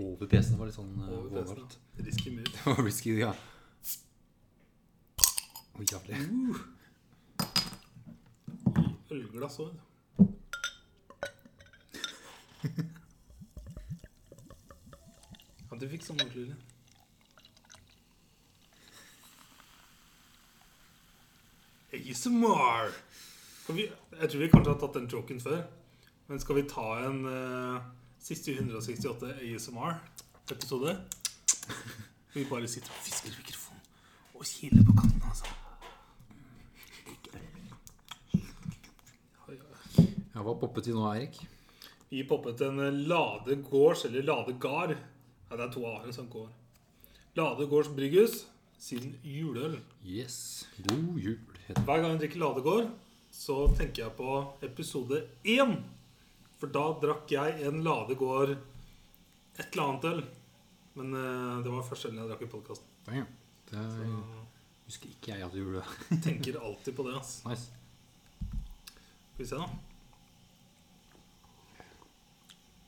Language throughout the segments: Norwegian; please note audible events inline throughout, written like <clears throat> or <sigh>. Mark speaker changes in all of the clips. Speaker 1: OBPS-en var litt sånn eh,
Speaker 2: Over
Speaker 1: vågal.
Speaker 2: pressen. Risky move.
Speaker 1: <laughs> Det var risky, ja. Å, jævlig.
Speaker 2: Mm. Ølglass òg. Ja, du fikk sånn ordentlig lyd. ASMR! Kan vi, jeg tror vi kanskje har tatt den joken før. Men skal vi ta en eh, siste 168 ASMR-episode? Vi bare sitter og fisker i mikrofonen og kiler på katten, altså. Oi, oi.
Speaker 1: Ja, Hva poppet vi nå, Eirik?
Speaker 2: Vi poppet en eh, Lade Gårds, eller Lade Gard. Ja, det er to a-er som går. Lade Gårds Brygghus sin juleøl.
Speaker 1: Yes. God jul. heter det.
Speaker 2: Hver gang jeg drikker Lade Gård, så tenker jeg på episode én. For da drakk jeg en Lade Gård et eller annet øl. Men eh, det var første ølen jeg drakk i podkasten.
Speaker 1: Damn. Det husker ikke jeg at du gjorde. det. <laughs>
Speaker 2: Tenker alltid på det. ass.
Speaker 1: Nice.
Speaker 2: Skal vi se, da.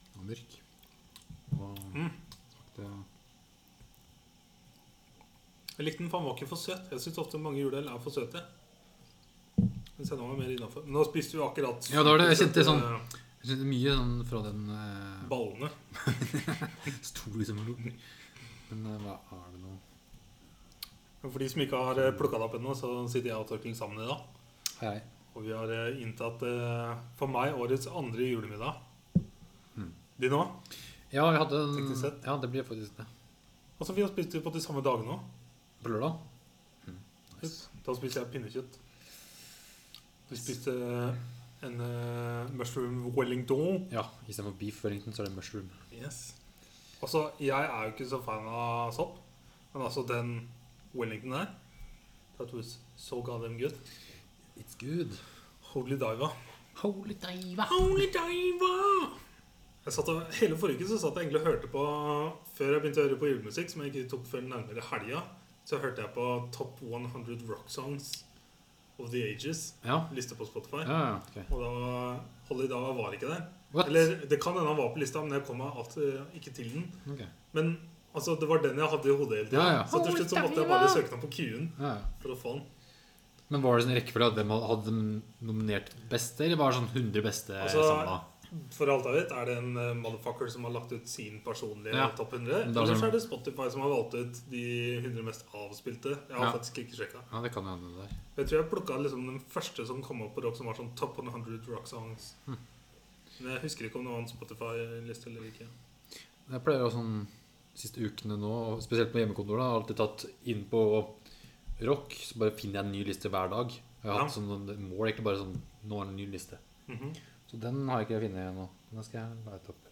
Speaker 1: Den var mørk. Og
Speaker 2: Mm.
Speaker 1: smakte
Speaker 2: Jeg likte den, for den var ikke for søt. Jeg syns ofte mange juleøl er for søte. Mens jeg nå var mer innafor. Nå spiste vi akkurat
Speaker 1: Ja, det var det. Jeg kjente sånn-
Speaker 2: supersøte, eh,
Speaker 1: Jeg kjente mye sånn fra den eh, <laughs>
Speaker 2: Ballene.
Speaker 1: Stor liksom Men eh, hva er det nå?
Speaker 2: For de som ikke har plukka det opp ennå, så sitter jeg og Torkling sammen i dag.
Speaker 1: Hei.
Speaker 2: Og vi har eh, inntatt eh, for meg årets andre julemiddag.
Speaker 1: Mm.
Speaker 2: De nå.
Speaker 1: Ja, vi hadde en,
Speaker 2: Teknisk sett.
Speaker 1: Ja, det blir faktisk det.
Speaker 2: Og så vi har spist på de samme dagene òg.
Speaker 1: På lørdag?
Speaker 2: Mm.
Speaker 1: Nice.
Speaker 2: Da spiste jeg pinnekjøtt. Vi spiste eh, en eh, mushroom wellington.
Speaker 1: Ja, istedenfor beef wellington, så er det mushroom.
Speaker 2: Yes. Altså, jeg er jo ikke så fan av sopp, men altså den wellington der That was so goddamn good.
Speaker 1: It's good.
Speaker 2: Holy diva.
Speaker 1: Holy diva.
Speaker 2: Holy diver! Jeg satt og, hele forrige uke så satt jeg egentlig og hørte på Før jeg begynte å høre på julemusikk, som jeg ikke tok før nærmere helga, så hørte jeg på Top 100 Rock Songs of the Ages.
Speaker 1: Ja.
Speaker 2: Liste på Spotify.
Speaker 1: Ja, ja, ok.
Speaker 2: Og da var- Holly da var ikke der.
Speaker 1: What?
Speaker 2: Eller det kan hende han var på lista, men jeg kom meg alt, eh, ikke til den.
Speaker 1: Ok.
Speaker 2: Men altså, det var den jeg hadde i hodet hele tiden.
Speaker 1: Ja, ja.
Speaker 2: Så til slutt så måtte jeg bare søke den på Q-en
Speaker 1: Ja, ja.
Speaker 2: for å få den.
Speaker 1: Men var det sånn rekkefølge at hvem hadde- hadde dem nominert beste, eller var det sånn 100 beste
Speaker 2: Altså,
Speaker 1: samla?
Speaker 2: For alt jeg vet, er det en eh, motherfucker som har lagt ut sin personlige
Speaker 1: Ja.
Speaker 2: topp 100.
Speaker 1: Men da er
Speaker 2: Eller så
Speaker 1: det-
Speaker 2: er det Spotify som har valgt ut de 100 mest avspilte. Jeg har
Speaker 1: Ja.
Speaker 2: faktisk ikke sjekka.
Speaker 1: Ja, det kan jo hende det der.
Speaker 2: Jeg tror jeg plukka liksom den første som kom opp på rock, som var sånn Top 100 rock songs.
Speaker 1: Hm.
Speaker 2: Men jeg husker ikke om det var en Spotify-liste eller ikke.
Speaker 1: Jeg pleier å sånn siste ukene nå, og spesielt på hjemmekontoret, da, har jeg alltid tatt inn på rock, så bare finner jeg en ny liste hver dag. Jeg har
Speaker 2: Ja.
Speaker 1: hatt sånn noen mål, egentlig bare sånn Nå er det en ny liste.
Speaker 2: Mhm.
Speaker 1: Så den har jeg ikke funnet ennå. Den skal jeg leite opp.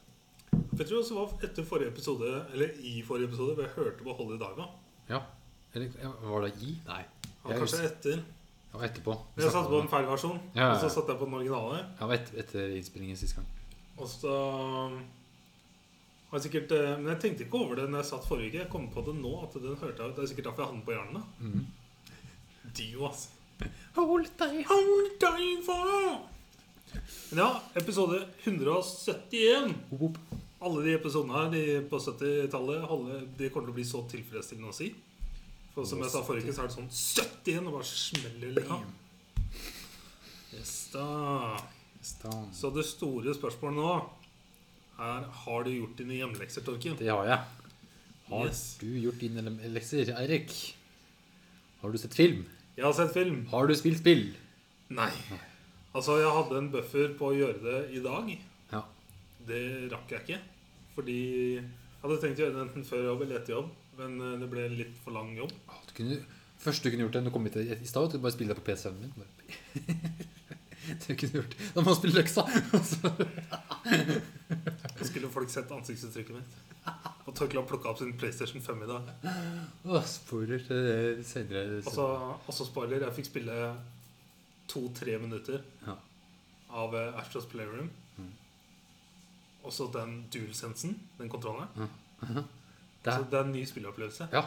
Speaker 2: Jeg tror også det var etter forrige episode, eller i forrige episode, hvor jeg hørte på Holly Diva.
Speaker 1: Ja. Eller ja, var det i? Nei.
Speaker 2: Ja,
Speaker 1: Jeg
Speaker 2: kanskje
Speaker 1: husker-
Speaker 2: etter.
Speaker 1: Ja, etterpå.
Speaker 2: Men jeg satte på en feil versjon,
Speaker 1: Ja, ja,
Speaker 2: og
Speaker 1: ja.
Speaker 2: så satte jeg på den originale.
Speaker 1: Ja, det var et, etter innspillingen sist gang.
Speaker 2: Og så um, har jeg sikkert eh, Men jeg tenkte ikke over det når jeg satt forrige uke. Jeg kom på det nå. at den hørte jeg Det er sikkert derfor jeg hadde den på hjernen. da.
Speaker 1: Mhm.
Speaker 2: Dio, ass.
Speaker 1: Hold deg.
Speaker 2: Hold deg for! Men ja, episode 171.
Speaker 1: Hop, hop.
Speaker 2: Alle de episodene her de på 70-tallet holde- de kommer til å bli så tilfredsstillende å si. For som jeg sa forrige uke, så er det sånn 71, og bare smeller litt av. Yes, da.
Speaker 1: Stans.
Speaker 2: Så det store spørsmålet nå er Har du gjort dine hjemmelekser, Torken?
Speaker 1: Det har jeg. Har
Speaker 2: Yes.
Speaker 1: du gjort dine lem- lekser, Eirik? Har du sett film?
Speaker 2: Jeg har sett film.
Speaker 1: Har du spilt spill?
Speaker 2: Nei. Altså, jeg hadde en buffer på å gjøre det i dag.
Speaker 1: Ja.
Speaker 2: Det rakk jeg ikke. Fordi jeg hadde tenkt å gjøre det enten før jobb eller etter jobb. Men eh, det ble litt for lang jobb.
Speaker 1: Å, Ah, Du kunne, først du kunne gjort det når du kom hit i stad, at du bare spille det på PC-en min. Bare. <laughs> du kunne gjort det. Da må man spille leksa. <laughs> Og så-
Speaker 2: Så skulle folk sett ansiktsuttrykket mitt. Og Torkel har plukka opp sin PlayStation 5 i dag.
Speaker 1: Å, Spoiler til det senere.
Speaker 2: Altså, altså spoiler, jeg fikk spille to-tre minutter
Speaker 1: Ja.
Speaker 2: av eh, Astros Playroom.
Speaker 1: Mm.
Speaker 2: Og så den dual-sensen, den kontrolleren.
Speaker 1: Mhm. Det
Speaker 2: Så
Speaker 1: er-
Speaker 2: det er en ny spilleopplevelse.
Speaker 1: Ja.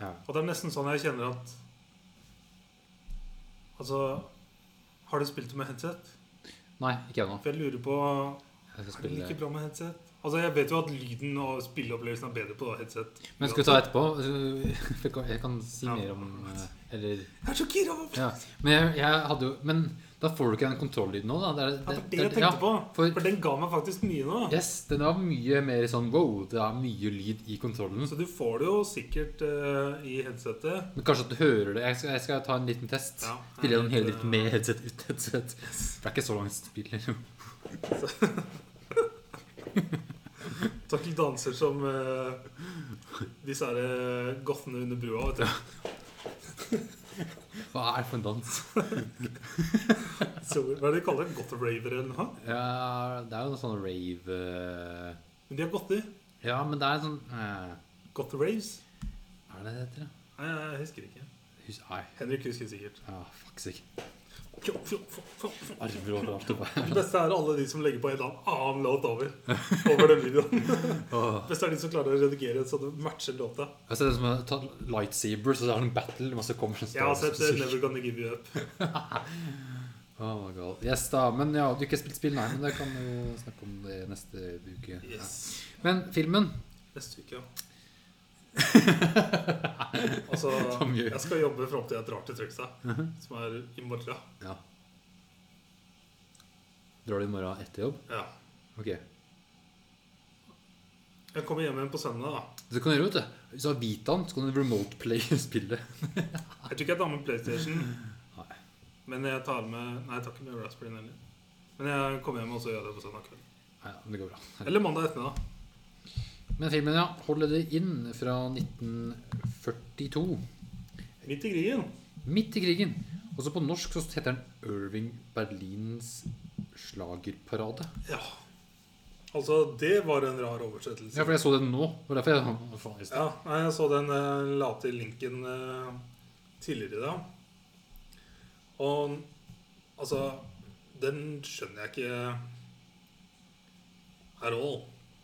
Speaker 1: ja.
Speaker 2: Og det er nesten sånn jeg kjenner at Altså Har du spilt det med headset?
Speaker 1: Nei, ikke ennå.
Speaker 2: For jeg lurer på
Speaker 1: Jeg skal
Speaker 2: Er det
Speaker 1: spille
Speaker 2: like bra med headset? Altså, Jeg vet jo at lyden og spilleopplevelsen er bedre på headset.
Speaker 1: Men skal vi ta etterpå? <laughs> Jeg kan- Jeg kan si
Speaker 2: Ja.
Speaker 1: mer om eh, Eller
Speaker 2: Jeg er så gira! på-
Speaker 1: Ja. Men jeg, jeg hadde jo Men da får du ikke den kontrolllyden nå, da. Det er,
Speaker 2: Ja, for det jeg tenkte på.
Speaker 1: for-
Speaker 2: For den ga meg faktisk mye nå.
Speaker 1: Yes, den var mye mer sånn wow, det er mye lyd i kontrollen.
Speaker 2: Så du får det jo sikkert eh, i headsetet.
Speaker 1: Men kanskje at du hører det. Jeg skal, jeg skal ta en liten test.
Speaker 2: Ja,
Speaker 1: Spille den hele
Speaker 2: jeg-
Speaker 1: litt med headset ut headset. Det er ikke så langt spill. liksom.
Speaker 2: Takk til danser som eh, disse her eh, gothene under brua. <laughs> vet du.
Speaker 1: Hva er det for en dans?
Speaker 2: Så, hva er det de kaller det? Goth-raver eller noe?
Speaker 1: Ja, det er jo noe sånn rave eh,
Speaker 2: Men de er gother.
Speaker 1: Ja, men det er en sånn eh,
Speaker 2: Goth-raves?
Speaker 1: Hva er det det heter? da?
Speaker 2: Nei, jeg husker ikke.
Speaker 1: Hus- Nei.
Speaker 2: Henrik husker sikkert.
Speaker 1: Ah, fuck sake.
Speaker 2: Fjo, fjo, fjo, fjo, fjo.
Speaker 1: Arver overalt. og bare-
Speaker 2: Det beste er alle de som legger på en eller annen låt over. Over den videoen.
Speaker 1: Åh.
Speaker 2: Det beste er de som klarer å redigere så det matcher låta.
Speaker 1: Jeg ser det som å ta lightsaber, så det er en battle. Masse kommer som
Speaker 2: Jeg har sett eh,
Speaker 1: står-
Speaker 2: Never Gonna Give You Up.
Speaker 1: Oh my god. Yes da, men ja, du har ikke spilt spill, nei, men det kan vi jo snakke om det neste uke.
Speaker 2: Yes.
Speaker 1: Ja. Men filmen
Speaker 2: Neste uke, ja. altså,
Speaker 1: Som gjør-
Speaker 2: jeg skal jobbe fram til jeg drar til Trøgstad, som er i morgen.
Speaker 1: Ja. Drar du i morgen etter jobb?
Speaker 2: Ja.
Speaker 1: Ok.
Speaker 2: Jeg kommer hjem igjen på søndag. da
Speaker 1: Så kan du gjøre, vet du. Hvis du har Vitaen, så kan du remote-play <laughs> spillet.
Speaker 2: Jeg tror ikke jeg tar med PlayStation.
Speaker 1: Nei.
Speaker 2: Men jeg tar med Nei, jeg tar ikke med Raspberry heller. Men jeg kommer hjem og så gjør det på søndag kveld.
Speaker 1: Nei, men det går bra.
Speaker 2: Eller mandag ettermiddag.
Speaker 1: Men filmen, ja. 'Holde det inn' fra 1942.
Speaker 2: Midt i krigen.
Speaker 1: Midt i krigen. Også på norsk så heter den 'Irving Berlins slagerparade'.
Speaker 2: Ja. Altså, det var en rar oversettelse.
Speaker 1: Ja, for jeg så den nå. Det var derfor jeg Hva faen er det?
Speaker 2: Ja, nei, jeg så den eh, la til linken eh, tidligere i dag. Og altså Den skjønner jeg ikke her all.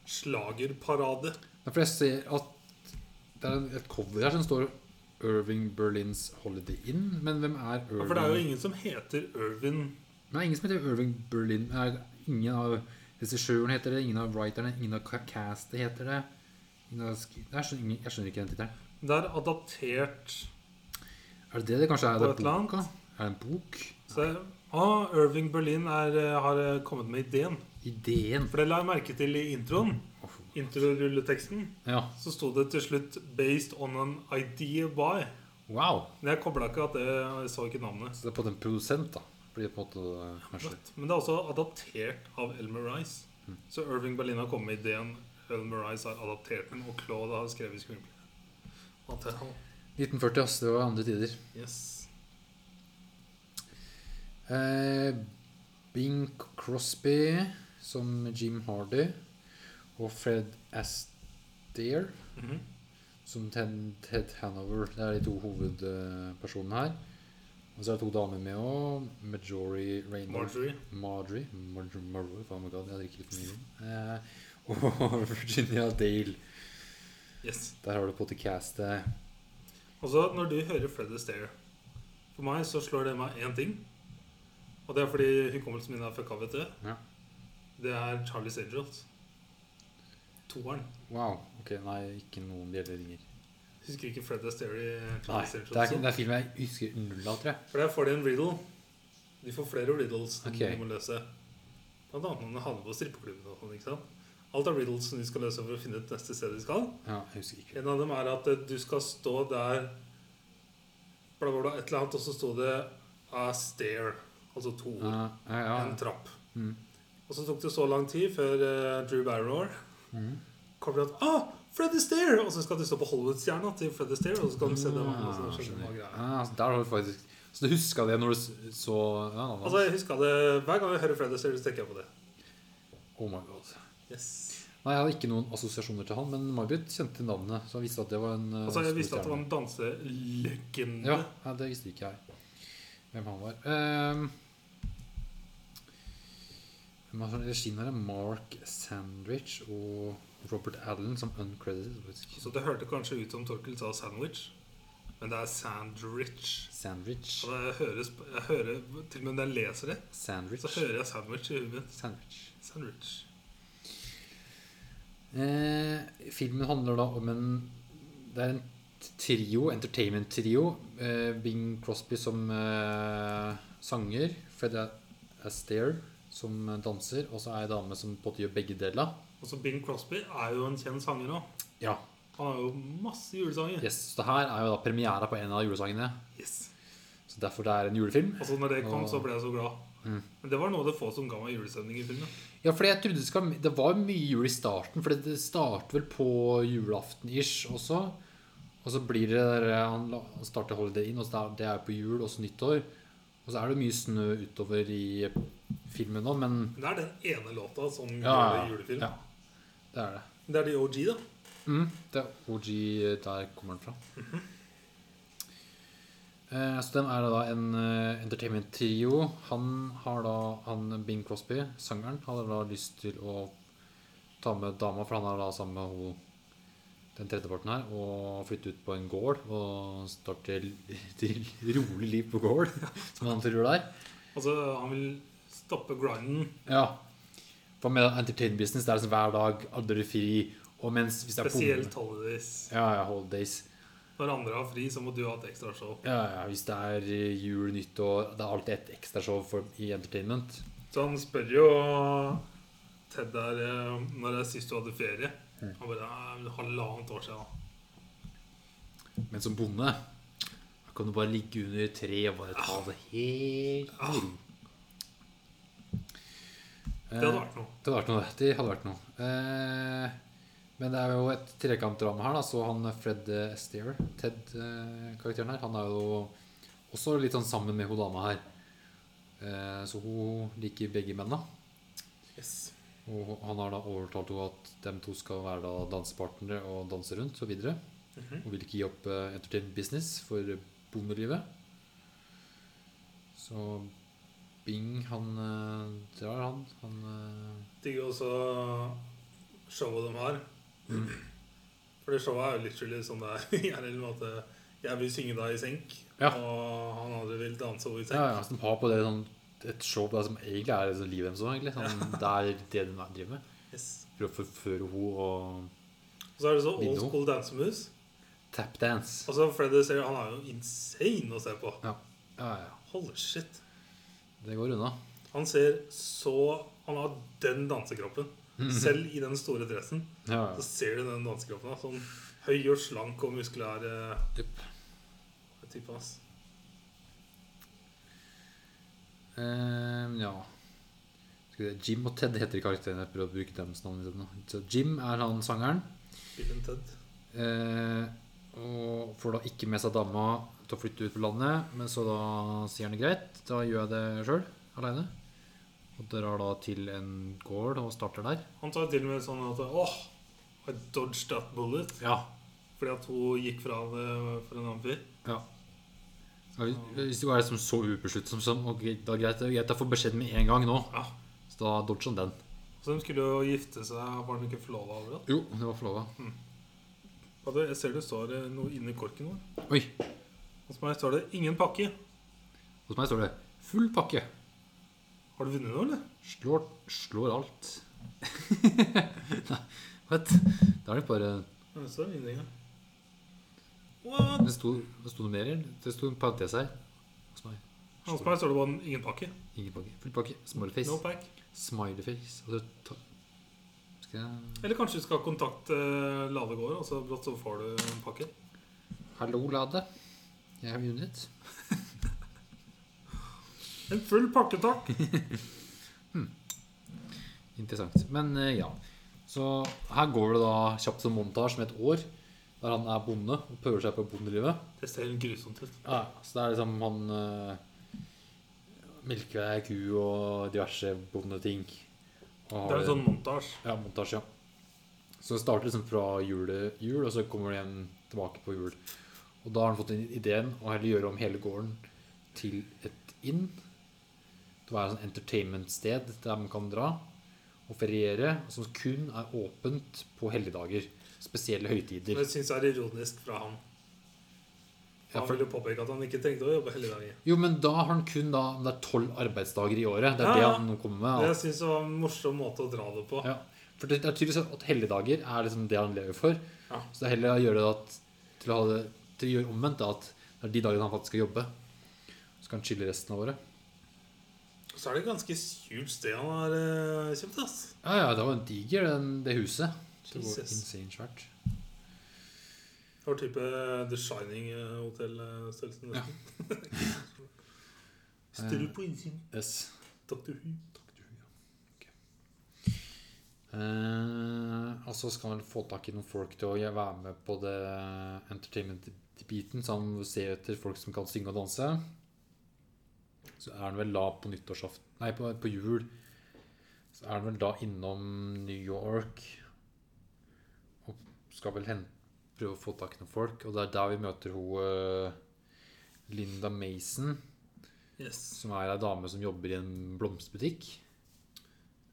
Speaker 2: Slagerparade.
Speaker 1: Det er fordi jeg ser at det er et cover her som står Irving Berlins Holiday Inn. Men hvem er
Speaker 2: Ja,
Speaker 1: Irving?
Speaker 2: for det er jo ingen som heter Irvin.
Speaker 1: Nei, ingen som heter Irving Berlin. Nei, ingen av regissøren heter det, ingen av writerne, ingen av ca- castet heter det. Ingen av sk- Nei, Jeg skjønner, jeg skjønner ikke den tittelen.
Speaker 2: Det er adaptert
Speaker 1: Er det det det kanskje er?
Speaker 2: På
Speaker 1: Det
Speaker 2: et eller annet.
Speaker 1: boka? Er det en bok?
Speaker 2: så, ah, Irving Berlin er, eh, har eh, kommet med ideen.
Speaker 1: Ideen?
Speaker 2: For det la jeg merke til i introen. Introrulleteksten.
Speaker 1: Ja.
Speaker 2: Så sto det til slutt 'Based on an idea by'.
Speaker 1: Wow.
Speaker 2: Men jeg kobla ikke at det jeg så ikke navnet.
Speaker 1: Så det er på den produsent, da. Blir det på en måte eh, kanskje
Speaker 2: Men det er også adaptert av Elmer Rice. Så Irving Berlin har kommet med ideen. Elmer Rice har adaptert den, og Claude har skrevet screenplay. What the hell?
Speaker 1: 1940, ass. Det var andre tider.
Speaker 2: Yes.
Speaker 1: Eh, Bing Crosby som Jim Hardy. Og Fred Astaire
Speaker 2: Mhm.
Speaker 1: som Ted, Ted Hanover. Det er de to hovedpersonene her. Og så er det to damer med òg. Majori Reynolds
Speaker 2: Marjorie.
Speaker 1: Marjorie. Marjorie, Marjorie faen meg god, jeg drikker litt for mye vin. Eh, <laughs> og Virginia Dale.
Speaker 2: Yes.
Speaker 1: Der har du podcastet.
Speaker 2: Og så Altså, når du hører Fred Astaire For meg så slår det meg én ting. Og det er fordi hukommelsen min er fucka, vet du.
Speaker 1: Ja.
Speaker 2: Det er Charlies Angels. Toeren.
Speaker 1: Wow. Ok, nei, ikke noen bjelleringer.
Speaker 2: Husker ikke Fred Astaire i eh,
Speaker 1: Nei,
Speaker 2: Charlies
Speaker 1: det
Speaker 2: Angels.
Speaker 1: er,
Speaker 2: også?
Speaker 1: det er film jeg husker null av, tror jeg.
Speaker 2: altså. For der får de en riddle. De får flere riddles som
Speaker 1: Ok.
Speaker 2: de må løse. Blant annet når de havner på strippeklubben. og sånn, ikke sant? Alt er riddles som de skal løse for å finne et neste sted de skal.
Speaker 1: Ja, jeg husker ikke.
Speaker 2: En av dem er at eh, du skal stå der bla, bla, bla, et eller annet, og så sto det a stair, altså to ord.
Speaker 1: Ja, ja, ja.
Speaker 2: En trapp.
Speaker 1: Mm.
Speaker 2: Og så tok det så lang tid før eh, Drew Barrymore
Speaker 1: Mhm.
Speaker 2: kom til at ah, Fred Astaire! Og så skal du stå på Hollywood-stjerna til Fred Astaire, og så skal du se dem. og så skjønner du hva greia er.
Speaker 1: Ah, så der har du faktisk Så du huska det når du s- så ja, da-
Speaker 2: Altså, jeg husker det Hver gang jeg hører Fred Astaire, så tenker jeg på det.
Speaker 1: Oh my god.
Speaker 2: Yes.
Speaker 1: Nei, Jeg hadde ikke noen assosiasjoner til han, men May-Britt kjente navnet. Så jeg visste at det var en eh,
Speaker 2: Altså, jeg
Speaker 1: stor
Speaker 2: visste at det
Speaker 1: stjerne.
Speaker 2: var en danselegende.
Speaker 1: ja, ja, det visste ikke jeg. Hvem han var. Ehm, Hvem har sånn regien her? Mark Sandwich og Robert Allen som uncredited. faktisk.
Speaker 2: Så det hørte kanskje ut som Torkel sa sandwich, men det er sandwich.
Speaker 1: Sandwich.
Speaker 2: Og det høres, jeg hører, til og med når jeg leser det,
Speaker 1: Sandwich.
Speaker 2: så hører jeg sandwich i hodet mitt.
Speaker 1: Sandwich.
Speaker 2: Sandwich.
Speaker 1: Eh, filmen handler da om en Det er en trio, entertainment-trio. Eh, Bing Crosby som eh, sanger, Fred Astaire som danser, og så er ei dame som på en måte gjør begge deler.
Speaker 2: Også Bing Crosby er jo en kjent sanger nå.
Speaker 1: Ja,
Speaker 2: Han har jo masse julesanger.
Speaker 1: yes, Så det her er jo da premiera på en av julesangene.
Speaker 2: Yes.
Speaker 1: Så derfor det er en julefilm.
Speaker 2: Og så Altså, når det kom, så ble jeg så glad.
Speaker 1: Mm.
Speaker 2: Men det var noe av det få som ga meg julestemning i filmen.
Speaker 1: Ja, for jeg trodde det, skal, det var mye jul i starten, for det starter vel på julaften-ish også. Og så blir det der eh, Han la- han starter Holiday Inn, og så er- det er på jul og så nyttår. Og så er det mye snø utover i eh, filmen nå, men
Speaker 2: Men det er den ene låta som
Speaker 1: Ja,
Speaker 2: gjør
Speaker 1: ja,
Speaker 2: det julefilm.
Speaker 1: ja. det er det.
Speaker 2: Det er de OG, da.
Speaker 1: Mm, det er OG eh, der kommer den fra. Eh, så den er da en eh, entertainment-trio. Han har da han Bing Crosby, sangeren, hadde da lyst til å ta med dama, for han er da sammen med ho, den tredjeparten her, og flytte ut på en gård og starte et <laughs> rolig liv på gård, <laughs> som han tror det er.
Speaker 2: Altså, han vil stoppe grinden.
Speaker 1: Ja. For med entertainment business det er liksom hver dag, aldri fri, og mens hvis det er
Speaker 2: Spesielt
Speaker 1: på
Speaker 2: holidays.
Speaker 1: Ja, ja, holidays.
Speaker 2: Når andre har fri, så må du ha et ekstra show.
Speaker 1: Ja, ja, hvis det er eh, jul, nyttår Det er alltid et ekstrashow i entertainment.
Speaker 2: Så han spør jo Ted der eh, når det er sist du hadde ferie.
Speaker 1: Mm.
Speaker 2: Han bare "Nei, Halvannet år siden. da."
Speaker 1: Men som bonde da kan du bare ligge under et tre og bare ta det helt
Speaker 2: Ah.
Speaker 1: med ro.
Speaker 2: Det hadde vært
Speaker 1: Eh, Det hadde vært
Speaker 2: noe.
Speaker 1: noe. Det hadde vært noe. Eh, men det er jo et trekantdrama her, da. Så han Fred eh, Estaire, Ted-karakteren eh, her, han er jo også litt sånn sammen med hun dama her. Eh, så hun liker begge mennene.
Speaker 2: Yes.
Speaker 1: Og han har da overtalt henne at dem to skal være da dansepartnere og danse rundt og videre.
Speaker 2: Mhm.
Speaker 1: Og vil ikke gi opp eh, entertainment business for bondelivet. Så Bing, han eh, drar, han. Han eh,
Speaker 2: Digger jo også showet de har. For det showet er jo literally sånn det er <laughs> i RL. med at, eh, Jeg vil synge deg i senk,
Speaker 1: Ja.
Speaker 2: og han andre vil danse over i senk.
Speaker 1: ja, ja, så de har på det sånn, et show der som egentlig er liksom, livet deres òg, egentlig.
Speaker 2: <laughs>
Speaker 1: Sånn, det er det de driver med.
Speaker 2: Yes.
Speaker 1: Prøver å forføre henne og
Speaker 2: Og så er det så old
Speaker 1: Bingo.
Speaker 2: school dansemus.
Speaker 1: tapdance.
Speaker 2: Altså, Fred Astaire, han er jo insane å se på.
Speaker 1: Ja, ja.
Speaker 2: Holy shit.
Speaker 1: Det går unna.
Speaker 2: Han ser så Han har den dansekroppen.
Speaker 1: Mm.
Speaker 2: Selv i den store dressen
Speaker 1: Ja,
Speaker 2: så
Speaker 1: ja.
Speaker 2: ser du den dansekroppen. da. Sånn høy og slank og muskulær eh,
Speaker 1: Yep.
Speaker 2: type. ass.
Speaker 1: Ehm, ja Skal vi se, Jim og Ted heter karakterene. Jeg prøver å bruke deres navn. i stedet nå. Så Jim er han sangeren.
Speaker 2: Bill and Ted.
Speaker 1: eh, og får da ikke med seg dama til å flytte ut på landet. Men så da sier han det greit. Da gjør jeg det sjøl. Aleine. Og drar da til en gård og starter der.
Speaker 2: Han tar til og med sånn at Åh, I dodged that bullet.
Speaker 1: Ja.
Speaker 2: Fordi at hun gikk fra det for en annen fyr.
Speaker 1: ja. Så Hvis du er liksom så ubesluttsom som Ok, da er det greit, det er greit, jeg får beskjed med en gang nå.
Speaker 2: Ja.
Speaker 1: Så da dodger han den.
Speaker 2: Så de skulle jo gifte seg. Var de ikke forlova over det?
Speaker 1: Jo, det var forlova.
Speaker 2: Ja, du, Jeg ser det står eh, noe inni korken vår.
Speaker 1: Oi,
Speaker 2: Hos meg står det 'ingen pakke'.
Speaker 1: hos meg står det 'full pakke'.
Speaker 2: Har du vunnet noe, eller?
Speaker 1: Slår, slår alt. <laughs> Nei, What? Da er det bare
Speaker 2: Ja, det står ingenting her. What?
Speaker 1: Det sto, det sto noe mer her. Det sto en parentes her. Hos meg.
Speaker 2: Hos meg står det bare 'ingen pakke'.
Speaker 1: Ingen pakke. Full pakke. Smileyface.
Speaker 2: No pack.
Speaker 1: Smileyface. Og det ta- Skal jeg
Speaker 2: Eller kanskje du skal kontakte eh, Ladegård, og så brått så får du en pakke.
Speaker 1: Hallo, Lade. Jeg er Unit.
Speaker 2: En full pakke, takk!
Speaker 1: Interessant. Men eh, ja. Så her går det da kjapt som montasje med et år der han er bonde og prøver seg på bondelivet.
Speaker 2: Det ser helt grusomt ut.
Speaker 1: Ja, så det er liksom han eh, uh, Melker ei ku og diverse bondeting. Og
Speaker 2: Det
Speaker 1: har
Speaker 2: er en
Speaker 1: en-
Speaker 2: sånn montasje.
Speaker 1: Ja, montasje, ja. Så det starter liksom fra jul til jul, og så kommer det igjen tilbake på jul. Og da har han fått inn ideen å heller gjøre om hele gården til et inn. Det var et sånt entertainment-sted der man kan dra og feriere, som kun er åpent på helligdager. Spesielle høytider.
Speaker 2: Men jeg syns det er ironisk fra ham.
Speaker 1: Ja,
Speaker 2: Han
Speaker 1: for-
Speaker 2: ville påpeke at han ikke trengte å jobbe hele dagen.
Speaker 1: Jo, men da har han kun da Det er tolv arbeidsdager i året. Det er
Speaker 2: Ja,
Speaker 1: det
Speaker 2: ja.
Speaker 1: han nå kommer
Speaker 2: Det
Speaker 1: med.
Speaker 2: jeg synes det var en morsom måte å dra det på.
Speaker 1: Ja. For det det er tydeligvis at helligdager er liksom det han lever for.
Speaker 2: Ja.
Speaker 1: Så det er heller å gjøre det at, til å ha det til å gjøre omvendt, da, at det er de dagene han faktisk skal jobbe. Så kan han chille resten av året.
Speaker 2: Så er det et ganske skjult sted han har eh, kjøpt, ass.
Speaker 1: Ja, ja, det var en diger, den, det huset. Det var
Speaker 2: Jesus.
Speaker 1: insane svært.
Speaker 2: Det var type eh, The Shining-hotellstørrelsen.
Speaker 1: Ja. <laughs>
Speaker 2: Større på innsiden.
Speaker 1: Yes.
Speaker 2: Dr. Who.
Speaker 1: Eh, og så skal han få tak i noen folk til å gjøre- være med på det entertainment-biten, så han må se etter folk som kan synge og danse. Så er han vel da på nyttårsaften Nei, på, på jul så er han vel da innom New York og skal vel hen, prøve å få tak i noen folk. Og det er der vi møter hun eh, Linda Mason,
Speaker 2: Yes.
Speaker 1: som er ei dame som jobber i en blomsterbutikk.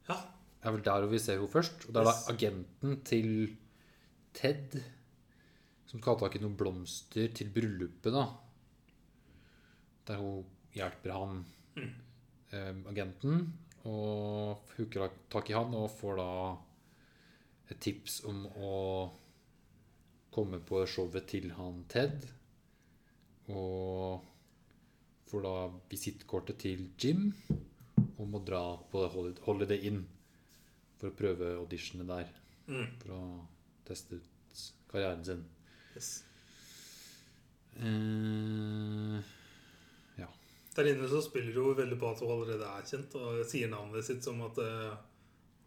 Speaker 2: Ja.
Speaker 1: Det er vel der hvor vi ser henne først. Og det er da
Speaker 2: Yes.
Speaker 1: agenten til Ted som skal ha tak i noen blomster til bryllupet, da. Der hun hjelper han, eh, agenten, og hooker da tak i han og får da et tips om å komme på showet til han Ted. Og får da visittkortet til Jim og må dra på Holi- Holiday Inn for å prøve auditionene der.
Speaker 2: Mm.
Speaker 1: For å teste ut karrieren sin.
Speaker 2: Yes.
Speaker 1: Eh,
Speaker 2: Der inne så spiller hun veldig på at hun allerede er kjent, og sier navnet sitt som at eh,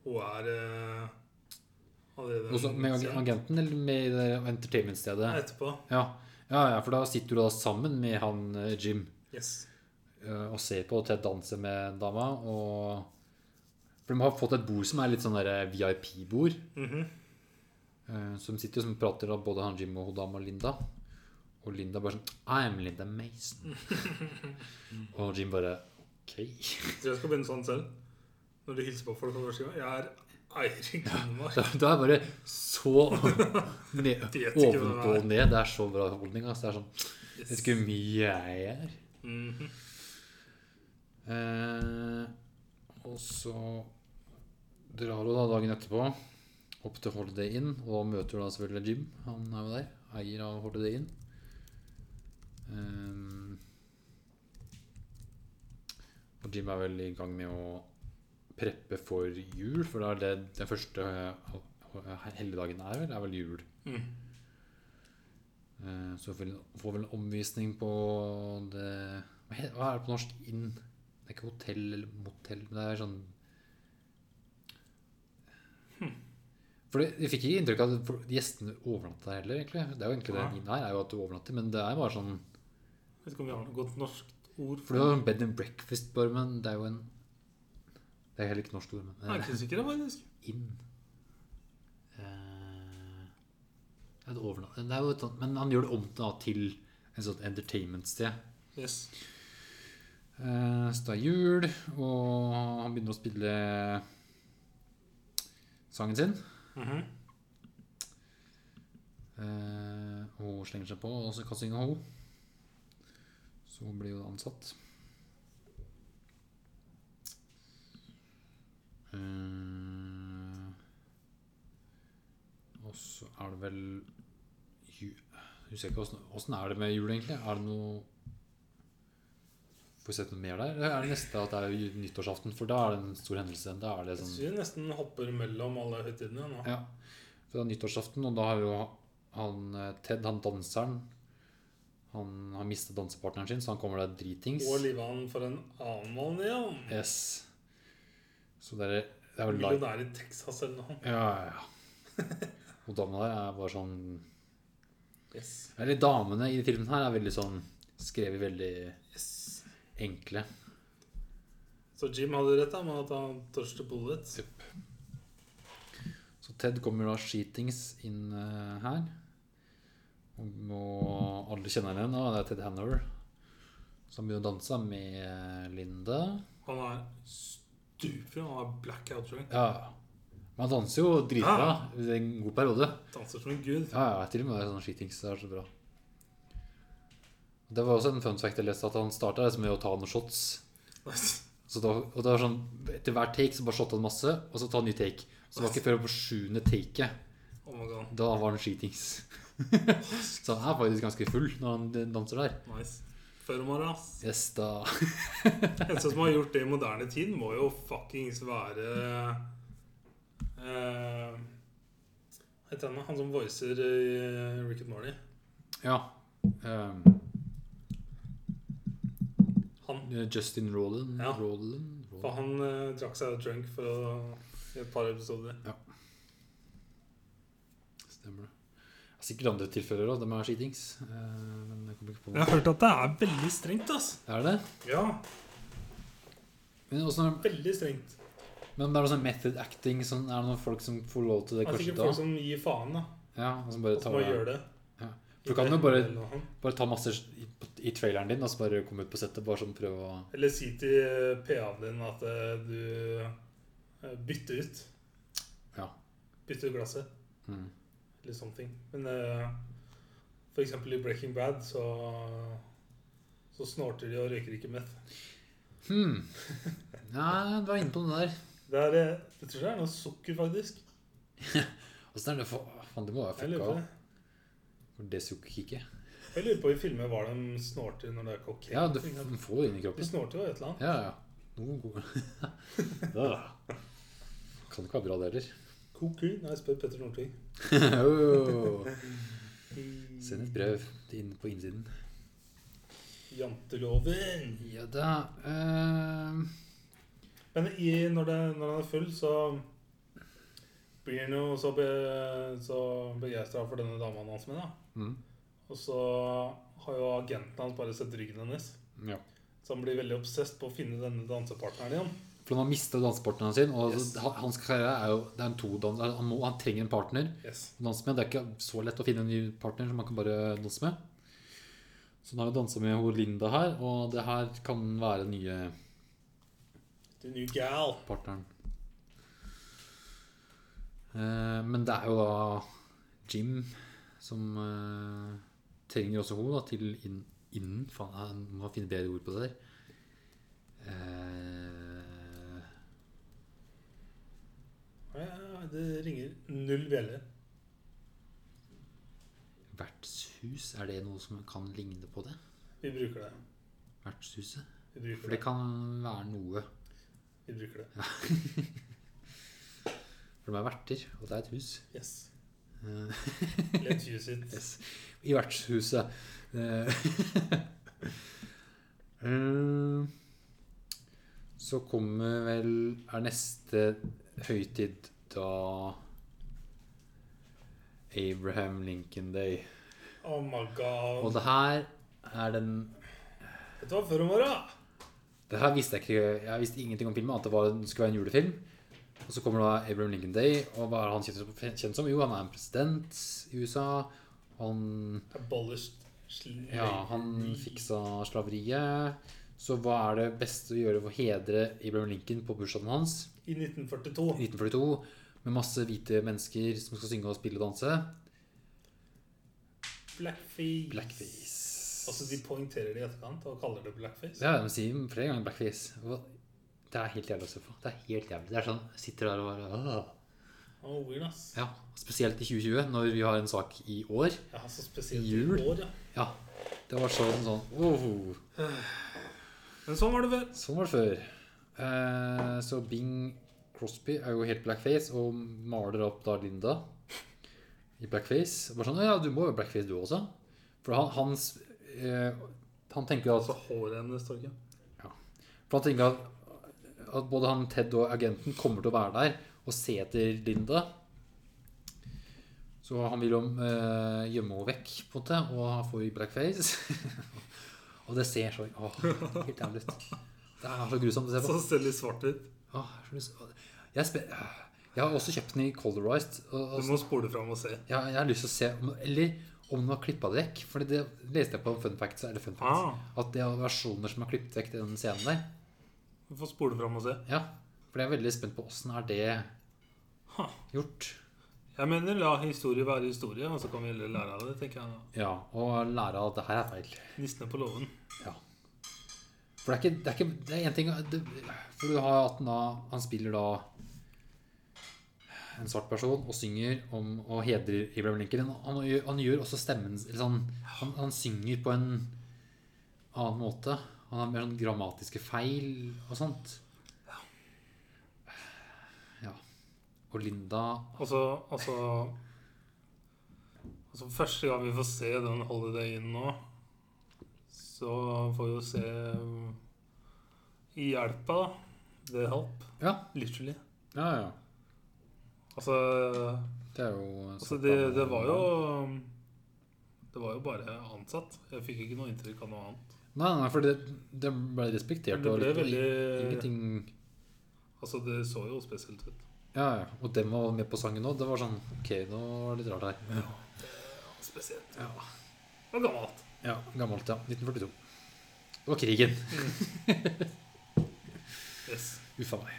Speaker 2: hun er eh, allerede
Speaker 1: også med ag- agenten eller med det
Speaker 2: Ja,
Speaker 1: entertainmentstedet?
Speaker 2: etterpå.
Speaker 1: Ja. ja, ja, for da sitter du da sammen med han eh, Jim
Speaker 2: Yes.
Speaker 1: eh, og ser på Ted danse med dama. Og For de har fått et bord som er litt sånn der VIP-bord.
Speaker 2: Mhm.
Speaker 1: Eh, Så de sitter jo som prater da, både han Jim og hun dama Linda. Og Linda bare sånn I'm Linda Mason. og Jim bare OK.
Speaker 2: Jeg tror jeg skal begynne sånn selv. Når du hilser på folk for første gang. Jeg er Eirik Lindmark.
Speaker 1: Da da er jeg bare
Speaker 2: <laughs>
Speaker 1: så ned,
Speaker 2: Vet ikke hvem det er.
Speaker 1: ovenpå og ned. Det er så bra holdning. ass. Det er sånn
Speaker 2: Yes.
Speaker 1: Vet ikke hvor mye jeg er.
Speaker 2: Mhm.
Speaker 1: Eh, og så drar hun da dagen etterpå opp til Holiday Inn, og da møter hun da selvfølgelig Jim. Han er jo der. Eier av Holiday Inn. Eh, Ehm, og Jim er vel i gang med å preppe for jul, for det er det den første eh, helligdagen er, vel? Det er vel jul.
Speaker 2: Mm.
Speaker 1: Eh, Så får vi får vel en omvisning på det Hva he- hva er det på norsk? Inn? Det er ikke hotell eller motell, men det er sånn
Speaker 2: Hm.
Speaker 1: For det- Vi fikk ikke inntrykk av at for- gjestene overnatta der heller, egentlig. Det er jo egentlig det
Speaker 2: Nei.
Speaker 1: inn her, er jo at du overnatter, men det er bare sånn
Speaker 2: Vet ikke om vi har noe godt norsk ord
Speaker 1: For det er jo bed and breakfast, bare, men det er jo en Det er heller ikke norsk ord, men
Speaker 2: Jeg er
Speaker 1: eh,
Speaker 2: ikke sikker, faktisk.
Speaker 1: inn. Eh, det er et overnatt- det er jo et sånt, men han gjør det om da, til en sånn entertainment-sted.
Speaker 2: Yes.
Speaker 1: Eh, Så det er jul, og han begynner å spille sangen sin.
Speaker 2: Mhm.
Speaker 1: Eh, Hun slenger seg på, og så kan synge hun. Så hun blir jo ansatt. Eh, Og så er det vel ju- Jeg husker ikke åssen- åssen er det med jul, egentlig? Er det noe Får vi sett noe mer der? Eller er det neste at det er ju- nyttårsaften? For da er det en stor hendelse. Da er det
Speaker 2: Jeg
Speaker 1: sånn
Speaker 2: synes vi nesten hopper mellom alle høytidene nå.
Speaker 1: ja, for det er nyttårsaften, og da har jo han eh, Ted, han danseren Han har mistet dansepartneren sin, så han kommer der dritings.
Speaker 2: Og Livan for en annen mann igjen.
Speaker 1: Yes. Så det er, det er jo live.
Speaker 2: Millionær i Texas eller noe.
Speaker 1: Ja, ja, ja. <laughs> Og damene der er bare sånn
Speaker 2: Yes.
Speaker 1: Eller damene i filmen her er veldig sånn skrevet veldig
Speaker 2: yes.
Speaker 1: enkle.
Speaker 2: Så Jim hadde rett da med at han tørste bullet.
Speaker 1: Yep. Så Ted kommer da skitings inn eh, her. Og må- alle kjenner henne igjen. Ah, det er Ted Hanover. Så han begynner å danse med Linda.
Speaker 2: Han er stupid. Han er blackout drunk.
Speaker 1: Ja. Men han danser jo dritbra i en god periode.
Speaker 2: Danser som en gud. <laughs>
Speaker 1: Ja, ja, til og med det er sånn skitings. Det er så bra. Det var også en fun fact jeg leste, at han starta med å ta noen shots.
Speaker 2: Nice.
Speaker 1: Så da, og det var sånn, Etter hver take så bare shotta han masse, og så ta en ny take. Så det var ikke før på sjuende taket.
Speaker 2: Oh my god,
Speaker 1: Da var han skitings. <laughs> så han er faktisk ganske full når han danser der.
Speaker 2: nice. Før om året, ass.
Speaker 1: Yes, da.
Speaker 2: En som har gjort det i moderne tid, må jo fuckings være eh, Hva heter han da? Han som voicer eh, Rick and Morty.
Speaker 1: Ja. ehm,
Speaker 2: Han.
Speaker 1: Justin Roland.
Speaker 2: Ja.
Speaker 1: Roland,
Speaker 2: For
Speaker 1: Roland.
Speaker 2: han eh, drakk seg drunk for å, i et par episoder.
Speaker 1: Stemmer det. Det er Sikkert andre tilfeller òg. De er skitings. Eh, Men jeg kommer ikke på
Speaker 2: Jeg
Speaker 1: noe.
Speaker 2: har hørt at det er veldig strengt, ass.
Speaker 1: Er det?
Speaker 2: Ja,
Speaker 1: Men, også,
Speaker 2: veldig strengt.
Speaker 1: men det er noe sånn method acting. Sånn, er det noen folk som får lov til
Speaker 2: Det
Speaker 1: det
Speaker 2: er
Speaker 1: kanskje
Speaker 2: sikkert
Speaker 1: da?
Speaker 2: folk som gir faen, da.
Speaker 1: Ja, og som bare
Speaker 2: Og som
Speaker 1: tar
Speaker 2: bare gjør det.
Speaker 1: Ja. For du kan jo bare-
Speaker 2: Eller noe.
Speaker 1: Bare ta masse i, i traileren din, og så bare komme ut på settet. Bare sånn prøve å
Speaker 2: Eller si til eh, PA-en din at eh, du eh, bytter ut.
Speaker 1: Ja.
Speaker 2: Bytter ut glasset.
Speaker 1: mm.
Speaker 2: eller sånne ting. Men eh, for eksempel i Breaking Bad så, så snorter de og røyker ikke meth.
Speaker 1: hmm. <laughs> Ja, du er inne på noe der.
Speaker 2: Det er, eh, jeg tror det er noe sukker, faktisk.
Speaker 1: Åssen er det for Faen, det må være
Speaker 2: Jeg
Speaker 1: fucka
Speaker 2: lurer på
Speaker 1: av.
Speaker 2: det.
Speaker 1: For det sukkerkicket.
Speaker 2: Jeg lurer på i filmer hva de snorter når det er kokain.
Speaker 1: Ja, du
Speaker 2: for eksempel.
Speaker 1: f- får det inn i
Speaker 2: de
Speaker 1: kroppen.
Speaker 2: snorter jo et eller annet.
Speaker 1: Ja, ja. Noen <laughs> gode Da. Kan ikke være bra, det <laughs> heller.
Speaker 2: Kokain? Nei, spør Petter Northug.
Speaker 1: Åh. Send et brev inn på innsiden.
Speaker 2: Janteloven!
Speaker 1: Ja da eh,
Speaker 2: Men i, når, det, når han er full, så blir han jo så, be, så begeistra for denne dama hans med, da.
Speaker 1: mm,
Speaker 2: Og så har jo agenten hans bare sett ryggen hennes.
Speaker 1: ja.
Speaker 2: Så han blir veldig obsesst på å finne denne dansepartneren igjen.
Speaker 1: For han har mista dansepartneren sin. Og altså,
Speaker 2: Yes.
Speaker 1: han- hans karriere er jo Det er en todans han, må- han trenger en partner
Speaker 2: Yes.
Speaker 1: å danse med. Det er ikke så lett å finne en ny partner som man kan bare danse med. Så han har jo dansa med hun Linda her, og det her kan være den nye
Speaker 2: The new gal.
Speaker 1: partneren. Eh, men det er jo da Jim som eh, trenger også henne da, til inn, innen. Faen, jeg må finne bedre ord på det der. Eh,
Speaker 2: Ja, ja, ja, Det ringer null bjeller.
Speaker 1: vertshus, er det noe som kan ligne på det?
Speaker 2: Vi bruker det.
Speaker 1: Vertshuset?
Speaker 2: Vi
Speaker 1: For det
Speaker 2: bruker det.
Speaker 1: kan være noe.
Speaker 2: Vi bruker det.
Speaker 1: For de er verter, og det er et hus.
Speaker 2: Yes.
Speaker 1: Eh,
Speaker 2: Let's use it.
Speaker 1: Yes. I vertshuset. Eh, <laughs> eh, Så kommer vel Er neste høytid da Abraham Lincoln Day.
Speaker 2: Oh my
Speaker 1: Og
Speaker 2: god.
Speaker 1: det her er den
Speaker 2: Vet du hva, før om åra
Speaker 1: Det her visste jeg ikke Jeg visste ingenting om filmen, annet det var, det skulle være en julefilm. Og så kommer da Abraham Lincoln Day, og hva er han kjent som? Kjent som? Jo, han er en president i USA. Han
Speaker 2: Abolished slavery.
Speaker 1: Ja, han fiksa slaveriet. Så hva er det beste å gjøre for å hedre Abraham Lincoln på bursdagen hans?
Speaker 2: I 1942.
Speaker 1: 1942, med masse hvite mennesker som skal synge og spille og danse.
Speaker 2: Blackface.
Speaker 1: Blackface.
Speaker 2: Altså, de poengterer det i etterkant og kaller det blackface.
Speaker 1: Ja, de sier flere ganger blackface. Og Det er helt jævlig å se på. Det er helt jævlig. Det er sånn, jeg sitter der og bare «Åh».
Speaker 2: Oh, weird, ass.
Speaker 1: Ja, Spesielt i 2020, når vi har en sak i år.
Speaker 2: Ja, så spesielt
Speaker 1: Jul.
Speaker 2: i år, ja.
Speaker 1: Ja, Det var sånn sånn «Wow».
Speaker 2: Men sånn var det før.
Speaker 1: Sånn var det før. Eh, så Bing Crosby er jo helt blackface og maler opp da Linda i blackface. Bare sånn, ja, du må jo blackface du også. For han, hans, eh, han tenker at,
Speaker 2: Altså, håret hennes, Torgeir.
Speaker 1: for han tenker at, at både han Ted og agenten kommer til å være der og se etter Linda. Så han vil jo eh, gjemme henne vekk, på en måte, og han får i blackface. <laughs> og det ser så åh, helt jævlig ut. Det er så grusomt å se på.
Speaker 2: Så ser Altså, det litt svart ut.
Speaker 1: Åh, Ah, jeg har så lyst- åh, jeg, spe, øh, jeg har også kjøpt den i Colorized. Og, og,
Speaker 2: Du må spole fram og se.
Speaker 1: ja, jeg har lyst til å se om, eller om den var klippa vekk. For det leste jeg på Fun Facts. Eller fun facts At det er versjoner som har klippet vekk den scenen der.
Speaker 2: Du får spole fram og se.
Speaker 1: Ja, For jeg er veldig spent på åssen er det
Speaker 2: Ha.
Speaker 1: gjort.
Speaker 2: Jeg mener, la historie være historie, og så kan vi heller lære av det, tenker jeg. da.
Speaker 1: Ja, Og lære at det her er feil.
Speaker 2: Nissene på låven.
Speaker 1: Ja. For det er ikke Det er, ikke, det er en ting det, For du har at han, da, han spiller da en svart person, og synger om og hedrer Abraham Lincoln. Han, han, gjør- han gjør også stemmen eller sånn, han, han synger på en annen måte. Han har mer sånn grammatiske feil og sånt. Ja. Og Linda
Speaker 2: Altså, altså Altså, første gang vi får se den Holiday Inn nå, så får vi jo se um, i hjelpa, da. The Help.
Speaker 1: Ja,
Speaker 2: Literally.
Speaker 1: ja, ja.
Speaker 2: Altså,
Speaker 1: Det er jo
Speaker 2: altså det, det var jo um, Det var jo bare ansatt. Jeg fikk ikke noe inntrykk av noe annet.
Speaker 1: Nei, nei, for det, det ble respektert.
Speaker 2: Men det
Speaker 1: og
Speaker 2: ble
Speaker 1: litt- og
Speaker 2: veldig
Speaker 1: Ingenting
Speaker 2: Altså, det så jo spesielt ut.
Speaker 1: Ja, ja. Og dem var med på sangen òg. Det var sånn Ok, nå var det litt rart her.
Speaker 2: Spesielt.
Speaker 1: Ja.
Speaker 2: Og gammelt.
Speaker 1: Ja, gammelt, ja. 1942. Det var krigen.
Speaker 2: Yes.
Speaker 1: Uffa meg.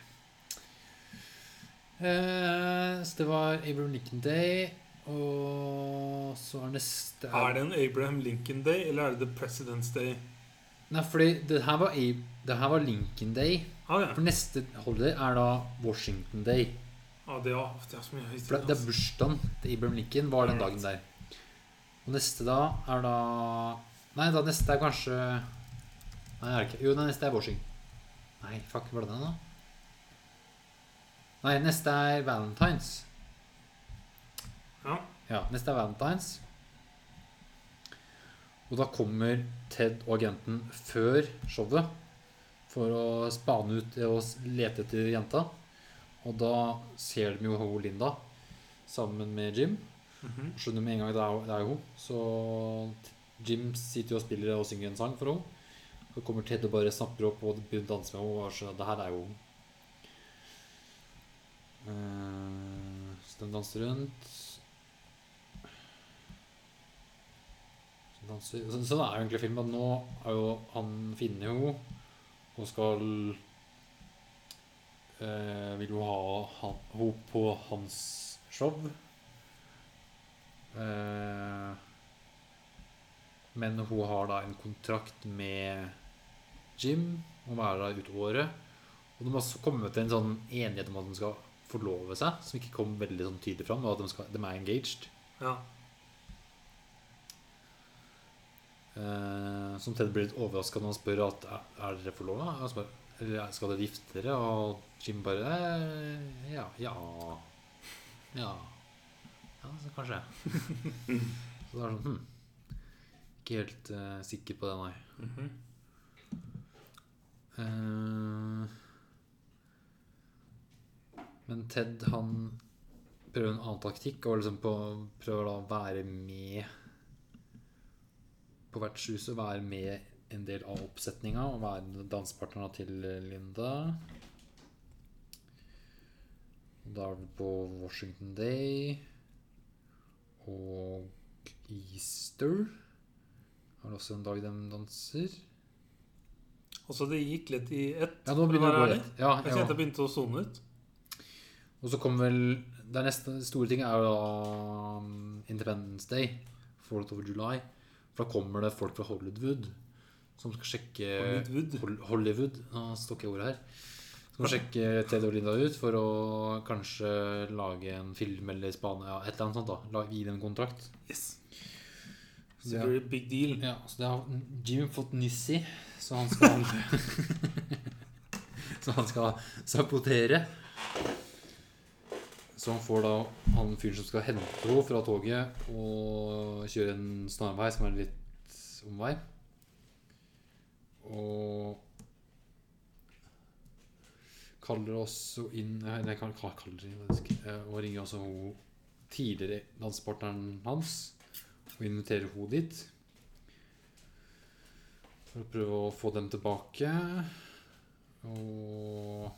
Speaker 1: Eh, så det var Abraham Lincoln Day, og så er neste
Speaker 2: Er det en Abraham Lincoln Day, eller er det The President's Day?
Speaker 1: Nei, fordi det her var, Ab- det her var Lincoln Day.
Speaker 2: Ah, ja.
Speaker 1: For neste holiday er da Washington Day.
Speaker 2: Ja, Ah, det, er, det er så mye altså.
Speaker 1: For
Speaker 2: historie.
Speaker 1: det, det er bursdagen til Abraham Lincoln var den dagen der. Og neste da er da Nei, da neste er kanskje Nei, er det ikke Jo, den neste er Washington. Nei, fuck, var det den, da? Nei, neste er Valentines.
Speaker 2: Ja.
Speaker 1: Ja, neste er Valentines. Og da kommer Ted og agenten før showet for å spane ut og s- lete etter jenta. Og da ser de jo hun Linda sammen med Jim.
Speaker 2: Mhm.
Speaker 1: Skjønner med en gang det er, det er jo hun. Så Jim sitter jo og spiller og synger en sang for henne. Så kommer Ted og bare snapper opp og begynner å danse med henne. Og skjønner at det her er jo hun. Eh, Så de danser rundt. Så danser. Så, sånn er jo egentlig filmen. at Nå er jo han finner henne og skal eh, Vil jo ha han- henne på hans show. Eh, men hun har da en kontrakt med Jim om å være der ut året. Og de har også kommet til en sånn enighet om at de skal forlove seg, som ikke kom veldig sånn tydelig fram. Og at de, skal, de er engaged.
Speaker 2: ja.
Speaker 1: Eh, som Ted blir litt overraska når han spør at "Er- er dere forlova. Og han spør, Eller skal dere gifte dere? Og Jim bare eh, ja, ja. Ja, ja så kanskje. <laughs> så det er sånn hm. Ikke helt eh, sikker på det, nei.
Speaker 2: Mhm.
Speaker 1: Eh, men Ted, han prøver en annen taktikk og liksom på, prøver da å være med på vertshuset. Være med en del av oppsetninga og være dansepartneren til eh, Linda. Da er vi på Washington Day og Easter. Er det også en dag de danser?
Speaker 2: Altså, det gikk litt i ett.
Speaker 1: Ja, nå begynner det å gå rett. Ja,
Speaker 2: Jeg
Speaker 1: ja.
Speaker 2: kjente jeg begynte å sone ut.
Speaker 1: Og så kommer vel Det neste store ting er jo da um, Independence Day. Fourth of July. For da kommer det folk fra Hollywood som skal sjekke
Speaker 2: Hollywood.
Speaker 1: Hol- Hollywood. Nå står ikke ordet her. Skal sjekke Ted og Linda ut for å kanskje lage en film eller spane ja, et eller annet sånt. da La- Gi dem en kontrakt.
Speaker 2: Yes. Så
Speaker 1: Ja.
Speaker 2: det blir big deal.
Speaker 1: Ja, så det har Jim fått nyss i, så han skal <laughs> Så han skal sabotere. Så han får da han fyren som skal hente henne fra toget, og kjøre en snarvei som er en litt omvei. Og kaller også inn eh, Nei, nei, hva hva kaller de faktisk? Eh, Og ringer også hun tidligere dansepartneren hans og inviterer henne dit. For å prøve å få dem tilbake. Og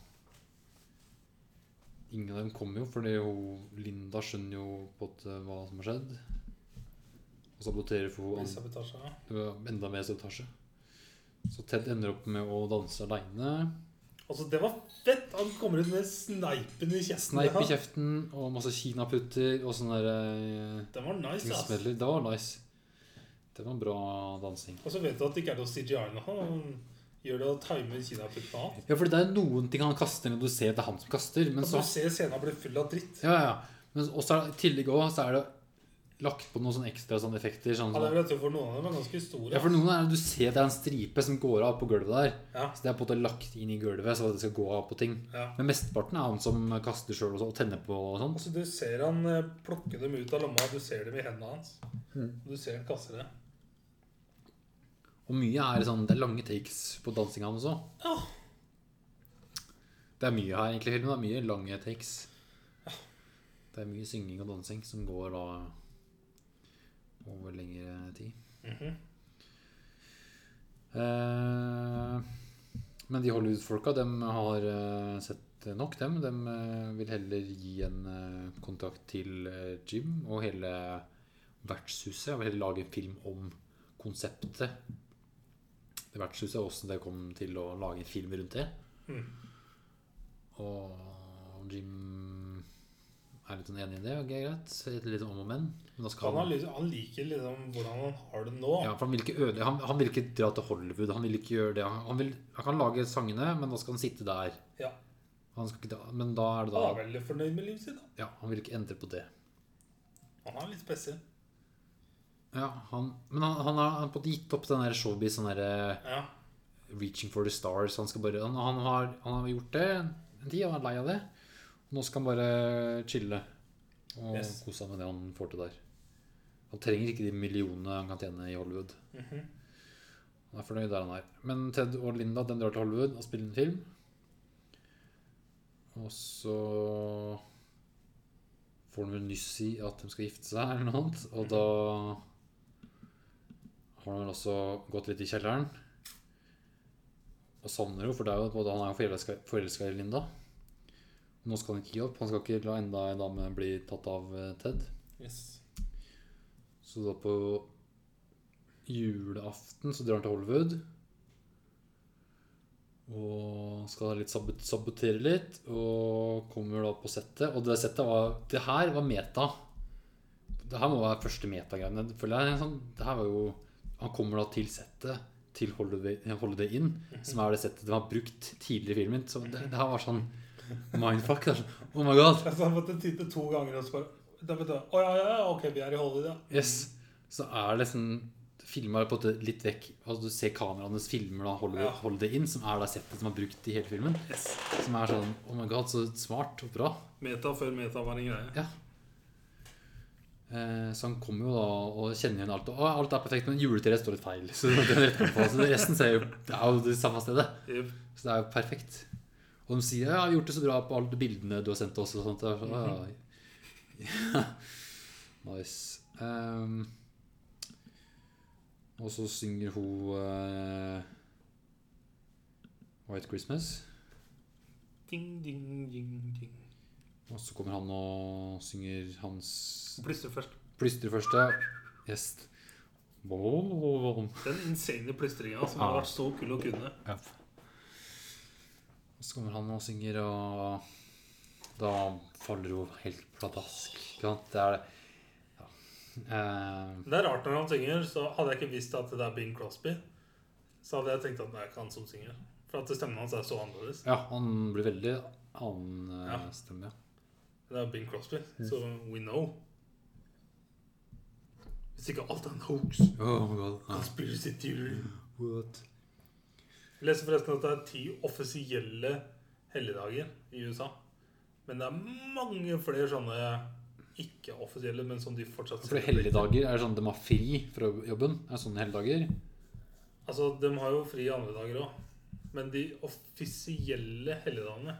Speaker 1: Ingen av dem kommer jo, fordi hun, Linda skjønner jo på en måte hva som har skjedd. Og saboterer for
Speaker 2: Blir
Speaker 1: henne.
Speaker 2: sabotasje, ja.
Speaker 1: Det var enda mer sabotasje. Så Ted ender opp med å danse aleine.
Speaker 2: Altså, det var fett! Han kommer ut med sneipen i kjesten.
Speaker 1: Sneip i
Speaker 2: ja.
Speaker 1: kjeften og masse kinaputter og sånne der,
Speaker 2: Den var
Speaker 1: eh, ting
Speaker 2: nice, ass.
Speaker 1: smeller. Det var nice. Det var bra dansing.
Speaker 2: Og så vet du at det ikke er noe CGI nå. Han gjør det å time kinaputtene av.
Speaker 1: Ja, for det er noen ting han kaster når du ser at det er han som kaster. Men
Speaker 2: Du
Speaker 1: så,
Speaker 2: ser scenen blir full av dritt.
Speaker 1: ja, ja. Men også, er det- i tillegg også, så er det lagt på noen sånne ekstra sånne effekter. Sånn,
Speaker 2: Ja, det er
Speaker 1: som-
Speaker 2: vel at for noen av dem er ganske store.
Speaker 1: ja, for noen er det du ser det er en stripe som går av på gulvet der.
Speaker 2: Ja.
Speaker 1: Så det er på en måte lagt inn i gulvet så det skal gå av på ting.
Speaker 2: Ja.
Speaker 1: Men mesteparten er han som kaster sjøl og tenner på og sånn.
Speaker 2: Altså, du ser han eh, plukke dem ut av lomma, du ser dem i hendene hans. Du ser han kaste det.
Speaker 1: Og mye er sånn Det er lange takes på dansinga hans også.
Speaker 2: Ja.
Speaker 1: Det er mye her egentlig i filmen. Det er mye lange takes. Det er mye synging og dansing som går da over lengre tid.
Speaker 2: Mhm.
Speaker 1: Eh, men de Hollywood-folka, dem har eh, sett nok, dem. De vil heller gi en eh, kontakt til eh, Jim og hele vertshuset. Og heller lage en film om konseptet. Det vertshuset, og hvordan det kom til å lage en film rundt det.
Speaker 2: Mhm.
Speaker 1: Og Jim er litt sånn enig i det. Ok, greit. Litt- Litt om og men. Men da skal
Speaker 2: Han, har,
Speaker 1: han,
Speaker 2: liksom- han liker liksom hvordan han har det nå.
Speaker 1: ja, for han, vil ikke øde, han, han vil ikke dra til Hollywood. Han vil ikke gjøre det. Han, vil, han kan lage sangene, men da skal han sitte der.
Speaker 2: Ja.
Speaker 1: Han skal ikke, dra- men da er det
Speaker 2: Han er
Speaker 1: da
Speaker 2: veldig fornøyd med livet sitt. da.
Speaker 1: ja, Han vil ikke endre på det.
Speaker 2: Han er litt spesiell.
Speaker 1: Ja, han, men han, han har på en måte gitt opp den der showbiz, sånn derre
Speaker 2: Ja.
Speaker 1: 'reaching for the stars'. Han, skal bare, han, han, har, han har gjort det en tid, han er lei av det. Nå skal han bare chille og
Speaker 2: Yes.
Speaker 1: kose seg med det han får til der. Han trenger ikke de millionene han kan tjene i Hollywood.
Speaker 2: Mhm.
Speaker 1: Han er fornøyd der han er. Men Ted og Linda den drar til Hollywood og spiller en film. Og så får de vel nyss i at de skal gifte seg, eller noe annet. Og
Speaker 2: Mhm.
Speaker 1: da har han vel også gått litt i kjelleren. Og savner jo, for det er jo både han er jo forelska- forelska i Linda. Nå skal han ikke gi opp. Han skal ikke la enda en dame bli tatt av eh, Ted.
Speaker 2: Yes.
Speaker 1: Så da på julaften så drar han til Hollywood. Og skal litt sabot sabotere litt. Og kommer da på settet. Og det settet var Det her var meta. Det her må være første metagreiene. Føler jeg sånn, Det her var jo Han kommer da til settet. Til Holiday, eh, Holiday Inn, som er det settet de har brukt tidligere i filmen. Så det, det her var sånn mindfuck. det er sånn, Oh my god.
Speaker 2: Altså, han måtte titte to ganger og så bare da vet du, Å ja, ja, ja, ok, vi er i Hollywood, ja.
Speaker 1: Yes. Så er det liksom Filma på en måte litt vekk. Altså Du ser kameraanes filmer da holder,
Speaker 2: Ja.
Speaker 1: holder det inn, som er da settet som er brukt i hele filmen.
Speaker 2: Yes.
Speaker 1: Som er sånn Oh my god, så smart og bra.
Speaker 2: Meta før meta var en greie.
Speaker 1: Ja. Eh, så han kommer jo da og kjenner igjen alt. Og «Å, alt er perfekt, men juletreet står litt feil. Så det er rett på, så resten ser jo Det er jo det samme stedet.
Speaker 2: Jep.
Speaker 1: Så det er jo perfekt. Og de sier ja, 'jeg har gjort det så bra på alle bildene du har sendt oss'. Og sånt. Det er sånn, «Ja, ja. <laughs> nice. Ehm, og så synger hun eh, 'White Christmas'.
Speaker 2: Ding, ding, ding, ding.
Speaker 1: Og så kommer han og synger hans
Speaker 2: Plystre først.
Speaker 1: plystreførste gjest. Og
Speaker 2: Den insane plystringa som
Speaker 1: Ja.
Speaker 2: har vært så kul å kunne.
Speaker 1: så kommer han og synger, og da faller hun helt pladask. Ikke sant? Det er det. Ja. Eh,
Speaker 2: Det er rart når han synger, så hadde jeg ikke visst at det er Bing Crosby. Så hadde jeg tenkt at det er ikke han som synger. For at stemmen hans er så annerledes.
Speaker 1: Ja, han blir veldig annen eh,
Speaker 2: Ja.
Speaker 1: stemme. ja.
Speaker 2: Det er Bing Crosby, så we know. Hvis ikke alt er en hoax.
Speaker 1: Oh my god. Ja.
Speaker 2: Conspiracy theory.
Speaker 1: What?
Speaker 2: Jeg leser forresten at det er ti offisielle helligdager i USA. Men det er mange flere sånne ikke-offisielle, men som de fortsatt
Speaker 1: For helligdager er sånn de har fri fra jobben. er sånne helligdager.
Speaker 2: Altså, De har jo fri andre dager òg. Men de offisielle helligdagene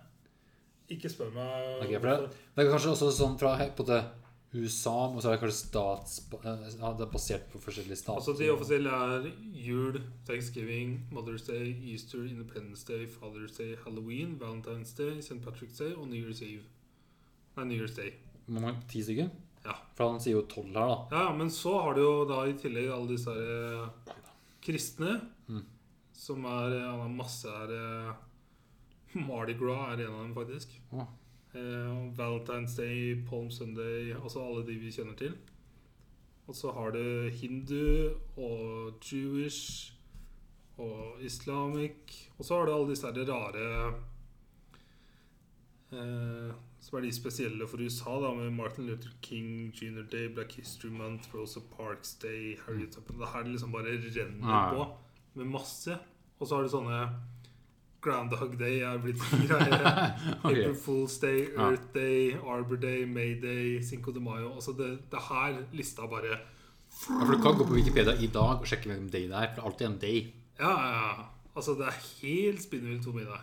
Speaker 2: Ikke spør meg
Speaker 1: Ok, for det, det er kanskje også sånn fra he- på det USA, og så er det kanskje stats... eh, Ja, det er basert på forskjellige stater.
Speaker 2: Altså De offisielle er jul, thanksgiving, Mother's Day, Easter, Independence Day, Father's Day, Halloween, Valentine's Day, St. Patrick's Day og New Year's Eve. Nei, New Year's Day.
Speaker 1: Man har ti stykker?
Speaker 2: Ja.
Speaker 1: For han sier jo tolv her, da.
Speaker 2: Ja, ja, men så har du jo da i tillegg alle disse her, eh, kristne,
Speaker 1: Mm.
Speaker 2: som er eh, han har masse her eh, <laughs> Mardi Gras er en av dem, faktisk.
Speaker 1: Å.
Speaker 2: Eh, og Valentine's Day, Palm Sunday, altså alle de vi kjenner til. Og så har du hindu og jewish og Islamic. Og så har du alle disse her rare eh, Som er de spesielle for USA, da, med Martin Luther King, Junior Day, Black History Month, Rosa Parks Day, Harriet Tubman Det her liksom bare renner
Speaker 1: Mm. Ja, ja.
Speaker 2: på med masse. Og så har du sånne Groundhog Day er blitt <laughs> greier.
Speaker 1: <laughs>
Speaker 2: April
Speaker 1: Ok.
Speaker 2: Fool's Day,
Speaker 1: Ja.
Speaker 2: Earth Day, Arbor Day, May Day, Cinco de Mayo Altså det, det her lista bare
Speaker 1: Ja, for du kan gå på Wikipedia i dag og sjekke hvilken day det er. For det er alltid en day.
Speaker 2: Ja, ja, ja. Altså, det er helt spinnvilt hvor mye det er.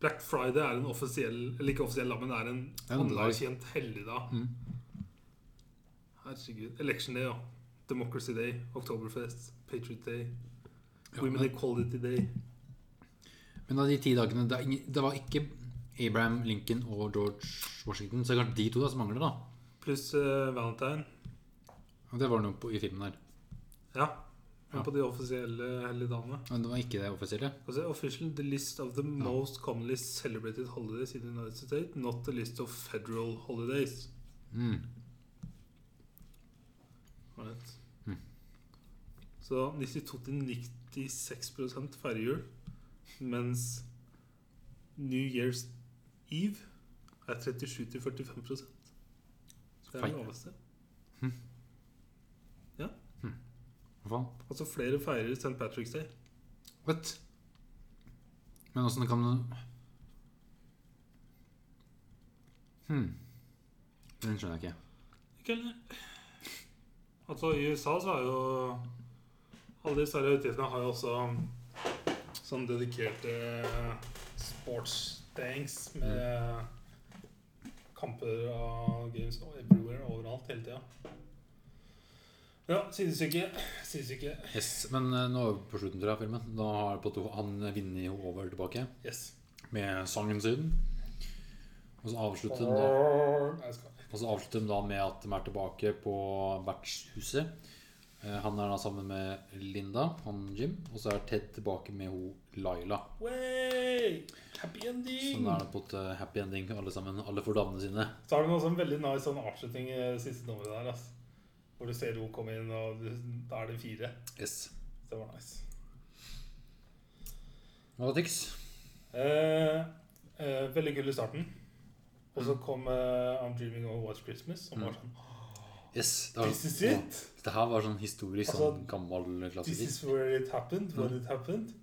Speaker 2: Black Friday er en offisiell Eller ikke offisiell, da, men det er
Speaker 1: er
Speaker 2: en
Speaker 1: en Mm. dag.
Speaker 2: anerkjent helligdag. Herregud. Election Day, ja. Democracy Day, Oktoberfest, Patriot Day, Women Equality Day.
Speaker 1: Men av de ti dagene Det, er ingen, det var ikke Abraham Lincoln og George Washington. Så det er kanskje de to da som mangler, da.
Speaker 2: Pluss eh, Valentine.
Speaker 1: Og Det var noe på, i filmen der.
Speaker 2: Ja. Men
Speaker 1: Ja.
Speaker 2: på de offisielle helligdagene.
Speaker 1: Men det var ikke det offisielle.
Speaker 2: Altså, official, the list of the most commonly celebrated holidays in the United States, not the list of federal holidays.
Speaker 1: Mm.
Speaker 2: Right.
Speaker 1: Mm.
Speaker 2: Så 92-96 feirer jul, mens New Year's Eve er 37-45 Så Det er
Speaker 1: Feil.
Speaker 2: det laveste.
Speaker 1: Hva faen?
Speaker 2: Altså flere feirer St. Patrick's Day.
Speaker 1: What? Men åssen kan du Hm. Den skjønner jeg ikke.
Speaker 2: Ikke heller. Altså, i USA så er jo Alle disse her høytidene har jo også um, sånn dedikerte sportsdags med kamper og games og everywhere, overalt, hele tida. Ja, sidestykke. Sidestykke.
Speaker 1: Yes, Men eh, nå er vi på slutten tror jeg, av filmen. Da har på to, han vunnet jo over tilbake
Speaker 2: Yes.
Speaker 1: med sangen sin. Og så avslutter den eh, da
Speaker 2: Nei, jeg skal-
Speaker 1: Og så avslutter de da med at de er tilbake på vertshuset. Eh, Han er da sammen med Linda, han Jim, og så er Ted tilbake med ho Laila.
Speaker 2: Wey! Happy ending!
Speaker 1: Sånn er det på et eh, happy ending, alle sammen. Alle får damene sine.
Speaker 2: Så har du også en veldig nice sånn avslutning i det siste nummeret der. ass. Hvor du ser hun komme inn, og du, da er det fire.
Speaker 1: Yes.
Speaker 2: Så det var nice.
Speaker 1: Hva var Tix?
Speaker 2: Eh, eh, veldig kul i starten. Og
Speaker 1: Mm.
Speaker 2: så kom eh, I'm Dreaming of White Christmas, som var sånn
Speaker 1: Yes. Det, var,
Speaker 2: This is it!
Speaker 1: det her var sånn historisk
Speaker 2: Altså,
Speaker 1: sånn gammel
Speaker 2: This
Speaker 1: klassiker.
Speaker 2: is where it happened,
Speaker 1: Mm.
Speaker 2: when it happened.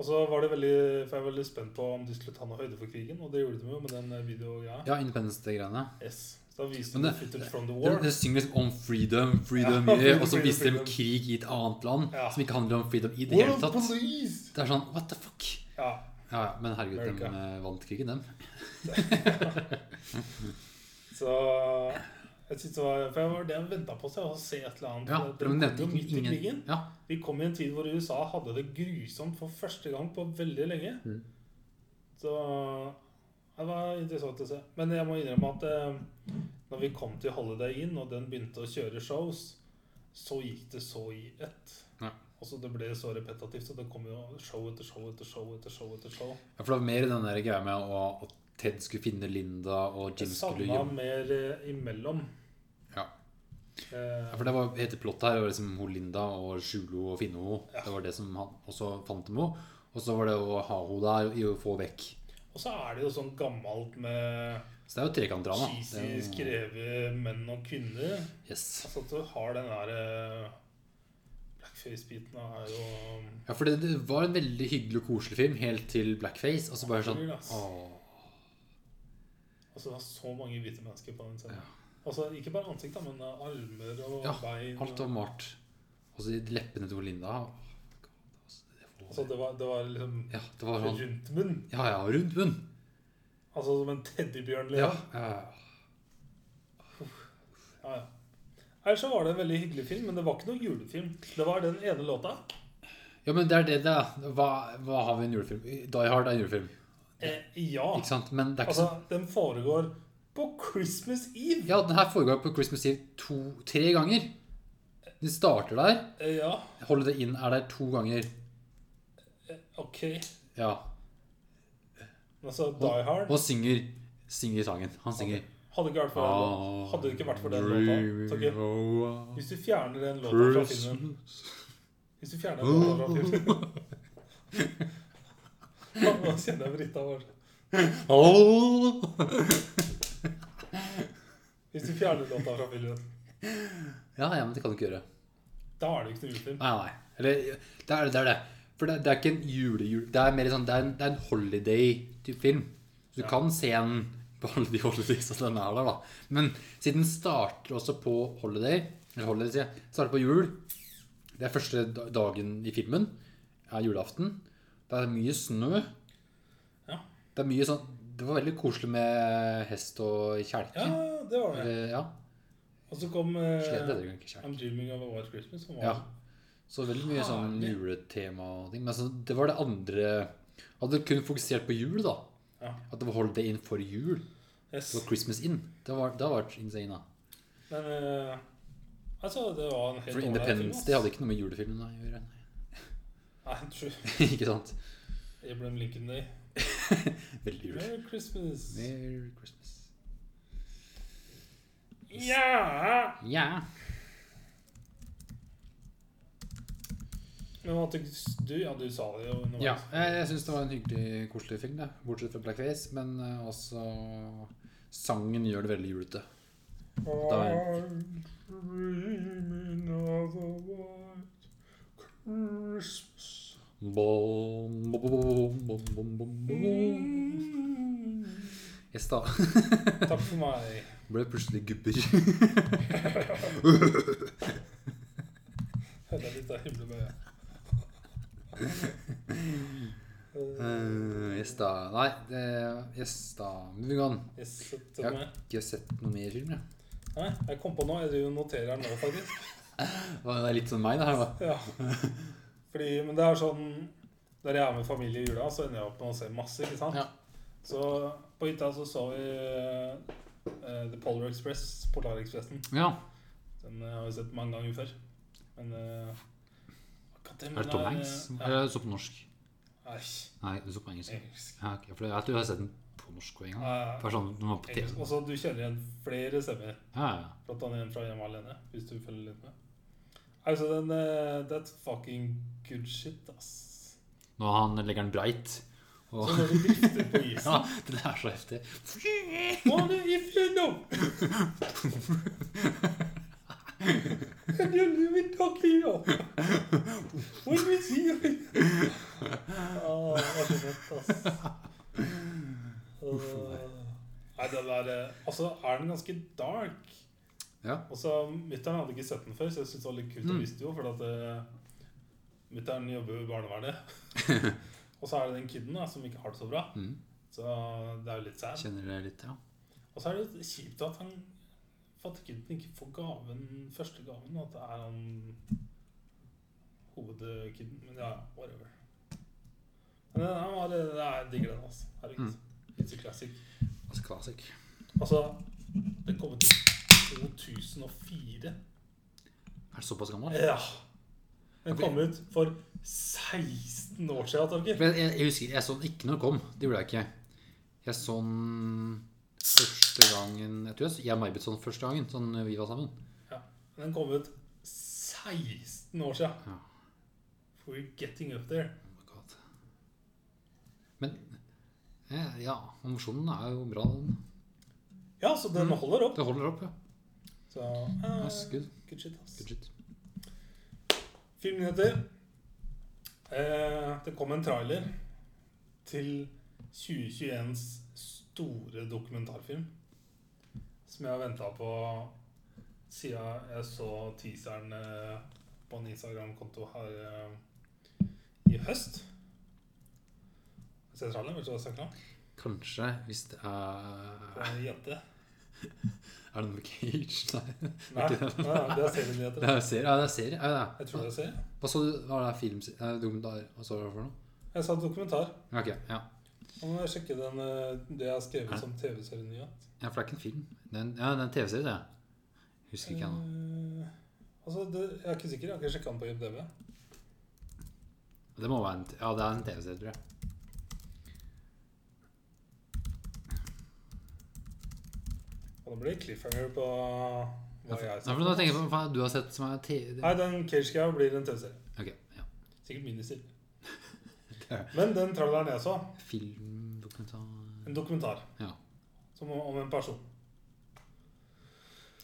Speaker 2: Og så var det veldig, for jeg var veldig spent på om de skulle ta noe høyde for krigen, og det gjorde de jo med den eh, videogreia.
Speaker 1: Ja, Independence Day-greiene.
Speaker 2: Yes. Så da viste
Speaker 1: Men
Speaker 2: de
Speaker 1: det-
Speaker 2: footage from the
Speaker 1: Det,
Speaker 2: war.
Speaker 1: det synger liksom om freedom, freedom,
Speaker 2: Ja, <laughs>
Speaker 1: yeah,
Speaker 2: freedom,
Speaker 1: og så
Speaker 2: freedom,
Speaker 1: viser de
Speaker 2: freedom.
Speaker 1: krig i et annet land
Speaker 2: Ja.
Speaker 1: som ikke handler om freedom i det hele
Speaker 2: World
Speaker 1: tatt.
Speaker 2: police!
Speaker 1: Det er sånn what the fuck?
Speaker 2: Ja.
Speaker 1: Ja, ja, men herregud,
Speaker 2: America.
Speaker 1: de eh, vant krigen, dem.
Speaker 2: Så jeg synes det var, for jeg var det jeg ventet på seg, å se et eller annet.
Speaker 1: Ja,
Speaker 2: for
Speaker 1: de
Speaker 2: det
Speaker 1: nevnte
Speaker 2: kom jo midt i
Speaker 1: ingen,
Speaker 2: krigen.
Speaker 1: ja,
Speaker 2: Vi kom i en tid hvor USA hadde det grusomt for første gang på veldig lenge.
Speaker 1: Mhm.
Speaker 2: Så det var interessant å se. Men jeg må innrømme at eh, når vi kom til Holiday Inn, og den begynte å kjøre shows, så gikk det så i ett.
Speaker 1: Ja.
Speaker 2: Og så Det ble så repetitivt, så det kom jo show etter show etter show. etter show etter show.
Speaker 1: Ja, for det var mer den der greia med å, at Ted skulle finne Linda, og
Speaker 2: Jeg
Speaker 1: Jim skulle
Speaker 2: savna
Speaker 1: gjemme
Speaker 2: mer eh, imellom.
Speaker 1: ja. ja,
Speaker 2: Eh,
Speaker 1: for det var hele plottet her. Det var liksom hun Linda og skjule henne og finne henne. Det var det som han også fant dem henne. Og så var det å ha henne der i å få vekk.
Speaker 2: og så er det jo sånn gammelt med
Speaker 1: Så det er jo trekantdrama. Det
Speaker 2: cheesy
Speaker 1: er jo-
Speaker 2: skrevet menn og kvinner.
Speaker 1: Yes.
Speaker 2: Altså at du har den der eh, blackface-biten er jo
Speaker 1: Ja, for det, det var en veldig hyggelig og koselig film helt til blackface. Og så bare sånn
Speaker 2: Absolutt, ass.
Speaker 1: åh.
Speaker 2: Altså det var så mange hvite mennesker på den scenen.
Speaker 1: Ja.
Speaker 2: Altså ikke bare ansikt, da, men eh, armer og
Speaker 1: Ja,
Speaker 2: bein.
Speaker 1: Alt var malt. Og så de leppene til hun Linda. åh, God, altså, det var-
Speaker 2: Altså det var, det var liksom
Speaker 1: Ja, det var sånn
Speaker 2: rundt munn.
Speaker 1: Ja, ja, rundt munn.
Speaker 2: Altså som en teddybjørn.
Speaker 1: Ja.
Speaker 2: Liksom.
Speaker 1: ja, ja.
Speaker 2: Ja, ja. Ellers så var det en veldig hyggelig film, men det var ikke noen julefilm. Det var den ene låta.
Speaker 1: Ja, men det er det det er. Hva, hva har vi i en julefilm? Die Hard er en julefilm.
Speaker 2: Eh, ja.
Speaker 1: Ikke sant? Men det er ikke
Speaker 2: Altså, den foregår på Christmas
Speaker 1: sånn
Speaker 2: Eve.
Speaker 1: Ja, den her foregår på Christmas Eve to, tre ganger. Den starter der.
Speaker 2: Eh, ja.
Speaker 1: Holiday Inn er der to ganger.
Speaker 2: Ok.
Speaker 1: Ja.
Speaker 2: Altså Die Hard.
Speaker 1: Og han synger, synger sangen. Han synger
Speaker 2: Hadde ikke vært for den låta. Hadde det ikke vært for den låta.
Speaker 1: Dreaming
Speaker 2: Så ikke
Speaker 1: of a
Speaker 2: Hvis du fjerner den låta fra filmen
Speaker 1: Christmas
Speaker 2: Hvis du fjerner den låta fra filmen <laughs> Nå kjenner jeg Brita var sånn.
Speaker 1: Åh!
Speaker 2: Hvis du fjerner låta fra filmen,
Speaker 1: Ja, ja, men det kan du ikke gjøre.
Speaker 2: da er det jo ikke noe julefilm.
Speaker 1: Nei, nei. Eller det er det. er det. For det, det er ikke en julejul... Det er mer sånn, det er en, det er en holiday-type film. Så du
Speaker 2: Ja.
Speaker 1: kan se en <laughs> på alle de holidaysa den er der, da. Men siden den starter også på holiday Eller holiday, sier jeg. Starter på jul. Det er første da- dagen i filmen. er julaften. Det er mye snø.
Speaker 2: Ja.
Speaker 1: Det er mye sånn Det var veldig koselig med hest og kjelke.
Speaker 2: Ja, det var det.
Speaker 1: Eller, ja.
Speaker 2: Og så kom eh,
Speaker 1: Slede heter det ikke kjelke.
Speaker 2: I'm Dreaming of a White Christmas. Som var
Speaker 1: Ja. Så veldig mye sånn
Speaker 2: Herlig.
Speaker 1: juletema og ting. Men altså, det var det andre Hadde kun fokusert på jul, da.
Speaker 2: Ja.
Speaker 1: At det var holiday in for jul.
Speaker 2: Yes.
Speaker 1: Det var Christmas in. Det var, det var insane, da.
Speaker 2: Men eh, altså, det var en helt
Speaker 1: For
Speaker 2: ålreit
Speaker 1: Independence Day
Speaker 2: film. ass.
Speaker 1: hadde ikke noe med julefilmen å gjøre. <laughs>
Speaker 2: Nei, true.
Speaker 1: ikke sant?
Speaker 2: Abraham Lincoln Day.
Speaker 1: Veldig jul.
Speaker 2: Merry Christmas.
Speaker 1: Merry Christmas.
Speaker 2: Ja!
Speaker 1: Ja.
Speaker 2: Men hva tykkes du? Ja, du sa det jo. underveis.
Speaker 1: ja. Jeg, jeg syns det var en hyggelig, koselig film, det. bortsett fra Blackface. Men eh, også sangen gjør det veldig julete. Da er-
Speaker 2: I'm dreaming of a white Christmas.
Speaker 1: Bom, bom, bom, bom, bom, bom, bom. Yes, da.
Speaker 2: Takk for meg.
Speaker 1: Ble plutselig gubber.
Speaker 2: Hører jeg litt av himmelbøyet.
Speaker 1: Eh, yes, da. Nei, det Yes, da. Moving on.
Speaker 2: Yes, sett
Speaker 1: Ja.
Speaker 2: meg.
Speaker 1: Ikke sett noe mer film, jeg.
Speaker 2: Nei, jeg kom på noe. Jeg driver og noterer her nå, faktisk.
Speaker 1: Det er litt sånn meg, det her. da.
Speaker 2: Ja. Fordi, men det er sånn Når jeg er med familie i jula, så ender jeg opp med å se masse. ikke sant?
Speaker 1: Ja.
Speaker 2: Så på hytta så så vi eh, The Polar Express, Polarekspressen.
Speaker 1: Ja.
Speaker 2: Den eh, har vi sett mange ganger før. Men eh, akkurat den
Speaker 1: Er det Tom Hanks?
Speaker 2: Ja.
Speaker 1: Eller Eh, så på norsk?
Speaker 2: Nei,
Speaker 1: Nei, du så på engelsk.
Speaker 2: engelsk.
Speaker 1: Ja, ok, for jeg tror jeg har sett den på norsk en gang.
Speaker 2: Ja, ja,
Speaker 1: Bare sånn den var på TV.
Speaker 2: engelsk. Og så du kjenner igjen flere stemmer.
Speaker 1: Ja, ja.
Speaker 2: Blant annet en fra Hjemme alene, hvis du følger litt med. Altså, den eh, That's fucking good shit, ass.
Speaker 1: Når han legger den breit.
Speaker 2: Så
Speaker 1: Og,
Speaker 2: når du drifter på
Speaker 1: <laughs>
Speaker 2: isen
Speaker 1: ja, det der er så heftig.
Speaker 2: What if you know? And you live in Tokyo. When we see you. Ah, det var så godt, ass. Ah. Nei, den der eh, Altså, er den ganske dark?
Speaker 1: Ja.
Speaker 2: Og så Mutter'n hadde ikke sett den før, så jeg syntes det var litt kult å
Speaker 1: Mm.
Speaker 2: vise det jo. For at eh, mutter'n jobber jo i barnevernet.
Speaker 1: <laughs>
Speaker 2: og så er det den kiden da, som ikke har det så bra.
Speaker 1: Mm,
Speaker 2: Så det er jo litt sad.
Speaker 1: kjenner det litt, ja.
Speaker 2: Og så er det litt kjipt at han fattigkiden ikke får gaven, første gaven. At det er han hovedkiden. Men ja, whatever. Men den- han var, det er digger den, altså. Herregud. It's a classic.
Speaker 1: Altså classic.
Speaker 2: Altså, den kom ut i 2004.
Speaker 1: Er det såpass gammel?
Speaker 2: Ja. Den kom ut for 16 år siden, Torgeir.
Speaker 1: For jeg, jeg, jeg husker, jeg så den ikke når den kom. Det gjorde jeg ikke. Jeg så den første gangen Jeg tror jeg, så- jeg og May-Britt så den første gangen sånn når vi var sammen.
Speaker 2: Ja. Den kom ut 16
Speaker 1: Ja.
Speaker 2: år siden. We're getting up there.
Speaker 1: Oh my God. Men eh, ja, emosjonen er jo bra. Den.
Speaker 2: Ja, så den holder opp.
Speaker 1: Det holder opp, ja.
Speaker 2: Så eh,
Speaker 1: Yes, good.
Speaker 2: good shit, ass.
Speaker 1: Good shit.
Speaker 2: Filmnyheter. Eh, det kom en trailer til 2021s store dokumentarfilm. Som jeg har venta på siden jeg så teaseren eh, på en Instagram-konto her eh, i høst. Ser tralleren, vet du hva jeg snakker om?
Speaker 1: Kanskje, hvis det er
Speaker 2: Det er En jente.
Speaker 1: Er det noe cage? <laughs> Nei.
Speaker 2: Nei, nei, nei, det er serienyheter.
Speaker 1: Det er serie. Ja, det er serie. Ja,
Speaker 2: Jeg
Speaker 1: det
Speaker 2: tror
Speaker 1: er.
Speaker 2: det er serie.
Speaker 1: Hva så du? Var det film? eh, Dokumentar? Hva så du for noe?
Speaker 2: Jeg sa dokumentar.
Speaker 1: Ja, Ok, ja.
Speaker 2: Nå må jeg sjekke den, eh, det jeg har skrevet som TV-serienyhet.
Speaker 1: ja. For det er ikke en film. Det er en, ja, det er en TV-serie, det. Husker ikke jeg nå.
Speaker 2: Eh, altså, det, jeg er ikke sikker. Jeg har ikke sjekka den på IMDv.
Speaker 1: Det må være en, ja, det er en TV-serie, tror jeg.
Speaker 2: Og det blir cliffhanger på
Speaker 1: Ja,
Speaker 2: hva
Speaker 1: for-
Speaker 2: jeg
Speaker 1: Nei,
Speaker 2: har
Speaker 1: for nå tenker jeg
Speaker 2: sett.
Speaker 1: på hva du har sett som er TV
Speaker 2: Nei, den Cage Cow blir en TV-serie.
Speaker 1: Ok, ja. <laughs>
Speaker 2: Sikkert miniserie. Men den traileren jeg så,
Speaker 1: Filmdokumentar
Speaker 2: en dokumentar
Speaker 1: Ja.
Speaker 2: som om om en person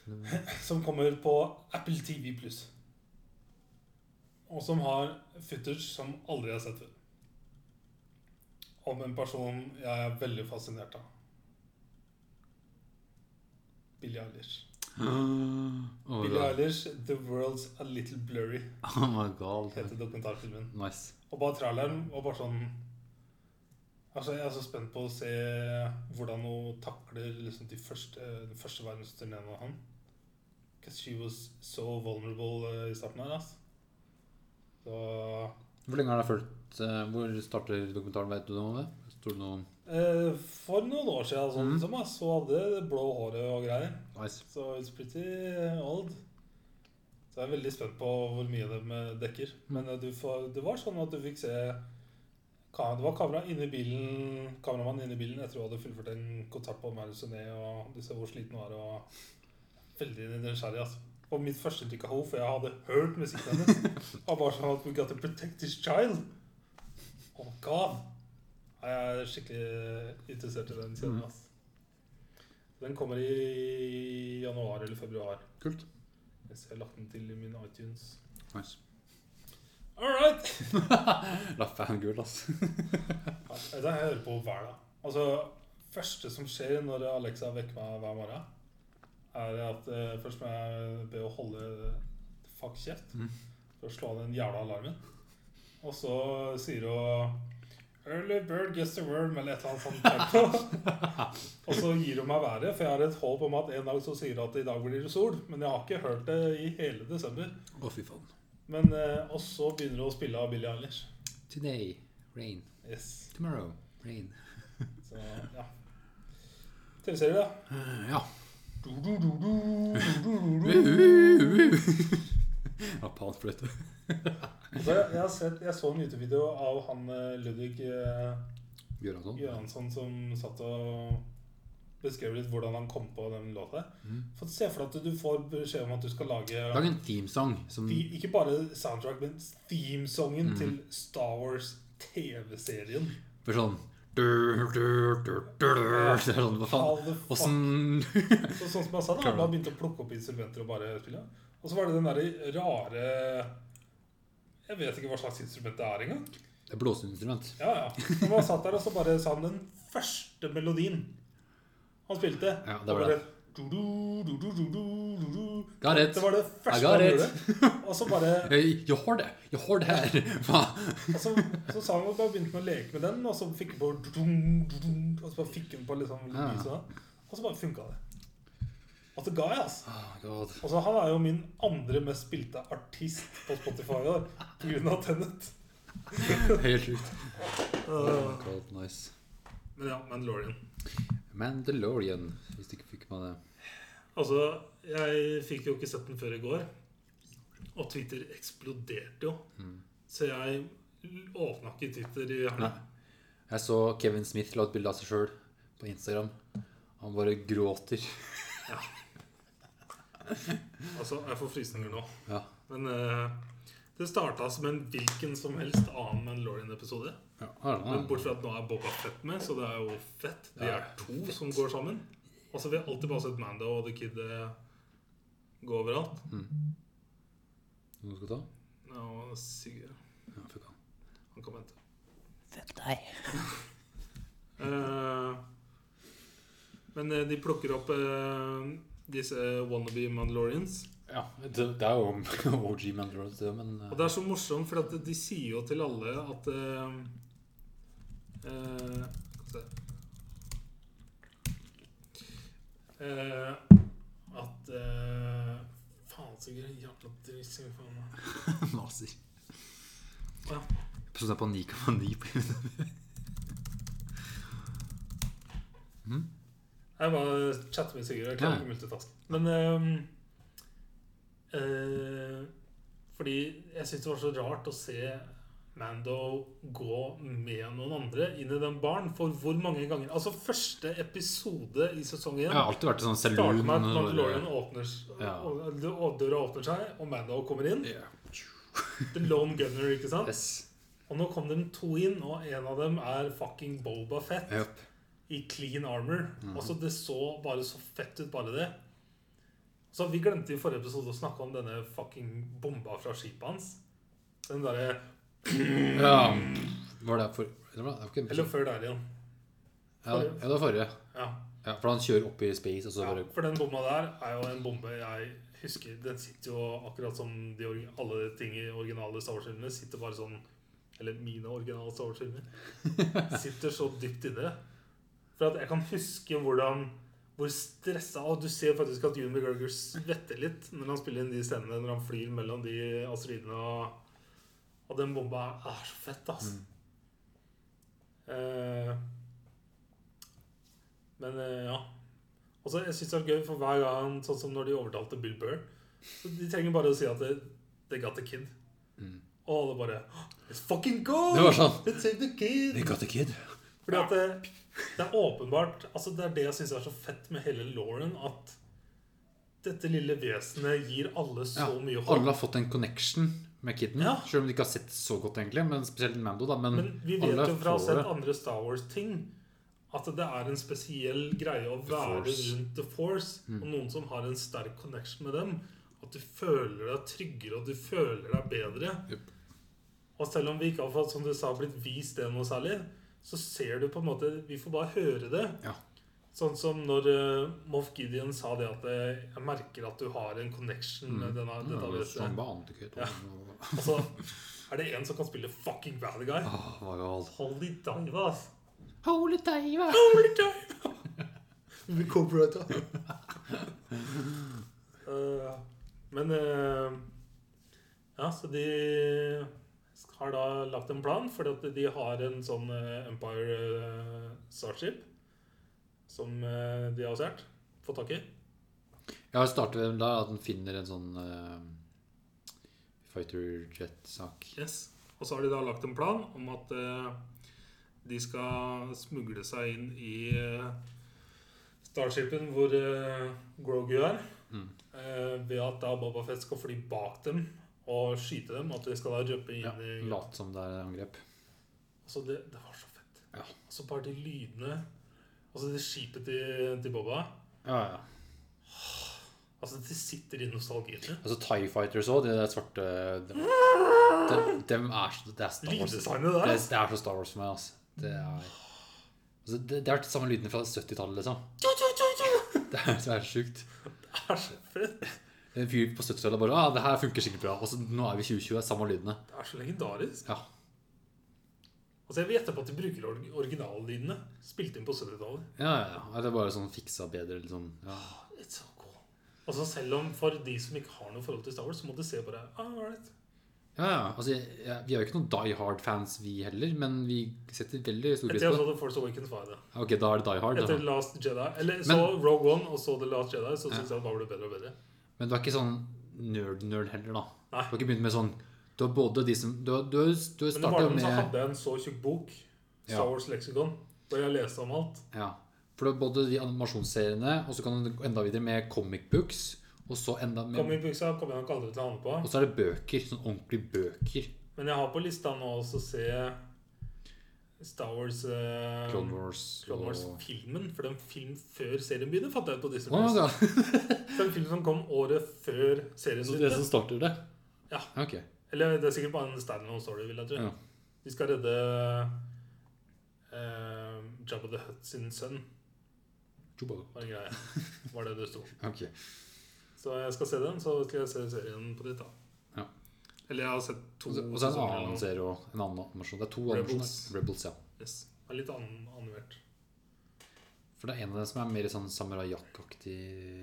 Speaker 2: <clears throat> som kommer på Apple TV pluss. Og som har footage som aldri har sett før. Om en person jeg er veldig fascinert av. Billie Eilish.
Speaker 1: Oh,
Speaker 2: Billie
Speaker 1: god.
Speaker 2: Eilish, 'The World's A Little Blurry',
Speaker 1: oh my god.
Speaker 2: heter dokumentarfilmen.
Speaker 1: Nice.
Speaker 2: Og bare traileren var bare sånn Altså, Jeg er så spent på å se hvordan hun takler liksom de første, den første verdensturneen av han. Because she was so vulnerable eh, i starten her, ass. Så
Speaker 1: Hvor lenge har deg fulgt eh, Hvor starter dokumentaren, vet du noe om det? Står det noe
Speaker 2: eh, For noen år siden sånn,
Speaker 1: Mhm.
Speaker 2: som ass, hun hadde det blå håret og greier.
Speaker 1: Nice.
Speaker 2: Så it's pretty eh, old. Så jeg er veldig spent på hvor mye de eh, dekker. Men eh, du får, det var sånn at du fikk se ka- Det var kamera inne i bilen, kameramann inne i bilen etter hun hadde fullført en konsert på Marusoné, og du ser hvor sliten hun er. og Veldig nysgjerrig. altså. Og mitt første inntrykk av henne, for jeg hadde hørt musikken hennes, var bare sånn at We got to protect this child. Oh god. Nei, Jeg er skikkelig interessert i den kjeden.
Speaker 1: Mm.
Speaker 2: ass. Den kommer i januar eller februar.
Speaker 1: Kult.
Speaker 2: Hvis jeg har lagt den til i min iTunes.
Speaker 1: Nice.
Speaker 2: All right!
Speaker 1: <laughs> La fangirl, ass.
Speaker 2: Ja, Det er Altså, jeg hører på hver dag. Altså, første som skjer når Alexa vekker meg hver morgen, er at eh, først må jeg be å holde fuck kjeft
Speaker 1: Mm.
Speaker 2: for å slå av den jævla alarmen. Og så sier hun Early bird gets the worm, eller et eller annet sånt. tempo. og så gir hun meg været, for jeg har et håp om at en dag så sier hun at i dag blir det sol. Men jeg har ikke hørt det i hele desember.
Speaker 1: Å, fy faen.
Speaker 2: Men, eh, og så begynner hun å spille av Billie Eilish.
Speaker 1: Today, rain.
Speaker 2: Yes.
Speaker 1: Tomorrow, rain.
Speaker 2: Så, ja. TV-serier, da?
Speaker 1: Eh, ja.
Speaker 2: Du, du, du, du, du, du, du.
Speaker 1: <laughs> Apatfløyte.
Speaker 2: Altså, jeg, jeg, har sett, jeg så en YouTube-video av han eh, Ludvig eh,
Speaker 1: Gjøransson.
Speaker 2: Göransson som satt og beskrev litt hvordan han kom på den låta.
Speaker 1: Mm.
Speaker 2: For Se for deg at du får beskjed om at du skal lage
Speaker 1: Lag en themesong som
Speaker 2: fi- ikke bare soundtrack, men themesongen
Speaker 1: Mm.
Speaker 2: til Star Wars-TV-serien.
Speaker 1: for sånn dur, dur, dur, dur, dur. Så er <laughs> det sånn, Hva faen? Åssen
Speaker 2: Så, sånn som jeg sa, da, han begynte å plukke opp instrumenter og bare spille. Og så var det den derre rare Jeg vet ikke hva slags instrument det er engang.
Speaker 1: Det er blåseinstrument.
Speaker 2: Ja, ja. Han bare satt der, og så bare sa han den første melodien han spilte.
Speaker 1: Ja, det var
Speaker 2: Og
Speaker 1: det.
Speaker 2: bare du-du, du-du, du-du, du-du.
Speaker 1: Got it.
Speaker 2: Det var det
Speaker 1: I
Speaker 2: første
Speaker 1: got
Speaker 2: han
Speaker 1: it.
Speaker 2: gjorde. Og så bare
Speaker 1: Hey, Jeg har det! Jeg har det <laughs> her! Hva?
Speaker 2: og så, så sa han at han begynte med å leke med den, og så fikk han på du-dum, du-dum, Og så bare fikk han på liksom
Speaker 1: Ja.
Speaker 2: lyset, da. Og så bare funka det. Og så ga jeg, altså.
Speaker 1: Oh, God.
Speaker 2: Altså, han er jo min andre mest spilte artist på Spotify i år, pga. Tennet.
Speaker 1: Helt sjukt. Oh, God, nice.
Speaker 2: Men ja, Mandalorian.
Speaker 1: Mandalorian, hvis du ikke fikk med det.
Speaker 2: Altså, jeg fikk jo ikke sett den før i går, og Twitter eksploderte jo.
Speaker 1: Mm.
Speaker 2: Så jeg åpna ikke Twitter i
Speaker 1: Nei.
Speaker 2: helga.
Speaker 1: Jeg så Kevin Smith la ut bilde av seg sjøl på Instagram. Han bare gråter.
Speaker 2: Altså, jeg får frysninger nå.
Speaker 1: Ja.
Speaker 2: Men eh, det starta som en hvilken som helst annen Mandalorian-episode.
Speaker 1: Ja, han
Speaker 2: Men
Speaker 1: er-
Speaker 2: bortsett fra at nå er Boba Fett med, så det er jo fett. De
Speaker 1: Ja,
Speaker 2: er to som går sammen. Og så vil jeg alltid bare sett Mando og The Kid eh, gå overalt.
Speaker 1: Noe du skal ta?
Speaker 2: Og Sigurd,
Speaker 1: Ja, fuck han.
Speaker 2: han kan vente.
Speaker 3: Fuck deg.
Speaker 2: Eh, men eh, de plukker opp eh, disse wannabe Mandalorians.
Speaker 1: Ja, det, det er <laughs> jo OG Mandalorian, det, men eh,
Speaker 2: Og det er så morsomt, for at de sier jo til alle at eh, eh, skal vi se. Eh, At eh, Faen, så gøy. Jævla dritt. så faen.
Speaker 1: maser.
Speaker 2: Ja.
Speaker 1: Episoden er på 9,9 på YouTube.
Speaker 2: Jeg bare chatter med Sigurd. Jeg klarer ikke å multitaske. Men ehm, eh, Fordi jeg syns det var så rart å se Mando gå med noen andre inn i den baren. For hvor mange ganger Altså, første episode i sesong én
Speaker 1: Jeg har alltid vært i sånn
Speaker 2: starter
Speaker 1: saloon.
Speaker 2: med at
Speaker 1: og-
Speaker 2: Mandalorian åpner
Speaker 1: Ja.
Speaker 2: og- og Døra åpner seg, og Mando kommer inn.
Speaker 1: Ja.
Speaker 2: The Lone Gunner, ikke sant?
Speaker 1: Yes.
Speaker 2: Og nå kom de to inn, og en av dem er fucking Boba Fett
Speaker 1: Yep.
Speaker 2: i clean armor. Altså, det så bare så fett ut, bare det. Så vi glemte i forrige episode å snakke om denne fucking bomba fra skipet hans. Den derre
Speaker 1: Ja. Var det for... Det var, det var ikke en
Speaker 2: Eller
Speaker 1: episode.
Speaker 2: før der igjen.
Speaker 1: Ja, det- ja, det var forrige.
Speaker 2: Ja.
Speaker 1: Ja, for han kjører opp i space, og så
Speaker 2: ja.
Speaker 1: bare
Speaker 2: For den bomba der er jo en bombe jeg husker Den sitter jo akkurat som de, orgi- alle ting i originale Star Wars-filmene. Sitter bare sånn Eller mine originale
Speaker 1: <laughs>
Speaker 2: Star Wars-filmer. Sitter så dypt i det. For at jeg kan huske hvordan hvor stressa Og du ser faktisk at Ewan McGregor svetter litt når han spiller inn de scenene når han flyr mellom de asteroidene og Og den bomba er så fett, altså. Eh, men eh, ja. Og så jeg synes det er gøy, for hver gang, sånn som når de overtalte Bill Burr så De trenger bare å si at det- they got the kid. Og alle bare Let's fucking go!
Speaker 1: Mm. Det var sånn.
Speaker 2: Let's save the kid!
Speaker 1: They got a kid.
Speaker 2: Fordi at det, det er åpenbart altså Det er det jeg syns er så fett med hele Lauren, at dette lille vesenet gir alle så
Speaker 1: Ja,
Speaker 2: mye håp.
Speaker 1: alle har fått en connection med kiden.
Speaker 2: Ja.
Speaker 1: Selv om de ikke har sett så godt, egentlig. Men spesielt Mando, da. Men,
Speaker 2: Men vi vet
Speaker 1: alle
Speaker 2: jo fra å ha
Speaker 1: får
Speaker 2: sett
Speaker 1: det.
Speaker 2: andre Star Wars-ting at det er en spesiell greie å
Speaker 1: The
Speaker 2: være
Speaker 1: Force. Mm.
Speaker 2: rundt The Force og noen som har en sterk connection med dem. At du føler deg tryggere, og du føler deg bedre.
Speaker 1: Jupp.
Speaker 2: Og selv om vi ikke har fått, som du sa, blitt vist det noe særlig, så ser du på en måte Vi får bare høre det.
Speaker 1: Ja.
Speaker 2: Sånn som når uh, Moff Gideon sa det at eh, 'Jeg merker at du har en connection med denne,
Speaker 1: Ja,
Speaker 2: dette
Speaker 1: det var
Speaker 2: vesenet'.
Speaker 1: sånn banekøyt, <laughs> og- og-
Speaker 2: Altså, er det en som kan spille fucking bad guy?
Speaker 1: Åh, var jo alt.
Speaker 2: Holy dive, ass.
Speaker 1: Holy diver!
Speaker 2: Holy dive! <laughs> Vi copyrighta. uh, men eh, Ja, så de har da lagt en plan, fordi at de har en sånn eh, Empire eh, Starship som eh, de har stjålet. Fått tak i.
Speaker 1: Ja, det starter vel da at han finner en sånn eh, fighter jet-sak.
Speaker 2: Yes. Og så har de da lagt en plan om at eh, de skal smugle seg inn i eh, Starshipen hvor eh, Grogu er.
Speaker 1: Mm.
Speaker 2: eh, ved at da Boba Fett skal fly bak dem og skyte dem. At de skal da røpe inn
Speaker 1: Ja,
Speaker 2: i
Speaker 1: Late som det er angrep.
Speaker 2: Altså, det, det var så fett.
Speaker 1: Ja.
Speaker 2: Altså, bare de lydene Altså, det skipet til, til Boba
Speaker 1: Ja, ja.
Speaker 2: Altså, det sitter i nostalgien.
Speaker 1: Altså Tie Fighters òg, de der svarte dem, dem, dem er så Det er Star Wars. Det,
Speaker 2: Lyddesignet der,
Speaker 1: er- det er så Star Wars for meg, altså. Det er altså, Det, det er de samme lydene fra 70-tallet, liksom. <laughs> Det er så er det sjukt.
Speaker 2: Det er så fett.
Speaker 1: En fyr på 70-tallet bare ah, 'Det her funker sikkert bra.' Og så nå er vi i 2020, det er samme lydene.
Speaker 2: Det er så legendarisk.
Speaker 1: Ja.
Speaker 2: Altså, Jeg vil gjette på at de bruker or- originallydene. Spilt inn på 70-tallet.
Speaker 1: Ja, ja, ja. Det er bare sånn fiksa bedre, liksom. Ja.
Speaker 2: It's so cool. Altså Selv om for de som ikke har noe forhold til Star Wars, så må de se bare ah, all right.
Speaker 1: Ja, ja. Altså, jeg, jeg, vi er jo ikke noen Die Hard-fans, vi heller, men vi setter veldig stor pris
Speaker 2: Etter
Speaker 1: på
Speaker 2: jeg så
Speaker 1: det.
Speaker 2: altså The Force Awakens, var jeg det.
Speaker 1: Ok, da er det Die Hard.
Speaker 2: Etter
Speaker 1: Da.
Speaker 2: Last Jedi Eller så Rogue One og så The Last Jedi, så syns jeg det bare ble bedre og bedre.
Speaker 1: Men du er ikke sånn nerd-nerd heller, da.
Speaker 2: Nei.
Speaker 1: Du har ikke begynt med sånn Du har både de som Du, har- du, har- du har
Speaker 2: Men i
Speaker 1: startet
Speaker 2: barndommen så
Speaker 1: med
Speaker 2: hadde jeg en så tjukk bok, Star
Speaker 1: Ja.
Speaker 2: Wars Lexicon, hvor jeg leste om alt.
Speaker 1: Ja. For du har både de animasjonsseriene, og så kan du gå enda videre med comic books, og så enda
Speaker 2: Kom i
Speaker 1: med
Speaker 2: buksa, kommer jeg nok aldri til å handle
Speaker 1: Og
Speaker 2: på.
Speaker 1: så er det bøker. Sånn ordentlige bøker.
Speaker 2: Men jeg har på lista nå også å se Star Wars eh,
Speaker 1: Clone Wars
Speaker 2: Clone
Speaker 1: og
Speaker 2: Wars-filmen. For den film før serien begynner, fant jeg ut på Disney.
Speaker 1: Å,
Speaker 2: Plus.
Speaker 1: ja.
Speaker 2: Det er en film som kom året før serien.
Speaker 1: Så det er det
Speaker 2: begynte.
Speaker 1: som starter det?
Speaker 2: Ja.
Speaker 1: Ok.
Speaker 2: Eller det er sikkert bare en standalone story, vil jeg tro.
Speaker 1: Ja.
Speaker 2: De skal redde eh, Jabba the Hutt sin sønn,
Speaker 1: Chewbacca.
Speaker 2: var en
Speaker 1: <laughs>
Speaker 2: greie. Var det det sto.
Speaker 1: Ok.
Speaker 2: Så jeg skal se den, så skal jeg se serien på nytt, da.
Speaker 1: Ja.
Speaker 2: Eller jeg har sett to
Speaker 1: Og så og så er det en
Speaker 2: eller
Speaker 1: annen
Speaker 2: noe.
Speaker 1: serie og en annen animasjon. Det er to
Speaker 2: Rebels.
Speaker 1: animasjoner. Rebels, ja.
Speaker 2: Yes. Det er litt annen animert.
Speaker 1: For det er en av dem som er mer sånn Samurai Jack-aktig.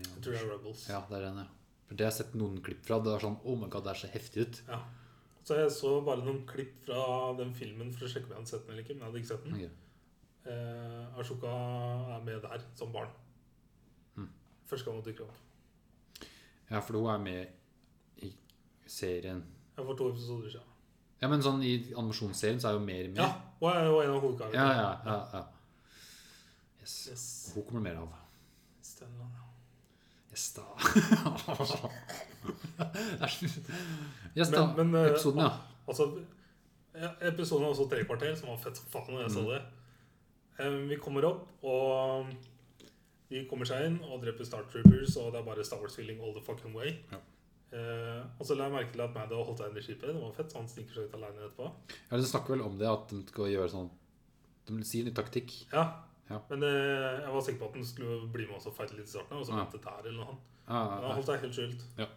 Speaker 2: Jeg tror det er Rebels.
Speaker 1: Ja, det er en, ja. For det har jeg sett noen klipp fra. Det er sånn Oh my god, det er så heftig ut.
Speaker 2: Ja. Så jeg så bare noen klipp fra den filmen for å sjekke om jeg hadde sett den eller ikke. Men jeg hadde ikke sett den.
Speaker 1: Ok.
Speaker 2: Eh, Ashoka er med der som barn.
Speaker 1: Mm.
Speaker 2: Første gang hun dukker opp.
Speaker 1: Ja, for hun er med i serien.
Speaker 2: Jeg får to episoder siden.
Speaker 1: Ja, men sånn i animasjonsserien så er hun mer med.
Speaker 2: Ja, hun er jo en av hovedkarakterene.
Speaker 1: ja, ja. ja, ja. Yes.
Speaker 2: Yes.
Speaker 1: Hun kommer det mer av.
Speaker 2: Stenland, ja.
Speaker 1: Yes,
Speaker 2: <laughs>
Speaker 1: da. <laughs> yes, da.
Speaker 2: Men- men, eh,
Speaker 1: Episoden, ja.
Speaker 2: Altså, Ja, episoden var også tre kvarter, som var fett som faen. når jeg så det. Em, vi kommer opp, og de kommer seg inn og dreper Star Troopers, og det er bare Star Wars-feeling all the fucking way.
Speaker 1: Ja.
Speaker 2: Eh, og så la jeg merke til at Maddo holdt seg inne i skipet. Det var fett, så han sniker seg ut alene etterpå.
Speaker 1: Ja, De snakker vel om det, at de skal gjøre sånn De vil si en ny taktikk.
Speaker 2: Ja.
Speaker 1: Ja.
Speaker 2: Men eh, jeg var sikker på at han skulle bli med oss og fighte litt i starten, og så
Speaker 1: Ja.
Speaker 2: ventet der eller noe annet.
Speaker 1: Ja,
Speaker 2: Men han
Speaker 1: ja,
Speaker 2: holdt seg helt skjult.
Speaker 1: Ja.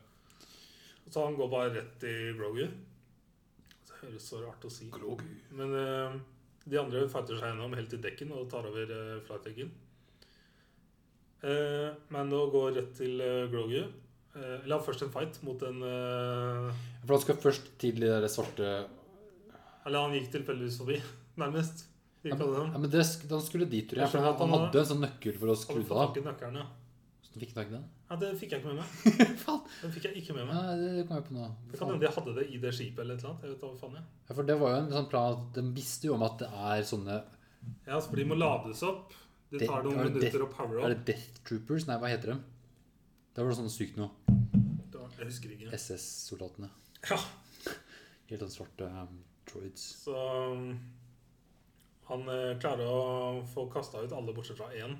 Speaker 2: Så han går bare rett i Grogu. Det høres så rart å si.
Speaker 1: Grogu.
Speaker 2: Men eh, de andre fighter seg gjennom helt til dekken og tar over uh, flightdekken. Uh, Mando går rett til eh, Grogu. Eh, eller har først en fight mot en eh,
Speaker 1: ja. For han skal først til de der svarte
Speaker 2: Eller han gikk tilfeldigvis forbi, <laughs> nærmest.
Speaker 1: Ja,
Speaker 2: Gikk
Speaker 1: men,
Speaker 2: han
Speaker 1: ja, men det, sk- da skulle dit, tror jeg. For
Speaker 2: Jeg skjønner
Speaker 1: han,
Speaker 2: at
Speaker 1: han
Speaker 2: han-
Speaker 1: hadde en sånn nøkkel for å skru
Speaker 2: Hadde
Speaker 1: det
Speaker 2: fått
Speaker 1: av.
Speaker 2: tak i nøkkelen, ja.
Speaker 1: Så du fikk tak i den? <laughs>
Speaker 2: ja. Det fikk jeg ikke med meg.
Speaker 1: Faen.
Speaker 2: Den fikk jeg ikke med meg.
Speaker 1: Nei, det kom jeg på nå.
Speaker 2: Det kan
Speaker 1: Faen.
Speaker 2: hende de hadde det i det skipet eller et eller annet. Jeg vet da hva faen jeg.
Speaker 1: Ja, for det var jo en sånn plan at De visste jo om at det er sånne
Speaker 2: Ja, altså, for de må lades opp. Det
Speaker 1: Det-
Speaker 2: tar noen
Speaker 1: ja, det-
Speaker 2: minutter å power
Speaker 1: Er
Speaker 2: opp.
Speaker 1: det Death Troopers? Nei, hva heter de? Det var noe sånn sykt noe.
Speaker 2: Jeg husker ikke.
Speaker 1: SS-soldatene.
Speaker 2: Ja,
Speaker 1: Helt sånn svarte um, droids.
Speaker 2: Så um, han eh, klarer å få kasta ut alle bortsett fra én.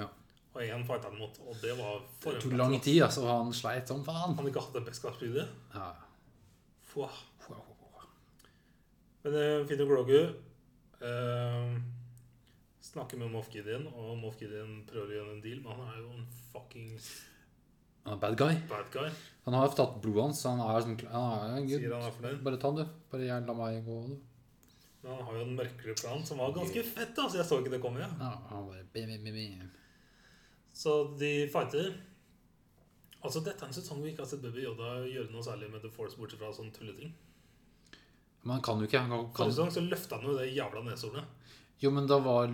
Speaker 1: Ja.
Speaker 2: Og én fighta han mot, og det var for
Speaker 1: Det tok
Speaker 2: en
Speaker 1: lang
Speaker 2: fight,
Speaker 1: tid, altså. Han sleit som faen.
Speaker 2: ass. Han ikke hatt det best kampspillet.
Speaker 1: Ja.
Speaker 2: Få.
Speaker 1: Wow, wow, wow.
Speaker 2: Men uh, Fino Grogu eh, snakker med Moff Gideon, og Moff Gideon prøver å gjøre en deal, men han er jo en fucking
Speaker 1: Han er bad guy.
Speaker 2: bad guy.
Speaker 1: Han har tatt blodet hans. så Han er som han er en
Speaker 2: Sier han
Speaker 1: gud.
Speaker 2: er fornøyd.
Speaker 1: Bare ta den, du. Bare jeg, la meg gå. Du.
Speaker 2: Men han har jo en mørkere plan som var ganske fett, altså. Jeg så ikke det komme. Ja.
Speaker 1: Ja, han bare bim, bim, bim, bim.
Speaker 2: Så de fighter. Altså, dette er en sesong vi ikke har sett Baby Yoda gjøre noe særlig med The Force, bortsett fra sånne tulleting.
Speaker 1: Men han kan jo ikke. Han kan,
Speaker 2: Forrige sesong så løfta han jo det jævla neshornet.
Speaker 1: Jo, men da var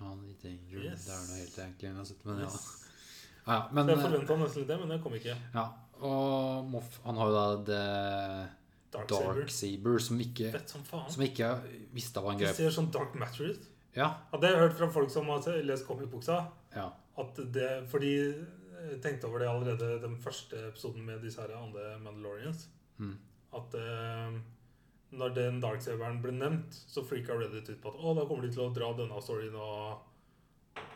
Speaker 1: Han litt yngre.
Speaker 2: Yes.
Speaker 1: Det er noe helt egentlig jeg har sett, men ja.
Speaker 2: Yes.
Speaker 1: ja men, eh,
Speaker 2: Jeg forventa nesten litt det, men det kom ikke.
Speaker 1: ja. Og Moff, han har jo da det
Speaker 2: Dark,
Speaker 1: Dark
Speaker 2: Saber.
Speaker 1: Saber, som ikke
Speaker 2: Fett som faen.
Speaker 1: Som ikke visste var en
Speaker 2: Det
Speaker 1: greie.
Speaker 2: ser sånn Dark Matter ut.
Speaker 1: Ja.
Speaker 2: Ja, det har jeg hørt fra folk som har lest comicbuksa,
Speaker 1: ja.
Speaker 2: at det For de eh, tenkte over det allerede den første episoden med disse her andre Mandalorians.
Speaker 1: Mm.
Speaker 2: At eh, når den Dark Saberen ble nevnt, så freaka Reddit ut på at å, da kommer de til å dra denne storyen og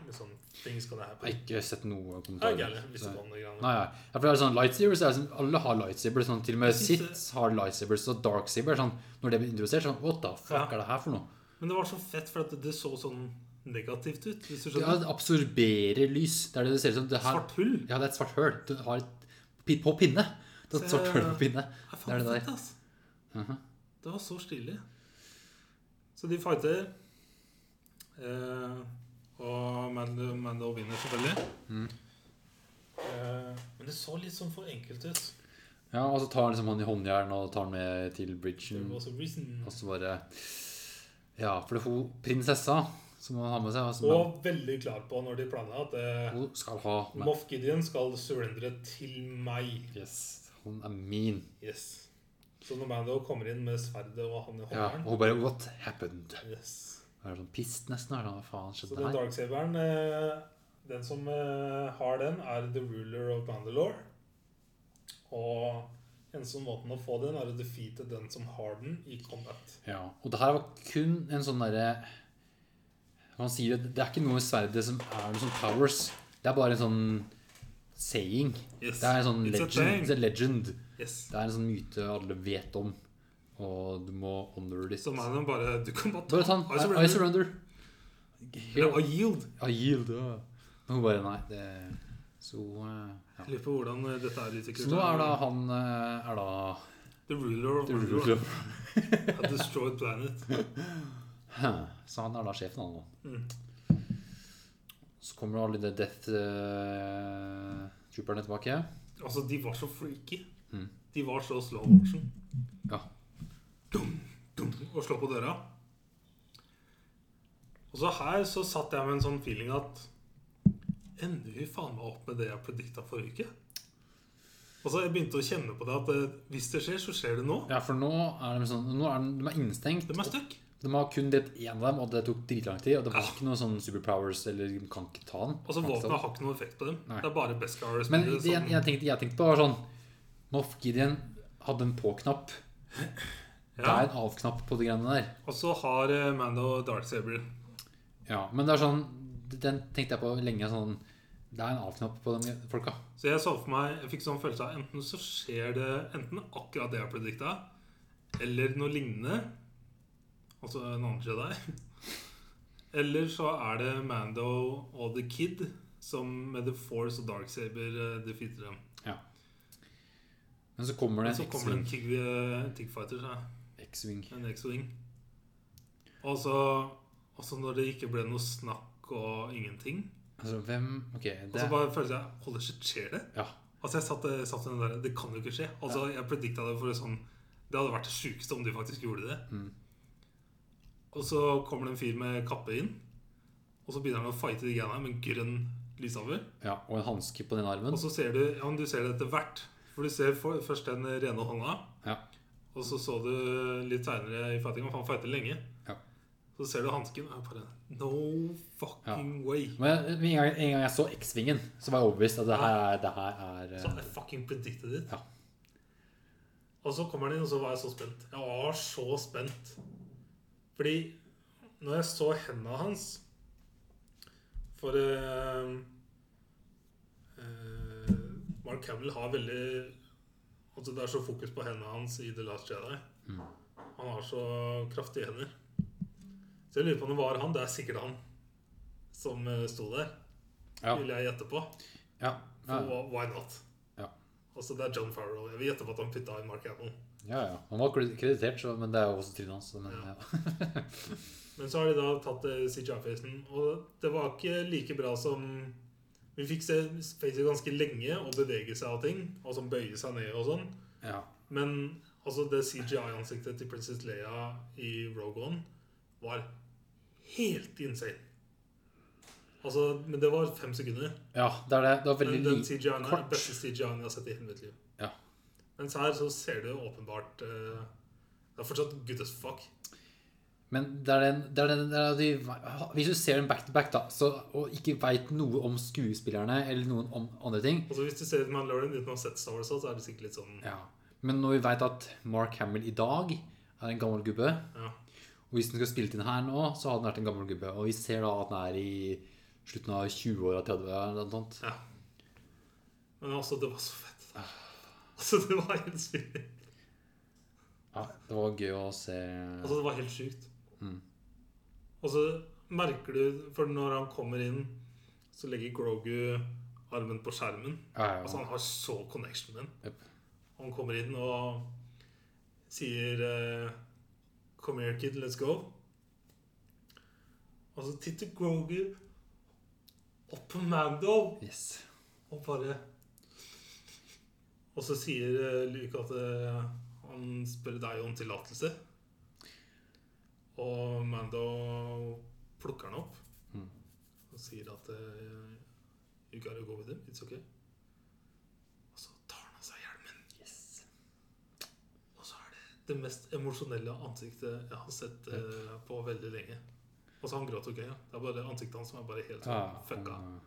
Speaker 2: liksom Things gonna
Speaker 1: Jeg har
Speaker 2: happen.
Speaker 1: ikke sett noe
Speaker 2: Det er
Speaker 1: kommentarer.
Speaker 2: gærent. Visste
Speaker 1: Så-
Speaker 2: ikke om det greiene.
Speaker 1: Nei, nei. Ja, for det er sånn lightsabers, det er sånn, Alle har lightsabers. Sånn, til og med
Speaker 2: Jeg synes det-
Speaker 1: Sith har lightsabers. Og dark saber sånn, Når det blir introdusert, sånn What the fuck
Speaker 2: Ja.
Speaker 1: er det her for noe?
Speaker 2: Men det var så fett, for at det så sånn negativt ut. Hvis du
Speaker 1: Det
Speaker 2: skjønner.
Speaker 1: absorberer lys. Det er det det ser ut som. Det her,
Speaker 2: Svart hull.
Speaker 1: Ja, det er et svart høl. Du har et pi- på pinne. Det er et
Speaker 2: Se-
Speaker 1: svart høl på pinne.
Speaker 2: Det er
Speaker 1: Det er
Speaker 2: faen
Speaker 1: det der.
Speaker 2: fett, ass.
Speaker 1: Mhm.
Speaker 2: Det var så stilig. Så de fighter. Eh, og Mando, Mando vinner, selvfølgelig.
Speaker 1: Mhm.
Speaker 2: Eh, men det så litt sånn for enkelt ut.
Speaker 1: Ja, og så tar han liksom han i håndjern og tar han med til
Speaker 2: Det
Speaker 1: bridgen.
Speaker 2: var så reason.
Speaker 1: Og så bare Ja, for det er hun prinsessa som han har med seg, og som er-
Speaker 2: Og veldig klar på når de planla at eh,
Speaker 1: hun skal ha med.
Speaker 2: Moff Gideon skal surrendere til meg.
Speaker 1: Yes, hun er min.
Speaker 2: Yes. Så når Mando kommer inn med sverdet og han i
Speaker 1: Ja, og
Speaker 2: håndjern
Speaker 1: hun bare What happened?
Speaker 2: yes.
Speaker 1: Er det sånn pist nesten? Er det sånn, Hva faen
Speaker 2: Så
Speaker 1: skjedde
Speaker 2: den
Speaker 1: her?
Speaker 2: Darksaberen eh, Den som eh, har den, er The Ruler of Mandalore. Og eneste måten å få den, er å defeate den som har den, i combat.
Speaker 1: Ja, og det her var kun en sånn derre Han sier at det er ikke noe med sverdet som er noe sånn powers. Det er bare en sånn saying.
Speaker 2: Yes.
Speaker 1: Det er en sånn
Speaker 2: It's a
Speaker 1: legend.
Speaker 2: thing.
Speaker 1: It's a legend.
Speaker 2: Yes.
Speaker 1: Det er en sånn myte alle vet om, og du må honor it.
Speaker 2: Så Manon bare Du kan bare
Speaker 1: Bare sånn. ta
Speaker 2: I
Speaker 1: den. I-
Speaker 2: surrender.
Speaker 1: I surrender.
Speaker 2: Eller I yield.
Speaker 1: I yield. ja. Men hun bare Nei, det Så eh, ja.
Speaker 2: Jeg lurer på hvordan eh, dette er utviklet.
Speaker 1: Så nå er da han eh, Er da
Speaker 2: The Ruler of
Speaker 1: The
Speaker 2: Mandalore.
Speaker 1: Ruler.
Speaker 2: A destroyed planet.
Speaker 1: Hæ. <clears throat> Så han er da sjefen, han nå.
Speaker 2: Mm.
Speaker 1: Så kommer alle de Death eh, Trooperne tilbake.
Speaker 2: Altså, de var så freaky.
Speaker 1: Mm.
Speaker 2: De var så slow motion.
Speaker 1: Ja.
Speaker 2: Dum, dum, og slå på døra. Og så her så satt jeg med en sånn feeling at Ender vi faen meg opp med det jeg predikta forrige uke? Og så jeg begynte å kjenne på det at eh, hvis det skjer, så skjer det nå.
Speaker 1: Ja, for nå er de sånn Nå er de, de er innestengt.
Speaker 2: De er stuck.
Speaker 1: De har kun drept én av dem, og det tok dritlang tid. Og det var
Speaker 2: Ja.
Speaker 1: ikke noe sånn superpowers eller de kan ikke ta den.
Speaker 2: Og så våpenet har ikke noe effekt på dem.
Speaker 1: Nei.
Speaker 2: Det er bare Beskar
Speaker 1: Men det
Speaker 2: sånn.
Speaker 1: sånn, jeg, jeg, tenkte, jeg tenkte på var sånn Moff Gideon hadde en på-knapp. Det
Speaker 2: Ja.
Speaker 1: er en av-knapp på de greiene der.
Speaker 2: Og så har eh, Mando Darksaber.
Speaker 1: Ja, Men det er sånn Den tenkte jeg på lenge. sånn Det er en av-knapp på de folka.
Speaker 2: Så jeg så for meg, jeg fikk sånn følelse av enten så skjer det enten akkurat det jeg predikta, eller noe lignende. Altså en annen Jedi. <laughs> Eller så er det Mando og The Kid som med The Force og Darksaber eh, defeater dem.
Speaker 1: Men så kommer det
Speaker 2: Og så
Speaker 1: en
Speaker 2: kommer det
Speaker 1: X-wing.
Speaker 2: en Kig, eh, Tigfighter, ja.
Speaker 1: X-wing.
Speaker 2: en X-wing. Og så og så når det ikke ble noe snakk og ingenting.
Speaker 1: Altså, hvem Ok,
Speaker 2: Og
Speaker 1: det
Speaker 2: så bare følte jeg Holy shit, skjer det?
Speaker 1: Ja.
Speaker 2: Altså jeg satt, satt i den der, Det kan jo ikke skje. Altså Jeg predikta det for sånn Det hadde vært det sjukeste om de faktisk gjorde det.
Speaker 1: Mm.
Speaker 2: Og så kommer det en fyr med kappe inn, og så begynner han å fighte de greiene her med en grønn lyshaver.
Speaker 1: ja. Og en hanske på den armen.
Speaker 2: Og så ser du Ja, men du ser det etter hvert. For du ser for, først den rene hånda,
Speaker 1: Ja.
Speaker 2: og så så du litt seinere i fightinga, for han fighter lenge.
Speaker 1: Ja.
Speaker 2: Så ser du hansken, og jeg bare No fucking way.
Speaker 1: Men med en gang, en gang jeg så X-vingen, så var jeg overbevist at det her, er- det her er
Speaker 2: Så
Speaker 1: eh,
Speaker 2: jeg fucking predicted it.
Speaker 1: Ja.
Speaker 2: Og så kommer han inn, og så var jeg så spent. Jeg var så spent. Fordi når jeg så hendene hans For eh, eh, Mark Hamill har veldig Altså Det er så fokus på hendene hans i The Last Jedi.
Speaker 1: Mm.
Speaker 2: Han har så kraftige hender. Så jeg lurer på om det var han. Det er sikkert han som eh, sto der.
Speaker 1: Ja.
Speaker 2: Vil jeg gjette på.
Speaker 1: ja, ja,
Speaker 2: For why not?
Speaker 1: Ja.
Speaker 2: Altså, det er John Farrell. Jeg vil gjette på at han putta i Mark Hamill.
Speaker 1: ja, ja. Han var kreditert, så, men det er jo også trynet hans. så- Men, ja. <laughs>
Speaker 2: Men så har de da tatt eh, CGI-facen, og det var ikke like bra som Vi fikk se facet ganske lenge og bevege seg av ting, og som bøye seg ned og sånn.
Speaker 1: Ja.
Speaker 2: Men altså, det CGI-ansiktet til Princess Leia i Rogue One var helt insane. Altså, men det var fem sekunder.
Speaker 1: ja, det er det. Det var
Speaker 2: Men
Speaker 1: veldig
Speaker 2: den
Speaker 1: lite
Speaker 2: CGI-en er
Speaker 1: kort.
Speaker 2: den beste CGI-en jeg har sett i hele mitt liv.
Speaker 1: Ja.
Speaker 2: Mens her så ser du åpenbart eh, Det er fortsatt good as fuck.
Speaker 1: Men det er den, det er den, det er de, hvis du ser den back to back, da, så, og ikke veit noe om skuespillerne eller noen om andre ting
Speaker 2: Altså Hvis du ser ut Mandalorian uten å ha sett Star Wars, så er det sikkert litt sånn
Speaker 1: ja. Men når vi veit at Mark Hamill i dag er en gammel gubbe,
Speaker 2: ja.
Speaker 1: og hvis den skal spille inn her nå, så hadde den vært en gammel gubbe. Og vi ser da at den er i slutten av 20-åra, 30-åra eller noe sånt.
Speaker 2: ja. Men altså, det var så fett. da. Altså, det var helt sykt.
Speaker 1: Ja, det var gøy å se
Speaker 2: Altså, det var helt sjukt.
Speaker 1: Mm.
Speaker 2: Og så merker du For når han kommer inn, så legger Grogu armen på skjermen.
Speaker 1: ja,
Speaker 2: Altså,
Speaker 1: ja.
Speaker 2: han har så connection med den.
Speaker 1: Jep.
Speaker 2: Han kommer inn og sier eh, Come here, kid, let's go. Og så titter Grogu opp på Mando
Speaker 1: Yes.
Speaker 2: og bare Og så sier eh, Luke at eh, han spør deg om tillatelse. Og Mando plukker han opp
Speaker 1: Mm.
Speaker 2: og sier at eh, You gotta go with him. It's okay. Og så tar han av seg hjelmen.
Speaker 1: yes.
Speaker 2: Og så er det det mest emosjonelle ansiktet jeg har sett eh, på veldig lenge. Altså, han gråt ok. Ja. Det er bare ansiktet hans som er bare helt
Speaker 1: Ja,
Speaker 2: sånn fucka.
Speaker 1: han, eh,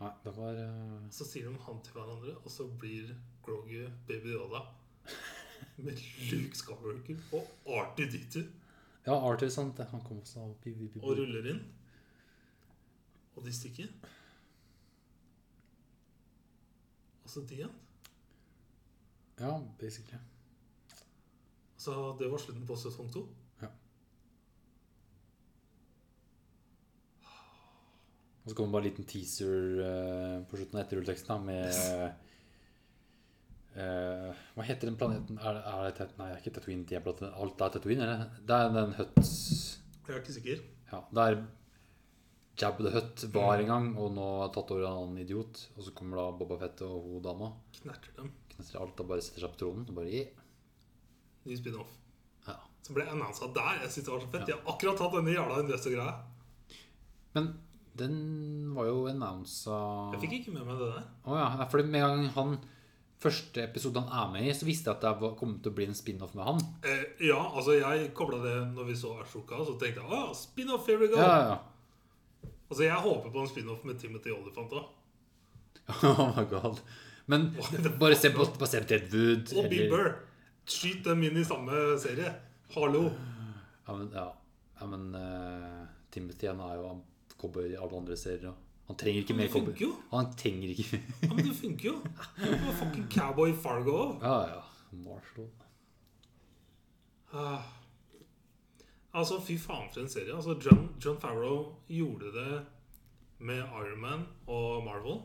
Speaker 1: Nei, det var eh,
Speaker 2: Så sier de han til hverandre, og så blir Grogu Baby Yoda. Med Luke Skywalker og Artie Ditu
Speaker 1: Ja, Arthur, sant. det. Han kom også opp i i- i-
Speaker 2: og ruller inn. Og de stikker. Og så de igjen.
Speaker 1: Ja, basically.
Speaker 2: Så det var slutten på sesong to.
Speaker 1: Og så kommer bare en liten teaser eh, på slutten av etterrulleteksten da, med
Speaker 2: <laughs>
Speaker 1: eh, Hva heter den planeten? Er, det- er det Tat- Nei, det er ikke Tatooine. De er på Tatooine. Alt er Tatooine, eller? Det er den Huts
Speaker 2: Jeg er ikke sikker.
Speaker 1: Ja, der Jabba the Hutt
Speaker 2: Mm.
Speaker 1: var en gang, og nå har tatt over en annen idiot. Og så kommer da Boba Fett og hun dama.
Speaker 2: Knerter dem.
Speaker 1: Knesser alt og bare setter seg på tronen. Og bare yeah.
Speaker 2: Ny spin-off.
Speaker 1: ja.
Speaker 2: Så ble jeg annonsa der. Jeg synes det var så fett. De har akkurat tatt denne jævla investor-greia.
Speaker 1: Men den var jo annonsa
Speaker 2: Jeg fikk ikke med meg det der.
Speaker 1: Å ja, ja, for med en gang han Første episode han er med i, så visste jeg at det var- kom til å bli en spin-off med han.
Speaker 2: Eh, ja, altså jeg kobla det når vi så Ashoka, så tenkte jeg å, spin-off, here we go.
Speaker 1: Ja, ja,
Speaker 2: Altså, jeg håper på en spin-off med Timothy Olyphant òg.
Speaker 1: <laughs> ja. Oh my god. Men bare se på, bare se på Ted Wood.
Speaker 2: Og Bill
Speaker 1: eller-
Speaker 2: Burr. Skyt dem inn i samme serie. Hallo.
Speaker 1: Ja, men, ja. Ja, men eh, Timothy han er jo han cowboy i alle andre serier. og Han trenger ikke
Speaker 2: Men
Speaker 1: mer
Speaker 2: det funker
Speaker 1: cowboy.
Speaker 2: jo.
Speaker 1: Han trenger ikke mer. <laughs>
Speaker 2: Ja, men det funker jo. Det var fucking cowboy i Fargo òg.
Speaker 1: Ja, ja. Marshall.
Speaker 2: Ah. Altså, fy faen for en serie. Altså, John, John Favreau gjorde det med Iron Man og Marvel.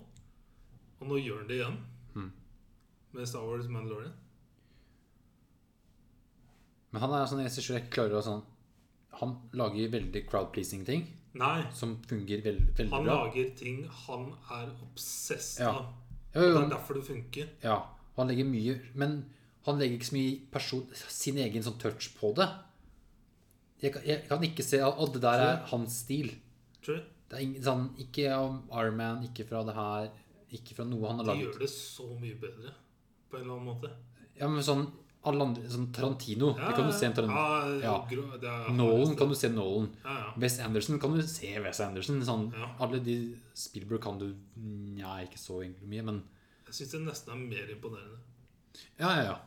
Speaker 2: Og nå gjør han det igjen.
Speaker 1: Mhm.
Speaker 2: Med Star Wars Mandalorian.
Speaker 1: Men han er sånn regissør jeg ikke klarer å sånn Han lager veldig crowd-pleasing ting
Speaker 2: Nei,
Speaker 1: som fungerer veld, veldig
Speaker 2: han
Speaker 1: bra.
Speaker 2: lager ting han er obsessed
Speaker 1: Ja.
Speaker 2: av.
Speaker 1: Jo,
Speaker 2: Og
Speaker 1: jo,
Speaker 2: det er derfor det funker.
Speaker 1: ja, han legger mye Men han legger ikke så mye person, sin egen sånn touch på det. Jeg kan, jeg kan ikke se at det der er hans stil.
Speaker 2: Tror du?
Speaker 1: Det er ingen, sånn, ikke om Iron Man, ikke fra det her, ikke fra noe han har
Speaker 2: De
Speaker 1: laget.
Speaker 2: gjør det så mye bedre på en eller annen måte.
Speaker 1: Ja, men sånn, alle andre, sånn Tarantino, det kan du se en Tarantino.
Speaker 2: Ja,
Speaker 1: Ja.
Speaker 2: gro- det er-
Speaker 1: Nolan kan du se Nolan.
Speaker 2: Ja, ja.
Speaker 1: Wes Anderson kan du se Wes Anderson. Sånn,
Speaker 2: Ja.
Speaker 1: Alle de Spielberg kan du Nja, ikke så egentlig mye, men
Speaker 2: Jeg syns det nesten er mer imponerende.
Speaker 1: Ja, ja, ja.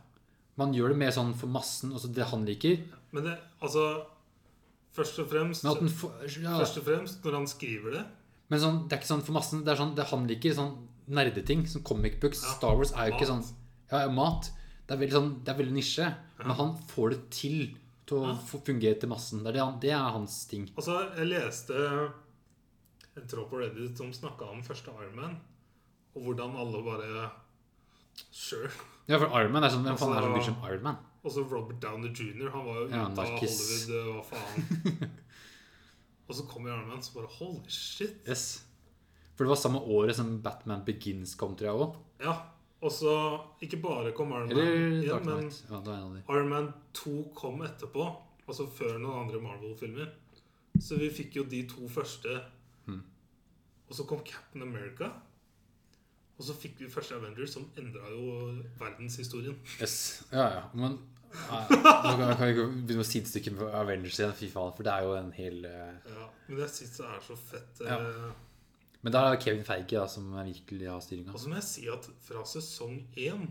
Speaker 1: Man gjør det mer sånn for massen, altså det han liker.
Speaker 2: Men det, altså Først og fremst
Speaker 1: Men, at den får- ja.
Speaker 2: Først og fremst når han skriver det
Speaker 1: men sånn, det er ikke sånn for massen. Det er sånn det han liker. Sånn nerdeting. Sånn comic books.
Speaker 2: Ja,
Speaker 1: Star Wars er jo ikke sånn
Speaker 2: mat.
Speaker 1: Ja, ja, mat. Det er veldig, sånn, det er veldig nisje. Men han får det til til å
Speaker 2: Ja.
Speaker 1: få fungere til massen. Det er, det, han- det er hans ting.
Speaker 2: Altså, jeg leste en tråd på Reddit som snakka om første Iron Man, og hvordan alle bare Sure.
Speaker 1: Ja, for Iron Man er sånn Hvem faen er det som
Speaker 2: Altså-
Speaker 1: bryr seg om Iron Man?
Speaker 2: Også Robert Downey jr. Han var jo ute
Speaker 1: Ja,
Speaker 2: av
Speaker 1: narkis.
Speaker 2: Hollywood, eh, hva faen.
Speaker 1: <laughs>
Speaker 2: og så kommer Iron Man, så bare Holy shit.
Speaker 1: Yes. For det var samme året som Batman Begins kom, tror jeg òg.
Speaker 2: Ja. Og så ikke bare kom Iron Man
Speaker 1: Eller
Speaker 2: igjen,
Speaker 1: Dark
Speaker 2: men
Speaker 1: Knight. Ja, det var en av de.
Speaker 2: Iron Man 2 kom etterpå, altså før noen andre Marvel-filmer. Så vi fikk jo de to første. Og så kom Captain America. Og så fikk vi første Avengers, som endra jo verdenshistorien.
Speaker 1: Yes. Ja, ja. Men
Speaker 2: <laughs>
Speaker 1: nei, nå kan kan vi ikke begynne å sidestykke med Avengers igjen. Fy faen. For det er jo en hel eh,
Speaker 2: Ja, men jeg syns det er så fett. eh,
Speaker 1: Ja. Men der er det Kevin Feige da, som virkelig har styringa.
Speaker 2: Og så må jeg si at fra sesong én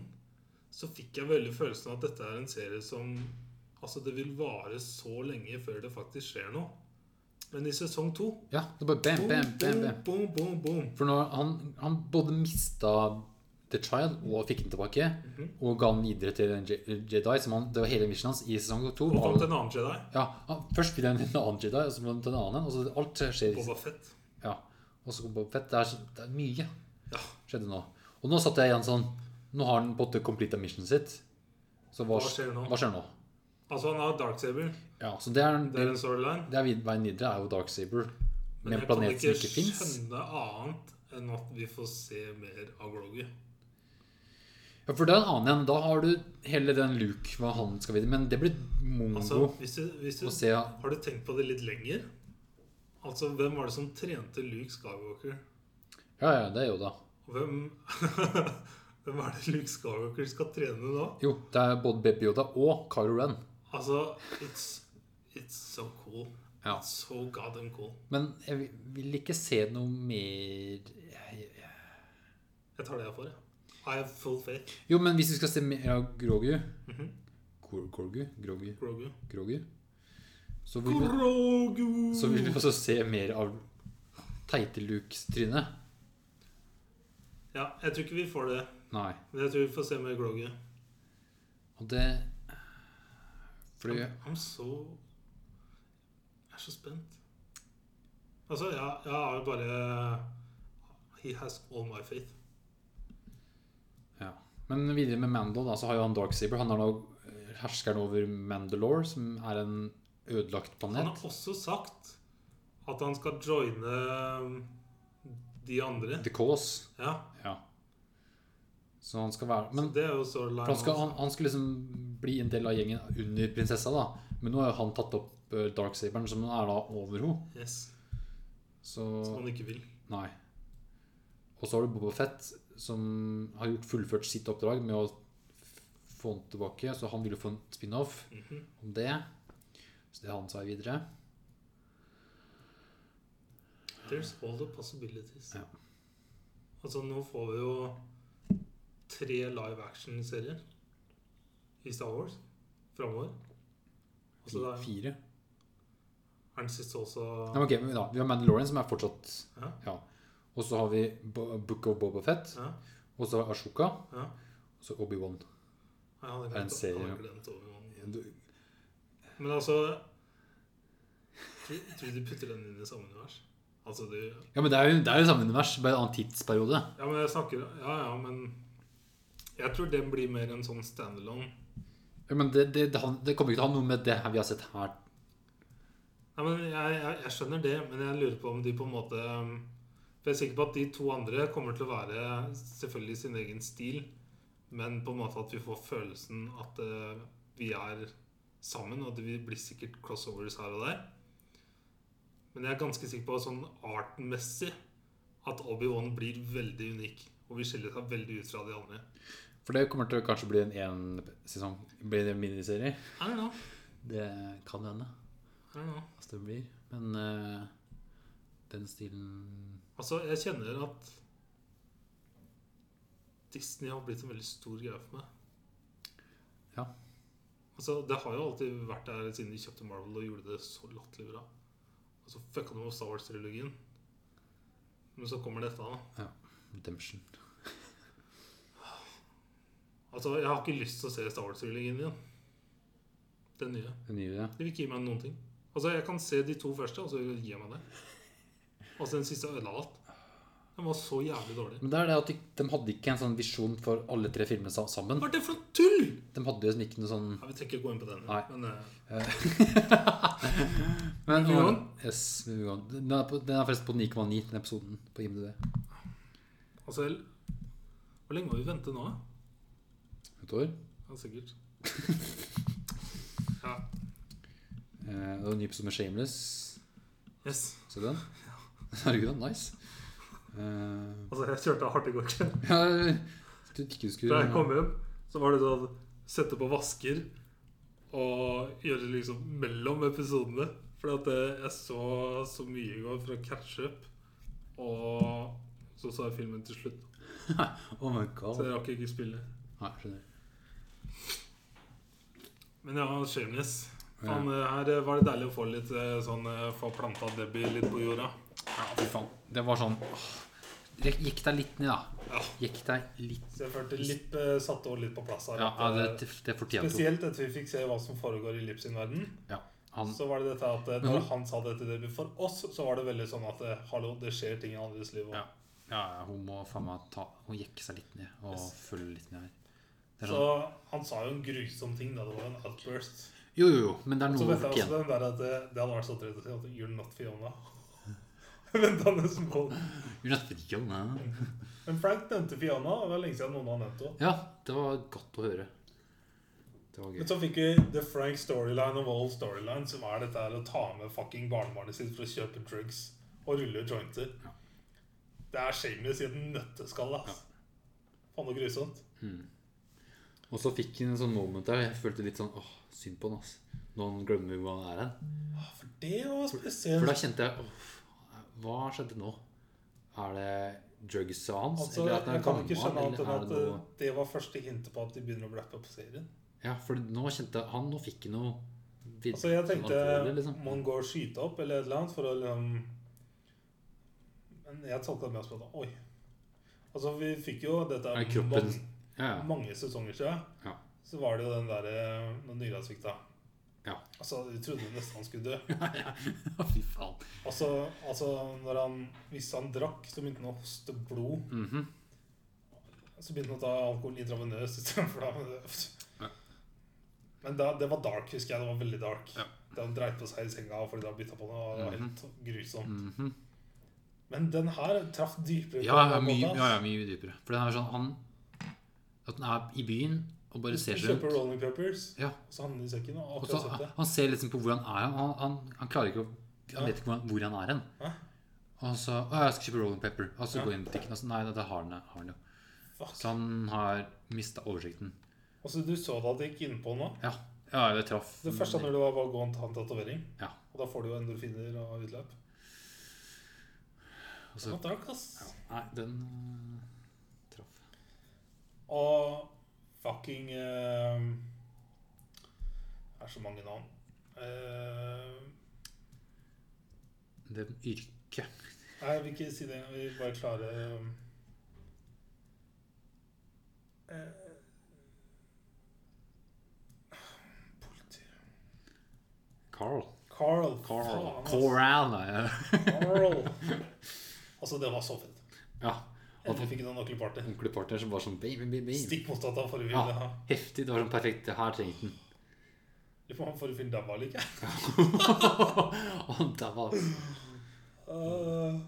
Speaker 2: så fikk jeg veldig følelsen av at dette er en serie som Altså, det vil vare så lenge før det faktisk skjer noe. Men i sesong to
Speaker 1: Ja, det er bare bam, bam,
Speaker 2: boom,
Speaker 1: bam, bam.
Speaker 2: boom, boom, boom.
Speaker 1: For når han, han både mista The Child og fikk den tilbake,
Speaker 2: Mhm.
Speaker 1: og ga den videre til en Je- Jedi, som han, det var hele missionen hans i sesong to.
Speaker 2: Og fant
Speaker 1: var-
Speaker 2: en annen Jedi.
Speaker 1: Ja, han, først blir han en annen Jedi, og så blir han til en annen en. Og så alt skjer i-
Speaker 2: Boba Fett.
Speaker 1: Ja. Og så Boba Fett. Det er, så- det er mye
Speaker 2: Ja.
Speaker 1: skjedde nå. Og nå satt jeg igjen sånn Nå har han på en måte completa missionen sitt. Så hva,
Speaker 2: Hva skjer nå?
Speaker 1: Hva skjer nå?
Speaker 2: Altså, han har Darksaber.
Speaker 1: Ja, så det er,
Speaker 2: Det er
Speaker 1: det,
Speaker 2: en storyline.
Speaker 1: er vid- veien videre er jo Dark Saber.
Speaker 2: Men
Speaker 1: Med en
Speaker 2: jeg kan
Speaker 1: planet som
Speaker 2: ikke
Speaker 1: ikke fins.
Speaker 2: skjønne annet enn at vi får se mer av Grogu.
Speaker 1: Ja, for det er en annen igjen. Da har du hele den Luke hva han skal videre. Men det blir mongo
Speaker 2: Altså, hvis du, hvis
Speaker 1: å
Speaker 2: du
Speaker 1: se.
Speaker 2: Har du tenkt på det litt lenger? Altså, hvem var det som trente Luke Skywalker?
Speaker 1: Ja, ja, det er Yoda.
Speaker 2: Og Hvem <laughs> Hvem er det Luke Skywalker skal trene nå?
Speaker 1: Jo, det er både Baby Yoda og Kylo Ren.
Speaker 2: Altså, it's It's so cool.
Speaker 1: Ja.
Speaker 2: It's so goddamn cool.
Speaker 1: Men jeg vil- vil ikke se noe mer jeg- jeg-
Speaker 2: Jeg tar det jeg får, jeg. I have full faith.
Speaker 1: Jo, men hvis vi skal se mer av Grogu
Speaker 2: Mhm.
Speaker 1: Gro- Grogu? Grogu?
Speaker 2: Grogu.
Speaker 1: Grogu? Så vil, vi,
Speaker 2: Grogu!
Speaker 1: så vil vi også se mer av teite Lukes tryne.
Speaker 2: Ja, jeg tror ikke vi får det.
Speaker 1: Nei.
Speaker 2: Men jeg tror vi får se mer Grogu.
Speaker 1: Og det Fordi
Speaker 2: I'm, I'm so Jeg er så spent. Altså, jeg, jeg har jo bare He has all my faith.
Speaker 1: Ja. Men videre med Mando, da, så har jo han Darksaber. Han er nå eh, herskeren over Mandalore, som er en ødelagt
Speaker 2: Han
Speaker 1: planet.
Speaker 2: har også sagt at han skal joine um, de andre.
Speaker 1: The Cause.
Speaker 2: Ja,
Speaker 1: Ja. Så han skal være Men
Speaker 2: så det er jo så
Speaker 1: for han, skal,
Speaker 2: line
Speaker 1: han, han skal liksom bli en del av gjengen under prinsessa, da. Men nå har jo han tatt opp eh, Darksaberen, som er da over henne.
Speaker 2: yes,
Speaker 1: Så
Speaker 2: som han ikke vil.
Speaker 1: Nei. Og så har du Boba Fett, som har gjort fullført sitt oppdrag med å f- få han tilbake. Så han ville få en spin-off.
Speaker 2: Mhm.
Speaker 1: om det. Så det er han som er videre.
Speaker 2: There's all the possibilities.
Speaker 1: Ja.
Speaker 2: Altså, nå får vi jo tre live action-serier i Star Wars framover. Og så da er
Speaker 1: Fire.
Speaker 2: den siste også
Speaker 1: Nei, men ok, men da, vi har Mandalorian, som er fortsatt
Speaker 2: Ja.
Speaker 1: Ja. Og så har vi Bo- Book of Boba Fett.
Speaker 2: Ja,
Speaker 1: Og så Ashoka.
Speaker 2: ja.
Speaker 1: Og så Obi-Wan.
Speaker 2: Jeg
Speaker 1: Er
Speaker 2: hadde
Speaker 1: en
Speaker 2: glemt,
Speaker 1: serie,
Speaker 2: hadde
Speaker 1: ja.
Speaker 2: glemt Obi-Wan igjen.
Speaker 1: Du-
Speaker 2: Men altså Tror tror du de putter den inn i samme univers? Altså, du
Speaker 1: Ja, men det er jo, det er jo samme univers, bare en annen tidsperiode.
Speaker 2: Ja, men jeg snakker Ja, ja, men Jeg tror den blir mer en sånn standalone.
Speaker 1: Ja, men det, det, det, han- det kommer ikke til å ha noe med det her vi har sett her
Speaker 2: Nei, men jeg, jeg, jeg skjønner det, men jeg lurer på om de på en måte um, For jeg er sikker på at de to andre kommer til å være selvfølgelig i sin egen stil, men på en måte at vi får følelsen at eh, vi er sammen, og det vil bli sikkert crossovers her og der. Men jeg er ganske sikker på sånn artmessig at Obi-Wan blir veldig unik, og vil skille seg veldig ut fra de andre.
Speaker 1: For det kommer til å kanskje bli en én sesong. Blir det en miniserie?
Speaker 2: I don't know.
Speaker 1: Det kan hende.
Speaker 2: I don't know.
Speaker 1: Altså det blir. Men eh, den stilen
Speaker 2: Altså, jeg kjenner at Disney har blitt en veldig stor greie for meg.
Speaker 1: Ja.
Speaker 2: Altså, Det har jo alltid vært der siden de kjøpte Marvel og gjorde det så latterlig bra. Og så fucka de med Star Wars-trilogien. Men så kommer dette, da.
Speaker 1: Redemption.
Speaker 2: Altså, Jeg har ikke lyst til å se Star Wars-trilogien igjen. Den nye.
Speaker 1: Den nye.
Speaker 2: Det vil ikke gi meg noen ting. Altså, Jeg kan se de to første, og så gir jeg meg det. Altså, den siste ødela alt. Den var så jævlig dårlig.
Speaker 1: Men det er det at de, de hadde ikke en sånn visjon for alle tre filmene sa- sammen.
Speaker 2: Hva er det for noe tull?!
Speaker 1: De hadde liksom ikke noe sånn
Speaker 2: Ja, Vi trenger ikke gå inn på den.
Speaker 1: Nei.
Speaker 2: Men, eh,
Speaker 1: Men
Speaker 2: Moving on.
Speaker 1: Yes, moving on. Den er, på, den er forresten på 9,9, den episoden på IMDb.
Speaker 2: altså, el- hvor lenge må vi vente nå?
Speaker 1: Et år.
Speaker 2: Ja,
Speaker 1: <laughs>
Speaker 2: sikkert. ja.
Speaker 1: Eh, det var en ny episode med Shameless.
Speaker 2: Yes.
Speaker 1: Ser du den? <laughs> Herregud, den er nice. Eh,
Speaker 2: Altså, jeg kjørte hardt i går <laughs> kveld.
Speaker 1: ja, jeg trodde ikke du
Speaker 2: Da
Speaker 1: skulle
Speaker 2: jeg kom hjem, så var det sånn Sette på vasker og gjøre det liksom mellom episodene. Fordi at eh, jeg så så mye i går fra catch-up, og så så jeg filmen til slutt.
Speaker 1: Oh my
Speaker 2: Så
Speaker 1: god.
Speaker 2: jeg rakk ikke spille.
Speaker 1: Nei, skjønner.
Speaker 2: Men ja, shameless.
Speaker 1: Ja.
Speaker 2: Faen, eh, her eh, var det deilig å få litt eh, sånn eh, Få planta Debbie litt på jorda.
Speaker 1: Ja, fy faen. Det var sånn åh. Gikk deg litt ned, da.
Speaker 2: Ja.
Speaker 1: Gikk deg litt
Speaker 2: Så jeg følte litt eh, satte over litt på plass her.
Speaker 1: Ja, ja
Speaker 2: at, eh,
Speaker 1: det, det fortjente hun.
Speaker 2: spesielt etter vi fikk se hva som foregår i Lips sin verden.
Speaker 1: Ja, han
Speaker 2: Så var det dette at eh,
Speaker 1: Men-
Speaker 2: når han sa det til debut for oss, så var det veldig sånn at eh, hallo, det skjer ting i andres liv òg.
Speaker 1: Ja. Ja, ja, hun må faen meg ta Hun jekke seg litt ned og
Speaker 2: Yes.
Speaker 1: følge litt med her. Det er
Speaker 2: Så
Speaker 1: sånn,
Speaker 2: han sa jo en grusom ting da det var en outburst.
Speaker 1: jo, jo, jo, men det er
Speaker 2: Så
Speaker 1: noe hun
Speaker 2: vet jeg også
Speaker 1: fortjener.
Speaker 2: den der at eh, det hadde vært så trist å si at you're not Fiona. <laughs> Venta nesten på den.
Speaker 1: Hun er fri, hun er.
Speaker 2: Men Frank nevnte Fiona, og det er lenge siden noen har nevnt henne.
Speaker 1: Ja, det var godt å høre. Det var gøy.
Speaker 2: Men så fikk vi The Frank Storyline of All Storyline, som er dette her å ta med fucking barnebarnet sitt for å kjøpe drugs og rulle jointer.
Speaker 1: Ja.
Speaker 2: Det er shameless i et nøtteskall, ass. Faen så grusomt.
Speaker 1: Og så fikk hun en sånn moment der jeg følte litt sånn åh, synd på han, altså. Når han glemmer hvor han er hen.
Speaker 2: Ah, For det var spesielt.
Speaker 1: For da kjente jeg åh, hva skjedde nå? Er det drugsa hans?
Speaker 2: altså,
Speaker 1: eller at han er
Speaker 2: jeg kan ikke
Speaker 1: gammel,
Speaker 2: skjønne annet
Speaker 1: eller
Speaker 2: enn
Speaker 1: er
Speaker 2: at
Speaker 1: det noe-
Speaker 2: eh, det var første hintet på at de begynner å rappe opp serien.
Speaker 1: Ja, for nå kjente jeg han Nå fikk han noe vir-
Speaker 2: Altså, jeg tenkte
Speaker 1: alvorlig, liksom.
Speaker 2: må han gå og skyte opp eller et eller annet for å liksom Men jeg tolka det mest på at oi. Altså, vi fikk jo dette
Speaker 1: Er kroppen Ja, ja.
Speaker 2: mange sesonger siden,
Speaker 1: Ja.
Speaker 2: så var det jo den derre når nyra svikta.
Speaker 1: Ja.
Speaker 2: Altså, vi trodde nesten han skulle dø.
Speaker 1: <laughs> Fy faen.
Speaker 2: Altså, altså når han, hvis han drakk, så begynte han å hoste blod.
Speaker 1: Mhm.
Speaker 2: Så begynte han å ta alkohol intravenøst istedenfor da.
Speaker 1: Ja.
Speaker 2: Men da, det var dark, husker jeg. Det var veldig dark.
Speaker 1: Ja.
Speaker 2: Da han dreit på seg i senga fordi han bytta på noe. og Det var helt grusomt.
Speaker 1: Mhm.
Speaker 2: Men den her traff dypere. på
Speaker 1: ja, ja,
Speaker 2: en måte,
Speaker 1: mye,
Speaker 2: ass.
Speaker 1: ja, ja, mye dypere. For den er sånn han At han er i byen og bare ser
Speaker 2: Du
Speaker 1: seg
Speaker 2: kjøper
Speaker 1: rundt.
Speaker 2: Rolling Peppers,
Speaker 1: Ja.
Speaker 2: og så handler de i sekken.
Speaker 1: Og
Speaker 2: Og
Speaker 1: så,
Speaker 2: akkurat sett det.
Speaker 1: han ser liksom på hvor han er. Han, han, han klarer ikke å Han vet ikke hvor han, hvor han er hen.
Speaker 2: Hæ?
Speaker 1: Og så Å, jeg skal kjøpe Rolling Pepper. Og så
Speaker 2: Ja.
Speaker 1: gå inn i butikken. Og så, nei, det det har han, har han jo.
Speaker 2: Fuck.
Speaker 1: Så han har mista oversikten.
Speaker 2: Og så du så da det gikk innpå nå.
Speaker 1: Ja. Ja, det traff
Speaker 2: Det første han gjorde, var bare å gå og ta en tatovering.
Speaker 1: Ja.
Speaker 2: Og da får du jo endorfiner og utløp.
Speaker 1: Og
Speaker 2: Det
Speaker 1: så
Speaker 2: var dark, ass.
Speaker 1: Nei, den øh, traff.
Speaker 2: Og fucking eh, er så mange navn. Eh,
Speaker 1: Det er yrke.
Speaker 2: nei, jeg vil ikke si det. Vi bare klarer eh, Politi
Speaker 1: Carl.
Speaker 2: Carl.
Speaker 1: Carl.
Speaker 2: faen, ass.
Speaker 1: Coran, ja.
Speaker 2: Carl. <laughs> Altså, det var så fett.
Speaker 1: ja. At
Speaker 2: Endelig fikk jeg en ordentlig party.
Speaker 1: ordentlig partner som var sånn baby, baby, baby.
Speaker 2: Stikk motsatt av forrige video.
Speaker 1: Ja, heftig. Det var sånn perfekt. Her trengte den.
Speaker 2: Lurer på om han forrige film dabba eller ikke.
Speaker 1: <laughs> Og der var det
Speaker 2: Eh,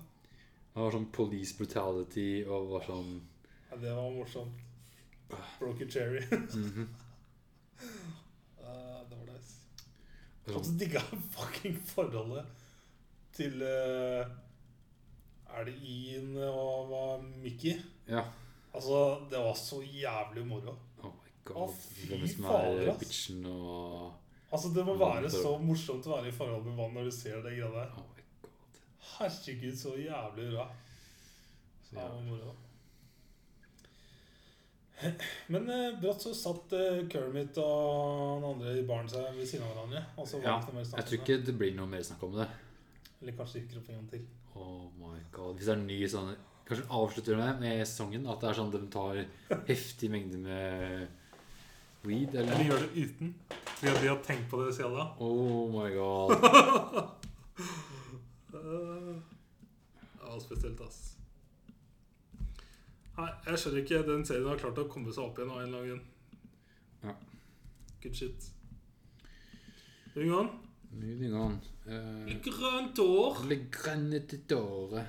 Speaker 1: var sånn police brutality og var sånn
Speaker 2: Ja, det var morsomt. Broken cherry. <laughs> Eh, det var nice.
Speaker 1: var
Speaker 2: Og
Speaker 1: sånn-
Speaker 2: så digga jeg fucking forholdet til eh, Er det Ian og hva, Mickey?
Speaker 1: Ja.
Speaker 2: Altså, det var så jævlig moro.
Speaker 1: Oh my
Speaker 2: Å,
Speaker 1: god.
Speaker 2: fy
Speaker 1: Hvem som
Speaker 2: fader,
Speaker 1: er
Speaker 2: ass.
Speaker 1: bitchen og
Speaker 2: Altså, Det må være så morsomt å være i forhold med vann når du ser det greia der.
Speaker 1: Oh my god.
Speaker 2: Herregud, så jævlig bra.
Speaker 1: Så,
Speaker 2: Ja, det
Speaker 1: ja.
Speaker 2: var moro. Men eh, brått så satt eh, Kermit og han andre i baren seg ved siden av hverandre. Og så var
Speaker 1: ja.
Speaker 2: det ikke noe mer snakk
Speaker 1: Jeg tror
Speaker 2: om
Speaker 1: ikke det blir noe mer snakk om det.
Speaker 2: det. Eller kanskje ikke opp en gang til.
Speaker 1: Oh my god. Hvis det er en ny sånn Kanskje de avslutter det med sesongen? At det er sånn de tar heftig mengde med weed?
Speaker 2: Eller
Speaker 1: Eller
Speaker 2: gjør det uten. Fordi at de har tenkt på det siden da.
Speaker 1: Oh my god.
Speaker 2: Det var spesielt, ass. Nei, jeg skjønner ikke. Den serien har klart å komme seg opp igjen av en eller annen grunn.
Speaker 1: Ja.
Speaker 2: Good shit. Moving on.
Speaker 1: Moving on. Eh,
Speaker 2: Grønt år.
Speaker 1: Le grønne til dåre.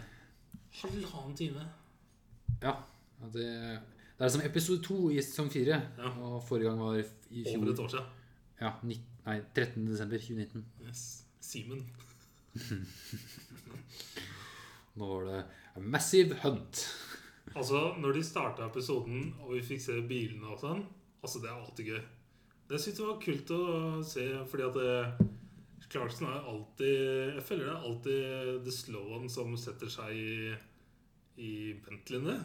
Speaker 2: Halvannen time.
Speaker 1: Ja. ja, Det, det er som episode to i sesong fire.
Speaker 2: Ja.
Speaker 1: Og forrige gang var i
Speaker 2: Over
Speaker 1: fjor.
Speaker 2: et år siden.
Speaker 1: Ja, 19, nei, 13. desember 2019.
Speaker 2: Yes. Simen.
Speaker 1: Nå var det A Massive Hunt.
Speaker 2: Altså, når de starta episoden og vi fikk se bilene og sånn Altså, det er alltid gøy. Det syns jeg var kult å se, fordi at det, Clarkson er alltid Jeg føler det er alltid the slow one som setter seg i, i Bentleyene.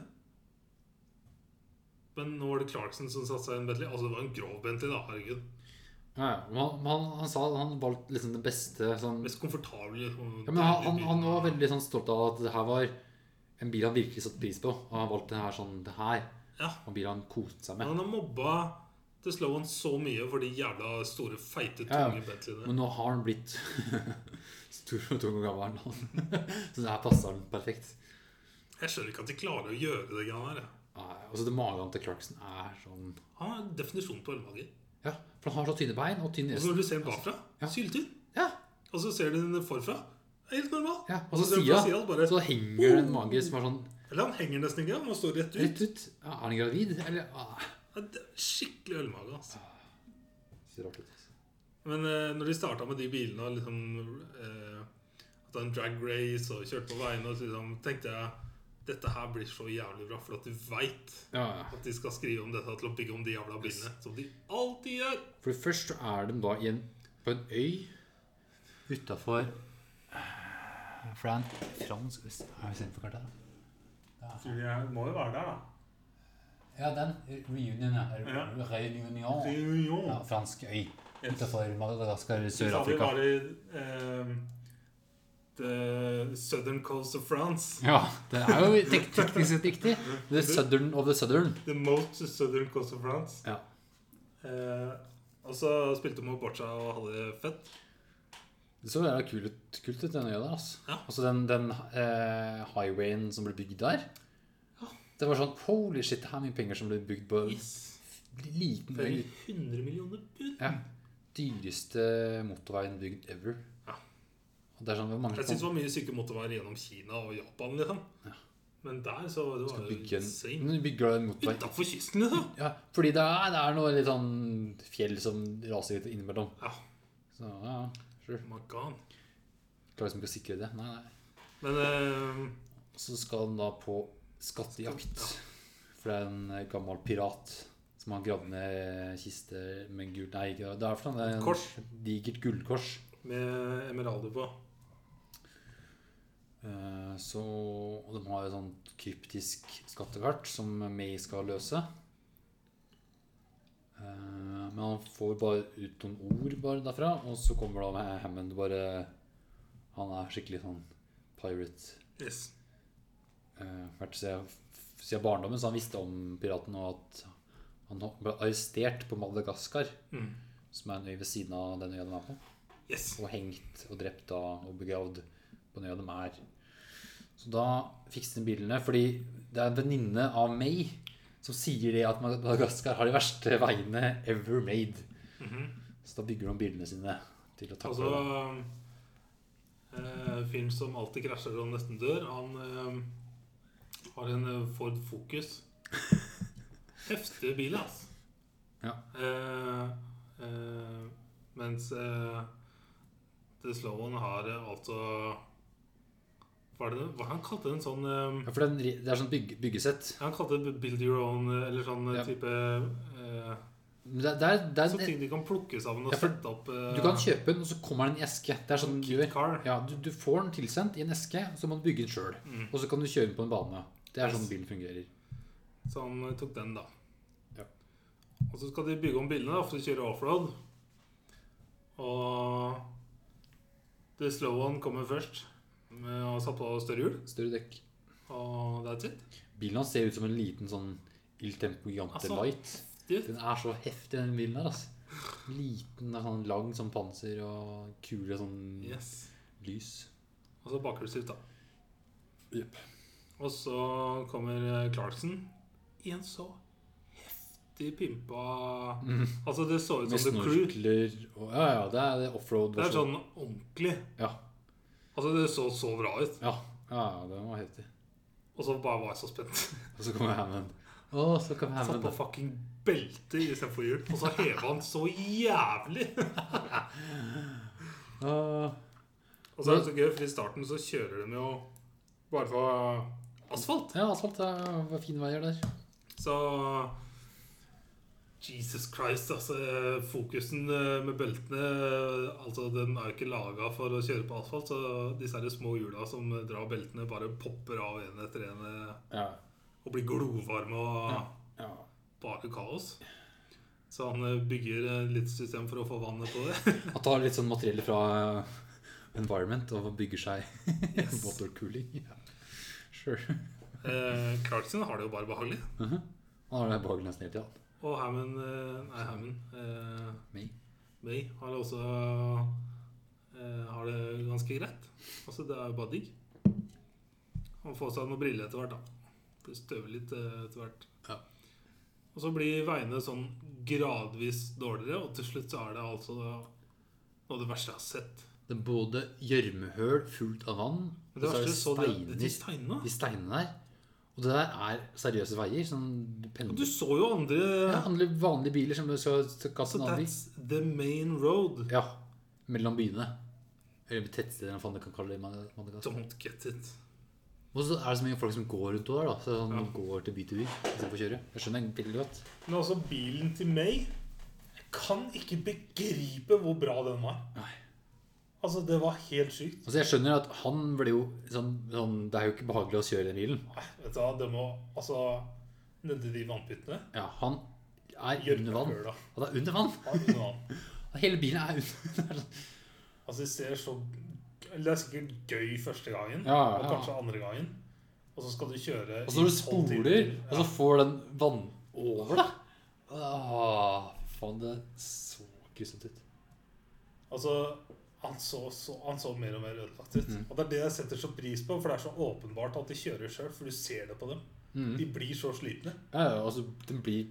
Speaker 2: Men nå var det Clarkson som satte seg i en Bentley. Altså, det var en grov Bentley, da. Herregud.
Speaker 1: Ja, ja. Men han, men han, han sa han valgte liksom den beste sånn
Speaker 2: Mest komfortabel.
Speaker 1: ja, men han, han, han var veldig sånn stolt av at det her var en bil han virkelig satte pris på. Og han valgte den her sånn Det her
Speaker 2: Ja.
Speaker 1: var en bil han koste seg
Speaker 2: Men
Speaker 1: med.
Speaker 2: han har mobba The Slow One så mye for de jævla store, feite,
Speaker 1: Ja, ja.
Speaker 2: tunge Bentleyene.
Speaker 1: Men nå har han blitt <laughs> stor og tung og gammel. han. <laughs> Så det her passer han perfekt.
Speaker 2: Jeg skjønner ikke at de klarer å gjøre det greiene her. jeg.
Speaker 1: Nei, Altså, det Magen til Clarkson er sånn
Speaker 2: Han har en definisjon på ølmager.
Speaker 1: Ja, for han har så tynne bein og tynn
Speaker 2: Og
Speaker 1: nese.
Speaker 2: så når du ser den bakfra,
Speaker 1: altså- Ja.
Speaker 2: syltynn.
Speaker 1: Ja,
Speaker 2: Og så ser du den forfra, helt normal.
Speaker 1: ja. Og så
Speaker 2: ser du på
Speaker 1: sida,
Speaker 2: siden, bare,
Speaker 1: så henger det en mage som er sånn
Speaker 2: Eller han henger nesten ikke, han står rett ut.
Speaker 1: rett ut. Ja, er han gravid, eller ah,
Speaker 2: Ja, det er Skikkelig ølmage, altså.
Speaker 1: Ser rart ut. altså.
Speaker 2: Men eh, når de starta med de bilene og liksom eh, At han drag race og kjørte på veiene, og så liksom, tenkte jeg dette her blir så jævlig bra, for at du veit
Speaker 1: Ja, ja.
Speaker 2: at de skal skrive om dette til å bygge om de jævla bilene. Som de alltid gjør.
Speaker 1: For først så er de da i en, på en øy utafor For det er en fransk Har vi sett på kartet? her?
Speaker 2: Jeg Altså, må jo være der, da.
Speaker 1: Ja, den. Reunion, ja.
Speaker 2: Ja.
Speaker 1: Reunion. Ja, fransk øy utafor Madagaskar,
Speaker 2: Vi
Speaker 1: Sør-Afrika.
Speaker 2: var i ehm, The Southern Coast of France.
Speaker 1: Ja, det er jo tek teknisk sett riktig. The Southern of the Southern.
Speaker 2: The most Southern Coast of France.
Speaker 1: Ja.
Speaker 2: Eh, og så spilte vi boccia og hadde det fett.
Speaker 1: Det så jævla kult ut, kult ut den øya der, altså.
Speaker 2: Ja.
Speaker 1: Altså den, den eh, highwayen som ble bygd der. Det var sånn Holy shit, det her er mye penger som ble bygd på en liten
Speaker 2: For
Speaker 1: øy.
Speaker 2: 100 millioner pund.
Speaker 1: Ja. Dyreste motorveien bygd ever.
Speaker 2: Ja.
Speaker 1: Og det er sånn hvor mange
Speaker 2: Jeg syns det
Speaker 1: som
Speaker 2: var mye syke motorveier gjennom Kina og Japan, liksom. Men der så det var
Speaker 1: skal
Speaker 2: det
Speaker 1: bygge en,
Speaker 2: insane.
Speaker 1: Men du bygger en motorvei
Speaker 2: Utafor kysten, liksom.
Speaker 1: ja, Fordi det er, det er noe litt sånn fjell som raser litt innimellom.
Speaker 2: Ja.
Speaker 1: Så ja, sure.
Speaker 2: my God.
Speaker 1: Klarer liksom ikke å sikre det. Nei, nei.
Speaker 2: Men eh,
Speaker 1: Så skal han da på skattejakt. For det er en eh, gammel pirat som har gravd ned kiste med gult Nei, ikke det. Det er for noe, det er en
Speaker 2: Kors.
Speaker 1: digert gullkors.
Speaker 2: med emeralder på.
Speaker 1: Eh, Så og de har et sånt kryptisk skattekart som May skal løse. Eh, men han får bare ut noen ord bare derfra, og så kommer da med Hammond bare Han er skikkelig sånn pirate.
Speaker 2: Yes.
Speaker 1: Eh, vært siden, siden barndommen, så han visste om piratene, og at han ble arrestert på Madagaskar,
Speaker 2: Mm.
Speaker 1: som er en øy ved siden av den øya de er på,
Speaker 2: Yes.
Speaker 1: og hengt og drept da, og begravd på den øya de er. Så da fikser de bilene, fordi det er en venninne av meg som sier det at Madagaskar har de verste veiene ever made. Så da bygger de bilene sine til å takle
Speaker 2: Mhm. Altså
Speaker 1: det.
Speaker 2: eh, Fyren som alltid krasjer og nesten dør, han eh, har en eh, Ford
Speaker 1: <laughs>
Speaker 2: Focus. Heftig bil, ass.
Speaker 1: Ja.
Speaker 2: Eh, eh, mens eh, The Slowan har eh, altså Hva er det hva er det han kalte en sånn eh,
Speaker 1: Ja, for den, det er sånn bygge, byggesett.
Speaker 2: Han kalte det build your own, eh, eller sånn eh,
Speaker 1: Ja.
Speaker 2: type eh,
Speaker 1: Men det, det er, det er
Speaker 2: Sånn
Speaker 1: en,
Speaker 2: ting de kan plukke sammen og
Speaker 1: Ja, for
Speaker 2: sette opp eh,
Speaker 1: du kan kjøpe den, og så kommer den i en eske. Det er sånn du gjør.
Speaker 2: car.
Speaker 1: Ja, du, du får den tilsendt i en eske, så må du bygge den sjøl.
Speaker 2: Mm.
Speaker 1: Og så kan du kjøre den på en bane. Det er sånn bilen fungerer.
Speaker 2: Så han eh, tok den, da.
Speaker 1: Ja.
Speaker 2: Og så skal de bygge om bilene da, for å kjøre offroad. Og The Slowan kommer først med å satt på større hjul,
Speaker 1: Større dekk.
Speaker 2: og that's it.
Speaker 1: Bilen hans ser ut som en liten sånn Il Tempo Gigante
Speaker 2: Altså,
Speaker 1: Light.
Speaker 2: det-
Speaker 1: Den er så heftig, den bilen her. Altså. Liten, det er sånn lang sånn panser og kule sånn
Speaker 2: Yes.
Speaker 1: lys.
Speaker 2: Og så bakhjulsdrift, da.
Speaker 1: Jepp.
Speaker 2: Og så kommer eh, Clarkson i en så heftig pimpa Altså, det så ut
Speaker 1: Mm. Med
Speaker 2: som The Crew.
Speaker 1: snorkler og Ja, ja, det er det offroad.
Speaker 2: Det er
Speaker 1: også.
Speaker 2: sånn ordentlig.
Speaker 1: Ja,
Speaker 2: Altså, det så så bra ut.
Speaker 1: ja, ja, det var heftig.
Speaker 2: Og så bare var jeg så spent.
Speaker 1: Og så kommer Hammond. Å, så kommer
Speaker 2: Satt
Speaker 1: Hammond.
Speaker 2: på fucking belte istedenfor hjul, og så heva han så jævlig!
Speaker 1: Åh.
Speaker 2: Og så er det så gøy, for i starten så kjører de jo bare på asfalt.
Speaker 1: Ja, asfalt er var fine veier der.
Speaker 2: Så Jesus Christ, altså. eh, Fokusen eh, med beltene eh, Altså, den er jo ikke laga for å kjøre på asfalt, så disse her små hjula som eh, drar beltene, bare popper av en etter en eh,
Speaker 1: Ja.
Speaker 2: og blir glovarme og
Speaker 1: ja.
Speaker 2: bare kaos. Så han eh, bygger eh, litt system for å få vannet på det.
Speaker 1: Han tar litt sånn materiell fra eh, environment og bygger seg <laughs>
Speaker 2: Yes.
Speaker 1: motorcooling. Ja. Sure.
Speaker 2: Eh, Clarkson har det jo bare behagelig.
Speaker 1: Mhm. Han har det behageligst nesten hele tida.
Speaker 2: Og Hammond eh, Nei, Hammond. Eh,
Speaker 1: Meg.
Speaker 2: May har det også eh, Har det ganske greit. Altså, det er jo bare digg. Han får seg noen briller etter hvert, da. Blir støver litt eh, etter hvert.
Speaker 1: Ja.
Speaker 2: Og så blir veiene sånn gradvis dårligere, og til slutt så er det altså noe av det verste jeg har sett.
Speaker 1: Det er både gjørmehøl fullt av vann, og
Speaker 2: Men det
Speaker 1: så er
Speaker 2: verste
Speaker 1: det
Speaker 2: så det,
Speaker 1: steiner.
Speaker 2: de steinene.
Speaker 1: De steinene der. Og det der er seriøse veier. Sånn du
Speaker 2: Og du
Speaker 1: pendler.
Speaker 2: så jo andre
Speaker 1: Ja, handler vanlige biler som skal skal kaste en
Speaker 2: Så
Speaker 1: annen bil.
Speaker 2: that's the main road.
Speaker 1: Ja. Mellom byene. Eller tettsteder, hva faen du kan kalle det. i Mad- Madagaskar.
Speaker 2: Don't get it.
Speaker 1: Og så er det så mye folk som går rundt der, da. Så de
Speaker 2: Ja.
Speaker 1: går til by til by istedenfor å kjøre. Jeg skjønner veldig godt.
Speaker 2: Men altså, bilen til May Jeg kan ikke begripe hvor bra den var.
Speaker 1: Nei.
Speaker 2: Altså, det var helt sykt.
Speaker 1: Altså, jeg skjønner at han ble jo sånn, sånn Det er jo ikke behagelig å kjøre den bilen.
Speaker 2: Nei, vet du hva, det må Altså, nedi de vannpyttene
Speaker 1: Ja, han er
Speaker 2: Gjør
Speaker 1: under
Speaker 2: det
Speaker 1: vann.
Speaker 2: før, da.
Speaker 1: Han er under vann.
Speaker 2: Ja, under vann.
Speaker 1: Hele bilen er under vann.
Speaker 2: Altså, det ser så Eller det er sikkert gøy første gangen,
Speaker 1: Ja, ja.
Speaker 2: og kanskje andre gangen. Og så skal du kjøre
Speaker 1: Og så når du
Speaker 2: i tolv timer.
Speaker 1: spoler, og så får den vann over deg Åh, Faen, det så grusomt ut.
Speaker 2: Altså, han så, så, han så mer og mer ødelagt ut.
Speaker 1: Mm.
Speaker 2: Og det er det jeg setter så pris på, for det er så åpenbart at de kjører sjøl, for du ser det på dem.
Speaker 1: Mhm.
Speaker 2: De blir så slitne.
Speaker 1: Ja, ja, altså, den blir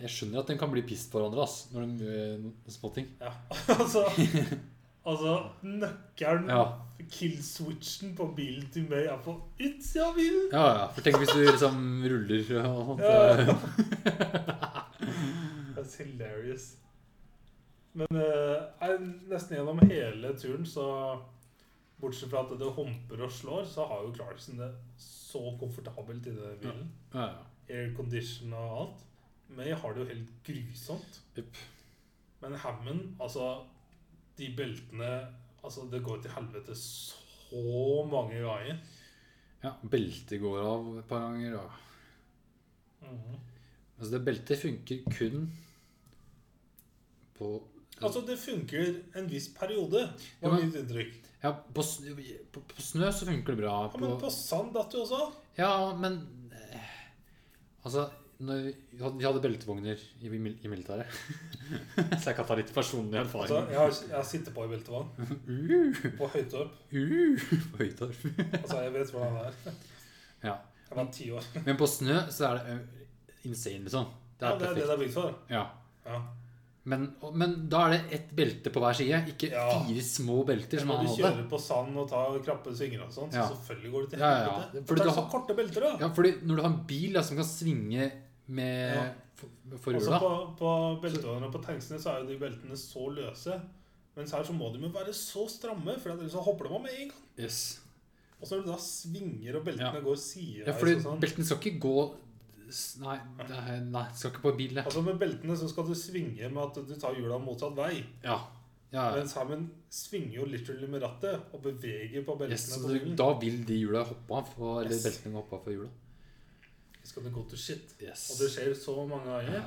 Speaker 1: Jeg skjønner at den kan bli pissed på hverandre, ass, når de gjør noen småting.
Speaker 2: Ja. <laughs>
Speaker 1: <laughs>
Speaker 2: altså, altså nøkkelen,
Speaker 1: Ja.
Speaker 2: kill-switchen på bilen til meg er på utsida av bilen!
Speaker 1: Ja, ja. For tenk hvis du liksom ruller og sånt.
Speaker 2: Ja.
Speaker 1: <laughs>
Speaker 2: <laughs>
Speaker 1: eh,
Speaker 2: That's hilarious. Men eh, nei, nesten gjennom hele turen, så Bortsett fra at det humper og slår, så har jo Clarkson det så komfortabelt i den bilen.
Speaker 1: Ja, ja.
Speaker 2: aircondition og alt. May har det jo helt grusomt.
Speaker 1: Jepp.
Speaker 2: Men Hammond, altså De beltene Altså, det går til helvete så mange ganger.
Speaker 1: Ja, beltet går av et Mhm. par ganger. Ja. Altså, det beltet funker kun på
Speaker 2: Altså, det funker en viss periode,
Speaker 1: Ja,
Speaker 2: var
Speaker 1: men-
Speaker 2: mitt inntrykk.
Speaker 1: Ja, på, s- på, på snø så funker det bra.
Speaker 2: Ja, men på sand datt du også.
Speaker 1: Ja, men eh, Altså, når vi hadde, vi hadde beltevogner i, mil- i militæret <laughs> Så jeg kan ta litt personlig
Speaker 2: Altså,
Speaker 1: erfaring.
Speaker 2: jeg har, jeg har sittet på i beltevann,
Speaker 1: Uh,
Speaker 2: på høytorp.
Speaker 1: uh, på høytorp. <laughs>
Speaker 2: Altså, jeg vet hvordan det er.
Speaker 1: Ja.
Speaker 2: Jeg var ti år.
Speaker 1: Men på snø så er det eh, insane, liksom. Det
Speaker 2: Ja,
Speaker 1: er
Speaker 2: det er det det
Speaker 1: perfekt.
Speaker 2: er blitt for.
Speaker 1: Ja.
Speaker 2: Ja.
Speaker 1: Men, og- men da er det ett belte på hver side, ikke
Speaker 2: Ja.
Speaker 1: fire små belter som
Speaker 2: Når
Speaker 1: han
Speaker 2: sånn du
Speaker 1: hadde.
Speaker 2: kjører på sand og tar krappe svinger og sånn, så
Speaker 1: Ja.
Speaker 2: selvfølgelig går det til
Speaker 1: Ja, ja, ja.
Speaker 2: helvete.
Speaker 1: Fordi
Speaker 2: Fordi
Speaker 1: du
Speaker 2: Takk så
Speaker 1: har-
Speaker 2: korte belter, da.
Speaker 1: Ja, fordi når du har en bil da, som kan svinge med
Speaker 2: Ja.
Speaker 1: for, for
Speaker 2: Også
Speaker 1: hjula
Speaker 2: Altså, på, på beltevogner og på tanksene så er jo de beltene så løse. Mens her så må de jo være så stramme, for ellers så hopper de av med en gang.
Speaker 1: yes.
Speaker 2: Og så når du da svinger og beltene
Speaker 1: Ja.
Speaker 2: går sideveis
Speaker 1: Ja, fordi
Speaker 2: og sånn
Speaker 1: beltene skal ikke gå s- Nei, det er- nei, det skal ikke på en bil, det.
Speaker 2: Altså Med beltene så skal du svinge med at du tar hjula motsatt vei.
Speaker 1: Ja. ja.
Speaker 2: Mens Hammond svinger jo literally med rattet og beveger på beltene.
Speaker 1: Yes, så
Speaker 2: på
Speaker 1: du-
Speaker 2: bilen.
Speaker 1: da vil de hjula hoppe av, og, eller
Speaker 2: Yes.
Speaker 1: beltene hoppe av fra hjula.
Speaker 2: Skal det gå til shit.
Speaker 1: Yes.
Speaker 2: Og det skjer så mange ganger.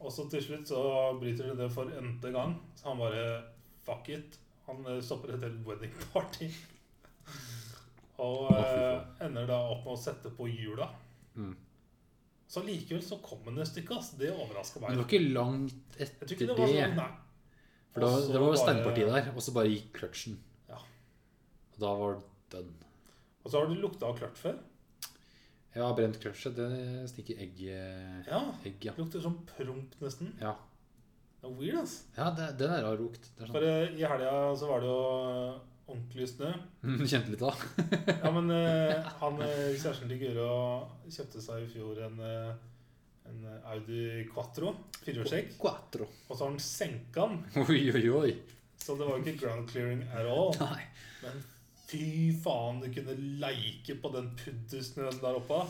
Speaker 2: Og så til slutt så bryter det det for n-te gang. Så han bare fuck it. Han eh, stopper et helt wedding
Speaker 1: <laughs>
Speaker 2: party. Og
Speaker 1: Å, fy
Speaker 2: eh,
Speaker 1: faen.
Speaker 2: ender da opp med å sette på hjula.
Speaker 1: Mm.
Speaker 2: Så likevel så kom han et stykke, ass. Det overrasker
Speaker 1: Men det
Speaker 2: meg.
Speaker 1: var ikke langt
Speaker 2: Jeg
Speaker 1: etter det.
Speaker 2: tror ikke det var sånn, nei.
Speaker 1: for da,
Speaker 2: Og så
Speaker 1: det var
Speaker 2: bare-
Speaker 1: steinpartiet der, og så bare gikk kløtsjen.
Speaker 2: Ja.
Speaker 1: Og da var det dønn.
Speaker 2: Og så har du lukta av klørt før.
Speaker 1: Ja, brent kløtsje, det stikker egg, eh,
Speaker 2: Ja.
Speaker 1: egg ja.
Speaker 2: Lukter sånn promp nesten.
Speaker 1: Ja,
Speaker 2: Det er weird, ass.
Speaker 1: ja det, den er rar lukt. Det er
Speaker 2: For
Speaker 1: sånn.
Speaker 2: eh, i helga så var det jo eh, ordentlig snø.
Speaker 1: <laughs> Mm, Kjente litt av.
Speaker 2: Ja, men eh, han eh, kjæresten til Guro kjøpte seg i fjor en, eh, en Audi Quattro firehjulstrekk.
Speaker 1: Quattro.
Speaker 2: Og så har han senka den,
Speaker 1: Oi, oi, oi.
Speaker 2: så det var jo ikke ground clearing at all.
Speaker 1: Nei.
Speaker 2: Men fy faen, du kunne leike på den puddersnøen der oppe.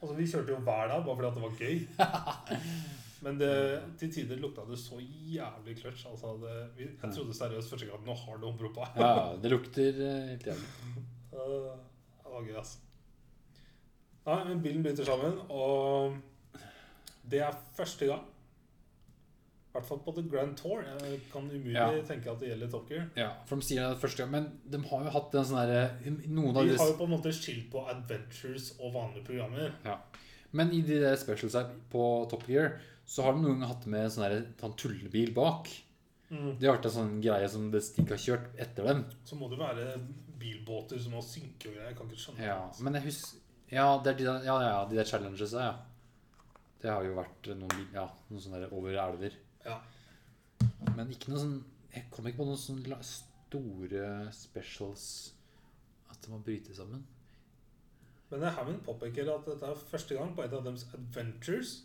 Speaker 2: Altså, Vi kjørte jo hver dag bare fordi at det var gøy. Men det, til tider lukta det så jævlig kløtsj. Altså, det, vi- jeg trodde seriøst første gang at nå har du omropa.
Speaker 1: Ja, ja, det lukter eh, helt jævlig.
Speaker 2: Øh, Det var gøy, ass. Nei, men bilen bryter sammen, og det er første gang. I hvert fall på The Grand Tour. Jeg kan umulig
Speaker 1: Ja.
Speaker 2: tenke at det gjelder Tokyo.
Speaker 1: Ja, for de sier det første gang, men de har jo hatt en sånn derre Noen av
Speaker 2: Vi har
Speaker 1: disse
Speaker 2: jo på en måte skilt på adventures og vanlige programmer.
Speaker 1: Ja. Men i de der specials her på Top Gear, så har de noen ganger hatt med sånn der- sånn tullebil bak.
Speaker 2: Mm.
Speaker 1: Det har vært en sånn greie som det stikk har kjørt etter dem.
Speaker 2: Så må det være bilbåter som må synke og greier. Jeg kan ikke skjønne
Speaker 1: Ja,
Speaker 2: det.
Speaker 1: men jeg husker Ja, det er de der, ja, ja, ja, de der challenges her, ja. Det har jo vært noen, bil- ja, noen sånne der over elver.
Speaker 2: Ja.
Speaker 1: Men ikke noe sånn Jeg kom ikke på noen sånne la- store specials at det må bryte sammen.
Speaker 2: Men Hammond påpeker at dette er første gang på et av deres adventures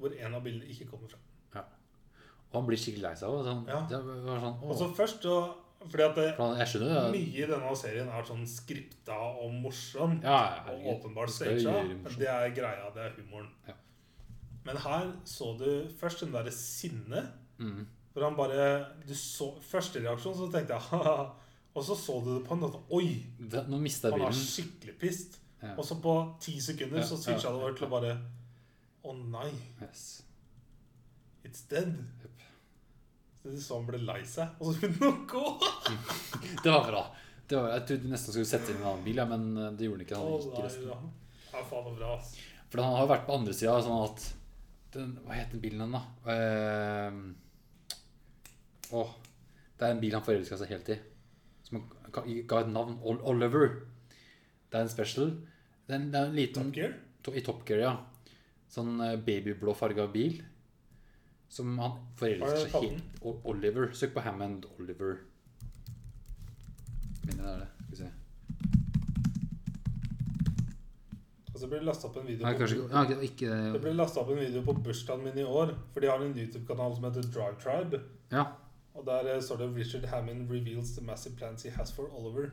Speaker 2: hvor en av bilene ikke kommer fra.
Speaker 1: Og han blir skikkelig lei seg av sånn,
Speaker 2: Ja.
Speaker 1: det. Var sånn,
Speaker 2: Og så
Speaker 1: åh.
Speaker 2: først, så, fordi at det,
Speaker 1: For han- Jeg skjønner det.
Speaker 2: Mye i denne serien er sånn skripta og morsom.
Speaker 1: Ja,
Speaker 2: og
Speaker 1: herregud.
Speaker 2: åpenbart
Speaker 1: Det skal jo
Speaker 2: stagea.
Speaker 1: gjøre det
Speaker 2: Men
Speaker 1: morsomt.
Speaker 2: det er greia. Det er humoren.
Speaker 1: Ja.
Speaker 2: Men her så du først den derre sinnet.
Speaker 1: Mm.
Speaker 2: Hvor han bare du så, Første reaksjon, så tenkte jeg <laughs> haha. Og så så du det på en måte Oi!
Speaker 1: Det- Nå mista jeg
Speaker 2: Han er
Speaker 1: bilen.
Speaker 2: skikkelig pissed.
Speaker 1: Ja.
Speaker 2: Og så på ti sekunder
Speaker 1: Ja,
Speaker 2: så switcha
Speaker 1: ja,
Speaker 2: det over til å bare Å nei,
Speaker 1: Yes.
Speaker 2: it's dead.
Speaker 1: Jep.
Speaker 2: Så du så han ble lei seg, og så begynte han å gå.
Speaker 1: Det var bra. Det var, jeg trodde nesten skulle sette inn en annen bil, ja, men eh, det gjorde han ikke. Han
Speaker 2: Å
Speaker 1: gikk
Speaker 2: nei,
Speaker 1: resten.
Speaker 2: ja. Det er faen så bra, ass.
Speaker 1: For han har jo vært på andre sida, sånn at den, Hva heter den bilen den, da? Eh, Åh det er en bil han forelska seg helt i. Som han ga- ga et navn. Ol- Oliver. Det er en special. Det er en, det er en liten
Speaker 2: Top Gear.
Speaker 1: to- I Top Gear, ja. Sånn eh, babyblå farga bil. Som han
Speaker 2: Hva er
Speaker 1: forelsker
Speaker 2: det
Speaker 1: seg
Speaker 2: kalt
Speaker 1: helt O- Oliver. Søk på Hammond Oliver. Mener det er det. Skal vi se.
Speaker 2: Og så ble det lasta opp en video
Speaker 1: Nei, kanskje
Speaker 2: på,
Speaker 1: ja, ikke, ikke
Speaker 2: Det ble lastet opp en video på bursdagen min i år. For de har en YouTube-kanal som heter Drive Tribe.
Speaker 1: Ja.
Speaker 2: Og der eh, står det 'Richard Hammond reveals the massive plans he has for Oliver'.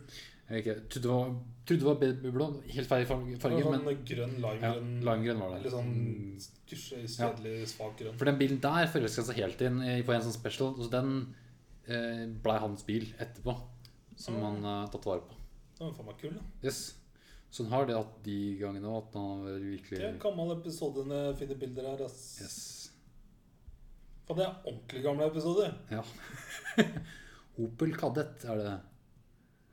Speaker 1: Jeg ikke, trodde, det var, trodde det var babyblå. Helt feil farge,
Speaker 2: Det var
Speaker 1: farge men
Speaker 2: sånn grønn,
Speaker 1: ja,
Speaker 2: limegrønn
Speaker 1: limegrønn var det.
Speaker 2: Eller sånn
Speaker 1: Mm.
Speaker 2: gusje, kjedelig, svak grønn.
Speaker 1: For den bilen der forelska seg helt inn i- på en sånn special. Så den eh, blei hans bil etterpå, som
Speaker 2: Mm.
Speaker 1: han har tatt vare på.
Speaker 2: Den var faen meg kul, da.
Speaker 1: Yes. Så han har det hatt de gangene òg, at han har
Speaker 2: Det er en
Speaker 1: virkelig
Speaker 2: gammel episode med fine bilder her, ass.
Speaker 1: yes.
Speaker 2: Og det er ordentlig gamle episoder.
Speaker 1: Ja. <laughs> Opel Kadett er det.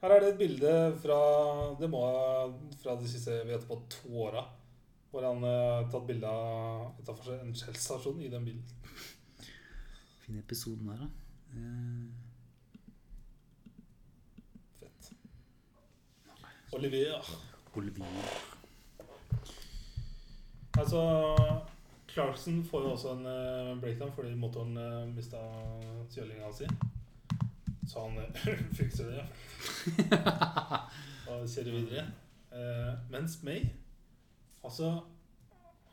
Speaker 2: Her er det et bilde fra det må, fra de siste vi heter på to åra. Hvor han eh, har tatt bilde av utenfor en Shell-stasjon i den bilen.
Speaker 1: Fin episoden der, da. Eh,
Speaker 2: Fett. Olivier.
Speaker 1: Olivier.
Speaker 2: Altså, Clarkson får jo også en eh, breakdown fordi motoren uh, mista kjølinga si. Så han eh, <laughs> fikser det og kjører videre. Eh, mens May Altså,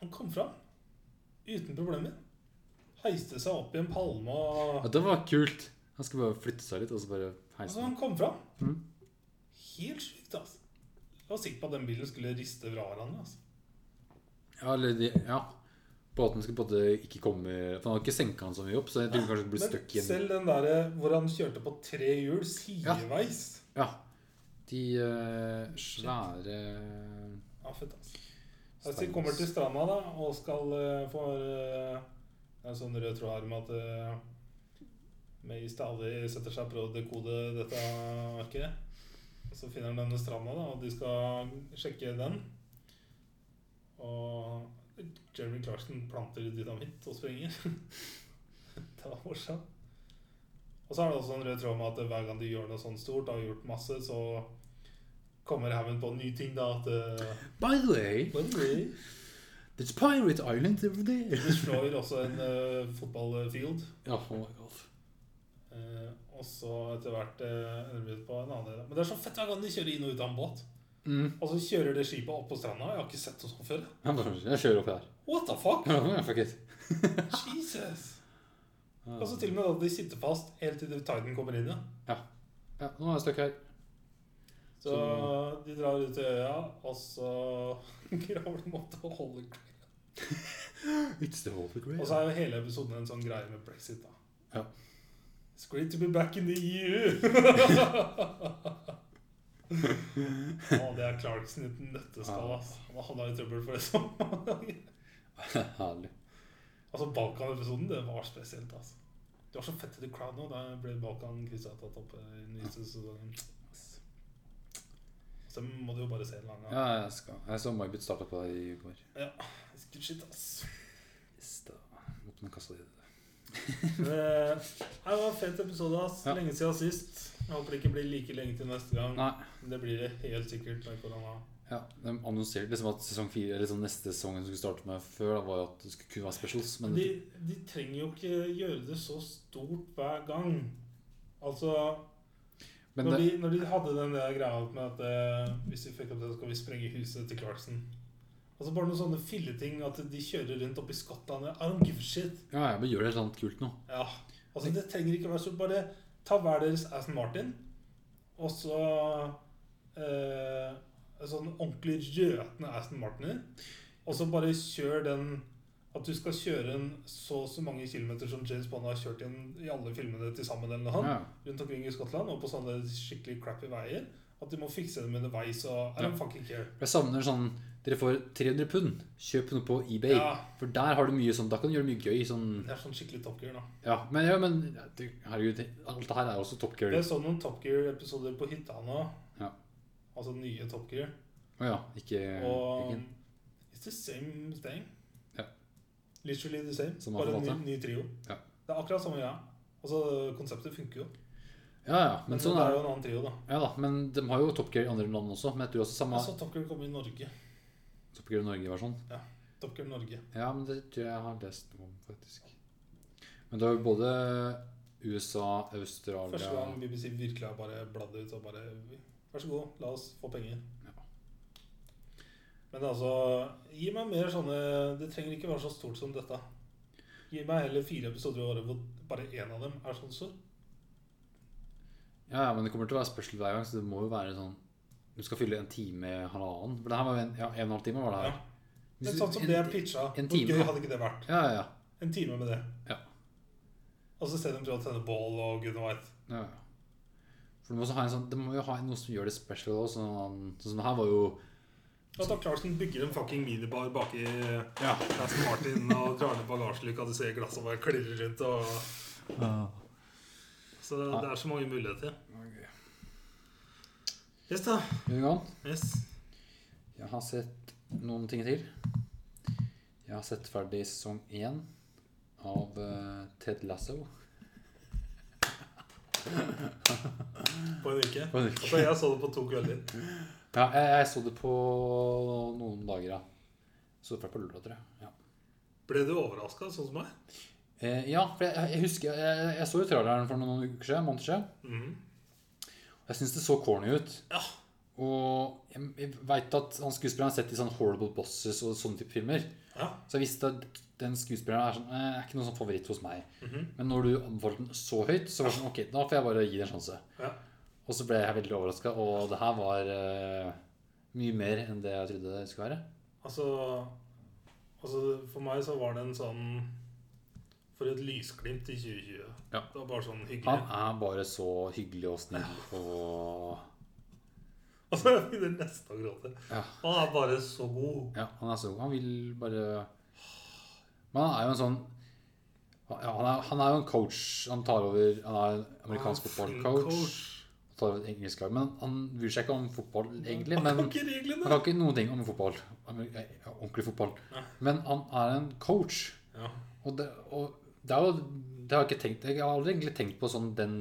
Speaker 2: han kom fram uten problemer. Heiste seg opp i en palme og
Speaker 1: Ja, det var kult. Han skal bare flytte seg litt, og så bare
Speaker 2: Altså,
Speaker 1: heise
Speaker 2: han
Speaker 1: den.
Speaker 2: kom fram.
Speaker 1: Mhm.
Speaker 2: Helt sjukt, altså. Jeg var sikker på at den bilen skulle riste fra hverandre. altså.
Speaker 1: Ja, eller de, ja. Båten skal både ikke komme For han har ikke senka han så mye opp, så jeg tror kanskje det blir
Speaker 2: Men
Speaker 1: stuck i en
Speaker 2: selv den derre hvor han kjørte på tre hjul sideveis
Speaker 1: Ja. De eh, svære
Speaker 2: Ja, fett, altså. Altså, vi kommer til stranda da, og skal eh, få eh, en sånn rød tråd her med at eh, May stadig setter seg og prøver å dekode dette arket. Og så finner han denne stranda, da, og de skal sjekke den. Og Jeremy Clarkson planter dynamitt og <laughs> sprenger. det var morsomt. Og så er det også en rød tråd med at hver gang de gjør noe sånt stort, og har gjort masse, så kommer haugen på nye ting. da, at... eh,
Speaker 1: By the way,
Speaker 2: de
Speaker 1: there's pirate island over there.
Speaker 2: slår også en eh, fotballfield.
Speaker 1: Ja, oh my god.
Speaker 2: eh, og så etter hvert eh, ender vi på en annen del. Men det er så fett hver gang de kjører inn og ut av en båt.
Speaker 1: Mm.
Speaker 2: Og så kjører det skipet opp på stranda. Jeg har ikke sett det sånn før.
Speaker 1: Jeg, bare, jeg kjører opp her.
Speaker 2: What the
Speaker 1: <laughs>
Speaker 2: fuck?
Speaker 1: Ja, fuck it.
Speaker 2: Jesus! Og så til og med da de sitter fast helt til Tiden kommer inn igjen.
Speaker 1: Ja, nå er jeg stuck her.
Speaker 2: Så de drar ut til øya, og så <laughs> graver de opp til Holy Grail.
Speaker 1: It's the Holy Grail.
Speaker 2: Og så er jo hele episoden en sånn greie med brexit, da.
Speaker 1: Ja.
Speaker 2: It's great to be back in the E EU!
Speaker 1: <laughs>
Speaker 2: Å, det er Clarkson i et nøtteskall, ass. Han havna i trøbbel for det så mange ganger.
Speaker 1: Herlig.
Speaker 2: <laughs> Altså, Balkan-episoden, det var spesielt, ass. Det var så fett i The Crown nå. Der ble Balkan-krisa tatt opp eh, i den nyeste sesongen. Så den må du jo bare se en lang gang.
Speaker 1: Ja, jeg skal. Jeg så May-Britt starte på deg i går.
Speaker 2: Good shit, ass.
Speaker 1: Yes, da. Åpne kassa di.
Speaker 2: Men, eh, Nei, det var en fet episode, ass.
Speaker 1: Ja.
Speaker 2: Lenge siden sist. Jeg håper det ikke blir like lenge til neste gang.
Speaker 1: Nei.
Speaker 2: Men Det blir det helt sikkert med korona.
Speaker 1: Ja, de annonserte liksom at sesong fire, eller sånn neste sesong som skulle starte med før, da, var jo at det skulle kun være specials. Men
Speaker 2: De, de trenger jo ikke gjøre det så stort hver gang. Altså,
Speaker 1: men
Speaker 2: når,
Speaker 1: det,
Speaker 2: de, når de hadde den der greia med at eh, hvis vi fikk opp det, så skal vi sprenge huset til Clarkson. Altså bare noen sånne filleting at de kjører rundt oppe i Skottland. I don't give a shit.
Speaker 1: ja, jeg bare gjør det helt annet kult nå.
Speaker 2: Ja, altså det trenger ikke være så Bare ta hver deres Aston Martin, og så eh, en sånn ordentlig røtende Aston Martiner, og så bare kjør den At du skal kjøre en så og så mange kilometer som James Bond har kjørt igjen i alle filmene til sammen, eller noe
Speaker 1: Ja.
Speaker 2: sånt, rundt omkring i Skottland, og på sånne skikkelig crappy veier. At de må fikse dem underveis og I don't
Speaker 1: Ja.
Speaker 2: fucking care.
Speaker 1: Jeg savner sånn Dere får 300 pund. Kjøp noe på eBay.
Speaker 2: Ja.
Speaker 1: For der har du mye sånn Da kan du gjøre mye gøy. Sånn
Speaker 2: Det er sånn skikkelig Top Gear, da.
Speaker 1: Ja, men, ja, men det- herregud, alt det her er også Top Gear.
Speaker 2: Jeg så noen Top Gear-episoder på hytta nå.
Speaker 1: Ja.
Speaker 2: Altså nye Top Gear.
Speaker 1: Å ja, ikke
Speaker 2: Og um,
Speaker 1: ikke-
Speaker 2: It's the same thing.
Speaker 1: Ja.
Speaker 2: Literally the same.
Speaker 1: Som
Speaker 2: Bare en
Speaker 1: forfatter.
Speaker 2: ny, ny trio.
Speaker 1: Ja.
Speaker 2: Det er akkurat samme greia. Altså, konseptet funker jo.
Speaker 1: Ja, ja. Men sånn er
Speaker 2: det er
Speaker 1: det.
Speaker 2: jo en annen trio, da.
Speaker 1: Ja da, men de har jo Top Gear i andre land også. Men jeg tror også samme
Speaker 2: Jeg så Top Gear komme i Norge.
Speaker 1: Top Gear Norge-versjon.
Speaker 2: Top Gear Norge.
Speaker 1: sånn. Ja, men det tror jeg jeg har lest noe om, faktisk. Men det er jo både USA, Australia
Speaker 2: Første gang BBC virkelig har bare bladd ut og bare Vær så god, la oss få penger.
Speaker 1: Ja.
Speaker 2: Men altså Gi meg mer sånne Det trenger ikke være så stort som dette. Gi meg heller fire episoder i året hvor bare én av dem er sånn stor.
Speaker 1: Ja, ja, men det kommer til å være spørsmål hver gang, så det må jo være sånn Du skal fylle en time, halvannen For det her var jo en, ja, en og en halv time, var det her.
Speaker 2: Ja. Men sånn som
Speaker 1: En-
Speaker 2: det er pitcha,
Speaker 1: en
Speaker 2: hvor
Speaker 1: time,
Speaker 2: gøy
Speaker 1: ja.
Speaker 2: hadde ikke det vært?
Speaker 1: Ja, ja,
Speaker 2: En time med det.
Speaker 1: Ja.
Speaker 2: Og så stedet de prøver å tenne bål og gud veit.
Speaker 1: ja, ja. For det må, også ha en sånn, det må jo ha noe som gjør det special også, sånn, sånn som det her sånn, var jo
Speaker 2: At da Clarkson bygger en fucking minibar baki
Speaker 3: Ja.
Speaker 2: Aston Martin og drar ned bagasjelykka, du ser glassa bare klirrer rundt og Så det, det er så mange muligheter. Yes, da.
Speaker 1: Gungan,
Speaker 2: Yes.
Speaker 1: jeg har sett noen ting til. Jeg har sett ferdig sesong én av eh, Ted Lasso.
Speaker 2: På en uke.
Speaker 1: På en uke.
Speaker 2: Altså, jeg så det på to kvelder.
Speaker 1: Ja, jeg, jeg så det på noen dager, ja. Så det var på lørdag, tror jeg. Ja.
Speaker 2: Ble du overraska, sånn som meg?
Speaker 1: Eh, ja, for jeg, jeg husker jeg, jeg, jeg så jo traileren for noen uker siden. måneder siden.
Speaker 2: Mhm.
Speaker 1: Jeg syns det så corny ut.
Speaker 2: Ja.
Speaker 1: Og jeg, jeg veit at han skuespilleren har sett i sånn Horrible Bosses og sånne type filmer.
Speaker 2: Ja.
Speaker 1: Så jeg visste at den skuespilleren er, sånn, eh, er ikke noen sånn favoritt hos meg.
Speaker 2: Mhm.
Speaker 1: Men når du anbefalte den så høyt, så var det sånn Ok, da får jeg bare gi det en sjanse.
Speaker 2: ja.
Speaker 1: Og så ble jeg veldig overraska, og det her var eh, mye mer enn det jeg trodde det skulle være.
Speaker 2: Altså, altså For meg så var det en sånn For et lysglimt i 2020.
Speaker 1: Ja.
Speaker 2: Det var bare sånn hyggelig.
Speaker 1: Han er bare så hyggelig og snill og
Speaker 2: <laughs> Altså, jeg begynner nesten å gråte.
Speaker 1: Ja.
Speaker 2: Han er bare så god.
Speaker 1: Ja, han er så god. Han vil bare Men han er jo en sånn ja, han, er, han er jo en coach. Han tar over Han er en amerikansk
Speaker 2: Han er en
Speaker 1: fotballcoach. Tar over et engelsk lag. Men han bryr seg ikke om fotball, egentlig.
Speaker 2: Han
Speaker 1: Men
Speaker 2: kan ikke
Speaker 1: han
Speaker 2: reglene.
Speaker 1: kan ikke noen ting om fotball. Amer- eh, Ordentlig fotball. Men han er en coach.
Speaker 2: Ja.
Speaker 1: Og det, og det er jo det har jeg, ikke tenkt, jeg har aldri egentlig tenkt på sånn den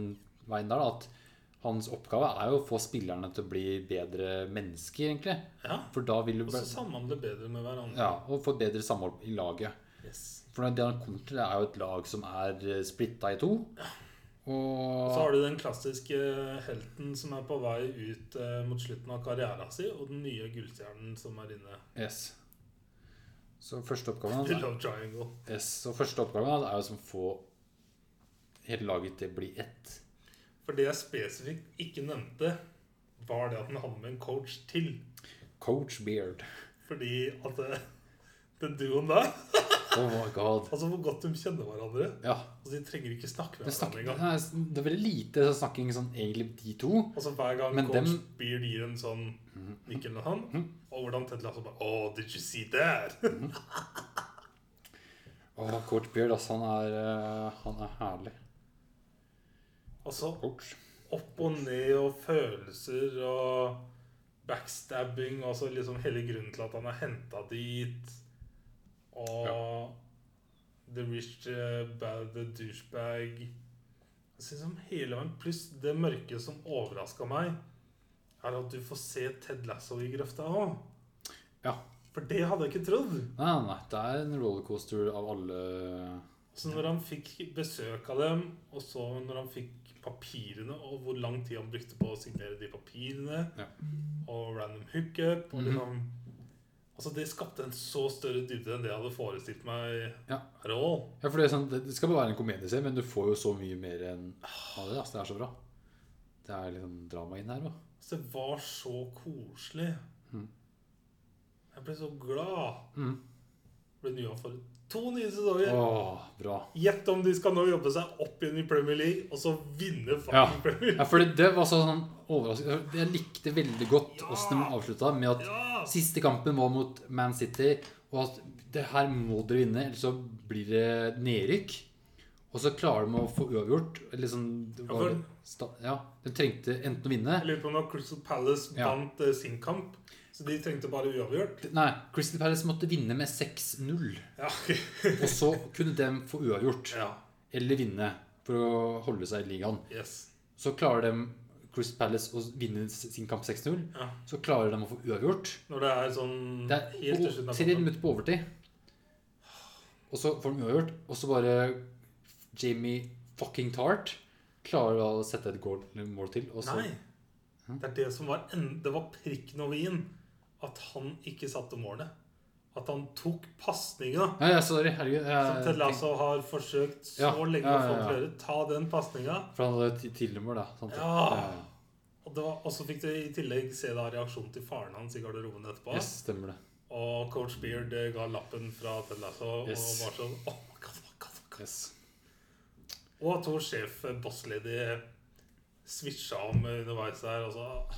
Speaker 1: veien der, da, at hans oppgave er jo å få spillerne til å bli bedre mennesker, egentlig.
Speaker 2: ja.
Speaker 1: For da vil du
Speaker 2: Og så samhandler bedre med hverandre.
Speaker 1: ja, og få bedre samhold i laget.
Speaker 2: Yes.
Speaker 1: For det han kommer til, er jo et lag som er splitta i to.
Speaker 2: Og
Speaker 1: Og
Speaker 2: så har du den klassiske eh, helten som er på vei ut eh, mot slutten av karrieren sin, og den nye gullstjernen som er inne
Speaker 1: yes. Så første oppgaven
Speaker 2: i
Speaker 1: hans
Speaker 2: Love Triangle.
Speaker 1: yes, så første oppgaven hans er jo som å få hele laget til å bli ett.
Speaker 2: For det jeg spesifikt ikke nevnte, var det at den hadde med en coach til.
Speaker 1: Coach Beard.
Speaker 2: Fordi at eh, den duoen der <laughs>
Speaker 1: Oh my god.
Speaker 2: Altså hvor godt de kjenner hverandre.
Speaker 1: Ja.
Speaker 2: Altså De trenger ikke snakke med
Speaker 1: Det,
Speaker 2: hverandre
Speaker 1: snakker,
Speaker 2: engang.
Speaker 1: det, er, det er veldig lite snakking sånn egentlig om de to.
Speaker 2: Altså Hver gang
Speaker 1: Men
Speaker 2: coach
Speaker 1: dem- Mhm.
Speaker 2: Beard gir en sånn nikk eller noe han, og hvordan Ted Lasso bare Oh, did you see that? <laughs>
Speaker 1: Åh, Coach Beard, altså. Han er, eh, han er herlig.
Speaker 2: altså
Speaker 1: Coach.
Speaker 2: opp og ned og følelser og backstabbing og så liksom hele grunnen til at han er henta dit. Og the rich eh, bad the douchebag. Jeg synes som hele veien, Pluss det mørke som overraska meg, er at du får se Ted Lasso i grøfta òg.
Speaker 1: Ja.
Speaker 2: For det hadde jeg ikke trodd.
Speaker 1: Nei, nei, nei, det er en rollercoaster av alle
Speaker 2: Så når han fikk besøk av dem, og så når han fikk papirene, og hvor lang tid han brukte på å signere de papirene,
Speaker 1: Ja.
Speaker 2: og random hookup og
Speaker 1: Mhm.
Speaker 2: liksom, Altså, det skapte en så større dybde enn det jeg hadde forestilt meg.
Speaker 1: Ja.
Speaker 2: at all.
Speaker 1: Ja, for det, er sånn, det det skal bare være en komedieserie, men du får jo så mye mer enn av det. Altså, det er så bra. Det er liksom drama inn her òg.
Speaker 2: Så det var så koselig.
Speaker 1: Mhm.
Speaker 2: Jeg ble så glad.
Speaker 1: Mhm.
Speaker 2: Ble nye for to nye sesonger.
Speaker 1: Åh, bra.
Speaker 2: Gjett om de skal nå jobbe seg opp igjen i Premier League, og så vinne fucking
Speaker 1: Ja.
Speaker 2: Premier League.
Speaker 1: Ja, for det var sånn overraskende Jeg likte veldig godt åssen de avslutta med at
Speaker 2: Ja!
Speaker 1: Siste kampen var mot Man City, og at det her må dere vinne, ellers så blir det nedrykk. Og så klarer de å få uavgjort. Eller sånn, det var,
Speaker 2: Ja,
Speaker 1: sta- ja, de trengte enten å vinne
Speaker 2: Jeg lurer på om det var Crystal Palace
Speaker 1: Ja.
Speaker 2: vant eh, sin kamp. Så de trengte bare uavgjort.
Speaker 1: Nei, Crystal Palace måtte vinne med 6-0.
Speaker 2: Ja.
Speaker 1: Og så kunne de få uavgjort
Speaker 2: <laughs> ja.
Speaker 1: eller vinne for å holde seg i ligaen.
Speaker 2: Yes.
Speaker 1: Så klarer de Crystal Palace å vinne sin kamp 6-0.
Speaker 2: Ja.
Speaker 1: Så klarer de å få uavgjort.
Speaker 2: Når det er sånn
Speaker 1: Det er
Speaker 2: helt til slutten
Speaker 1: på-
Speaker 2: av
Speaker 1: tre
Speaker 2: kampen.
Speaker 1: minutter på overtid. Og så får de uavgjort, og så bare Jamie fucking Tart klarer da å sette et goal, eller mål til. Og så,
Speaker 2: Nei. Det er det som var en, Det var prikken over i-en. At han ikke satte målet. At han tok pasninga.
Speaker 1: Nei, ja, sorry. Herregud.
Speaker 2: Som
Speaker 1: Jeg,
Speaker 2: Ted Lasso har forsøkt så
Speaker 1: Ja,
Speaker 2: lenge
Speaker 1: ja,
Speaker 2: å få
Speaker 1: ja, ja.
Speaker 2: til å gjøre. Ta den pasninga.
Speaker 1: for han hadde ti- tidligere mål, da. Sant?
Speaker 2: Ja.
Speaker 1: Ja, ja.
Speaker 2: Og, det var- og så fikk du i tillegg se da reaksjonen til faren hans i garderoben etterpå.
Speaker 1: Yes, stemmer det.
Speaker 2: Og coach Beard eh, ga lappen fra Ted Lasso
Speaker 1: Yes.
Speaker 2: og var sånn Oh my god, oh my god, oh my god.
Speaker 1: Yes.
Speaker 2: Og at hun sjef, eh, bosslady, switcha om underveis der. eh, Og så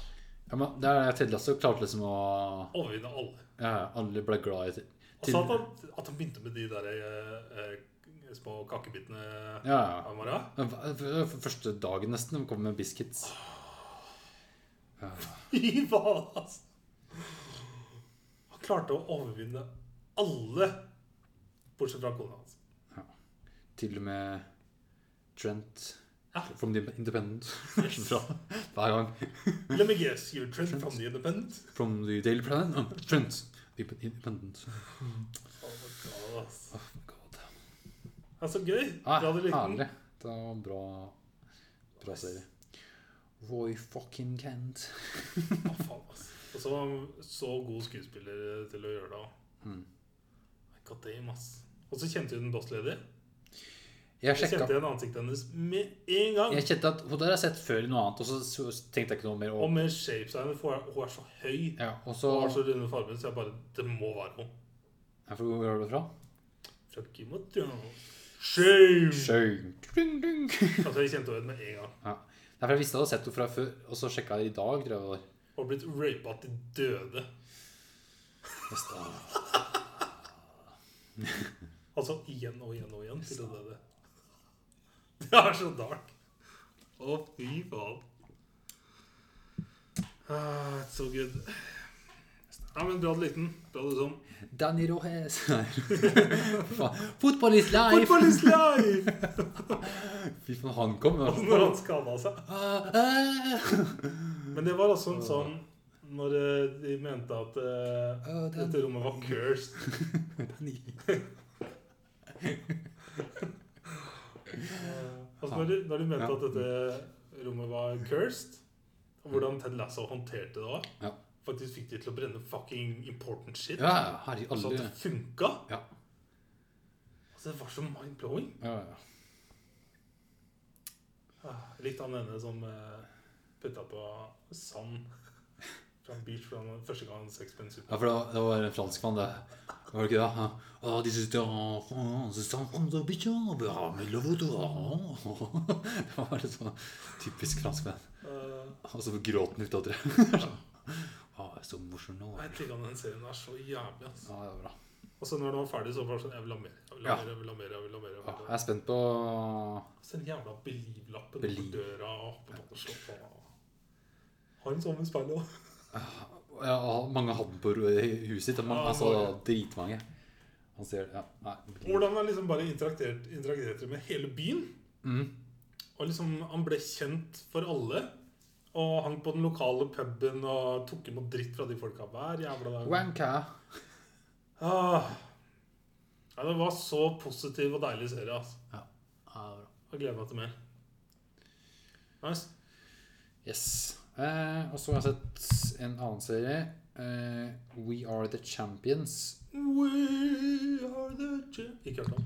Speaker 1: Ja, men det er det Ted Lasso klarte liksom å
Speaker 2: Overvinne alle.
Speaker 1: ja, Alle ble glad i Ted-
Speaker 2: Og så at
Speaker 1: til,
Speaker 2: han, at han begynte med de der eh, eh, små kakebitene
Speaker 1: Ja, ja.
Speaker 2: av Maria. <laughs>
Speaker 1: F- f- f- Første dagen nesten, de kom med biscuits.
Speaker 2: Fy faen, altså! Han klarte å overvinne alle, bortsett fra kona hans.
Speaker 1: Til og med Trent
Speaker 2: Ja.
Speaker 1: from the Independent. <laughs> Fra Hver gang.
Speaker 2: Let me guess, you're Trent from the Independent?
Speaker 1: From the Daily Planet. Oh, Trent. the Independent.
Speaker 2: Oh my God, ass.
Speaker 1: Oh my god.
Speaker 2: altså. Det er så gøy.
Speaker 1: Ah,
Speaker 2: Fra du er liten.
Speaker 1: herlig. Det var en bra, bra serie. Roy fucking Kent.
Speaker 2: Ah, faen, ass. Og så så god skuespiller til å gjøre det òg.
Speaker 1: Mm.
Speaker 2: God damn, ass. Og så kjente hun bosslady.
Speaker 1: Jeg
Speaker 2: Jeg kjente
Speaker 1: sjekka
Speaker 2: igjen ansiktet hennes med en gang.
Speaker 1: jeg kjente at hun der har jeg sett før i noe annet, og så så tenkte jeg ikke noe mer
Speaker 2: Og
Speaker 1: om
Speaker 2: med shapesigner, for hun er- hun er så høy
Speaker 1: ja, Og så
Speaker 2: og har så runde farger, så jeg bare Det må være hun.
Speaker 1: Ja, For hvor er du fra?
Speaker 2: Fra Game of Thrones. Shame!
Speaker 1: Sjø. Ding, ding.
Speaker 2: Altså, jeg kjente henne igjen med en gang.
Speaker 1: Ja. Derfor jeg visste jeg hadde sett henne fra før, og så sjekka jeg i dag. Tror jeg det var.
Speaker 2: Og blitt rapa til døde.
Speaker 1: Neste dag.
Speaker 2: Altså igjen og igjen og igjen til det døde. <laughs> Det er så dark. Å, fy faen. Ah, it's so good. Ja, men bra du er liten. Bra du er sånn.
Speaker 1: Danny Rohes. <laughs> Fotball is life!
Speaker 2: Football is life! <laughs>
Speaker 1: Fy faen, han kom. da.
Speaker 2: Når han skada seg.
Speaker 1: Ah, ah.
Speaker 2: Men det var også en sånn Når eh, de mente at eh,
Speaker 1: Å, den-
Speaker 2: dette rommet var cursed. <laughs> Altså når de, når de mente
Speaker 1: Ja.
Speaker 2: at dette rommet var cursed, og hvordan Ted Lasso håndterte det òg
Speaker 1: Ja.
Speaker 2: Faktisk fikk de til å brenne fucking important shit.
Speaker 1: Sånn, Ja, herregud.
Speaker 2: Så at
Speaker 1: Alle
Speaker 2: det funka.
Speaker 1: Ja.
Speaker 2: Altså, det var så mind-blowing.
Speaker 1: Ja, ja.
Speaker 2: Ah, Litt av denne som uh, putta på sand fra en beach fra den første gang han hadde sexpence
Speaker 1: Ja, for det var, det var en franskmann, det. Var det ikke det? Ja. «Ah, this is the France, it's the France, the beach, ah, we are in love with you, ah.» <laughs> Det var bare sånn typisk franskmenn.
Speaker 2: Eh,
Speaker 1: Og så gråt han ut av det. <laughs> Ah, jeg er så morsom nå.
Speaker 2: Jeg digga den serien der så jævlig. ass.
Speaker 1: Ja, det var bra.
Speaker 2: Og så når den var ferdig, så var det sånn Jeg vil ha mer. Jeg vil ha
Speaker 1: Ja.
Speaker 2: mer, jeg vil ha mer, jeg vil ha mer. Jeg
Speaker 1: Ja,
Speaker 2: vil ha
Speaker 1: jeg
Speaker 2: mer.
Speaker 1: er spent på
Speaker 2: Så den jævla Believe-lappen på
Speaker 1: Believe.
Speaker 2: døra og hoppe på den og slå på. Har hun sånn med speilet òg?
Speaker 1: ja, Mange hadde den på ro- i huset sitt. og Man,
Speaker 2: Ja,
Speaker 1: altså,
Speaker 2: mange.
Speaker 1: dritmange. Han ser Ja, nei.
Speaker 2: Hvordan han liksom bare interagerte, interagerte med hele byen.
Speaker 1: Mm.
Speaker 2: Og liksom, Han ble kjent for alle. Og hang på den lokale puben og tok imot dritt fra de folka hver jævla dag.
Speaker 1: Wanka.
Speaker 2: Ah. Ja, det var så positiv og deilig serie. altså.
Speaker 1: Ja, det var bra.
Speaker 2: Jeg gleder meg til mer. Nice.
Speaker 1: Yes. Eh, og så har jeg sett en annen serie. Eh, We Are The Champions.
Speaker 2: We are the champ... Ikke hørt om.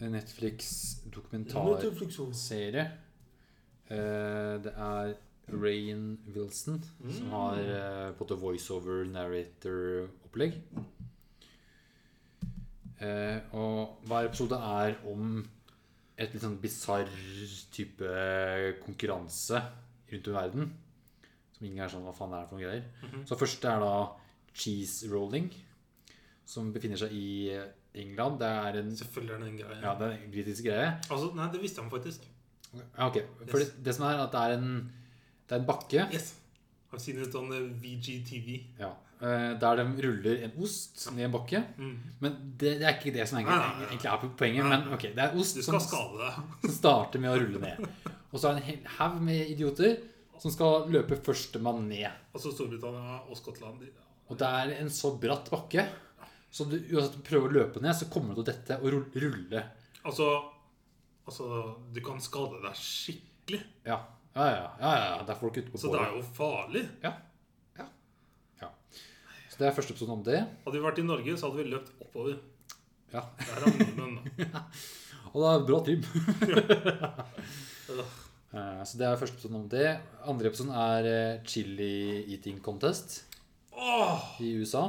Speaker 1: En Netflix-dokumentarserie.
Speaker 2: Netflix også.
Speaker 1: Eh, det er Rain Wilson som har eh, fått et voiceover narrator-opplegg. Eh, og hver episode er om et litt sånn bisarr type konkurranse rundt om i verden. Som ingen er sånn Hva faen er det for noen greier? Så første er da cheese rolling, som befinner seg i eh, England. Det er en,
Speaker 2: Selvfølgelig er det en greie.
Speaker 1: ja, det er en britisk greie.
Speaker 2: Altså, Nei, det visste han faktisk.
Speaker 1: Ja, ok. For
Speaker 2: Yes.
Speaker 1: det, det som er, at det er en, det er en bakke
Speaker 2: Yes. I've seen it on the VGTV.
Speaker 1: ja, eh, der de ruller en ost ned en bakke.
Speaker 2: Mm.
Speaker 1: Men det, det er ikke det som egentlig,
Speaker 2: Nei, nei, nei.
Speaker 1: egentlig er po- poenget. Men ok, det er ost
Speaker 2: Du
Speaker 1: som,
Speaker 2: skal skade deg. <laughs>
Speaker 1: som <laughs> starter med å rulle ned. Og så er det en hel haug med idioter som skal løpe førstemann ned.
Speaker 2: Altså Storbritannia og Skottland. de-
Speaker 1: Og det er en så bratt bakke, så du, uansett om du prøver å løpe ned, så kommer du til å dette og rull- rulle.
Speaker 2: Altså, altså Du kan skade deg skikkelig.
Speaker 1: Ja, ja, ja. ja, ja. Det er folk ute på
Speaker 2: Så det
Speaker 1: bålet.
Speaker 2: er jo farlig.
Speaker 1: Ja. Ja. ja. Så det er første episoden om det.
Speaker 2: Hadde vi vært i Norge, så hadde vi løpt oppover.
Speaker 1: Ja.
Speaker 2: Der er nordmenn, <laughs> da.
Speaker 1: Og det er bra trim.
Speaker 2: Øh,
Speaker 1: Eh, Så det er første episoden om det. Andre episoden er eh, chili eating contest
Speaker 2: Åh,
Speaker 1: i USA.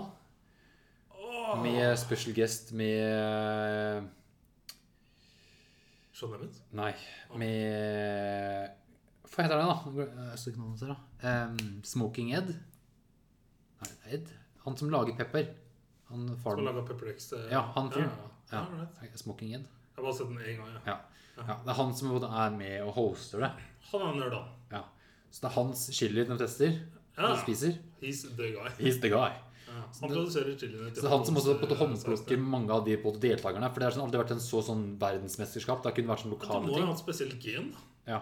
Speaker 2: åh.
Speaker 1: Med special guest eh, med
Speaker 2: Sean Evans?
Speaker 1: Nei. Med Hva heter den, da? eh, Jeg husker ikke navnet hans her, da. Em, Smoking Ed? Nei, Ed? Han som lager pepper. Han
Speaker 2: Som
Speaker 1: faren
Speaker 2: laga Pepperdex.
Speaker 1: Ja, han fyren.
Speaker 2: eh, Ja.
Speaker 1: Ja.
Speaker 2: all right.
Speaker 1: Smoking Ed.
Speaker 2: Jeg har bare sett den én gang. Ja.
Speaker 1: Ja. ja. Det er han som på en måte er med og hoster det.
Speaker 2: Han er nerd, han.
Speaker 1: Ja. Så det er hans chili de tester
Speaker 2: Ja.
Speaker 1: og spiser.
Speaker 2: He's the
Speaker 1: <laughs>
Speaker 2: guy.
Speaker 1: He's the guy.
Speaker 2: Ja. Han produserer chilien
Speaker 1: Så det er han som også på en
Speaker 2: eh,
Speaker 1: måte håndplukker mange av de på en måte deltakerne. For det har sånn, aldri vært en så sånn verdensmesterskap. Det har kun vært sånn
Speaker 2: Du
Speaker 1: lokale
Speaker 2: må jo
Speaker 1: ting.
Speaker 2: ha et spesielt gen. da.
Speaker 1: Ja.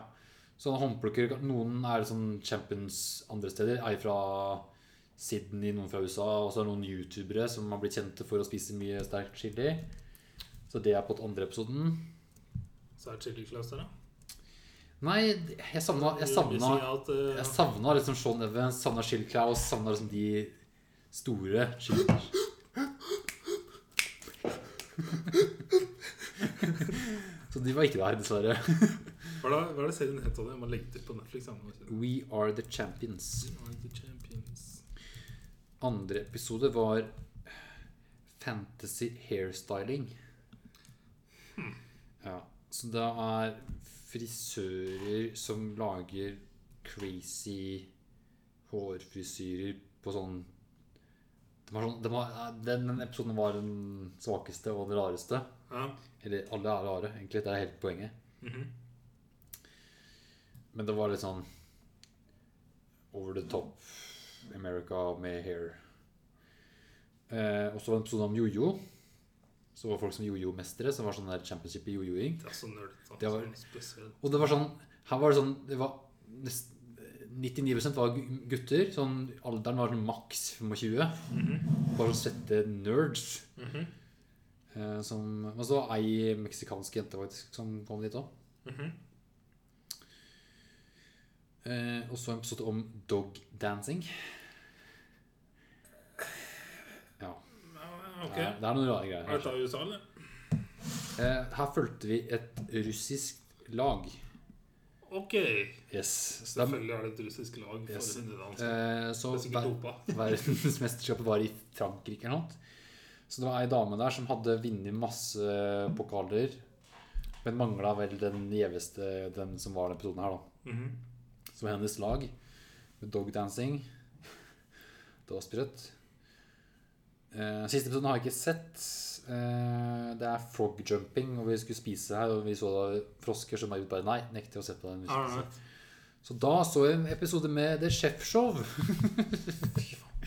Speaker 1: Så han håndplukker Noen er sånn champions andre steder. Ei fra Sydney, noen fra USA. Og så er det noen youtubere som har blitt kjente for å spise mye sterk chili. Så det er på den andre episoden.
Speaker 2: Så er Chili Claus der, da.
Speaker 1: Nei, jeg savna Jeg savna,
Speaker 2: eh,
Speaker 1: jeg savna liksom Sean Evans, savna Shill Claus, savna liksom de store Shill <laughs> Så de var ikke der, dessverre.
Speaker 2: Hva er det- hva er det serien het? av det? Jeg må legge til på Netflix. jeg må si det.
Speaker 1: We Are The Champions.
Speaker 2: You are the champions.
Speaker 1: Andre episode var Fantasy hairstyling. Ja, så det er frisører som lager crazy hårfrisyrer på sånn de har sånn, de har, den, den episoden var den svakeste og den rareste.
Speaker 2: Ja.
Speaker 1: Eller alle er rare, egentlig. Det er helt poenget.
Speaker 2: Mhm.
Speaker 1: Men det var litt sånn over the top America med hair. Eh, og så var det en episode om jojo. Så var folk som jojo-mestere, som var sånn der championship i jojoing.
Speaker 2: Det er så nerdete.
Speaker 1: Det var-
Speaker 2: sånn spesielt.
Speaker 1: Og det var sånn Her var det sånn det var nest, 99 var gu- gutter. Sånn, alderen var sånn maks 25. Bare sånn svette nerds.
Speaker 2: Mhm.
Speaker 1: Eh, som, og så ei meksikansk jente faktisk som kom dit òg.
Speaker 2: Mhm.
Speaker 1: Eh, og så en episode om dog dancing. Ja.
Speaker 2: Ja,
Speaker 1: Det,
Speaker 2: Ok.
Speaker 1: er, det er noen rare
Speaker 2: Er dette
Speaker 1: greier.
Speaker 2: av USA, eller?
Speaker 1: Eh, her fulgte vi et russisk lag.
Speaker 2: Ok.
Speaker 1: Yes. Så, det
Speaker 2: Selvfølgelig er det et russisk lag. for
Speaker 1: Yes.
Speaker 2: å finne det hans.
Speaker 1: er- eh, så
Speaker 2: Det er
Speaker 1: hver-
Speaker 2: sikkert dopa.
Speaker 1: <laughs> verdensmesterskapet var i Frankrike eller noe. Så det var ei dame der som hadde vunnet masse pokaler, men mangla vel den gjeveste, den som var i denne episoden her, da.
Speaker 2: Mhm.
Speaker 1: Så hennes lag med dogdancing Det var sprøtt. Eh, siste episoden har jeg ikke sett. Eh, det er frog jumping, og vi skulle spise her, og vi så da frosker som er ute bare Nei, nekter å se på den. vi skulle
Speaker 2: All right.
Speaker 1: spise. Så da så jeg en episode med The Chef Show.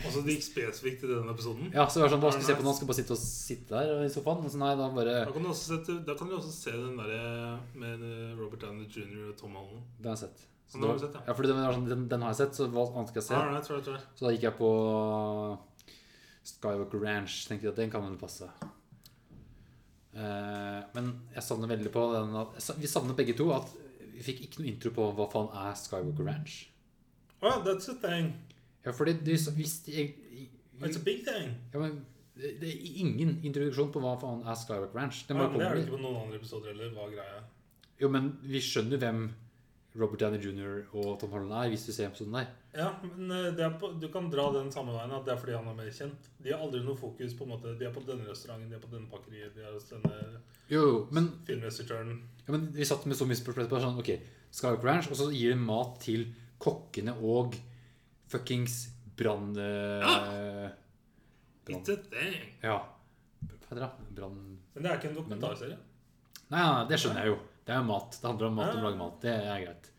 Speaker 2: Altså, det gikk spesifikt i denne episoden.
Speaker 1: Ja, så det var sånn, Hva skal vi se på nå? Skal vi bare sitte og sitte der i sofaen? Og så nei, da bare
Speaker 2: Da kan, du også sette, da kan du også se den derre med eh, Robert Downey jr. og Tom Holland.
Speaker 1: Den har jeg sett. Så
Speaker 2: Den har
Speaker 1: det
Speaker 2: du sett, ja.
Speaker 1: var- ja, fordi den, var sånn, den, den har jeg sett, så hva annet skal jeg se?
Speaker 2: All right, all right, all right.
Speaker 1: Så da gikk jeg på Skywalker Ranch. Tenkte jeg at den kan vel passe. Eh, men jeg savner veldig på den at, jeg sa- Vi savner begge to at vi fikk ikke noe intro på hva faen er Skywalker Ranch.
Speaker 2: Well, that's a thing.
Speaker 1: Ja, fordi du så- hvis de, i-
Speaker 2: It's a
Speaker 1: i-
Speaker 2: big thing.
Speaker 1: ja, men det det er ingen introduksjon på hva faen er Skywalker Ranch. Den
Speaker 2: Ja,
Speaker 1: bare
Speaker 2: men det er det
Speaker 1: kommer.
Speaker 2: ikke på noen andre episoder heller. Hva er greia?
Speaker 1: Jo, men vi skjønner hvem Robert Downey jr. og Tom Holland er hvis du ser episoden der.
Speaker 2: Ja, men eh, det er på, Du kan dra den samme veien, at det er fordi han er mer kjent. De har aldri noe fokus på en måte, De er på denne restauranten, de er på denne pakkeriet, de er hos denne
Speaker 1: Jo, jo, men
Speaker 2: filmregissøren.
Speaker 1: Ja, men Vi satt med så mye spørsmål etterpå. Sånn, ok, Skywalk Ranch, og så gir de mat til kokkene og fuckings brann... eh, brann-
Speaker 2: It's a thing.
Speaker 1: Ja. Hva heter det? Brann...
Speaker 2: Men det er ikke en dokumentarserie.
Speaker 1: Nei, nei, det skjønner jeg jo. Det er jo mat. Det handler om mat og
Speaker 2: Ja.
Speaker 1: å lage mat. Det er greit.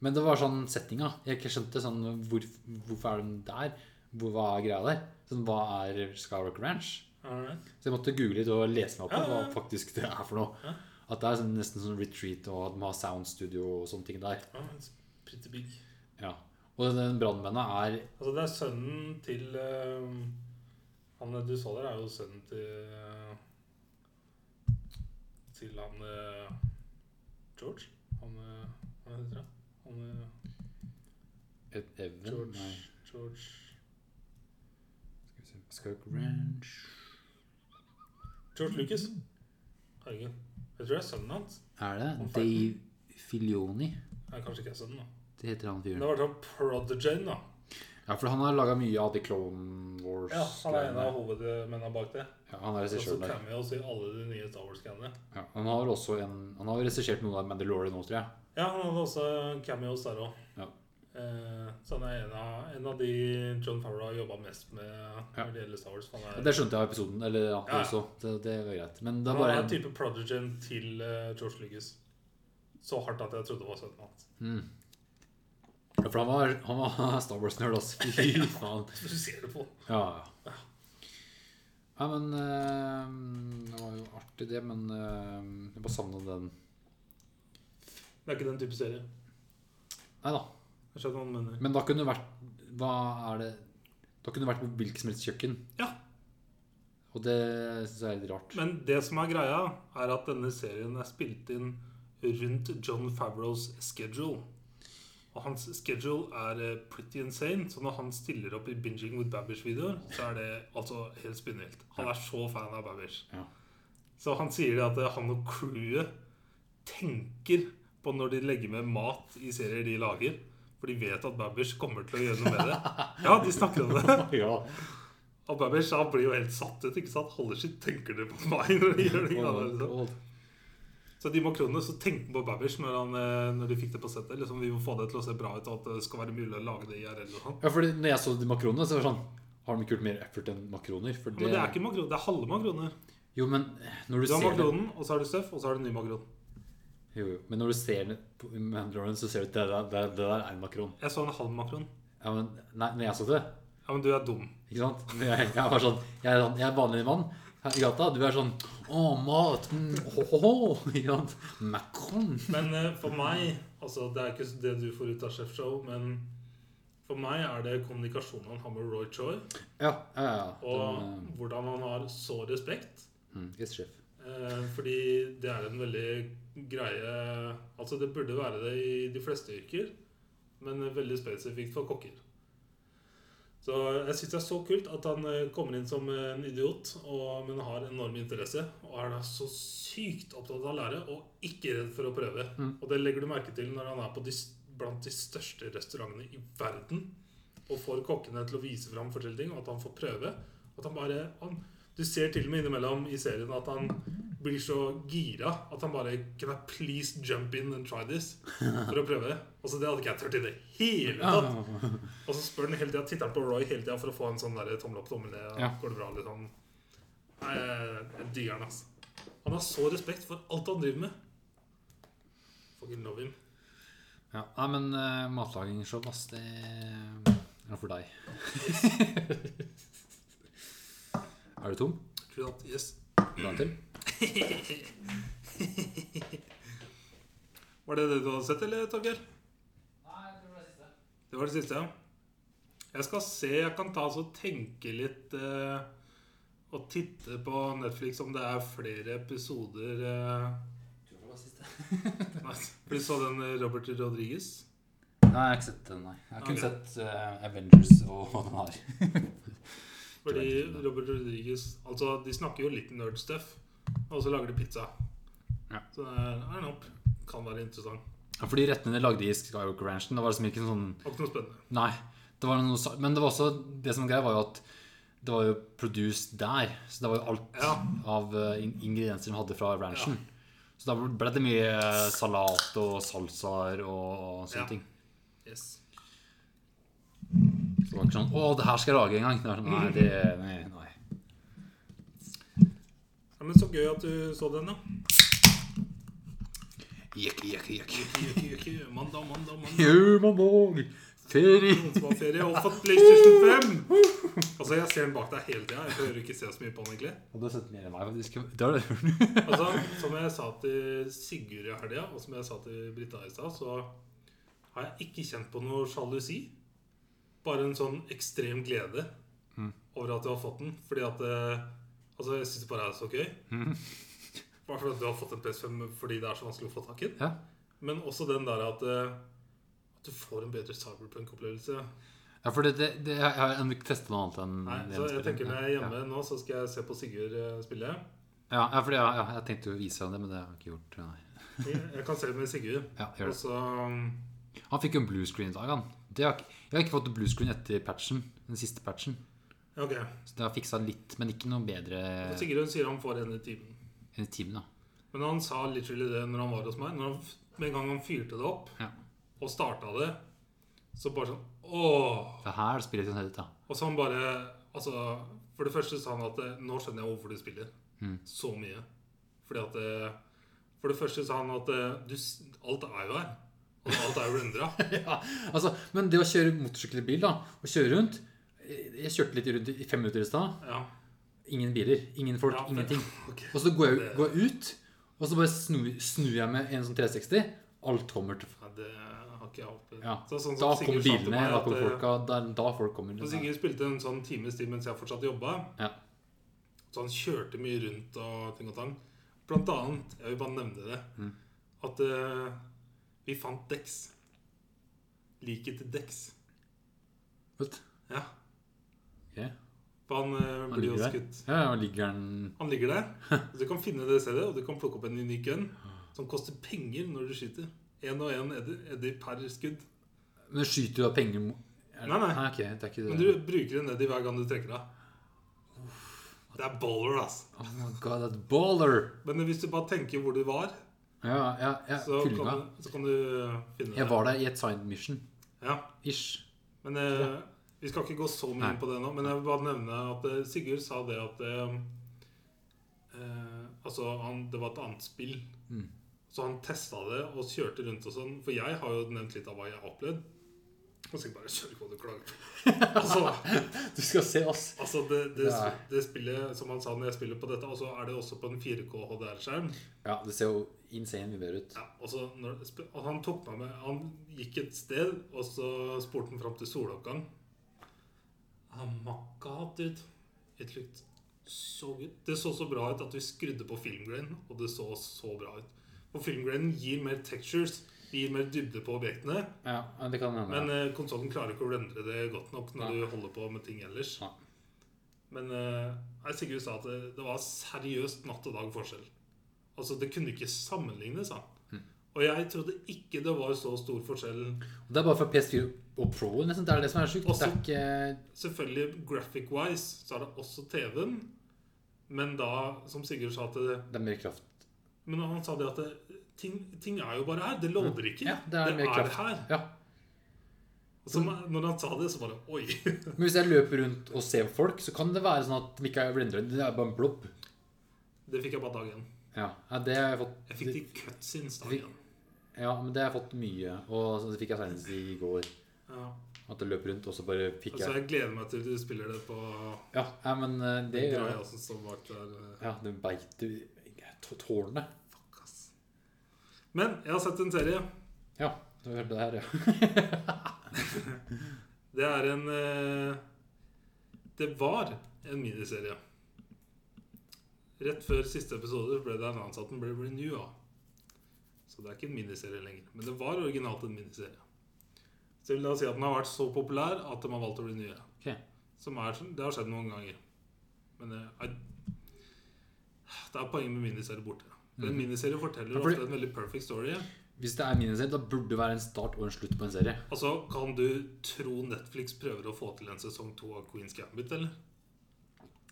Speaker 1: Men det var sånn settinga. Jeg ikke skjønte sånn hvor, Hvorfor er de der? Hvor, hva er greia der? Sånn, Hva er Skywalk Ranch?
Speaker 2: Alright.
Speaker 1: Så jeg måtte google litt og lese meg opp på
Speaker 2: Ja, ja,
Speaker 1: hva
Speaker 2: ja.
Speaker 1: faktisk det er for noe.
Speaker 2: Ja.
Speaker 1: At det er sånn, nesten sånn retreat, og at de har soundstudio og sånne ting der.
Speaker 2: Ja, it's pretty big.
Speaker 1: Ja. Og den brannmannen er
Speaker 2: Altså, det er sønnen til eh, Han du så der, er jo sønnen til eh, Til han eh, George? Han eh, Hva heter han? Han eh,
Speaker 1: et Even
Speaker 2: George
Speaker 1: Nei.
Speaker 2: George
Speaker 1: Skal vi se Skirk Ranch
Speaker 2: George Lucas. Herregud. Jeg tror det er sønnen hans.
Speaker 1: Er det?
Speaker 2: Om farten.
Speaker 1: Dave Filioni.
Speaker 2: Nei, kanskje ikke er sønnen, da.
Speaker 1: Det heter han
Speaker 2: Men
Speaker 1: fyren.
Speaker 2: det var han Prodigen, da.
Speaker 1: Ja, for han har laga mye av de Clone
Speaker 2: Ja, han er en
Speaker 1: Wars-greiene.
Speaker 2: av sånn hovedmennene bak det.
Speaker 1: Ja, han er
Speaker 2: Og så
Speaker 1: regissør der.
Speaker 2: kan vi også i alle de nye Star Wars-greiene.
Speaker 1: Ja, han har også en Han har regissert noe av Mandalorian nå, tror jeg.
Speaker 2: Ja, han hadde også cameos der òg.
Speaker 1: Ja.
Speaker 2: Eh, så han er en av, en av de John Farrow har jobba mest med når det gjelder Star Wars. for Han er,
Speaker 1: Det skjønte jeg av episoden. Eller ja, det
Speaker 2: Ja.
Speaker 1: også. Det, det var greit. Men det
Speaker 2: han
Speaker 1: er bare
Speaker 2: er
Speaker 1: en
Speaker 2: type prodigen til eh, George Lucas. Så hardt at jeg trodde det var sønnen hans. <laughs>
Speaker 1: mm. Ja, For han var, han var <laughs> Star Wars-nerd, altså. Fy faen.
Speaker 2: Du ser det på.
Speaker 1: Ja, ja. Nei, men eh, Det var jo artig, det, men eh, jeg bare savna den
Speaker 2: Det er ikke den type serie.
Speaker 1: Nei da.
Speaker 2: Jeg skjønner hva du mener.
Speaker 1: Men da kunne det vært Hva er det Da kunne det vært på hvilket som helst kjøkken.
Speaker 2: Ja.
Speaker 1: Og det syns jeg er litt
Speaker 2: <laughs>
Speaker 1: rart.
Speaker 2: Men det som er greia, er at denne serien er spilt inn rundt John Favreaus schedule. Og hans schedule er eh, pretty insane, så når han stiller opp i Binging with Babish-videoer, så er det altså helt spinnvilt. Han er så fan av Babish.
Speaker 1: Ja.
Speaker 2: Så han sier det at eh, han og crewet tenker på når de legger med mat i serier de lager, for de vet at Babish kommer til å gjøre noe med det. Ja, de snakker om det.
Speaker 1: Ja.
Speaker 2: Og Babish han blir jo helt satt ut. ikke sant? Holder sitt tenker det på meg. når de gjør det ikke annet, liksom.
Speaker 1: Og, og,
Speaker 2: Så de makronene, så tenkte på Babish når, han, eh, når de fikk det på settet. Liksom, vi må få det til å se bra ut, og at det skal være mulig å lage det IRL og sånn.
Speaker 1: ja, fordi når jeg så de makronene, så var det sånn Har de ikke gjort mer effort enn makroner? For det,
Speaker 2: Men det er ikke makron, det er halve makroner.
Speaker 1: Jo, men når du
Speaker 2: Du har
Speaker 1: ser det
Speaker 2: makronen, og så har du stuff, og så har du ny makron.
Speaker 1: Jo, jo. Men når du ser det på Mandalorian, så ser du at det der, det, det der er en makron.
Speaker 2: Jeg så en halv makron.
Speaker 1: Ja, men Nei, når jeg så det
Speaker 2: Ja, men du er dum.
Speaker 1: Ikke sant? Men Jeg, jeg var sånn Jeg er, sånn, jeg er vanlig mann her i gata. Du er sånn Å, mat! Mm, ho, ho, ho. Ikke sant? Macron.
Speaker 2: Men eh, for meg Altså, det er ikke det du får ut av Chef Show, men for meg er det kommunikasjonen han har med Roy Choi,
Speaker 1: Ja, ja, ja.
Speaker 2: og
Speaker 1: Den, eh,
Speaker 2: hvordan han har så respekt.
Speaker 1: mm, yes, sjef.
Speaker 2: Eh, fordi det er en veldig greie Altså, det burde være det i de fleste yrker, men veldig spesifikt for kokker. Så jeg syns det er så kult at han eh, kommer inn som en idiot, og, men har enorm interesse. Og er da så sykt opptatt av å lære, og ikke redd for å prøve.
Speaker 1: Mm.
Speaker 2: Og det legger du merke til når han er på de, s- blant de største restaurantene i verden, og får kokkene til å vise fram forskjellige ting, og at han får prøve. At han bare han, Du ser til og med innimellom i serien at han blir så gira at han bare Can I please jump in and try this?
Speaker 1: <laughs>
Speaker 2: For å prøve. Altså, det hadde ikke jeg turt i det hele
Speaker 1: Ja,
Speaker 2: tatt. Og så spør han hele tiden, titter han på Roy hele tida for å få en sånn der tommel opp, tommel ned.
Speaker 1: Ja.
Speaker 2: Går det bra, liksom? Nei, jeg digger han, ass. Han har så respekt for alt han driver med. Fucking love him.
Speaker 1: ja. Nei, men uh, matlagingsshow, ass, det er noe for <laughs> deg. er du tom?
Speaker 2: Tror du at, yes.
Speaker 1: Vil du ha en til?
Speaker 2: Var det det du hadde sett, eller, Torgeir?
Speaker 1: Nei, jeg tror det er siste.
Speaker 2: Det var det siste, ja. Jeg skal se, jeg kan ta og tenke litt eh, og titte på Netflix om det er flere episoder eh.
Speaker 1: Tror det var siste.
Speaker 2: <laughs> Nei, for Du så den eh, Robert Rodriguez?
Speaker 1: Nei, jeg har ikke sett den, nei. Jeg har kun
Speaker 2: Ok.
Speaker 1: sett eh, Avengers og hva den har.
Speaker 2: Fordi
Speaker 1: Ikke verdt det.
Speaker 2: Robert Rodriguez Altså, de snakker jo litt nerd stuff, og så lager de pizza.
Speaker 1: Ja.
Speaker 2: Så det er er en opp. Kan være interessant.
Speaker 1: Ja, fordi rettene de lagde i Skywalker Ranchen, det var liksom ikke sånn
Speaker 2: Det var ikke noe spennende.
Speaker 1: Nei. Det var noe, sa- men det var også det som var greia, var jo at det var jo produced der. Så det var jo alt
Speaker 2: Ja.
Speaker 1: av eh, in- ingredienser de hadde fra ranchen. Så da ble det mye eh, salat og salsaer og sånne
Speaker 2: Ja.
Speaker 1: ting.
Speaker 2: Yes.
Speaker 1: Så det var ikke sånn 'Å, det her skal jeg lage en gang'. Det var sånn, nei, det, nei, nei.
Speaker 2: Ja, men så gøy at du så den, da.
Speaker 1: Jekk, jekk, jekk.
Speaker 2: Juki, juki, juki. Mandag, mandag, mandag.
Speaker 1: Jo, man dog. Ferie.
Speaker 2: Noen som har ferie og fått PlayStation 5! Altså, jeg ser den bak deg hele tida. Jeg hører ikke se så mye på den, egentlig.
Speaker 1: Og du har sett mer enn meg, faktisk. Det har du.
Speaker 2: Altså, som jeg sa til Sigurd i helga, og som jeg sa til Britta i stad, så har jeg ikke kjent på noe sjalusi. Bare en sånn ekstrem glede
Speaker 1: Mm.
Speaker 2: over at du har fått den. Fordi at eh, Altså, jeg syns det bare er så gøy.
Speaker 1: Mhm.
Speaker 2: Bare fordi at du har fått en PS5 fordi det er så vanskelig å få tak i den.
Speaker 1: Ja.
Speaker 2: Men også den der at, eh, at du får en bedre cyberpunk-opplevelse.
Speaker 1: Ja, for det, det, det, jeg har ennå ikke testet noe annet enn
Speaker 2: Nei,
Speaker 1: Mm, det
Speaker 2: så
Speaker 1: ene
Speaker 2: jeg
Speaker 1: spillet.
Speaker 2: tenker når jeg er
Speaker 1: Ja.
Speaker 2: hjemme nå, så skal jeg se på Sigurd eh, spille.
Speaker 1: Ja, ja, fordi, ja, ja, jeg tenkte jo å vise ham det, men det har jeg ikke gjort. Nei.
Speaker 2: Jeg jeg kan se med Sigurd.
Speaker 1: Ja, gjør
Speaker 2: Og
Speaker 1: det.
Speaker 2: så um,
Speaker 1: Han fikk jo en blue screen i dag, han. Det har ikke, jeg har ikke fått blue screen etter patchen. Den siste patchen.
Speaker 2: ja, OK.
Speaker 1: Så det har fiksa litt, men ikke noe bedre
Speaker 2: Og Sigrun sier han får en i timen.
Speaker 1: enn i timen, da.
Speaker 2: Men han sa literally det når han var hos meg. Når han, med en gang han fyrte det opp
Speaker 1: Ja.
Speaker 2: og starta det, så bare sånn Åh!
Speaker 1: Det her spiller jeg sett ut, da.
Speaker 2: Og så han bare Altså, for det første sa han at eh, Nå skjønner jeg hvorfor du spiller
Speaker 1: Mm.
Speaker 2: så mye. Fordi at eh, For det første sa han at eh, du, s- alt er jo her. Altså, alt er jo rendra.
Speaker 1: <laughs> Ja, altså, men det å kjøre motorsykkel i bil, da, og kjøre rundt Jeg jeg kjørte litt rundt i fem minutter i stad.
Speaker 2: <laughs> Ja.
Speaker 1: Ingen biler, ingen folk,
Speaker 2: Ja, men-
Speaker 1: ingenting.
Speaker 2: ok.
Speaker 1: Og så går jeg,
Speaker 2: Det- <laughs>
Speaker 1: går jeg ut, og så bare snur, snur jeg med en sånn 360. Alt kommer til
Speaker 2: Nei, det har ikke jeg opplevd.
Speaker 1: ja.
Speaker 2: Så, sånn
Speaker 1: Da
Speaker 2: som
Speaker 1: kommer
Speaker 2: Sigurd sa til
Speaker 1: bilene,
Speaker 2: meg
Speaker 1: da
Speaker 2: at,
Speaker 1: kommer
Speaker 2: eh,
Speaker 1: folka. Da, da folk kommer.
Speaker 2: Så Sigurd spilte en sånn times tid mens jeg fortsatt jobba.
Speaker 1: Ja.
Speaker 2: Så han kjørte mye rundt og ting og tang. Blant annet, jeg vil bare nevne det,
Speaker 1: Mm.
Speaker 2: at eh, vi fant Dex. Liket til Dex.
Speaker 1: Vet du?
Speaker 2: Ja.
Speaker 1: Ok.
Speaker 2: For han eh,
Speaker 1: Han
Speaker 2: blir jo
Speaker 1: ligger der.
Speaker 2: skutt.
Speaker 1: Ja, ja, ligger den
Speaker 2: Han ligger der.
Speaker 1: <laughs>
Speaker 2: Så du kan finne det stedet, og du kan plukke opp en unik gun som koster penger når du skyter. Én og én eddy eddy per skudd.
Speaker 1: Men skyter du da penger mo-
Speaker 2: Nei, nei.
Speaker 1: Nei, ok, det er ikke det.
Speaker 2: Men du bruker en eddy hver gang du trekker av. Det er baller, ass.
Speaker 1: Oh my god, that's baller!
Speaker 2: Men hvis du bare tenker hvor du var,
Speaker 1: Ja, ja, ja.
Speaker 2: så
Speaker 1: Fyllinga.
Speaker 2: kan, du- så kan du eh, finne det.
Speaker 1: Jeg var der i et signed mission.
Speaker 2: Ja.
Speaker 1: Ish.
Speaker 2: Men eh, vi skal ikke gå så mye
Speaker 1: Nei.
Speaker 2: inn på det nå. Men jeg vil bare nevne at eh, Sigurd sa det at eh, eh, Altså, han, det var et annet spill.
Speaker 1: Mm.
Speaker 2: Så han testa det og kjørte rundt og sånn. For jeg har jo nevnt litt av hva jeg har opplevd. Og så bare kjør på, du klager. <laughs> altså,
Speaker 1: Du skal se oss.
Speaker 2: altså det, det,
Speaker 1: Nei.
Speaker 2: det spillet, som han sa når jeg spiller på dette, og så er det også på en 4K HDR-skjerm.
Speaker 1: Ja, det ser jo insane mye bedre ut.
Speaker 2: Ja, og, så når, sp- og han tok meg med Han gikk et sted, og så spurte han fram til soloppgang. Han makka hatt ut. It looked so good. Det så så bra ut at vi skrudde på filmgrain, og det så så bra ut. For filmgrainen gir mer textures, det gir mer dybde på objektene.
Speaker 1: Ja, men det kan hende.
Speaker 2: Men eh, konsollen klarer ikke å rendre det godt nok når
Speaker 1: Nei.
Speaker 2: du holder på med ting ellers.
Speaker 1: Nei.
Speaker 2: Men eh, nei, Sigurd sa at eh, det, det var seriøst natt og dag forskjell. Altså, det kunne ikke sammenlignes, sa han.
Speaker 1: Hm.
Speaker 2: Og jeg trodde ikke det var så stor forskjell.
Speaker 1: Det er bare for PS4 og Pro, nesten. Det er det som er sjukt. Det
Speaker 2: Også-
Speaker 1: er ikke
Speaker 2: Selvfølgelig, graphic-wise, så er det også TV-en. Men da, som Sigurd sa til det
Speaker 1: Det er mer kraft.
Speaker 2: Men han sa det at det, ting, ting er jo bare her. Det låder ikke.
Speaker 1: Hm. Ja, det er mer kraft. Hm.
Speaker 2: her.
Speaker 1: Ja.
Speaker 2: Og så, når han sa det, så bare Oi. <laughs>
Speaker 1: Men hvis jeg løper rundt og ser folk, så kan det være sånn at de ikke er blendere. Det er bare en blobb.
Speaker 2: Det fikk jeg bare dag én.
Speaker 1: Ja. ja, det har jeg fått
Speaker 2: Jeg fikk de cutscenes dag
Speaker 1: Fikk-
Speaker 2: én.
Speaker 1: Ja, men det har jeg fått mye. Og så det fikk jeg senest i går.
Speaker 2: Ja.
Speaker 1: At jeg løp rundt, og så bare fikk
Speaker 2: Altså,
Speaker 1: jeg
Speaker 2: jeg gleder meg til du spiller det på
Speaker 1: Ja, ja men eh, det gjør
Speaker 2: greia
Speaker 1: jeg.
Speaker 2: som eh, står bak der.
Speaker 1: Ja, det beit du tå- Tårene.
Speaker 2: Fuck, ass. Men jeg har sett en serie.
Speaker 1: Ja, du hørte det her, ja.
Speaker 2: Det er en eh, Det var en miniserie. Rett før siste episode ble det annonset at den ble renewa. Så det er ikke en miniserie lenger. Men det var originalt en miniserie. Så jeg vil da si at den har vært så populær at de har valgt å renue.
Speaker 1: Ok.
Speaker 2: Som er, sånn, det har skjedd noen ganger. Men eh, jeg, det er poenget med miniserie borte. For En miniserie forteller
Speaker 1: Mhm. Ja, fordi-
Speaker 2: ofte en veldig perfect story.
Speaker 1: Hvis det er miniserie, da burde det være en start og en slutt på en serie.
Speaker 2: Altså, Kan du tro Netflix prøver å få til en sesong to av Queen's Gambit, eller?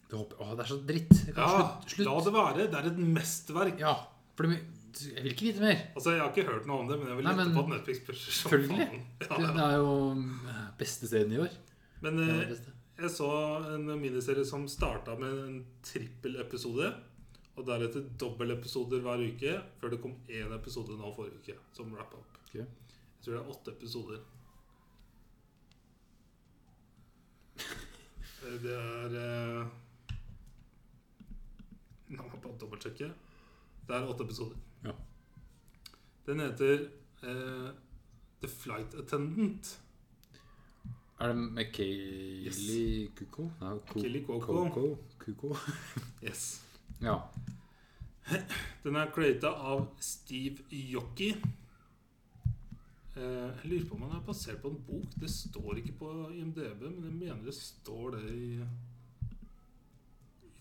Speaker 1: Det håper jeg. Åh, det er så dritt. Det kan
Speaker 2: Ja,
Speaker 1: slutt. slutt.
Speaker 2: la det være. Det er et mesterverk.
Speaker 1: Ja, for det, jeg vil ikke vite mer.
Speaker 2: Altså, Jeg har ikke hørt noe om det, men jeg vil
Speaker 1: Nei,
Speaker 2: gjette
Speaker 1: men-
Speaker 2: på at Netflix pusher som
Speaker 1: Selvfølgelig.
Speaker 2: faen.
Speaker 1: Det, det er jo eh, beste serien i år.
Speaker 2: Men
Speaker 1: Det er
Speaker 2: eh,
Speaker 1: det beste.
Speaker 2: jeg så en miniserie som starta med en trippelepisode. Og deretter dobbeltepisoder hver uke, før det kom én episode nå forrige uke. Som wrap-up.
Speaker 1: Ok.
Speaker 2: Jeg tror det er åtte
Speaker 1: <laughs>
Speaker 2: episoder. Eh, Det er eh, Nå må jeg bare dobbeltsjekke. Det er åtte episoder.
Speaker 1: Ja.
Speaker 2: Den heter eh, The Flight Attendant.
Speaker 1: Er det med Kaylee Kuko? Nei, Ko
Speaker 2: Kelly Coco.
Speaker 1: Coco. Kuko.
Speaker 2: Yes.
Speaker 1: Ja.
Speaker 2: Den er creata av Steve Yockey. Eh, Jeg lurer på om han er basert på en bok. Det står ikke på IMDb, men jeg mener det står det i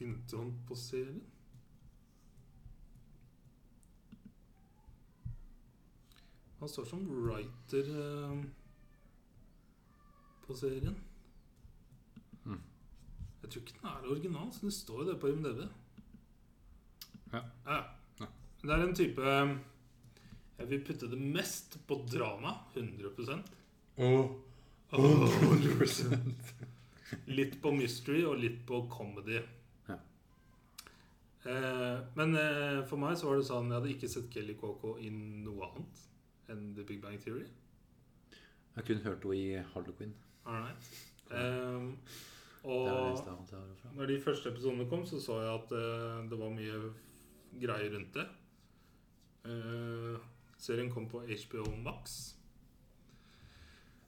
Speaker 2: introen på serien. Han står som writer eh, på serien.
Speaker 1: Mm.
Speaker 2: Jeg tror ikke den er original, så det står jo det på IMDb.
Speaker 1: Ja.
Speaker 2: Ja.
Speaker 1: Ja.
Speaker 2: Men Men det er en type Jeg vil putte det mest på drama. 100
Speaker 1: Oh,
Speaker 2: <laughs> Litt på mystery og litt på comedy.
Speaker 1: Ja.
Speaker 2: Eh, men eh, for meg så var det sånn Jeg hadde ikke sett Kelly Coco i noe annet enn The Big Bang Theory.
Speaker 1: Jeg har kun hørt henne i Harlequin.
Speaker 2: All right. Eh,
Speaker 1: Det er det
Speaker 2: og
Speaker 1: eneste jeg har hørt fra.
Speaker 2: når de første episodene kom, så så jeg at eh, det var mye greier rundt det. Eh, serien kom på HBO Max.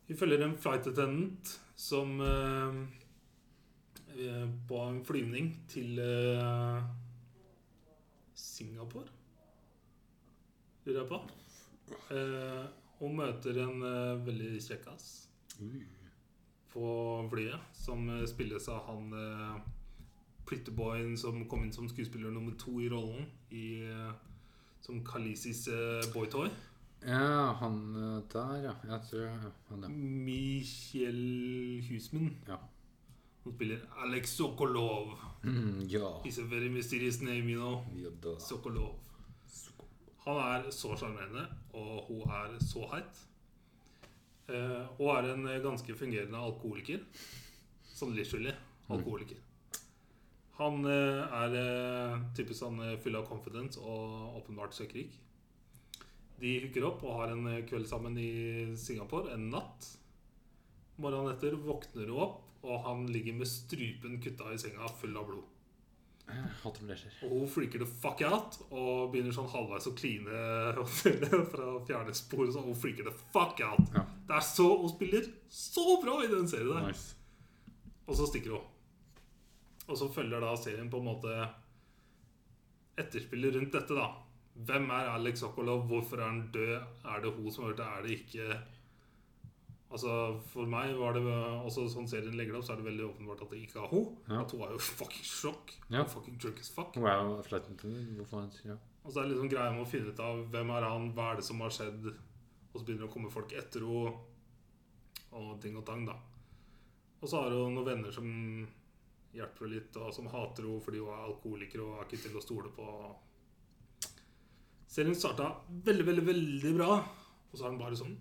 Speaker 2: Vi følger en flight attendant som eh, eh, på en flyvning til eh, Singapore, lurer jeg på. Eh, og møter en eh, veldig kjekkas på flyet, som eh, spilles av han eh, Prettyboyen som kom inn som skuespiller nummer to i rollen, i, eh, som Khaleesi's eh, boytoy.
Speaker 1: Ja, han eh, der, ja. Jeg tror han der.
Speaker 2: Michael Husman.
Speaker 1: Ja.
Speaker 2: Han spiller Alex Sokolov.
Speaker 1: Mm, ja.
Speaker 2: He's a very mysterious name, you know.
Speaker 1: Ja da.
Speaker 2: Sokolov. Han er så sjarmerende, og hun er så heit. Eh, og er en eh, ganske fungerende alkoholiker. Sånn livsskyldig alkoholiker. Han eh, er eh, typisk han eh, full av confidence og åpenbart søkkrik. De hooker opp og har en eh, kveld sammen i Singapore en natt. Morgenen etter våkner hun opp, og han ligger med strupen kutta i senga, full av blod.
Speaker 1: Jeg Hater når det skjer.
Speaker 2: Og hun freaker the fuck out og begynner sånn halvveis å kline hotellet fra fjerne spor. og Sånn, hun freaker the fuck out.
Speaker 1: Ja.
Speaker 2: Det er så, Hun spiller så bra i den serien der.
Speaker 1: Nice.
Speaker 2: Og så stikker hun. Og så følger da serien på en måte etterspillet rundt dette, da. Hvem er Alex Sokolov? Hvorfor er han død? Er det hun som har gjort det? Er det ikke Altså, For meg var det også sånn serien legger det opp, så er det veldig åpenbart at det ikke er hun.
Speaker 1: Ja.
Speaker 2: At hun er jo fucking sjokk.
Speaker 1: Ja.
Speaker 2: Fucking drunk as fuck.
Speaker 1: Wow, flight attendant. Hvor faen? Ja.
Speaker 2: Og så er det liksom greia med å finne ut av hvem er han, hva er det som har skjedd, og så begynner det å komme folk etter henne, og ting og tang, da. Og så har hun noen venner som hjelper henne litt, og som hater henne fordi hun er alkoholiker og er ikke til å stole på. Serien starta veldig, veldig, veldig bra, og så er den bare sånn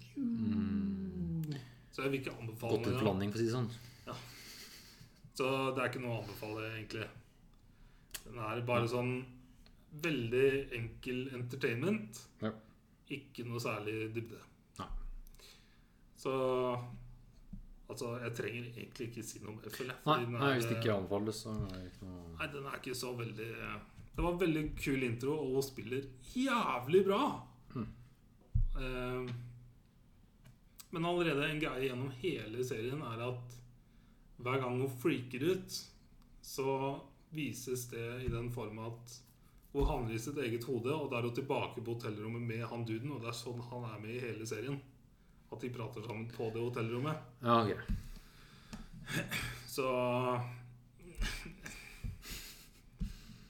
Speaker 2: Så jeg vil ikke anbefale
Speaker 1: Godt ut
Speaker 2: den, ja.
Speaker 1: blanding, for å si det sånn.
Speaker 2: Så det er ikke noe å anbefale, egentlig. Den er bare sånn veldig enkel entertainment.
Speaker 1: Ja.
Speaker 2: Ikke noe særlig dybde.
Speaker 1: Nei.
Speaker 2: Så Altså, jeg trenger egentlig ikke si noe mer, føler jeg.
Speaker 1: Nei,
Speaker 2: fordi den
Speaker 1: nei,
Speaker 2: er-
Speaker 1: hvis det ikke anbefales, så er det ikke noe
Speaker 2: Nei, den er ikke så veldig eh, Det var en veldig kul intro, og hun spiller jævlig bra. Eh, men allerede en greie gjennom hele serien er at hver gang hun freaker ut, så vises det i den form at hun havner i sitt eget hode, og da er hun tilbake på hotellrommet med han duden, og det er sånn han er med i hele serien. At de prater sammen på det hotellrommet.
Speaker 1: Ja, ok.
Speaker 2: Så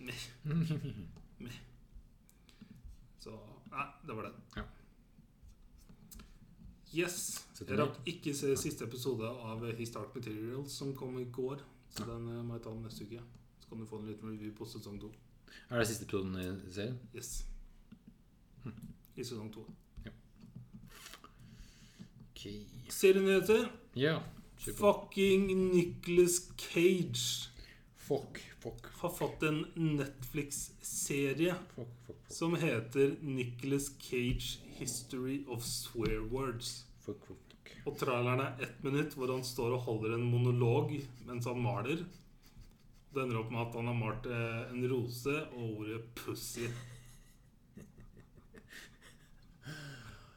Speaker 2: Meh. Meh. Så Nei, det var den.
Speaker 1: Ja.
Speaker 2: Yes.
Speaker 1: Sitter
Speaker 2: Jeg
Speaker 1: den
Speaker 2: rakk ikke se siste episode av Historic Materials som kom i går. Så den eh, må jeg ta neste uke. Så kan du få en liten review på sesong to.
Speaker 1: Er det siste episoden i serien?
Speaker 2: Yes. I sesong
Speaker 1: Hm.
Speaker 2: to.
Speaker 1: Ok.
Speaker 2: Serienyheter.
Speaker 1: Ja. kjør på.
Speaker 2: Fucking Nicholas Cage
Speaker 1: Fuck, fuck,
Speaker 2: har fått en Netflix-serie.
Speaker 1: fuck, fuck, fuck,
Speaker 2: som heter Nicholas Cage History of Swear Words.
Speaker 1: fuck, fuck, fuck.
Speaker 2: Og traileren er ett minutt hvor han står og holder en monolog mens han maler. Det ender opp med at han har malt eh, en rose og ordet 'pussy'.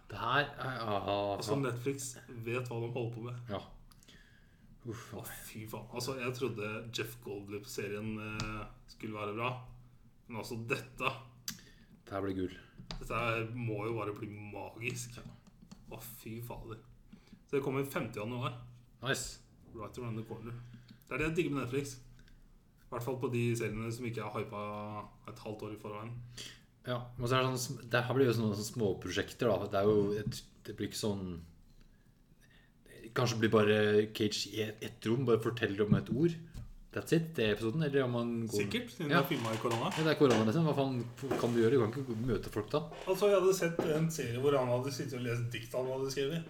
Speaker 1: Det her er ah,
Speaker 2: Altså,
Speaker 1: faen.
Speaker 2: Netflix vet hva de holder på med.
Speaker 1: Ja. Uff.
Speaker 2: Å, fy faen. Altså, jeg trodde Jeff Goldblip-serien eh, skulle være bra. Men altså, dette
Speaker 1: Det her blir gull.
Speaker 2: Dette her må jo bare bli magisk. Å, fy fader. Så det kommer 5. januar.
Speaker 1: Nice.
Speaker 2: Right around the corner. Det er det jeg digger med Netflix. I hvert fall på de seriene som ikke er hypa et halvt år i forveien.
Speaker 1: Ja, men så er det sånn sm- Det her blir jo sånne, sånne småprosjekter, da. Det er jo et, Det blir ikke sånn Kanskje det blir bare Cage i et- ett rom, bare forteller om et ord. That's it, det er episoden? Eller om man går
Speaker 2: Sikkert, siden
Speaker 1: Ja.
Speaker 2: jeg filma i korona.
Speaker 1: Ja, det er korona, liksom. Hva faen kan du gjøre? Du kan ikke møte folk da.
Speaker 2: Altså, Jeg hadde sett en serie hvor han hadde sittet og lest dikt han hadde skrevet.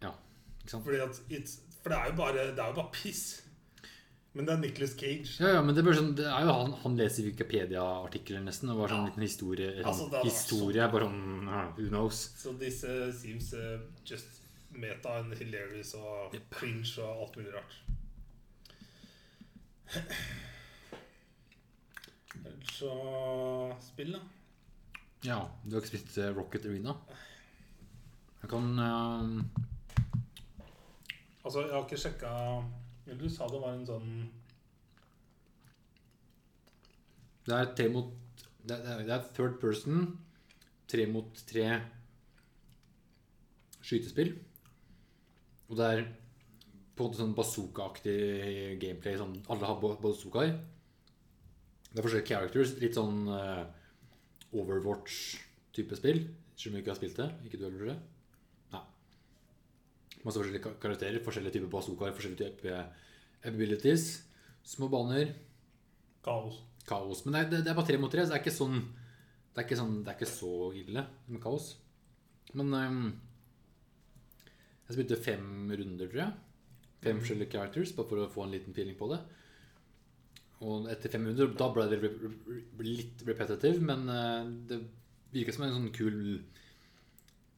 Speaker 1: Ja, ikke sant?
Speaker 2: Fordi at, it's, For det er jo bare, det er jo bare piss. Men det er Nicholas Cage.
Speaker 1: Ja, ja, men det, blir sånn, det er jo han, han leser Wikipedia-artikler nesten, og bare sånn
Speaker 2: Ja.
Speaker 1: liten historie. eller
Speaker 2: Altså,
Speaker 1: sånn
Speaker 2: det hadde vært
Speaker 1: historie er bare sånn, mm, who knows?
Speaker 2: Så disse seems eh, just meta and hilarious og
Speaker 1: Jepp.
Speaker 2: cringe og alt mulig rart. Ellers Så spill, da.
Speaker 1: Ja, du har ikke spilt eh, Rocket Arena? Jeg kan... eh,
Speaker 2: Altså, jeg har ikke sjekka Eller du sa det var en sånn
Speaker 1: det er tre mot... Det er, det er third person, tre mot tre skytespill. Og det er på en måte sånn bazooka-aktig gameplay. Sånn, alle har ba- bazookaer. Det er forskjellige characters. Litt sånn eh, Overwatch-type spill. Selv om jeg ikke har spilt det. Ikke du heller, tror jeg? Nei. Masse forskjellige ka- karakterer, forskjellige typer bazookaer, forskjellige typer abilities. Små baner.
Speaker 2: kaos.
Speaker 1: Kaos. Men det er, det er bare tre mot tre, så det er ikke sånn Det er ikke, sånn, det er ikke så ille med kaos. Men ehm, jeg spilte fem runder, tror jeg. Fem forskjellige characters, bare for å få en liten feeling på det. Og etter fem runder, da ble det rep- rep- litt repetitive, men eh, det virka som en sånn kul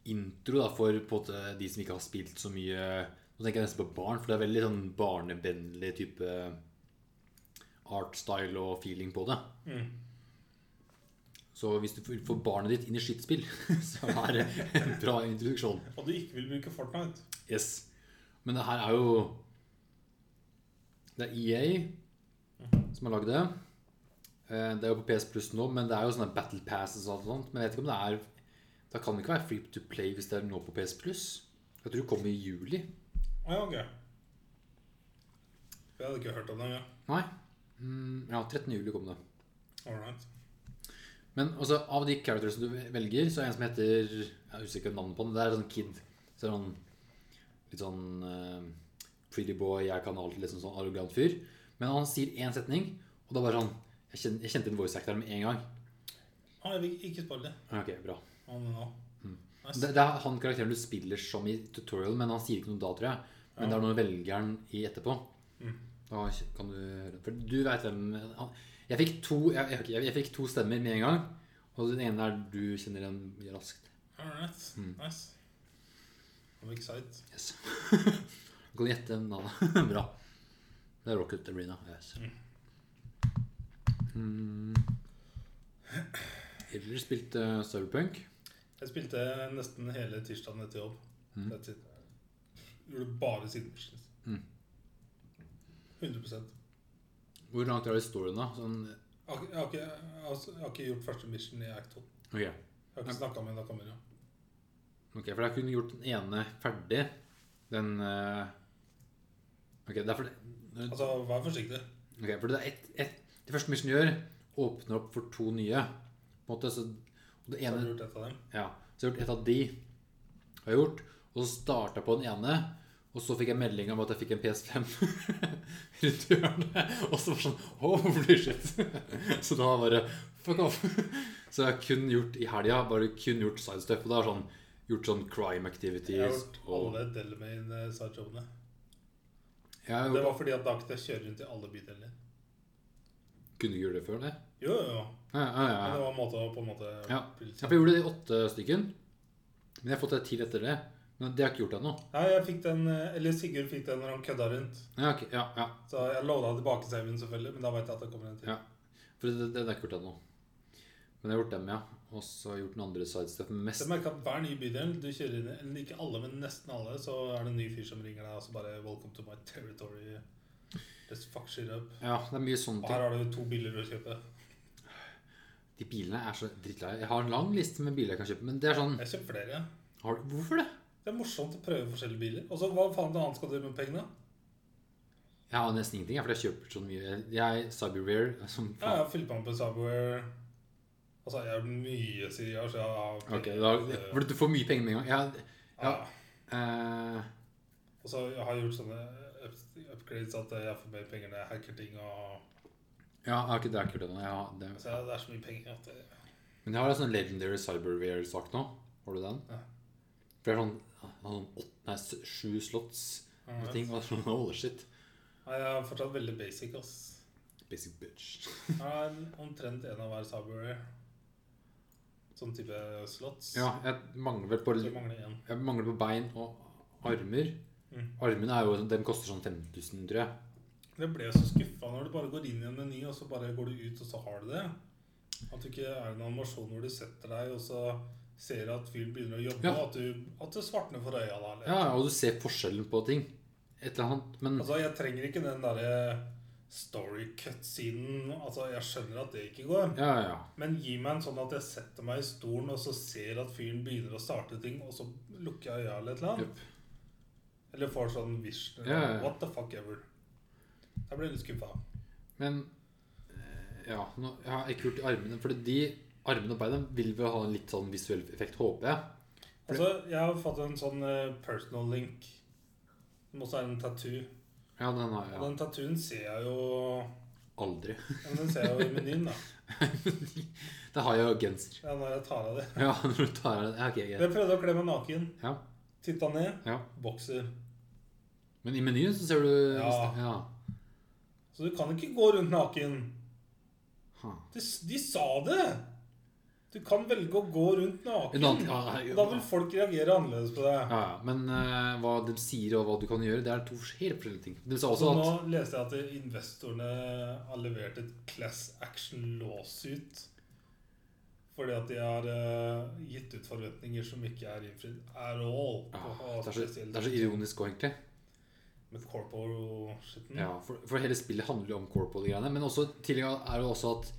Speaker 1: intro da, for på en måte de som ikke har spilt så mye Nå tenker jeg nesten på barn, for det er veldig sånn barnevennlig type art style og feeling på det.
Speaker 2: Mm.
Speaker 1: Så hvis du får- får barnet ditt inn i skittspill, <laughs> så er det en bra introduksjon.
Speaker 2: Og du ikke vil bruke Fortnite.
Speaker 1: Yes. Men det her er jo Det er EA som har lagd det. Eh, Det er jo på PS Plus nå, men det er jo sånne Battle Passes og alt sånt. Men jeg vet ikke om det er Da kan det ikke være free to play hvis det er nå på PS Plus. Jeg tror det kommer i juli.
Speaker 2: Å ja, ok. Jeg hadde ikke hørt om det engang.
Speaker 1: Nei. Mm, ja, 13. juli kom det.
Speaker 2: Alright.
Speaker 1: Men også, av de characters du velger, så er det en som heter Jeg husker ikke navnet på den. Det er sånn kid. Så er han litt sånn eh, pretty boy, jeg kan alt, liksom sånn arrogant fyr. Men han sier én setning, og da bare sånn Jeg, kjen, jeg kjente en voice actor med en gang.
Speaker 2: Ah, jeg vil ikke spille det.
Speaker 1: Ja, Ok, bra.
Speaker 2: Ah, men nå.
Speaker 1: Det,
Speaker 2: Nice.
Speaker 1: det er han karakteren du spiller som i tutorial, men han sier ikke noe da, tror jeg. Men det er noe du velger han i etterpå.
Speaker 2: Mm.
Speaker 1: Da kan du høre For du veit hvem han Jeg fikk to, jeg, jeg, jeg, jeg fikk to stemmer med en gang. Og den ene er du kjenner igjen raskt.
Speaker 2: Alright. Nice. I'm excited.
Speaker 1: Yes. <laughs> Du kan gjette navnet. <laughs> Bra. Det er Rocket Arena. Yes. Mm. Eller spilte uh, Cyberpunk.
Speaker 2: Jeg spilte nesten hele tirsdagen etter jobb. That's it. Gjorde bare siden missions. 100
Speaker 1: Hvor langt er det i storyen, da? Sånn,
Speaker 2: Jeg har, ikke- jeg, har ikke, jeg, har, jeg har ikke gjort første mission i Act 2.
Speaker 1: ok.
Speaker 2: Jeg har ikke snakka med Nakamura.
Speaker 1: ok, for jeg kunne gjort den ene ferdig. Den eh, Ok, det er fordi
Speaker 2: Altså, vær forsiktig.
Speaker 1: Ok, for det er ett et, Det første Mission gjør, åpner opp for to nye. På en måte, så, og det
Speaker 2: Så har
Speaker 1: ene
Speaker 2: du gjort et av dem.
Speaker 1: Ja, så jeg har gjort et av de har jeg gjort, og så startet jeg på den ene, og så fikk jeg melding om at jeg fikk en PS5 <laughs> rundt hjørnet, og så var det sånn, holy shit. <laughs> Så da bare, fuck off. <laughs> Så jeg har kun gjort i helgen, bare kun gjort side stuff, og da har jeg sånn, gjort sånn crime
Speaker 2: Jeg har
Speaker 1: activities.
Speaker 2: gjort
Speaker 1: Og,
Speaker 2: alle Delmain-sideshowene.
Speaker 1: jeg har
Speaker 2: Det
Speaker 1: jo,
Speaker 2: var fordi at da kunne jeg kjøre rundt i alle bydelene.
Speaker 1: kunne ikke gjøre det før det.
Speaker 2: Jo, jo, jo.
Speaker 1: Ja, ja, ja.
Speaker 2: Men det var en måte å på en måte
Speaker 1: Ja.
Speaker 2: bli litt-
Speaker 1: Ja, for Jeg gjorde det i åtte stykken, men jeg har fått det til etter det. Men det har jeg ikke gjort ennå.
Speaker 2: Nei, jeg fikk den eh, Eller Sigurd fikk den når han kødda rundt.
Speaker 1: Ja, ok, ja, ja.
Speaker 2: Så jeg loada tilbake saven, selvfølgelig, men da vet jeg at det kommer en til.
Speaker 1: Ja. For det, det, det er ikke gjort ennå. Men jeg har gjort dem, ja. Og så har jeg gjort den andre sidestepen
Speaker 2: Så
Speaker 1: mest.
Speaker 2: jeg merker at hver ny bydel du kjører inn i, eller ikke alle, men nesten alle, så er det en ny fyr som ringer deg og så bare 'Welcome to my territory'. Let's fuck shit up.
Speaker 1: Ja, det er mye sånne
Speaker 2: Og
Speaker 1: ting.
Speaker 2: her har du to biler å kjøpe.
Speaker 1: De bilene er så drittleie. Jeg har en lang liste med biler jeg kan kjøpe, men det er sånn
Speaker 2: Jeg kjøper flere. jeg.
Speaker 1: har, du- Hvorfor det?
Speaker 2: Det er morsomt å prøve forskjellige biler. Og så hva faen annet skal du gjøre med pengene?
Speaker 1: Jeg har nesten ingenting, jeg, for jeg kjøper så mye. Jeg Cyberware som
Speaker 2: Ja, jeg
Speaker 1: faen.
Speaker 2: har fylt meg på Subware. Altså, jeg har mye sider, så jeg har eh,
Speaker 1: Ok, da For du får mye penger med en gang. Jeg,
Speaker 2: ja.
Speaker 1: ja, eh,
Speaker 2: Og så har jeg gjort sånne up- upgrades at jeg får mer penger når jeg hacker ting. og...
Speaker 1: Ja, jeg har ikke, det er ikke det nå. Jeg har, det,
Speaker 2: Så Det er så mye penger at det,
Speaker 1: men jeg har en sånn legendary cyberware-sak nå. Har du den?
Speaker 2: Ja.
Speaker 1: For det er sånn, jeg har sånn åtte, nei, s- sju slotts og ting. Og sånn, holy shit.
Speaker 2: Nei, Jeg er fortsatt veldig basic. ass.
Speaker 1: Basic bitch.
Speaker 2: Jeg har en- omtrent en av hver cyberware. Sånn type slots.
Speaker 1: Ja, jeg mangler vel på
Speaker 2: Så mangler jeg en.
Speaker 1: Jeg mangler på bein og armer. Armene er jo, de koster sånn 5000, tror jeg.
Speaker 2: Det ble jeg så skuffa når du bare går inn i en meny, og så bare går du ut, og så har du det. At det ikke er en animasjon hvor du setter deg, og så ser du at fyren begynner å jobbe,
Speaker 1: Ja.
Speaker 2: og at, du, at det svartner for øya da. Eller?
Speaker 1: Ja, Og du ser forskjellen på ting. Et eller annet. Men
Speaker 2: Altså, jeg trenger ikke den derre story cut-siden. Altså, jeg skjønner at det ikke går.
Speaker 1: ja, ja.
Speaker 2: Men gi meg en sånn at jeg setter meg i stolen og så ser at fyren begynner å starte ting, og så lukker jeg øya eller et eller
Speaker 1: ja.
Speaker 2: annet.
Speaker 1: Jupp.
Speaker 2: Eller får sånn vision.
Speaker 1: Ja, ja, ja.
Speaker 2: What the fuck ever. Jeg ble litt skuffa.
Speaker 1: Men eh, Ja, nå, jeg har ikke gjort armene. For de armene og beina vil vel ha en litt sånn visuell effekt, håper jeg.
Speaker 2: Altså, jeg har fått en sånn eh, personal link som også er en tattoo.
Speaker 1: Ja, den har
Speaker 2: Og
Speaker 1: jeg
Speaker 2: den tattooen ser jeg jo
Speaker 1: aldri. <laughs>
Speaker 2: ja, men Den ser jeg jo i menyen, da.
Speaker 1: Det har jeg jo genser.
Speaker 2: Ja, når jeg tar av det.
Speaker 1: Ja, <laughs> når du tar av den. Ja, ok, greit.
Speaker 2: Jeg prøvde å kle meg naken.
Speaker 1: Ja,
Speaker 2: Titta ned.
Speaker 1: ja.
Speaker 2: Bokser.
Speaker 1: Men i menyen så ser du
Speaker 2: Ja.
Speaker 1: ja.
Speaker 2: Så du kan ikke gå rundt naken.
Speaker 1: Ha.
Speaker 2: De, de sa det! Du kan velge å gå rundt
Speaker 1: En annen,
Speaker 2: naken.
Speaker 1: ja, ja,
Speaker 2: Da vil folk reagere annerledes på det.
Speaker 1: Ja, ja. Men eh, hva de sier og hva du kan gjøre, det er to helt forskjellige ting. De sa også
Speaker 2: Så nå
Speaker 1: at
Speaker 2: leste jeg at investorene har levert et class action lawsuit fordi at de har eh, gitt ut forventninger som ikke er innfridd at all.
Speaker 1: ja,
Speaker 2: på-
Speaker 1: Ah, det, er så, det er så ironisk òg, egentlig.
Speaker 2: Med corpo-skitten.
Speaker 1: Ja, for, for hele spillet handler jo om corpo og de greiene. Men også, i tillegg er det også at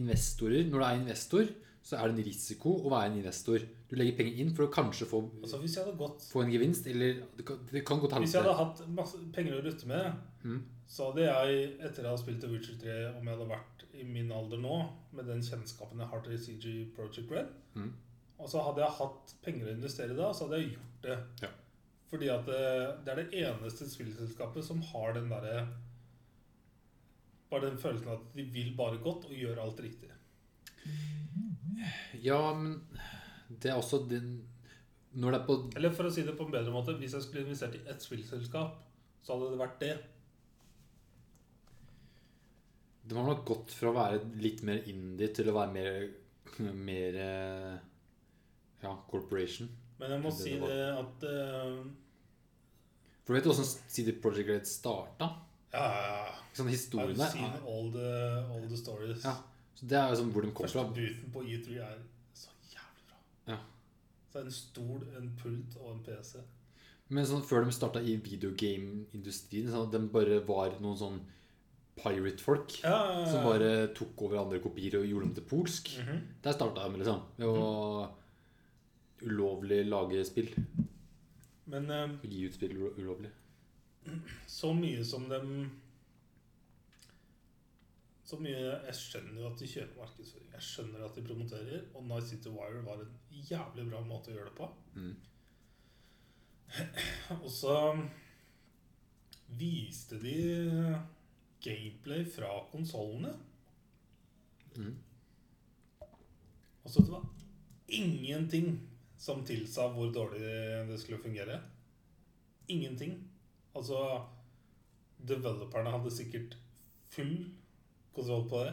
Speaker 1: investorer Når du er investor, så er det en risiko å være en investor. Du legger penger inn for å kanskje få,
Speaker 2: Altså, hvis jeg hadde gått
Speaker 1: få en gevinst, eller det kan, det kan gå til
Speaker 2: Hvis jeg
Speaker 1: helvete.
Speaker 2: hadde hatt masse penger å rutte med,
Speaker 1: Mm.
Speaker 2: så hadde jeg, etter jeg hadde spilt The Witcher 3, om jeg hadde vært i min alder nå, med den kjennskapen jeg har til CG Project Red,
Speaker 1: Mhm.
Speaker 2: og så hadde jeg hatt penger å investere i da, så hadde jeg gjort det.
Speaker 1: Ja.
Speaker 2: Fordi at det, det er det eneste spillselskapet som har den derre Bare den følelsen at de vil bare godt og gjør alt riktig.
Speaker 1: Ja, men det er også den Når det er på
Speaker 2: Eller for å si det på en bedre måte, hvis jeg skulle investert i ett spillselskap, så hadde det vært det.
Speaker 1: Det var nok gått fra å være litt mer indie til å være mer Mer eh, Ja, corporation.
Speaker 2: Men jeg må
Speaker 1: Det er det
Speaker 2: si
Speaker 1: det var.
Speaker 2: det at eh,
Speaker 1: For du vet jo åssen CD Project Red sånn starta?
Speaker 2: Ja, ja, ja.
Speaker 1: Ikke sant, historien
Speaker 2: I've
Speaker 1: der.
Speaker 2: seen
Speaker 1: er-
Speaker 2: all the, all the stories.
Speaker 1: Ja, så det er jo sånn hvor de kom
Speaker 2: Første
Speaker 1: fra.
Speaker 2: booten på E3 er så jævlig bra.
Speaker 1: Ja.
Speaker 2: Så er det en stol, en pult og en PC.
Speaker 1: Men sånn, før de starta i videogameindustrien, sånn at de bare var noen sånn pirate-folk
Speaker 2: Ja, ja, ja.
Speaker 1: som bare tok over andre kopier og gjorde dem til polsk.
Speaker 2: Mm. Mhm.
Speaker 1: Der starta de, liksom. Med å
Speaker 2: Mm.
Speaker 1: ulovlig lage spill.
Speaker 2: Men eh,
Speaker 1: Gi ut spill ulo- ulovlig.
Speaker 2: så mye som dem Så mye Jeg skjønner jo at de kjøper markedsføring. Jeg skjønner at de promoterer. Og Night City Wire var en jævlig bra måte å gjøre det på.
Speaker 1: Mm.
Speaker 2: <clears throat> Og så viste de gameplay fra konsollene.
Speaker 1: Mm.
Speaker 2: Og så det var ingenting som tilsa hvor dårlig det skulle fungere. Ingenting. Altså Developerne hadde sikkert full kontroll på det.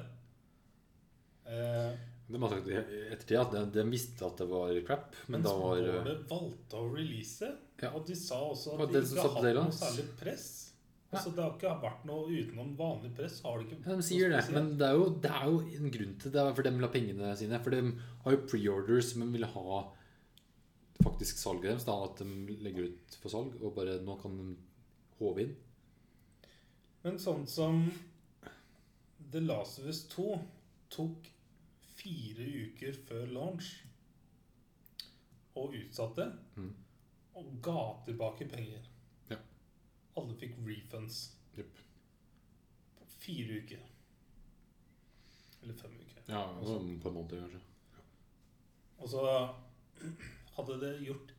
Speaker 2: Eh,
Speaker 1: De har sagt i ettertid at de, de visste at det var crap, men,
Speaker 2: men
Speaker 1: da var eh,
Speaker 2: Spore valgte å release,
Speaker 1: Ja.
Speaker 2: og de sa også
Speaker 1: Var
Speaker 2: at
Speaker 1: det
Speaker 2: de
Speaker 1: den som
Speaker 2: ikke
Speaker 1: satte
Speaker 2: har hatt
Speaker 1: deadlines?
Speaker 2: noe særlig press.
Speaker 1: Nei.
Speaker 2: Altså, det har ikke vært noe utenom vanlig press. Har det ikke
Speaker 1: ja, De
Speaker 2: noe
Speaker 1: sier det,
Speaker 2: spesielt.
Speaker 1: men det er jo, det er jo en grunn til det. For de vil ha pengene sine. For de har jo preorders, men vil ha faktisk salget deres. Da, at de legger ut for salg, og bare nå kan de håve inn.
Speaker 2: Men sånn som The Last of Us 2 tok fire uker før launch og utsatte,
Speaker 1: Mhm.
Speaker 2: og ga tilbake penger.
Speaker 1: Ja.
Speaker 2: Alle fikk refunds
Speaker 1: Jupp.
Speaker 2: på fire uker. Eller fem uker.
Speaker 1: Ja, altså, på en måned, kanskje.
Speaker 2: Og så hadde det gjort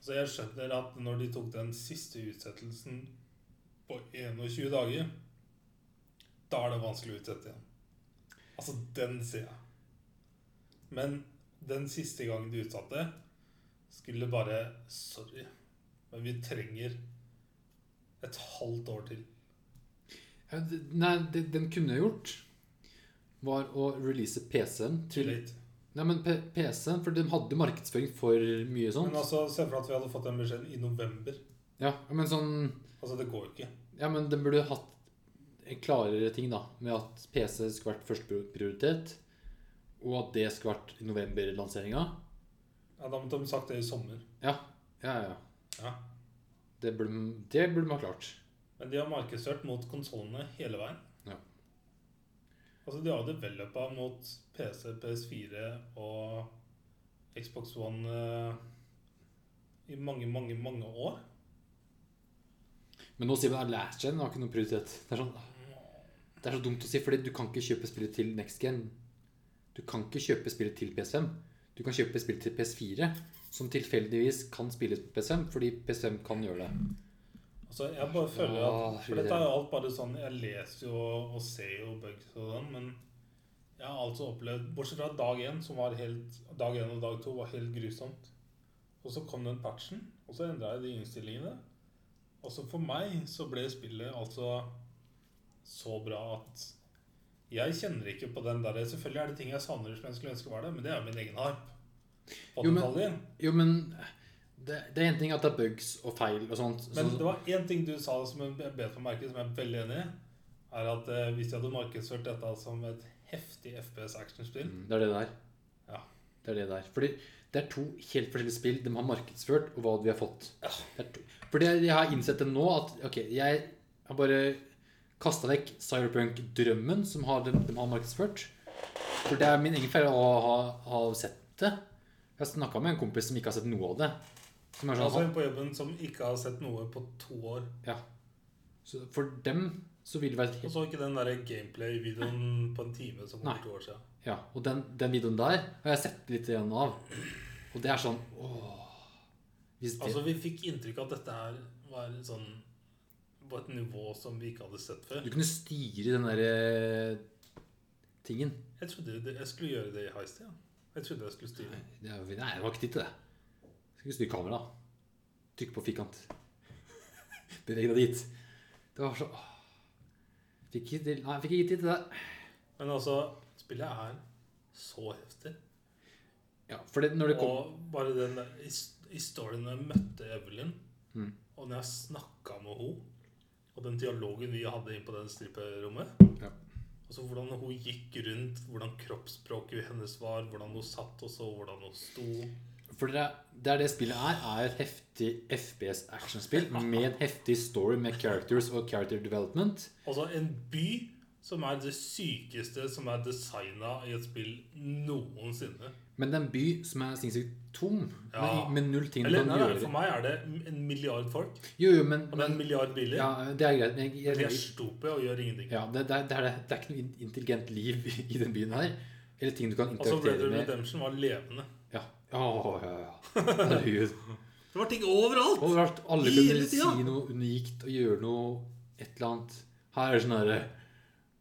Speaker 2: Så jeg skjønner at når de tok den siste utsettelsen på 21 dager, da er det vanskelig å utsette igjen. Altså, den ser jeg. Men den siste gangen du utsatte, skulle bare Sorry, men vi trenger et halvt år til.
Speaker 1: Ja, d- Nei, det den kunne jeg gjort, var å release PC-en
Speaker 2: Too
Speaker 1: til
Speaker 2: late.
Speaker 1: Nei, men P- PC-en, for de hadde markedsføring for mye sånt.
Speaker 2: Men altså, se for deg at vi hadde fått den beskjeden i november.
Speaker 1: Ja, men sånn
Speaker 2: Altså, det går jo ikke.
Speaker 1: Ja, men den burde hatt en klarere ting, da. Med at PC skulle vært førsteprioritet, og at det skulle vært i novemberlanseringa.
Speaker 2: Ja, Da måtte de sagt det i sommer.
Speaker 1: Ja, ja, ja.
Speaker 2: Ja.
Speaker 1: Det burde, de- det burde man ha klart.
Speaker 2: Men de har markedsført mot konsollene hele veien.
Speaker 1: Ja.
Speaker 2: Altså, de har developa mot PC, PS4 og Xbox One eh, i mange, mange, mange år.
Speaker 1: Men nå sier man at last gen har ikke noen prioritet. Det er, sånn, det er så dumt å si, fordi du kan ikke kjøpe spillet til next gen. Du kan ikke kjøpe spillet til PS5. Du kan kjøpe spillet til PS4, som tilfeldigvis kan spilles på PS5, fordi PS5 kan gjøre det.
Speaker 2: Altså, jeg bare føler
Speaker 1: Ja,
Speaker 2: at For dette er jo alt bare sånn Jeg leser jo og ser jo bugs og sånn, men jeg har altså opplevd Bortsett fra dag én, som var helt Dag én og dag to var helt grusomt. Og så kom den patchen, og så endra jeg de innstillingene. Og så for meg så ble spillet altså så bra at jeg kjenner ikke på den der Selvfølgelig er det ting jeg savner som jeg skulle ønske var det, men det er jo min egen harp. På
Speaker 1: Jo, men-
Speaker 2: detaljen.
Speaker 1: Jo, men det, det er en ting at det er bugs og feil og sånt.
Speaker 2: Men
Speaker 1: sånn-
Speaker 2: det var én ting du sa som jeg bet meg merke, som jeg er veldig enig i. Er at eh, hvis de hadde markedsført dette som et heftig FPS actionspill
Speaker 1: Mm, Det er det der.
Speaker 2: Ja.
Speaker 1: Det er det der. Fordi det er to helt forskjellige spill de har markedsført, og hva vi har fått.
Speaker 2: Ja.
Speaker 1: Det er to. Fordi jeg har innsett det nå at ok, jeg har bare kasta vekk Cyberpunk-drømmen som har, de, de har markedsført. For det er min egen feil å ha, ha sett det. Jeg snakka med en kompis som ikke har sett noe av det. Som er sånn,
Speaker 2: Altså en på jobben som ikke har sett noe på to år.
Speaker 1: ja. Så for dem så vil det være
Speaker 2: Og så ikke den der
Speaker 1: <laughs>
Speaker 2: gameplay-videoen på en time som kom
Speaker 1: Nei.
Speaker 2: for to år siden.
Speaker 1: Ja, og den, den videoen der har jeg sett litt igjen av. Og det er sånn åh. Hvis det,
Speaker 2: Altså Vi fikk inntrykk av at dette her var sånn på et nivå som vi ikke hadde sett før.
Speaker 1: du kunne styre den der eh, tingen.
Speaker 2: Jeg trodde det, jeg skulle gjøre det i heist. Ja. Jeg trodde jeg skulle styre.
Speaker 1: Det er, jo- nei, det var ikke tid til det. Skulle styre kameraet. Trykke på firkant. <laughs> Beveg deg dit. Det var så åh. Fikk ikke til- Nei, fikk ikke tid til det.
Speaker 2: Men altså, spillet er så heftig.
Speaker 1: Ja, for det, når det kom
Speaker 2: Og bare den der his- historien når jeg møtte Evelyn,
Speaker 1: Mm.
Speaker 2: og når jeg snakka med henne, og den dialogen vi hadde inn på den stripperommet
Speaker 1: Ja.
Speaker 2: Altså hvordan hun gikk rundt, hvordan kroppsspråket hennes var, hvordan hun satt og så, hvordan hun sto.
Speaker 1: For det er, det er det spillet er, er et heftig FPS actionspill med en heftig story med characters og character development.
Speaker 2: Altså en by som er det sykeste som er designa i et spill noensinne.
Speaker 1: Men det er en by som er sinnssykt tom,
Speaker 2: Ja.
Speaker 1: med, med null ting du
Speaker 2: Eller
Speaker 1: kan
Speaker 2: nei, nei, for
Speaker 1: gjøre.
Speaker 2: meg er det en milliard folk,
Speaker 1: Jo, jo, men,
Speaker 2: og det er
Speaker 1: men
Speaker 2: en milliard biler.
Speaker 1: ja, Det er greit. Men jeg,
Speaker 2: De er
Speaker 1: jeg,
Speaker 2: stupe og gjør ingenting.
Speaker 1: ja, det, det, er- det, er, det er ikke noe in- intelligent liv i, i den byen her. Eller ting du kan
Speaker 2: Altså Red
Speaker 1: interaktere
Speaker 2: Dead
Speaker 1: med.
Speaker 2: Redemption var levende.
Speaker 1: Ja. Åh, ja, ja. Herregud.
Speaker 2: Det var ting overalt!
Speaker 1: Overalt. Alle
Speaker 2: Hele
Speaker 1: kunne
Speaker 2: tida.
Speaker 1: si noe unikt og gjøre noe et eller annet. Her er det sånn herre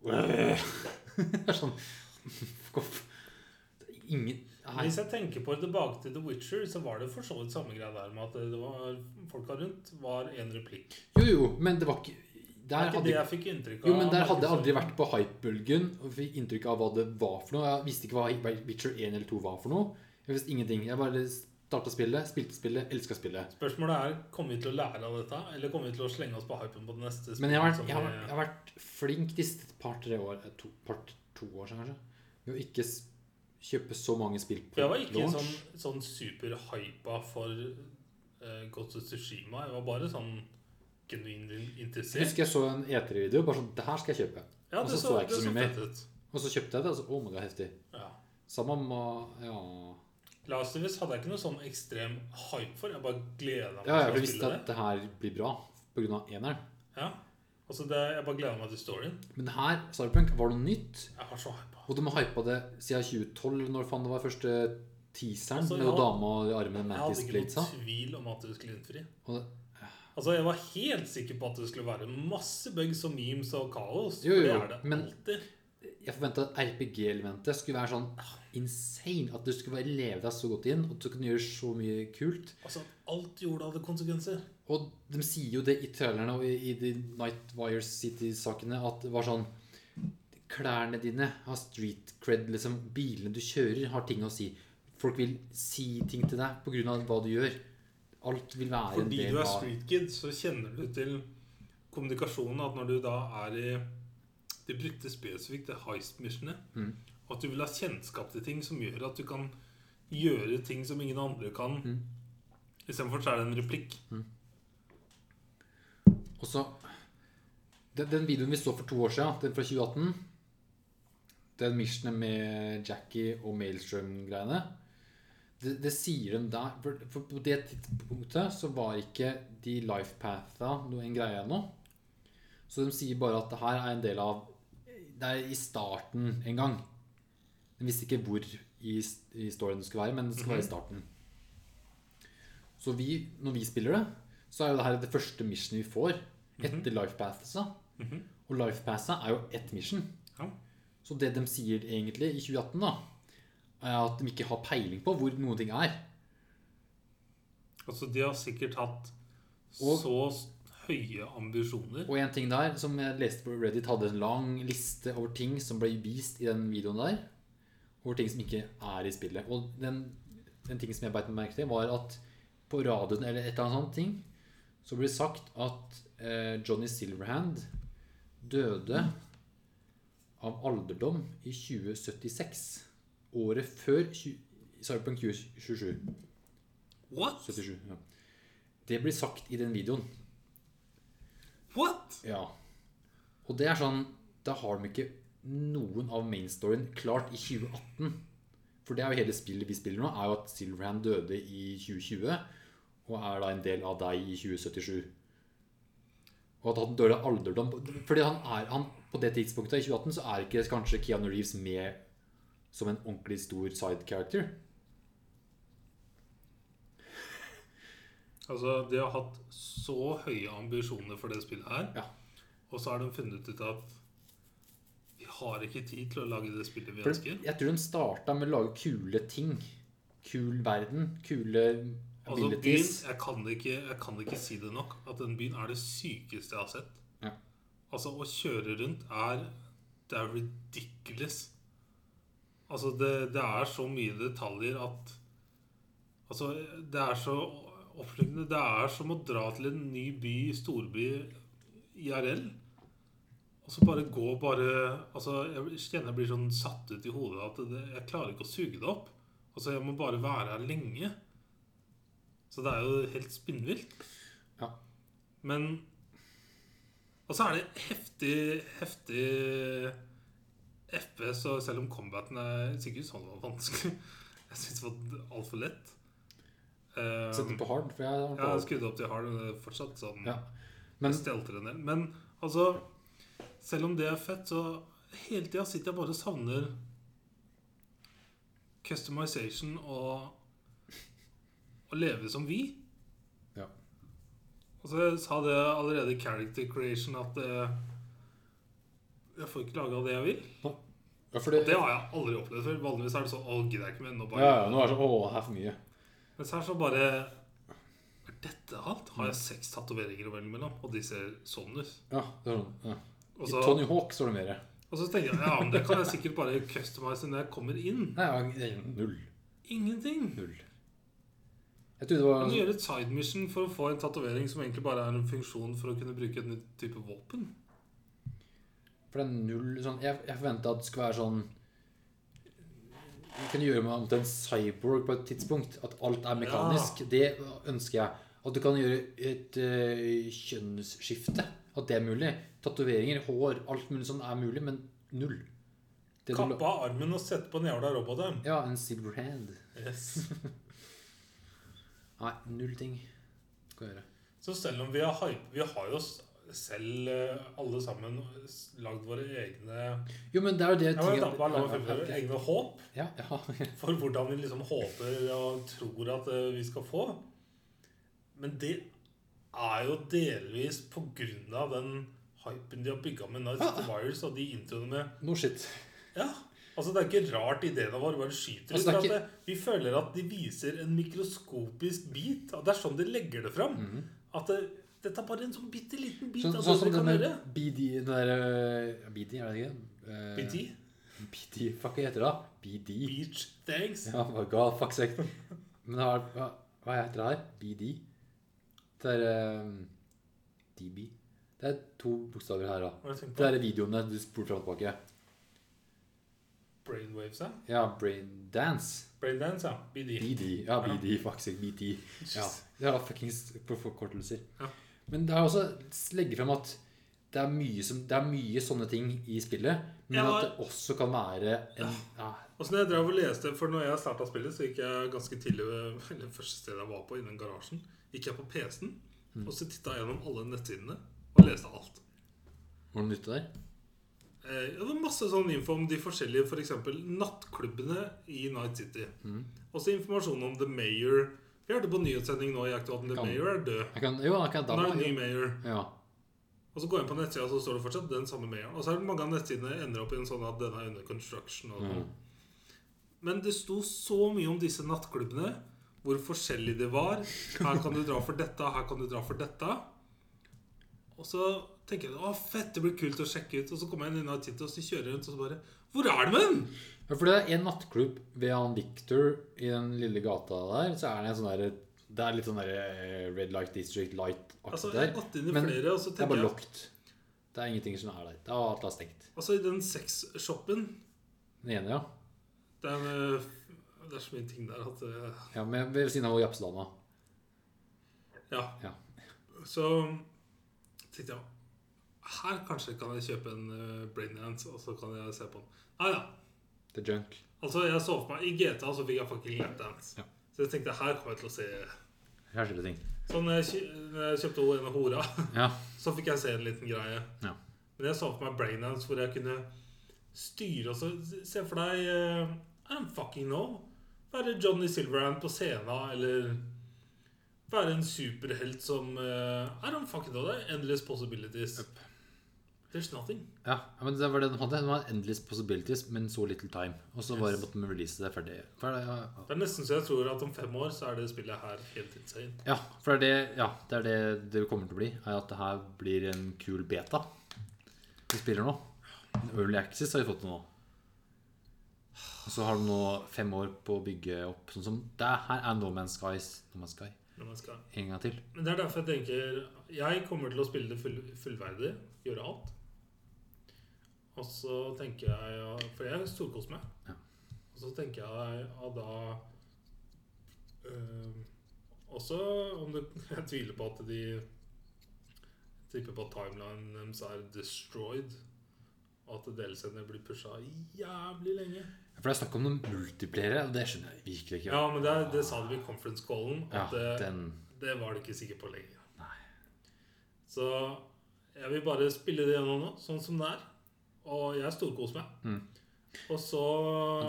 Speaker 1: <laughs> Det er sånn <laughs> Fuck off. Det er Ingen Nei.
Speaker 2: Hvis jeg tenker på det tilbake til The Witcher, så var det for så vidt samme greia der med at det var, folka rundt var én replikk.
Speaker 1: Jo, jo, men det var ikke
Speaker 2: Det
Speaker 1: Der
Speaker 2: er ikke
Speaker 1: hadde
Speaker 2: det jeg fikk inntrykk av.
Speaker 1: Jo, men der hadde jeg aldri vært på hypebølgen og fikk inntrykk av hva det var for noe. Jeg visste ikke hva Witcher 1 eller 2 var for noe. Jeg visste ingenting. Jeg bare starta spillet, spilte spillet, elska spillet.
Speaker 2: Spørsmålet er kommer vi til å lære av dette, eller kommer vi til å slenge oss på hypen på det neste
Speaker 1: Men jeg har vært,
Speaker 2: som
Speaker 1: jeg har,
Speaker 2: vi-
Speaker 1: jeg har vært flink de siste par-tre år eh, to, par, to år siden, kanskje. Med å ikke s- kjøpe så mange spill
Speaker 2: For
Speaker 1: på
Speaker 2: jeg var ikke
Speaker 1: launch.
Speaker 2: sånn, sånn superhypa for uh, Ghost of Tsushima. Jeg var bare sånn genuint
Speaker 1: Jeg
Speaker 2: interessert.
Speaker 1: husker jeg så en E3-video. Bare sånn Det her skal jeg kjøpe.
Speaker 2: Ja,
Speaker 1: og
Speaker 2: det
Speaker 1: så så jeg ikke
Speaker 2: det
Speaker 1: så mye mer.
Speaker 2: fett ut.
Speaker 1: Og så kjøpte jeg det, og så Å, men det er heftig.
Speaker 2: Ja.
Speaker 1: Samme med Ja.
Speaker 2: Last of Us hadde jeg ikke noe sånn ekstrem hype for. Jeg bare gleda meg
Speaker 1: Ja, ja, for
Speaker 2: til
Speaker 1: jeg
Speaker 2: å
Speaker 1: visste
Speaker 2: spille
Speaker 1: at
Speaker 2: det.
Speaker 1: det her blir bra pga. eneren.
Speaker 2: Ja. Altså, det, jeg bare gleda meg til storyen.
Speaker 1: Men her, Cyberpunk, var noe nytt.
Speaker 2: Jeg var så hypa.
Speaker 1: Og de har hypa det siden 2012, eller når faen det var første teaseren
Speaker 2: Altså,
Speaker 1: med
Speaker 2: ja.
Speaker 1: dama i armen
Speaker 2: Jeg
Speaker 1: Mantis
Speaker 2: hadde ikke
Speaker 1: Blades.
Speaker 2: noen tvil om at du skulle innfri.
Speaker 1: Og det,
Speaker 2: Altså, Jeg var helt sikker på at det skulle være masse bugs og memes og kaos.
Speaker 1: Jo, jo,
Speaker 2: for det
Speaker 1: jo,
Speaker 2: er det
Speaker 1: men-
Speaker 2: alltid.
Speaker 1: Jeg forventa at RPG-elementet skulle være sånn insane. At du skulle bare leve deg så godt inn, og at du kunne gjøre så mye kult.
Speaker 2: Altså, Alt jorda hadde konsekvenser.
Speaker 1: Og de sier jo det i trailerne og i, i de Night Wire City-sakene at det var sånn Klærne dine har street cred. liksom Bilene du kjører, har ting å si. Folk vil si ting til deg pga. hva du gjør. Alt vil være
Speaker 2: Fordi
Speaker 1: en
Speaker 2: du
Speaker 1: del
Speaker 2: er
Speaker 1: av
Speaker 2: street kid, så kjenner du til kommunikasjonen at når du da er i De brukte spesifikt det heist-missionet.
Speaker 1: Mm.
Speaker 2: At du vil ha kjennskap til ting som gjør at du kan gjøre ting som ingen andre kan.
Speaker 1: Mm.
Speaker 2: Istedenfor så er det en replikk.
Speaker 1: Og så den, den videoen vi så for to år siden, den fra 2018 Den missionen med Jackie og Maelstrom-greiene det, det sier de der for, for på det tidspunktet så var ikke de lifepatha noe- en greie ennå. Så de sier bare at det her er en del av Det er i starten en gang. De visste ikke hvor i, i storyen det skulle være, men det skulle være i starten. Så vi, når vi spiller det, så er jo det her det første missionet vi får etter Lifepathesa.
Speaker 2: Mhm.
Speaker 1: Og Lifepathesa er jo ett mission.
Speaker 2: Ja.
Speaker 1: Så det de sier egentlig i 2018, da, er at de ikke har peiling på hvor noen ting er.
Speaker 2: Altså, de har sikkert hatt
Speaker 1: Og-
Speaker 2: så s- høye ambisjoner.
Speaker 1: Og en ting der, som jeg leste på Reddit, hadde en lang liste over ting som ble vist i den videoen der. Over ting som ikke er i spillet. Og den, den ting som jeg beit meg merke til, var at på radioen eller et eller annet sånt ting, så ble det sagt at eh, Johnny Silverhand døde av alderdom i 2076. Året før 20, Cyberpunk 2027.
Speaker 2: What?
Speaker 1: 77, ja. Det blir sagt i den videoen.
Speaker 2: What?
Speaker 1: Ja. Og det er sånn Da har de ikke noen av mainstoryen klart i 2018. For det er jo hele spillet vi spiller nå, er jo at Silverhand døde i 2020. Og er da en del av deg i 2077. Og at han dør av alderdom Fordi han er han, På det tidspunktet, i 2018, så er ikke kanskje Keanu Reeves med som en ordentlig stor side character.
Speaker 2: Altså, de har hatt så høye ambisjoner for det spillet her.
Speaker 1: Ja.
Speaker 2: Og så har de funnet ut at vi har ikke tid til å lage det spillet vi
Speaker 1: For
Speaker 2: ønsker.
Speaker 1: jeg tror de starta med å lage kule ting. Kul verden. Kule
Speaker 2: Altså,
Speaker 1: abilities.
Speaker 2: byen, jeg kan, ikke, jeg kan ikke si det nok, at den byen er det sykeste jeg har sett.
Speaker 1: Ja.
Speaker 2: Altså, å kjøre rundt er Det er ridiculous. Altså, det, det er så mye detaljer at Altså, det er så oppslukende. Det er som å dra til en ny by, storby, IRL. Og så bare gå bare Altså, jeg kjenner jeg blir sånn satt ut i hodet at det, jeg klarer ikke å suge det opp. Altså, jeg må bare være her lenge. Så det er jo helt spinnvilt.
Speaker 1: Ja.
Speaker 2: Men Og så er det heftig, heftig FPS, og selv om combaten er sikkert sånn var vanskelig <laughs> Jeg syns det var altfor lett. Eh,
Speaker 1: Sett den på hard, for jeg har den på
Speaker 2: jeg har
Speaker 1: hard.
Speaker 2: skrudd opp til hard, men det er fortsatt sånn
Speaker 1: Ja. Men-
Speaker 2: jeg stelter en del. Men altså Selv om det er fett, så hele tida sitter jeg bare og savner customization og å leve som vi.
Speaker 1: Ja.
Speaker 2: Og så sa det allerede i character creation at eh, jeg får ikke laga det jeg vil.
Speaker 1: Ja, for det,
Speaker 2: Det har jeg aldri opplevd før. Vanligvis er det sånn Å, gidder jeg ikke mer. Nå
Speaker 1: ja,
Speaker 2: bare
Speaker 1: ja, nå er det sånn Å, her er for mye.
Speaker 2: Men så er det så bare Er dette alt? Har jeg seks tatoveringer å velge mellom? Og de ser sånn ut.
Speaker 1: Ja, det er sånn. Ja.
Speaker 2: Og
Speaker 1: I
Speaker 2: så,
Speaker 1: Tony Hawk står det mer.
Speaker 2: og så tenker jeg ja, men det kan jeg sikkert bare customize når jeg kommer inn.
Speaker 1: Nei, ja, det er sånn null.
Speaker 2: Ingenting.
Speaker 1: Null. Jeg trodde det
Speaker 2: Du
Speaker 1: var
Speaker 2: må gjøre et side mission for å få en tatovering som egentlig bare er en funksjon for å kunne bruke et nytt type våpen.
Speaker 1: For det er null sånn Jeg, jeg forventa at det skulle være sånn Jeg kunne gjøre meg om til en cyborg på et tidspunkt. At alt er mekanisk. Det ønsker jeg. At du kan gjøre et eh, kjønnsskifte. At det er mulig. Tatoveringer, hår, alt mulig sånn er mulig, men null. Det du la-
Speaker 2: Kappe av armen og sette på en jævla robot. ja.
Speaker 1: Ja, en silver hand.
Speaker 2: Yes.
Speaker 1: Nei, null ting. Skal jeg gjøre.
Speaker 2: Så selv om vi har hype Vi har jo s- selv eh, alle sammen s- lagd våre egne
Speaker 1: Jo, men det er jo det
Speaker 2: Ja, men da,
Speaker 1: tinget-
Speaker 2: bare lagd våre egne håp.
Speaker 1: Ja, ja. <laughs>
Speaker 2: for hvordan vi liksom håper og tror at eh, vi skal få. Men det er jo delvis på grunn av den hypen de har bygga med Nights of the Wires og de introene med
Speaker 1: No shit.
Speaker 2: Ja. Altså, Det er ikke rart ideene våre bare skyter ut.
Speaker 1: Altså, det er
Speaker 2: for at det- Vi føler at de viser en mikroskopisk bit. At det er sånn de legger det fram. At det, dette er bare en sånn bitte liten bit
Speaker 1: Mhm. Sånn,
Speaker 2: av
Speaker 1: sånn
Speaker 2: det
Speaker 1: som
Speaker 2: vi kan
Speaker 1: denne
Speaker 2: gjøre.
Speaker 1: BD Den der eh, BD, er det ikke? Eh,
Speaker 2: BT.
Speaker 1: BD, fuck, hva heter det? da? BD.
Speaker 2: Beach thanks.
Speaker 1: Ja, my god, fuck sake. Men hva, hva, hva heter det her? BD? Det er eh, DB. Det er to bokstaver her, da.
Speaker 2: Hva har du tenkt
Speaker 1: Det
Speaker 2: på?
Speaker 1: er videoene du spurte fram og tilbake.
Speaker 2: Brainwaves, ja.
Speaker 1: Ja, Brain Dance.
Speaker 2: Braindance, ja. BD.
Speaker 1: BD. Ja, BD, fuck sake. BT. Ja, det er fuckings for- forkortelser.
Speaker 2: Ja.
Speaker 1: Men det er også legge frem at det er, mye som, det er mye sånne ting i spillet, men
Speaker 2: Ja.
Speaker 1: at det også kan være en, ja.
Speaker 2: Og så Altså, når jeg drev og leste, for når jeg starta spillet, så gikk jeg ganske tidlig Eller første stedet jeg var på, innen garasjen, gikk jeg på PC-en.
Speaker 1: Mm.
Speaker 2: Og så titta jeg gjennom alle nettsidene og leste alt.
Speaker 1: Var det nytte der?
Speaker 2: Eh, ja, det var masse sånn info om de forskjellige, f.eks. eksempel nattklubbene i Night City.
Speaker 1: Mm.
Speaker 2: Også informasjon om The Mayor. Vi hørte på nyhetssending nå i Aktuelt om The
Speaker 1: Kan-
Speaker 2: Mayor er død.
Speaker 1: Jeg kan, jo, jeg kan
Speaker 2: Nå
Speaker 1: da
Speaker 2: er det en ny mayor.
Speaker 1: Ja.
Speaker 2: Og så går jeg inn på nettsida, så står det fortsatt den samme mailen. Og så er det mange av nettsidene ender opp i en sånn at den er under construction. Og sånn.
Speaker 1: Mhm.
Speaker 2: Men det sto så mye om disse nattklubbene, hvor forskjellige de var. Her kan du dra for dette, her kan du dra for dette. Og så tenker jeg å fett, det blir kult å sjekke ut. Og så kommer jeg inn i Night City, og så kjører jeg rundt, og så bare Hvor er det med den?!
Speaker 1: Ja, for det er en nattklubb ved han Victor i den lille gata der. Så er det en sånn derre Det er litt sånn derre eh, Red Light District Light-aktig
Speaker 2: Altså, jeg
Speaker 1: der.
Speaker 2: har gått inn i
Speaker 1: Men
Speaker 2: flere, og så
Speaker 1: Det er
Speaker 2: tenker
Speaker 1: bare
Speaker 2: jeg
Speaker 1: locked. Det er ingenting som er der. Det er alt er stengt.
Speaker 2: Altså, i den sexshoppen
Speaker 1: Den ene, ja.
Speaker 2: det er, med, det er så mye ting der at eh,
Speaker 1: ja men ved siden av japsedama.
Speaker 2: Ja.
Speaker 1: Ja.
Speaker 2: Så tenkte jeg Her kanskje kan jeg kjøpe en eh, Braindance, og så kan jeg se på den. Nei da.
Speaker 1: The Junk.
Speaker 2: Altså, jeg så for meg I GTA så fikk jeg fucking lapdance.
Speaker 1: Ja.
Speaker 2: Så jeg tenkte her kommer jeg til å se
Speaker 1: Her skjer det ting.
Speaker 2: Så når jeg, kjø- når jeg kjøpte en hora,
Speaker 1: Ja.
Speaker 2: så fikk jeg se en liten greie.
Speaker 1: Ja.
Speaker 2: Men jeg så for meg braindance hvor jeg kunne styre og så Se for deg eh, I don't fucking know. Være Johnny Silverhand på scenen, eller være en superhelt som eh, I don't fucking know. Det er endless possibilities. There's nothing.
Speaker 1: ja. men Det var det den hadde. Den var Endless Possibilities, men så little time. Og så bare
Speaker 2: Yes.
Speaker 1: måtte de release det ferdig. Ferdig, ja.
Speaker 2: Det er nesten så jeg tror at om fem år så er det spillet her helt insane.
Speaker 1: Ja, for det er det, ja, det er det det kommer til å bli. Er at det her blir en kul beta. Vi spiller nå. Early Access har vi fått nå. Og så har de nå fem år på å bygge opp. Sånn som det her er No Man's Skies. No Man's Sky.
Speaker 2: Når man skal
Speaker 1: En gang til.
Speaker 2: Men det er derfor jeg tenker Jeg kommer til å spille det full, fullverdig, gjøre alt. Og så tenker jeg ja, For jeg storkoser meg.
Speaker 1: Ja.
Speaker 2: Og så tenker jeg ja, da eh, Også om det <laughs> Jeg tviler på at de Tipper på at timelinen deres er destroyed. Og at delscenene blir pusha jævlig lenge.
Speaker 1: For det er snakk om noen multipliere, og det skjønner jeg virkelig ikke.
Speaker 2: Ja, men det, er- det sa de i conference callen. At eh,
Speaker 1: ja
Speaker 2: det,
Speaker 1: den
Speaker 2: det var du ikke sikker på lenger.
Speaker 1: Nei.
Speaker 2: Så jeg vil bare spille det gjennom nå, sånn som det er. Og jeg storkoser meg.
Speaker 1: Mm.
Speaker 2: Og så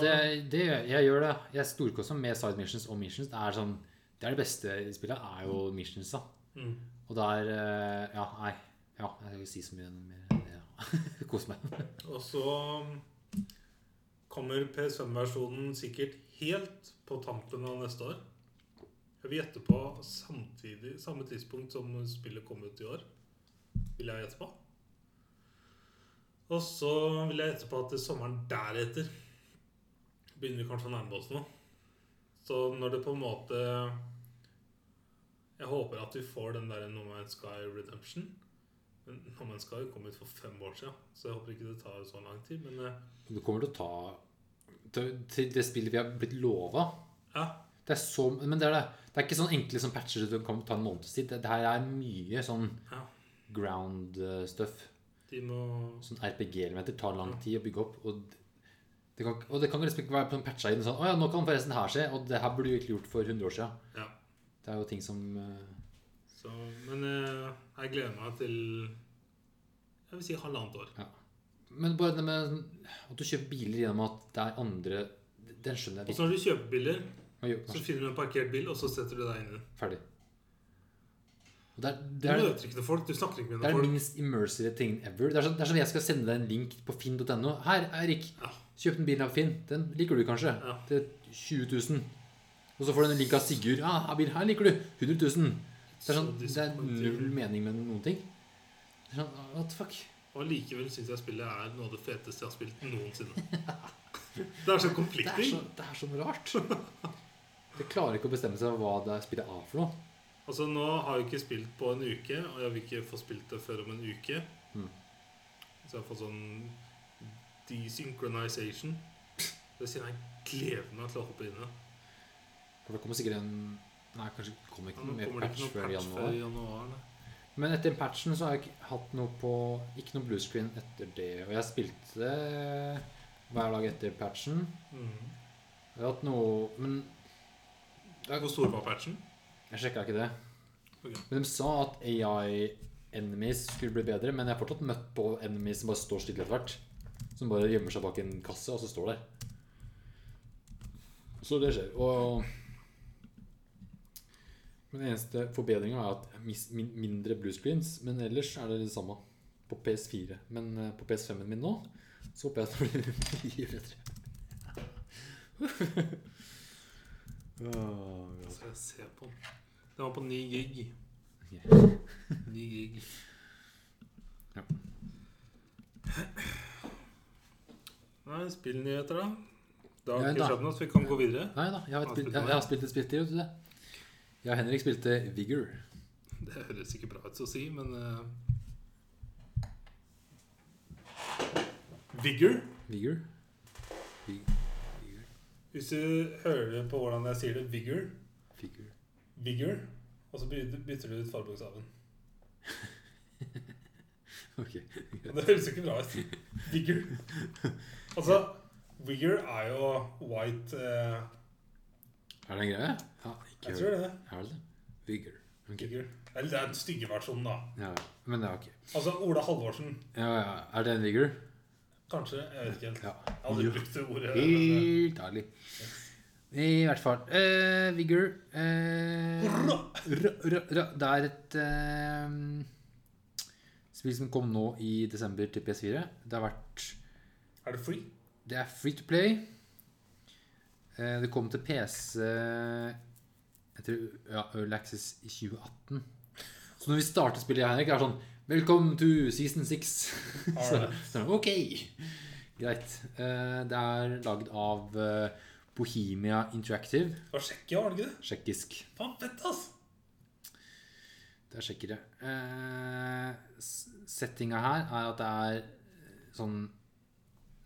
Speaker 1: det, det, Jeg gjør det. Jeg storkoser meg med side missions og missions. Det er sånn Det er det beste i spillet, er jo missions, da.
Speaker 2: mm.
Speaker 1: Og det er eh, Ja, nei. Ja, jeg skal ikke si så mye mer enn det. ja. <laughs> Kos meg.
Speaker 2: Og så um, kommer PS5-versjonen sikkert helt på tampen av neste år. Jeg vil gjette på samtidig, samme tidspunkt som spillet kom ut i år. Vil jeg gjette på. Og så vil jeg gjette på at til sommeren deretter begynner vi kanskje å nærme oss noe. Så når det på en måte Jeg håper at vi får den der No Man's Sky Redemption. Men No Man's Sky kom ut for fem år siden, så jeg håper ikke det tar så lang tid. Men eh,
Speaker 1: Det kommer til å ta til, til det spillet vi har blitt lova.
Speaker 2: ja,
Speaker 1: Det er så Men det er det. Det er ikke sånn enkle sånn patcher som kan ta en måneds tid. Det, det her er mye sånn
Speaker 2: ja
Speaker 1: ground eh, stuff.
Speaker 2: de må
Speaker 1: Sånn RPG-elementer tar lang tid å bygge opp. Og det- det kan, og det kan liksom ikke være sånn patcha inn sånn Å ja, nå kan forresten det her skje. Og det her burde du egentlig gjort for 100 år siden.
Speaker 2: Ja.
Speaker 1: Det er jo ting som eh,
Speaker 2: Så, men eh, jeg gleder meg til Jeg vil si halvannet år.
Speaker 1: Men bare det med sånn, at du kjøper biler gjennom at det er andre Den skjønner
Speaker 2: Og
Speaker 1: jeg
Speaker 2: så når du kjøper biler,
Speaker 1: ikke.
Speaker 2: så finner du en parkert bil, og så setter du deg inn i den.
Speaker 1: Ferdig. Og det er,
Speaker 2: Du
Speaker 1: det er,
Speaker 2: møter ikke noen folk, du snakker ikke med
Speaker 1: det er den
Speaker 2: noen folk.
Speaker 1: minst immersive tingen ever. Det er, sånn, det er sånn jeg skal sende deg en link på finn.no. Her, Eirik.
Speaker 2: Ja.
Speaker 1: Kjøp den bilen av Finn. Den liker du kanskje.
Speaker 2: Ja.
Speaker 1: Til 20 000. Og så får du en link av Sigurd. Ja, ah, bil her liker du. 100 000. Det er, sånn,
Speaker 2: Så
Speaker 1: det er
Speaker 2: disappointing.
Speaker 1: null mening med noen ting. Det er sånn, what the fuck?
Speaker 2: Og likevel syns jeg spillet er noe av det feteste jeg har spilt
Speaker 1: <laughs>
Speaker 2: noensinne. Det er så
Speaker 1: Det er
Speaker 2: conflicting.
Speaker 1: så, det er så rart.
Speaker 2: <laughs>
Speaker 1: Det klarer ikke å bestemme seg hva det er spillet er for noe.
Speaker 2: Altså, nå har jeg ikke spilt på en uke, og jeg vil ikke få spilt det før om en uke.
Speaker 1: Mm.
Speaker 2: Så jeg har fått sånn desynchronization. Det sier jeg gleder meg til å hoppe inn i.
Speaker 1: For det kommer sikkert en Nei, kanskje kommer ikke
Speaker 2: Ja, nå
Speaker 1: noe mer
Speaker 2: kommer det
Speaker 1: patch
Speaker 2: ikke noen
Speaker 1: før i
Speaker 2: patch
Speaker 1: januar.
Speaker 2: før i januar. nei.
Speaker 1: Men etter patchen så har jeg ikke hatt noe på Ikke noe bluescreen etter det. Og jeg spilte det hver dag etter patchen.
Speaker 2: Mm.
Speaker 1: Jeg har hatt noe Men
Speaker 2: Hvor stor var patchen?
Speaker 1: jeg sjekka ikke det.
Speaker 2: Ok.
Speaker 1: Men de sa at AI enemies skulle bli bedre, men jeg har fortsatt møtt på enemies som bare står stille etter hvert. Som bare gjemmer seg bak en kasse, og så står der. Så det skjer. Og Men den eneste forbedringa er at jeg mis- min- mindre blue screens, men ellers er det det samme på PS4. Men eh, på PS5-en min nå så håper jeg at det blir <laughs> mye bedre. Åh, ja.
Speaker 2: Skal jeg se på den. Den var på 9 gig. <laughs> 9 gig.
Speaker 1: Ja.
Speaker 2: Nei, spillnyheter, da. Det har
Speaker 1: Ja,
Speaker 2: ikke
Speaker 1: da.
Speaker 2: skjedd noe, så vi kan gå videre.
Speaker 1: Nei da, jeg har,
Speaker 2: Har
Speaker 1: et
Speaker 2: du
Speaker 1: spill,
Speaker 2: spilt
Speaker 1: jeg,
Speaker 2: noe?
Speaker 1: jeg har spilt et spill til, vet du det. Jeg og Henrik spilte Vigor.
Speaker 2: Det høres ikke bra ut å si, men eh, Vigor.
Speaker 1: Vigor. Vig- Vigor.
Speaker 2: Hvis du hører på hvordan jeg sier det, vigor,
Speaker 1: Vigor.
Speaker 2: vigor, og så bytter, bytter du ut forbokstaven.
Speaker 1: <laughs> Ok.
Speaker 2: Og Det høres jo ikke bra ut. Vigor. Altså, vigor er jo white eh,
Speaker 1: Er det en greie? Ja, ikke
Speaker 2: Jeg tror det.
Speaker 1: Er det det? Vigor. Ok.
Speaker 2: Vigor. Eller det er den stygge versjonen, da.
Speaker 1: Ja, ja. men det er ok.
Speaker 2: Altså Ola Halvorsen,
Speaker 1: Ja, ja. Er det en Vigor?
Speaker 2: kanskje. Jeg vet ikke helt.
Speaker 1: Ja.
Speaker 2: Jeg har aldri brukt det ordet. men,
Speaker 1: Helt ærlig. I hvert fall. Eh, Vigor eh,
Speaker 2: Hurra!
Speaker 1: ra- ra- ra- Det er et eh, spill som kom nå i desember til PS4. Det har vært
Speaker 2: eh, Er det free?
Speaker 1: Det er free to play. Eh, Det kom til PC jeg tror, ja, Early Access i 2018. Så når vi starter spillet, jeg og Henrik, er det sånn Velkommen to season six. <laughs> så,
Speaker 2: Alright.
Speaker 1: så, ok, greit. Eh, Det er lagd av eh, Bohemia Interactive.
Speaker 2: Det var Tsjekkia, var det ikke det?
Speaker 1: Tsjekkisk.
Speaker 2: Faen, fett, ass!
Speaker 1: Det er sjekkere. Eh, s- settinga her er at det er sånn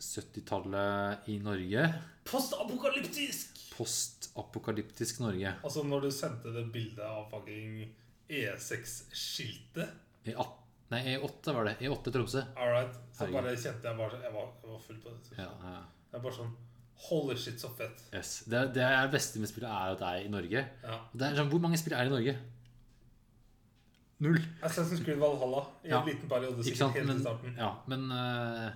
Speaker 1: 70-tallet i Norge.
Speaker 2: Postapokalyptisk!
Speaker 1: Postapokalyptisk Norge.
Speaker 2: Altså, når du sendte det bildet av fucking E E6-skiltet
Speaker 1: I at- nei, E8 var det. E8 Tromsø.
Speaker 2: All right. Så
Speaker 1: Herregud.
Speaker 2: bare kjente jeg bare Jeg var, jeg var full på det.
Speaker 1: Ja, ja.
Speaker 2: Jeg er bare sånn Holy shit, så fett.
Speaker 1: Yes. Det, det er det beste med spillet er at det er i Norge.
Speaker 2: Ja.
Speaker 1: Og Det er, sånn, hvor mange spill er det i Norge? Null.
Speaker 2: Assassin's Creed Valhalla i en
Speaker 1: Ja.
Speaker 2: liten periode.
Speaker 1: Ikke
Speaker 2: sikkert
Speaker 1: sant?
Speaker 2: helt i
Speaker 1: Men,
Speaker 2: starten
Speaker 1: ja, men eh,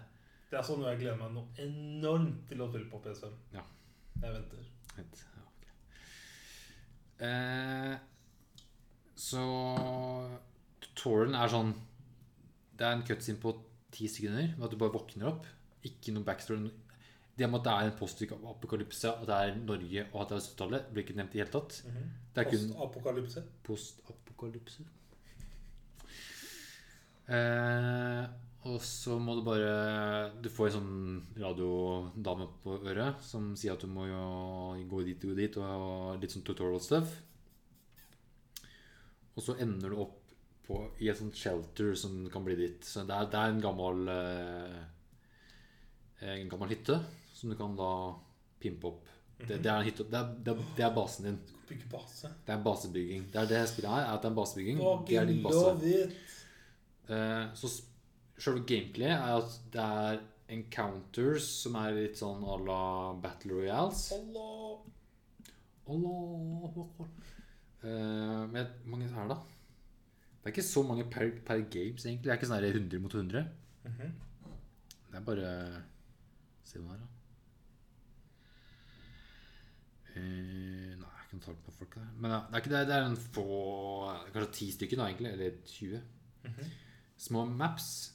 Speaker 2: Det er sånn jeg gleder meg noe enormt til å spille på PS5.
Speaker 1: Ja.
Speaker 2: Jeg venter.
Speaker 1: Vent. Ja, ok. Eh, så tutorialen er sånn Det er en cutscene på ti sekunder med at du bare våkner opp. Ikke noe backstory. Det med at det er en postapokalypse, at det er Norge og at det er 70-tallet, blir ikke nevnt i det hele tatt. Mhm. Det er kun
Speaker 2: Mhm. Postapokalypse.
Speaker 1: postapokalypse. Eh, og så må du bare Du får en sånn radiodame på øret som sier at du må jo gå dit og gå dit, og litt sånn tutorial stuff. Og så ender du opp på, i et sånt shelter som kan bli ditt. Så det er, det er en gammel eh, En gammel hytte som du kan da pimpe opp. Det, det, er, en hytte, det, er, det, er, det er basen din.
Speaker 2: Du skal bygge base.
Speaker 1: Det er basebygging. Det er det spillet her, er at det er basebygging. Mm, Det er
Speaker 2: Fucking
Speaker 1: din base.
Speaker 2: love it.
Speaker 1: Eh, så s- selve gameplayet er at det er encounters som er litt sånn à la Battle Royales.
Speaker 2: Hallo.
Speaker 1: Allahu Akbar. Eh, men hvor mange er det, da? Det er ikke så mange per, per games, egentlig. Det er ikke sånn her 100 mot 100. Det er bare Se hva det er, da. Eh, nei. Jeg kan ta på folk der. Men ja, det er ikke det, det er en få Kanskje ti stykker, da, egentlig. Eller 20. Små maps.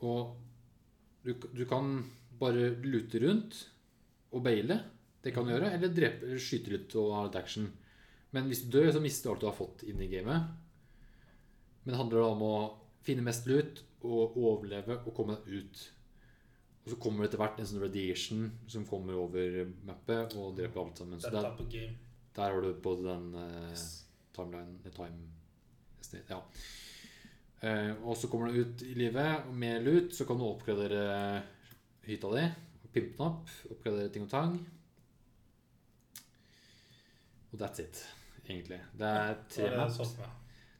Speaker 1: Og du, du kan bare lute rundt og baile. Det
Speaker 2: Mm.
Speaker 1: kan du gjøre. Eller drepe, eller skyte litt og ha litt action. Men hvis du dør, så mister du alt du har fått inn i gamet. Men det handler da om å finne mest loot og overleve og komme deg ut. Og så kommer det etter hvert en sånn radiation som kommer over mappet og dreper alt sammen. Så
Speaker 2: Dette
Speaker 1: det er
Speaker 2: er på game.
Speaker 1: der har du både den eh,
Speaker 2: Yes.
Speaker 1: timeline eh, time, Ja. Eh, og så kommer du ut i livet, og med lut så kan du oppgradere hytta di. Pimpe den opp, oppgradere ting og tang. Og that's it, egentlig. Det er
Speaker 2: Det
Speaker 1: tre
Speaker 2: sånn. var det jeg
Speaker 1: maps.
Speaker 2: så for meg.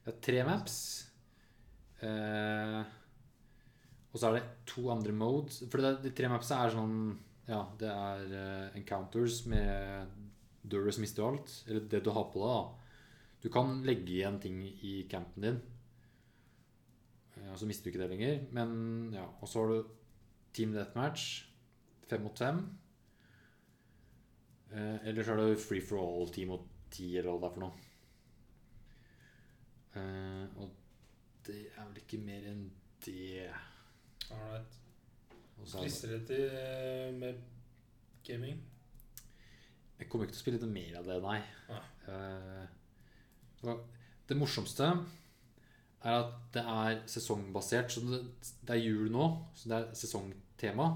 Speaker 1: Det er tre maps. Eh, og så er det to andre modes. For det, de tre mapsa er sånn Ja, det er eh, encounters med dør som mister alt. Eller det du har på deg, da. Du kan legge igjen ting i campen din. eh, Og så mister du ikke det lenger. Men ja, Og så har du Team Deathmatch. Fem mot fem. Eh, eller så er det free for all, ti mot ti, eller hva det er for noe. Eh, og det er vel ikke mer enn det.
Speaker 2: Alright.
Speaker 1: Og så er det-
Speaker 2: Frister det til eh, med gaming?
Speaker 1: jeg kommer ikke til å spille noe mer av det, nei.
Speaker 2: Nei.
Speaker 1: Eh, og det morsomste er at det er sesongbasert. Så det, det er jul nå, så det er sesongtema.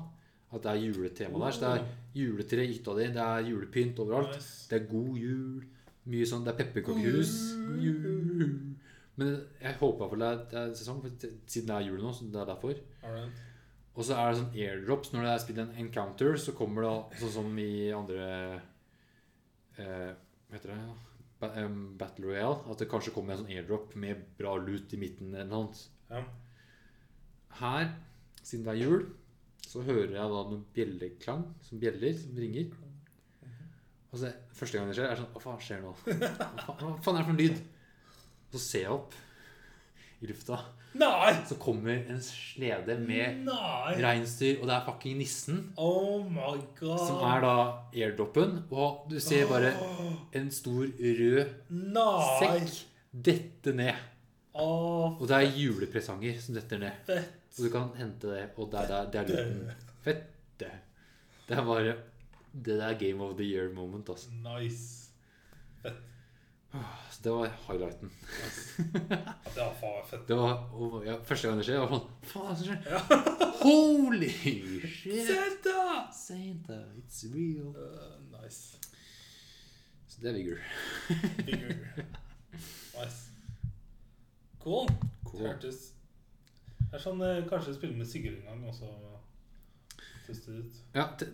Speaker 1: At det er juletema der. Så det er juletre i hytta di, det er julepynt overalt.
Speaker 2: Nice.
Speaker 1: Det er god jul. Mye sånn, Det er pepperkakehus. God jul. Men jeg håper i hvert fall det er, det er sesong, for siden det er jul nå. så det er derfor.
Speaker 2: Alright.
Speaker 1: Og så er det sånn airdrops. Når det er spilt en encounter, så kommer det sånn som i andre eh, Hva heter det? da? Ba em, Battle Royale. At det kanskje kommer en sånn airdrop med bra lut i midten eller noe annet.
Speaker 2: Ja.
Speaker 1: Her, siden det er jul, så hører jeg da noen bjelleklang som bjeller, som ringer. Og så første gang det skjer, er jeg sånn Hva faen skjer nå? Hva faen, hva faen er det for en lyd? Så ser jeg opp i lufta,
Speaker 2: Nei!
Speaker 1: så kommer en slede med
Speaker 2: Nei!
Speaker 1: reinsdyr, og det er fucking nissen.
Speaker 2: Oh my god.
Speaker 1: Som er da airdropen, og du ser bare en stor rød
Speaker 2: Nei!
Speaker 1: sekk dette ned.
Speaker 2: Å,
Speaker 1: Og det er julepresanger som detter ned.
Speaker 2: fett.
Speaker 1: Og du kan hente det, og det er, det er luten. Fette. Det er bare Det der game of the year moment, altså.
Speaker 2: Nice.
Speaker 1: Så det var highlighten.
Speaker 2: Ja, det var faen meg fett.
Speaker 1: Det var og, ja, Første gang det skjer, jeg var sånn Faen, hva er det som skjer?
Speaker 2: <laughs>
Speaker 1: Holy shit!
Speaker 2: Zelda!
Speaker 1: Santa, it's real.
Speaker 2: Uh, nice.
Speaker 1: Så det er vigor.
Speaker 2: Bigger. nice. Cool.
Speaker 1: Cool.
Speaker 2: Det hørtes Det er sånn eh, kanskje spille med Sigurd en gang, og så teste det ut.
Speaker 1: Ja, det,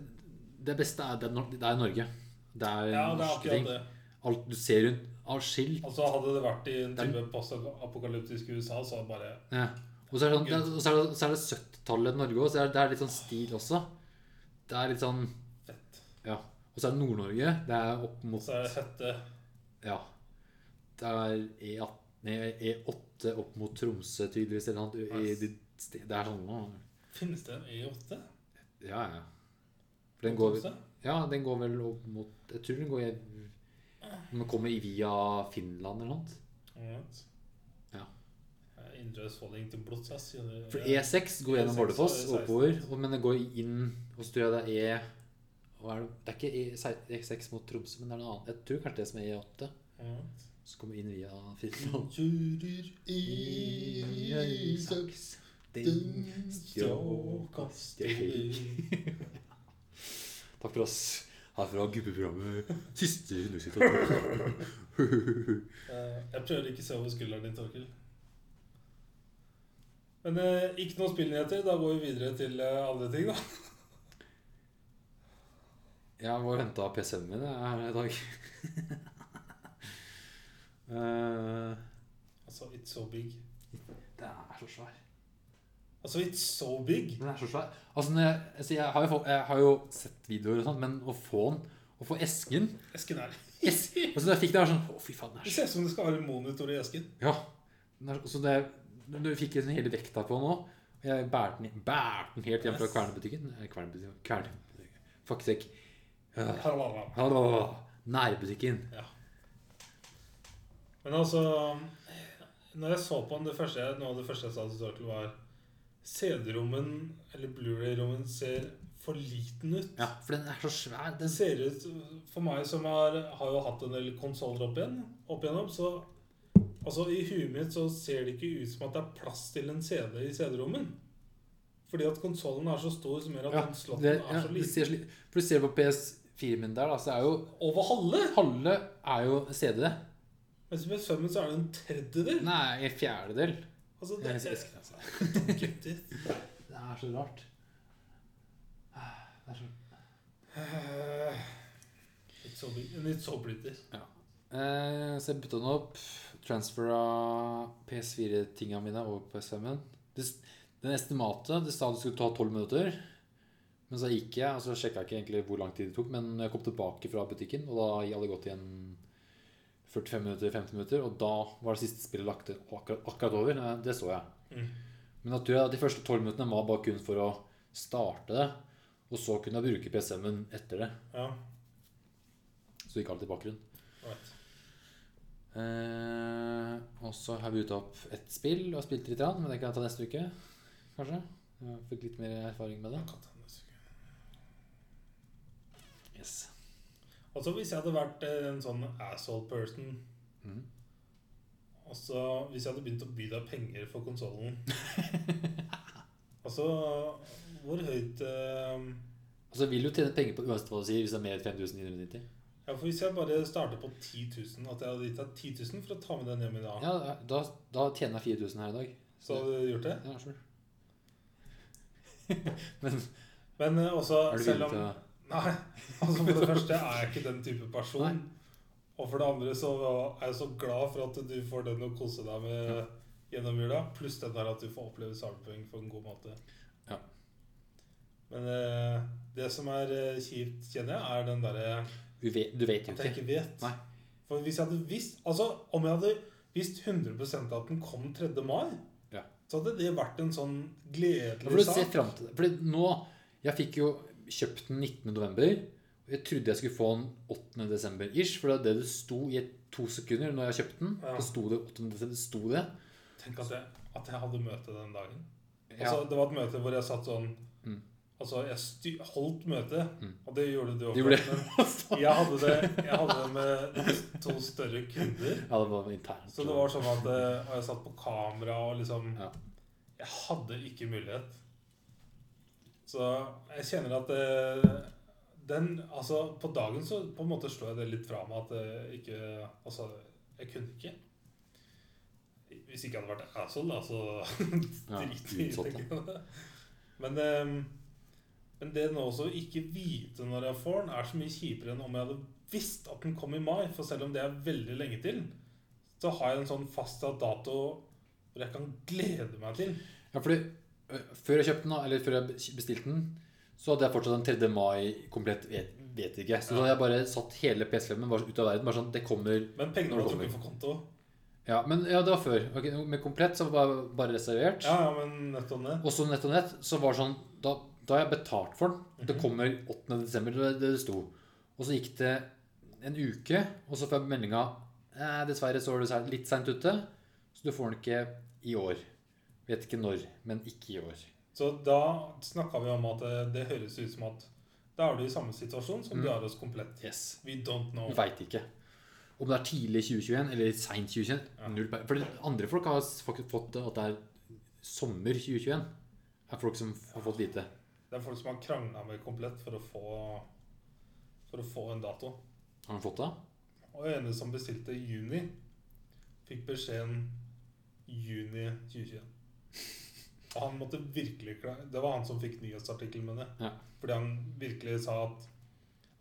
Speaker 1: det beste er det, er Nor- det er Norge. Det er
Speaker 2: Ja, det er
Speaker 1: norske
Speaker 2: akkurat
Speaker 1: ting.
Speaker 2: det.
Speaker 1: Alt du ser rundt av skilt.
Speaker 2: Altså Hadde det vært i en
Speaker 1: Det er-
Speaker 2: type postapokalyptisk USA, så hadde bare
Speaker 1: Ja. Og så er det, sånn, det, er- og så er det, så er det 70-tallet i Norge òg, så det er, det er litt sånn stil også. Det er litt sånn
Speaker 2: fett.
Speaker 1: Ja. Og så er det Nord-Norge. Det er opp
Speaker 2: Og
Speaker 1: mot
Speaker 2: så er det hette.
Speaker 1: Ja. Det er E18, nei, E8 opp mot Tromsø, tydeligvis. Eller noe. annet, i- i de ste- Det er sånn nå.
Speaker 2: Finnes det en E E8?
Speaker 1: Ja, ja. For den går,
Speaker 2: Tromsø?
Speaker 1: ja, den går vel opp mot Jeg tror den går i- Den kommer i via Finland eller noe. annet.
Speaker 2: Alright.
Speaker 1: Ja.
Speaker 2: Jeg er Indre Østfolding til blods, ass. sier du.
Speaker 1: For E- E6 går gjennom
Speaker 2: E6
Speaker 1: Bardufoss
Speaker 2: og E16.
Speaker 1: og oppover, og- men det går inn og så tror jeg det er E hva er det? det er ikke E, E6 E6 mot Tromsø, men det er noe annet. Jeg tror kanskje det som er E8.
Speaker 2: Alright.
Speaker 1: Så kommer vi inn via Finland.
Speaker 2: Turer i
Speaker 1: Isaks, din
Speaker 2: sakten,
Speaker 1: stjåkastøy. Takk for oss. Her fra gubbeprogrammet Siste undersitat.
Speaker 2: Eh, Jeg prøver ikke å se over skulderen din, Torkel. Men eh, ikke noen spillnyheter. Da går vi videre til eh, andre ting, da.
Speaker 1: Jeg var og henta PC-en min jeg, her i dag. Eh,
Speaker 2: Altså, it's so big.
Speaker 1: Den er så svær.
Speaker 2: Altså, it's so big!
Speaker 1: Den er så svær. Altså, når jeg, altså jeg, har jo, fått- jeg har jo sett videoer og sånt, men å få den, å få esken
Speaker 2: Esken er <laughs>
Speaker 1: yes! Altså, da jeg fikk det, jeg var sånn Å, fy faen, den er
Speaker 2: Det
Speaker 1: så
Speaker 2: ser ut som det skal være en monitor i esken.
Speaker 1: Ja. Den er, så det, du fikk liksom hele vekta på den òg. Og jeg bærte den, bærte den helt hjem fra
Speaker 2: Yes.
Speaker 1: kvernebutikken. Eh, Kvernebutikken Kvern... Faktisk ikke. Ja.
Speaker 2: Halala.
Speaker 1: Hallo. Nærbutikken.
Speaker 2: Ja. Men altså Når jeg så på den, det første jeg, noe av det første jeg sa til Torkel, var CD-rommen, eller Blu-ray-rommen, ser for liten ut.
Speaker 1: Ja, for den er så svær.
Speaker 2: Den ser ut For meg som har, har jo hatt en del konsoller opp, igjen, opp igjennom, så Altså, i huet mitt så ser det ikke ut som at det er plass til en CD i CD-rommen. Fordi at konsollen er så stor, som gjør at
Speaker 1: Ja,
Speaker 2: den slotten
Speaker 1: det,
Speaker 2: er
Speaker 1: ja,
Speaker 2: så
Speaker 1: det
Speaker 2: liten.
Speaker 1: ser slik For du ser på PS4 min der, da, så er jo
Speaker 2: Over halve!
Speaker 1: Halve er jo CD.
Speaker 2: Mens med sømmen så er det en tredjedel.
Speaker 1: Nei, en fjerdedel.
Speaker 2: Altså,
Speaker 1: Jeg
Speaker 2: det,
Speaker 1: elsker det, altså.
Speaker 2: gutter.
Speaker 1: Det er så rart. Det er så
Speaker 2: Eh, Litt såpe- Litt såpelytter.
Speaker 1: Eh, så jeg bytta den opp. Transfera PS4-tinga mine over på PS5-en. Det, den estimatet Det sa det skulle ta tolv minutter. Men så gikk jeg, og så sjekka jeg ikke egentlig hvor lang tid det tok. Men jeg kom tilbake fra butikken, og da hadde det gått igjen 45 minutter, 50 minutter. Og da var det siste spillet lagt akkurat, akkurat over. Eh, Det så jeg.
Speaker 2: Mm.
Speaker 1: Men at du, at de første tolv minuttene var bare kun for å starte det, og så kunne jeg bruke PS5-en etter det.
Speaker 2: Ja,
Speaker 1: Så gikk alt i bakgrunnen.
Speaker 2: right.
Speaker 1: Eh, og så har vi ute opp et spill og spilt litt, grann, men det kan jeg ta neste uke. Kanskje. Jeg fikk litt mer erfaring med det.
Speaker 2: Jeg kan ta den neste uke.
Speaker 1: Yes.
Speaker 2: Altså, hvis jeg hadde vært eh, en sånn asshole person
Speaker 1: Mhm.
Speaker 2: Altså, hvis jeg hadde begynt å by deg penger for
Speaker 1: <laughs>
Speaker 2: konsollen Altså, hvor høyt eh,
Speaker 1: Altså vil du tjene penger på uansett hva du sier, hvis det er mer enn 5990.
Speaker 2: Ja, for hvis jeg bare starter på 10 000, at jeg hadde gitt deg 10 000 for å ta med den hjem i dag,
Speaker 1: Ja, da, da tjener jeg 4000 her i dag.
Speaker 2: Ah. så hadde du gjort det?
Speaker 1: Ja,
Speaker 2: <laughs>
Speaker 1: <laughs> sure.
Speaker 2: Men eh, også,
Speaker 1: Er du
Speaker 2: selv
Speaker 1: villig
Speaker 2: om
Speaker 1: til å
Speaker 2: Nei, <laughs> altså for det første er jeg ikke den type person.
Speaker 1: Nei.
Speaker 2: Og for det andre så er jeg så glad for at du får den å kose deg med gjennom jula. Pluss den der at du får oppleve Sarping på en god måte.
Speaker 1: Ja.
Speaker 2: Men eh, det som er eh, kjipt, kjenner jeg, er den derre
Speaker 1: du vet, du vet jo
Speaker 2: at jeg
Speaker 1: ikke.
Speaker 2: ikke vet.
Speaker 1: Nei.
Speaker 2: For hvis jeg hadde visst Altså, om jeg hadde visst 100 at den kom 3. mai,
Speaker 1: Ja.
Speaker 2: så hadde det vært en sånn
Speaker 1: Ja, For
Speaker 2: gledelig
Speaker 1: du ser
Speaker 2: sak.
Speaker 1: frem til det. Fordi nå Jeg fikk jo kjøpt den 19. november. og Jeg trodde jeg skulle få den 8. desember ish, for det er det det sto i et- to sekunder når jeg kjøpte den.
Speaker 2: Ja.
Speaker 1: Det sto det 8. desember. Det sto det.
Speaker 2: Tenk at jeg, at jeg hadde møte den dagen.
Speaker 1: Ja.
Speaker 2: <laughs> Altså, det var et møte hvor jeg satt sånn
Speaker 1: Mm.
Speaker 2: Altså, jeg sty holdt møte,
Speaker 1: Mm.
Speaker 2: og det gjorde du
Speaker 1: Du
Speaker 2: også.
Speaker 1: gjorde
Speaker 2: Men jeg hadde det Jeg hadde det med to større kunder.
Speaker 1: Ja, det var internt.
Speaker 2: Så det var sånn at eh, og jeg satt på kamera og liksom
Speaker 1: Ja.
Speaker 2: Jeg hadde ikke mulighet. Så jeg kjenner at eh, den Altså, på dagen så på en måte slår jeg det litt fra meg at jeg ikke Altså, jeg kunne ikke. Hvis ikke jeg hadde vært asshole, da, så <laughs>
Speaker 1: Ja,
Speaker 2: drit i
Speaker 1: utsatt,
Speaker 2: tenker jeg. Men, eh, men det nå også å ikke vite når jeg får den, er så mye kjipere enn om jeg hadde visst at den kom i mai. For selv om det er veldig lenge til, så har jeg en sånn fastsatt dato hvor jeg kan glede meg til.
Speaker 1: Ja, fordi ø, før jeg kjøpte den, da, eller før jeg bestilte den, så hadde jeg fortsatt den 3. mai komplett vet, vet ikke. Så da hadde jeg bare satt hele PS5-en bare ut av verden. Bare sånn, det kommer
Speaker 2: Men pengene
Speaker 1: Når
Speaker 2: var
Speaker 1: det kommer.
Speaker 2: trukket for konto.
Speaker 1: Ja, men ja, det var før. Ok, med komplett så var det bare reservert.
Speaker 2: Ja, ja, men nettopp det.
Speaker 1: Og så nett og nett, så var det sånn Da, da har jeg betalt for den. Det kommer 8. desember, det var det det sto. Og så gikk det en uke, og så får jeg meldinga eh, Dessverre så er du se- litt seint ute, så du får den ikke i år. Vet ikke når, men ikke i år.
Speaker 2: Så da snakka vi om at det, det høres ut som at da er du i samme situasjon som
Speaker 1: Mm.
Speaker 2: du er hos Komplett.
Speaker 1: Yes.
Speaker 2: We don't know.
Speaker 1: Vi veit ikke. Om det er tidlig 2021 eller seint 2021.
Speaker 2: Ja.
Speaker 1: Null pe- For andre folk har s- fått fått at det er sommer 2021. Det er folk som har fått vite.
Speaker 2: Det er folk som har krangla med Komplett for å få, for å få en dato.
Speaker 1: Har de fått det?
Speaker 2: Og ene som bestilte i juni, fikk beskjeden juni 2021. Og han måtte virkelig kla- Det var han som fikk nyhetsartikkelen med det.
Speaker 1: Ja.
Speaker 2: Fordi han virkelig sa at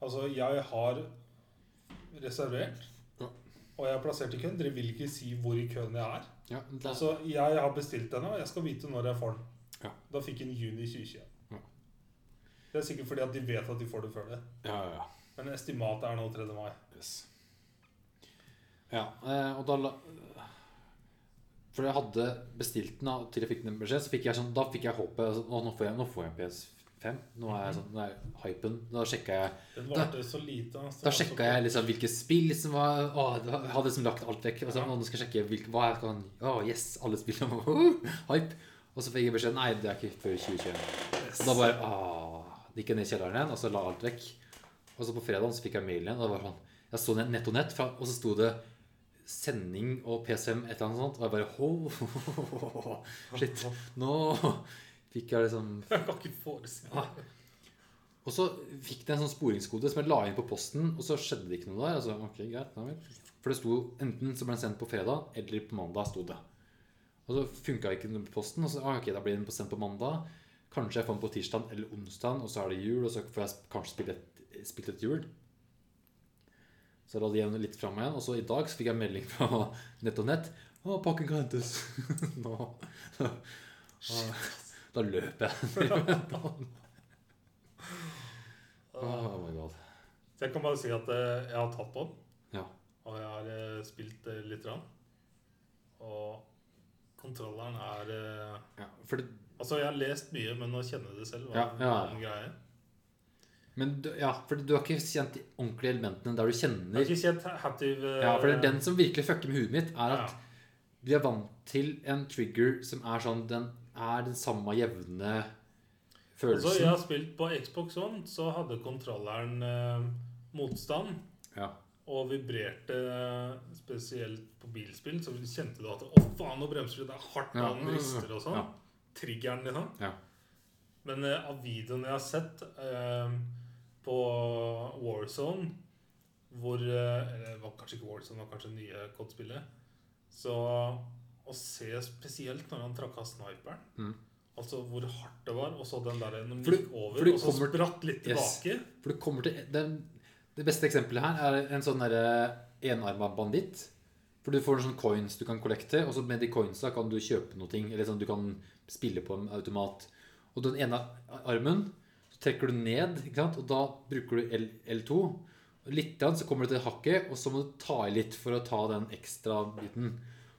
Speaker 2: Altså, jeg har reservert,
Speaker 1: Ja.
Speaker 2: og jeg har plassert i køen. Dere vil ikke si hvor i køen jeg er.
Speaker 1: Ja, det er,
Speaker 2: Altså, jeg har bestilt denne, og jeg skal vite når jeg får den.
Speaker 1: Ja.
Speaker 2: Da fikk han juni 2021.
Speaker 1: Ja.
Speaker 2: Det er sikkert fordi at de vet at de får det før det.
Speaker 1: ja, ja, ja.
Speaker 2: Men estimatet er nå 3. mai.
Speaker 1: Yes. Ja, eh, og da la For jeg hadde bestilt den da, til jeg fikk den beskjed, så fikk jeg sånn Da fikk jeg håpet altså, nå, nå får jeg, nå får jeg en fem. Nå er jeg sånn, nå er hypen. Da sjekka jeg
Speaker 2: Den varte så lite. Altså.
Speaker 1: Da sjekka jeg liksom hvilke spill som var Å, det var- jeg hadde liksom lagt alt vekk. Og så, nå skal jeg sjekke hvilke, hva jeg kan Å, yes, alle spillene var hype. Og så fikk jeg beskjed Nei, det er ikke før 2021. Så da bare Åh. Gikk jeg ned i kjelleren igjen, og så la alt vekk. Og så på fredag så fikk jeg mailen igjen. Og det var sånn Jeg så ned Nett og Nett, fra, og så sto det sending og PCM, et eller annet sånt. Og jeg bare ho, Shit. Nå fikk jeg liksom
Speaker 2: Jeg kan ikke forestille meg.
Speaker 1: og så fikk det en sånn sporingskode som jeg la inn på posten, og så skjedde det ikke noe der. Altså, ok, greit, nei vel. For det sto enten så ble den sendt på fredag, eller på mandag sto det. Og så funka ikke den på posten, og så ah, ok, da blir den på- sendt på mandag. Kanskje jeg får den på tirsdag eller onsdag, og så er det jul, og så får jeg sp- kanskje spilt et, spilt et jul. Så la det igjen litt fra meg igjen, og så i dag så fikk jeg melding fra Nett og Nett. Å, pakken kan hentes. <laughs> Nå. Og Da løper jeg. Oh my god.
Speaker 2: Så jeg kan bare si at eh, jeg har tatt på den,
Speaker 1: Ja.
Speaker 2: og jeg har eh, spilt eh, litt. Rann. Og kontrolleren er eh,
Speaker 1: Ja, for det,
Speaker 2: Altså, jeg har lest mye, men å kjenne det selv var
Speaker 1: Ja, ja.
Speaker 2: en greie.
Speaker 1: men du, ja, for du har ikke kjent de ordentlige elementene der du
Speaker 2: Jeg har
Speaker 1: kjenner
Speaker 2: ikke kjent Hattiv
Speaker 1: Ja, for det er den som virkelig fucker med huet mitt, er at
Speaker 2: Ja.
Speaker 1: vi er vant til en trigger som er sånn Den er den samme jevne
Speaker 2: Altså, jeg
Speaker 1: følelsen.
Speaker 2: har spilt på Xbox One, så hadde kontrolleren eh, motstand.
Speaker 1: Ja.
Speaker 2: Og vibrerte eh, spesielt på bilspill, så kjente du at Å, faen, nå bremser du! Det er hardt
Speaker 1: Ja,
Speaker 2: når
Speaker 1: ja, ja,
Speaker 2: den rister og sånn.
Speaker 1: ja.
Speaker 2: Triggeren, liksom.
Speaker 1: Ja.
Speaker 2: Men eh, av videoene jeg har sett eh, på Warzone Hvor eh, Eller det var kanskje ikke Warzone, det var kanskje det nye kodespillet. Så å se spesielt når han trakk av sniperen
Speaker 1: Mhm.
Speaker 2: Altså hvor hardt det var, og så den der når den
Speaker 1: For du-
Speaker 2: gikk
Speaker 1: for
Speaker 2: over,
Speaker 1: du
Speaker 2: og så
Speaker 1: kommer-
Speaker 2: spratt litt
Speaker 1: Yes.
Speaker 2: tilbake.
Speaker 1: For det kommer til den, Det beste eksempelet her er en sånn derre enarma banditt. For du får sånne coins du kan kollekte, og så med de coinsa kan du kjøpe noe. ting, Eller sånn du kan spille på en automat. Og den ene armen så trekker du ned, ikke sant? og da bruker du L L2. Og litt grann så kommer du til hakket, og så må du ta i litt for å ta den ekstra biten.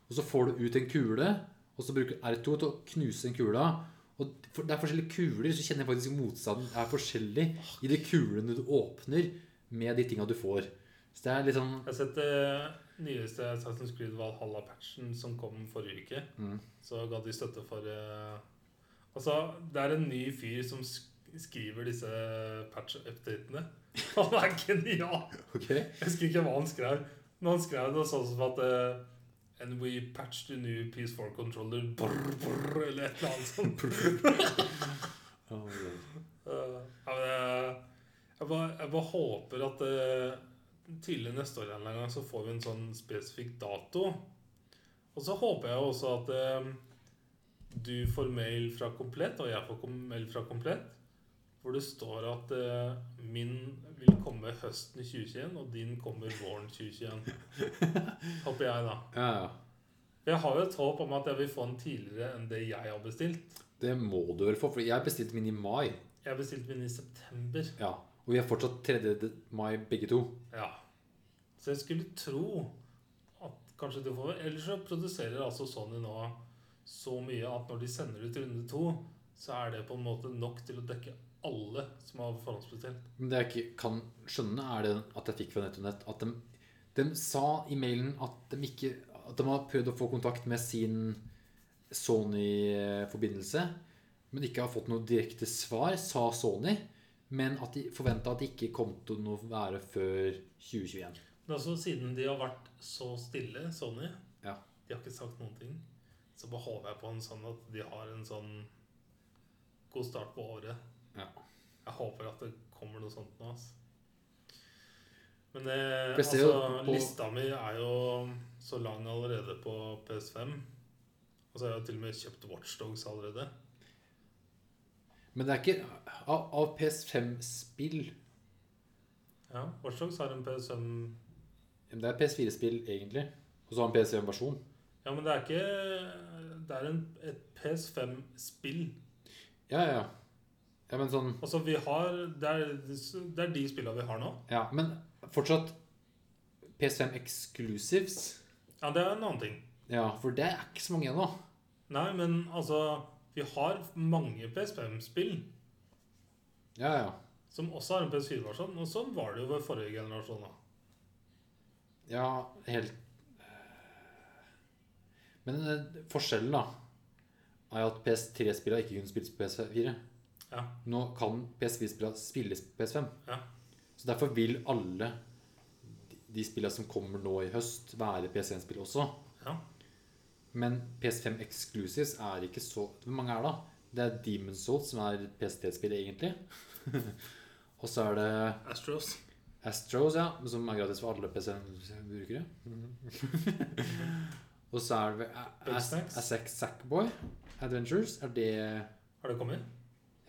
Speaker 1: Og så får du ut en kule, og så bruker du R2 til å knuse den kula. Og for- det er forskjellige kuler, så kjenner jeg faktisk motstanden er forskjellig i de kulene du åpner med de tinga du får. Så det er litt sånn <laughs>
Speaker 2: Jeg har sett det nyeste Assassin's Creed Valhalla-patchen som kom forrige uke.
Speaker 1: Mhm.
Speaker 2: Så ga de støtte for eh, Altså, det er en ny fyr som sk skriver disse patch-updatene. <laughs> Han er genial!
Speaker 1: Ok.
Speaker 2: Jeg husker ikke hva han skrev, men han skrev det sånn som at eh, And we patched a new PS4 controller brr, brr, Eller et eller annet sånt. Eh, ja, men jeg, jeg, bare, jeg bare håper at eh, tidlig neste år en eller annen gang så får vi en sånn spesifikk dato. Og så håper jeg også at eh, du får mail fra Komplett, og jeg får kom mail fra Komplett, hvor det står at eh, min vil komme høsten 2021, og din kommer våren 2021. håper jeg, da.
Speaker 1: Ja, ja.
Speaker 2: Jeg har jo et håp om at jeg vil få den tidligere enn det jeg har bestilt.
Speaker 1: Det må du vel få, for jeg bestilte min i mai.
Speaker 2: Jeg bestilte min i september.
Speaker 1: Ja. Og vi er fortsatt 3. de- mai, begge to.
Speaker 2: Ja. Så jeg skulle tro at kanskje de får Ellers så produserer altså Sony nå så mye at når de sender ut runde to, så er det på en måte nok til å dekke alle som har forhåndsbestilt.
Speaker 1: Men det jeg ikke kan skjønne, er det at jeg fikk fra Nett og Nett at de, de sa i mailen at de ikke At de har prøvd å få kontakt med sin Sony-forbindelse, men ikke har fått noe direkte svar, sa Sony. Men at de forventa at det ikke kom til å være før 2021.
Speaker 2: Men altså, siden de har vært så stille, Sony
Speaker 1: Ja.
Speaker 2: De har ikke sagt noen ting. Så bare håper jeg på en sånn at de har en sånn god start på året.
Speaker 1: Ja.
Speaker 2: Jeg håper at det kommer noe sånt nå. ass. Men eh,
Speaker 1: For jeg ser
Speaker 2: altså,
Speaker 1: jo på-
Speaker 2: lista mi er jo så lang allerede på PS5. Og så har jeg jo til og med kjøpt Watchdogs allerede.
Speaker 1: Men det er ikke Av, av PS5-spill
Speaker 2: Ja, Watchdogs har en PS5
Speaker 1: Det er PS4-spill, egentlig. Og så har en PS5-versjon.
Speaker 2: Ja, men det er ikke Det er en, et PS5-spill.
Speaker 1: Ja, ja, ja. Ja, men sånn
Speaker 2: Altså, vi har Det er, det er de spillene vi har nå.
Speaker 1: Ja, men fortsatt PS5 Exclusives
Speaker 2: Ja, det er en annen ting.
Speaker 1: Ja, for det er ikke så mange ennå.
Speaker 2: Nei, men altså Vi har mange PS5-spill.
Speaker 1: Ja, ja.
Speaker 3: Som også har en PS4-versjon. Og sånn var det jo ved forrige generasjon. da.
Speaker 1: Ja, helt eh, Men eh, forskjellen, da, er jo at PS3-spillene ikke kunne spilles på PS4.
Speaker 3: Ja.
Speaker 1: Nå kan PS4-spillene spilles på PS5.
Speaker 3: Ja.
Speaker 1: Så derfor vil alle de- de spillene som kommer nå i høst, være PS1-spill også.
Speaker 3: Ja.
Speaker 1: Men PS5 Exclusives er ikke så Hvor mange er det? da? Det er Demon's Souls som er PS3-spillet, egentlig. <laughs> Og så er det
Speaker 2: Astros.
Speaker 1: Astros, ja, som er gratis for alle PC-brukere.
Speaker 3: Mhm.
Speaker 1: og så er det vel
Speaker 3: Big
Speaker 1: As-
Speaker 3: Snacks.
Speaker 1: Asac Sackboy Adventures. Er det Ja,
Speaker 3: Har det kommet?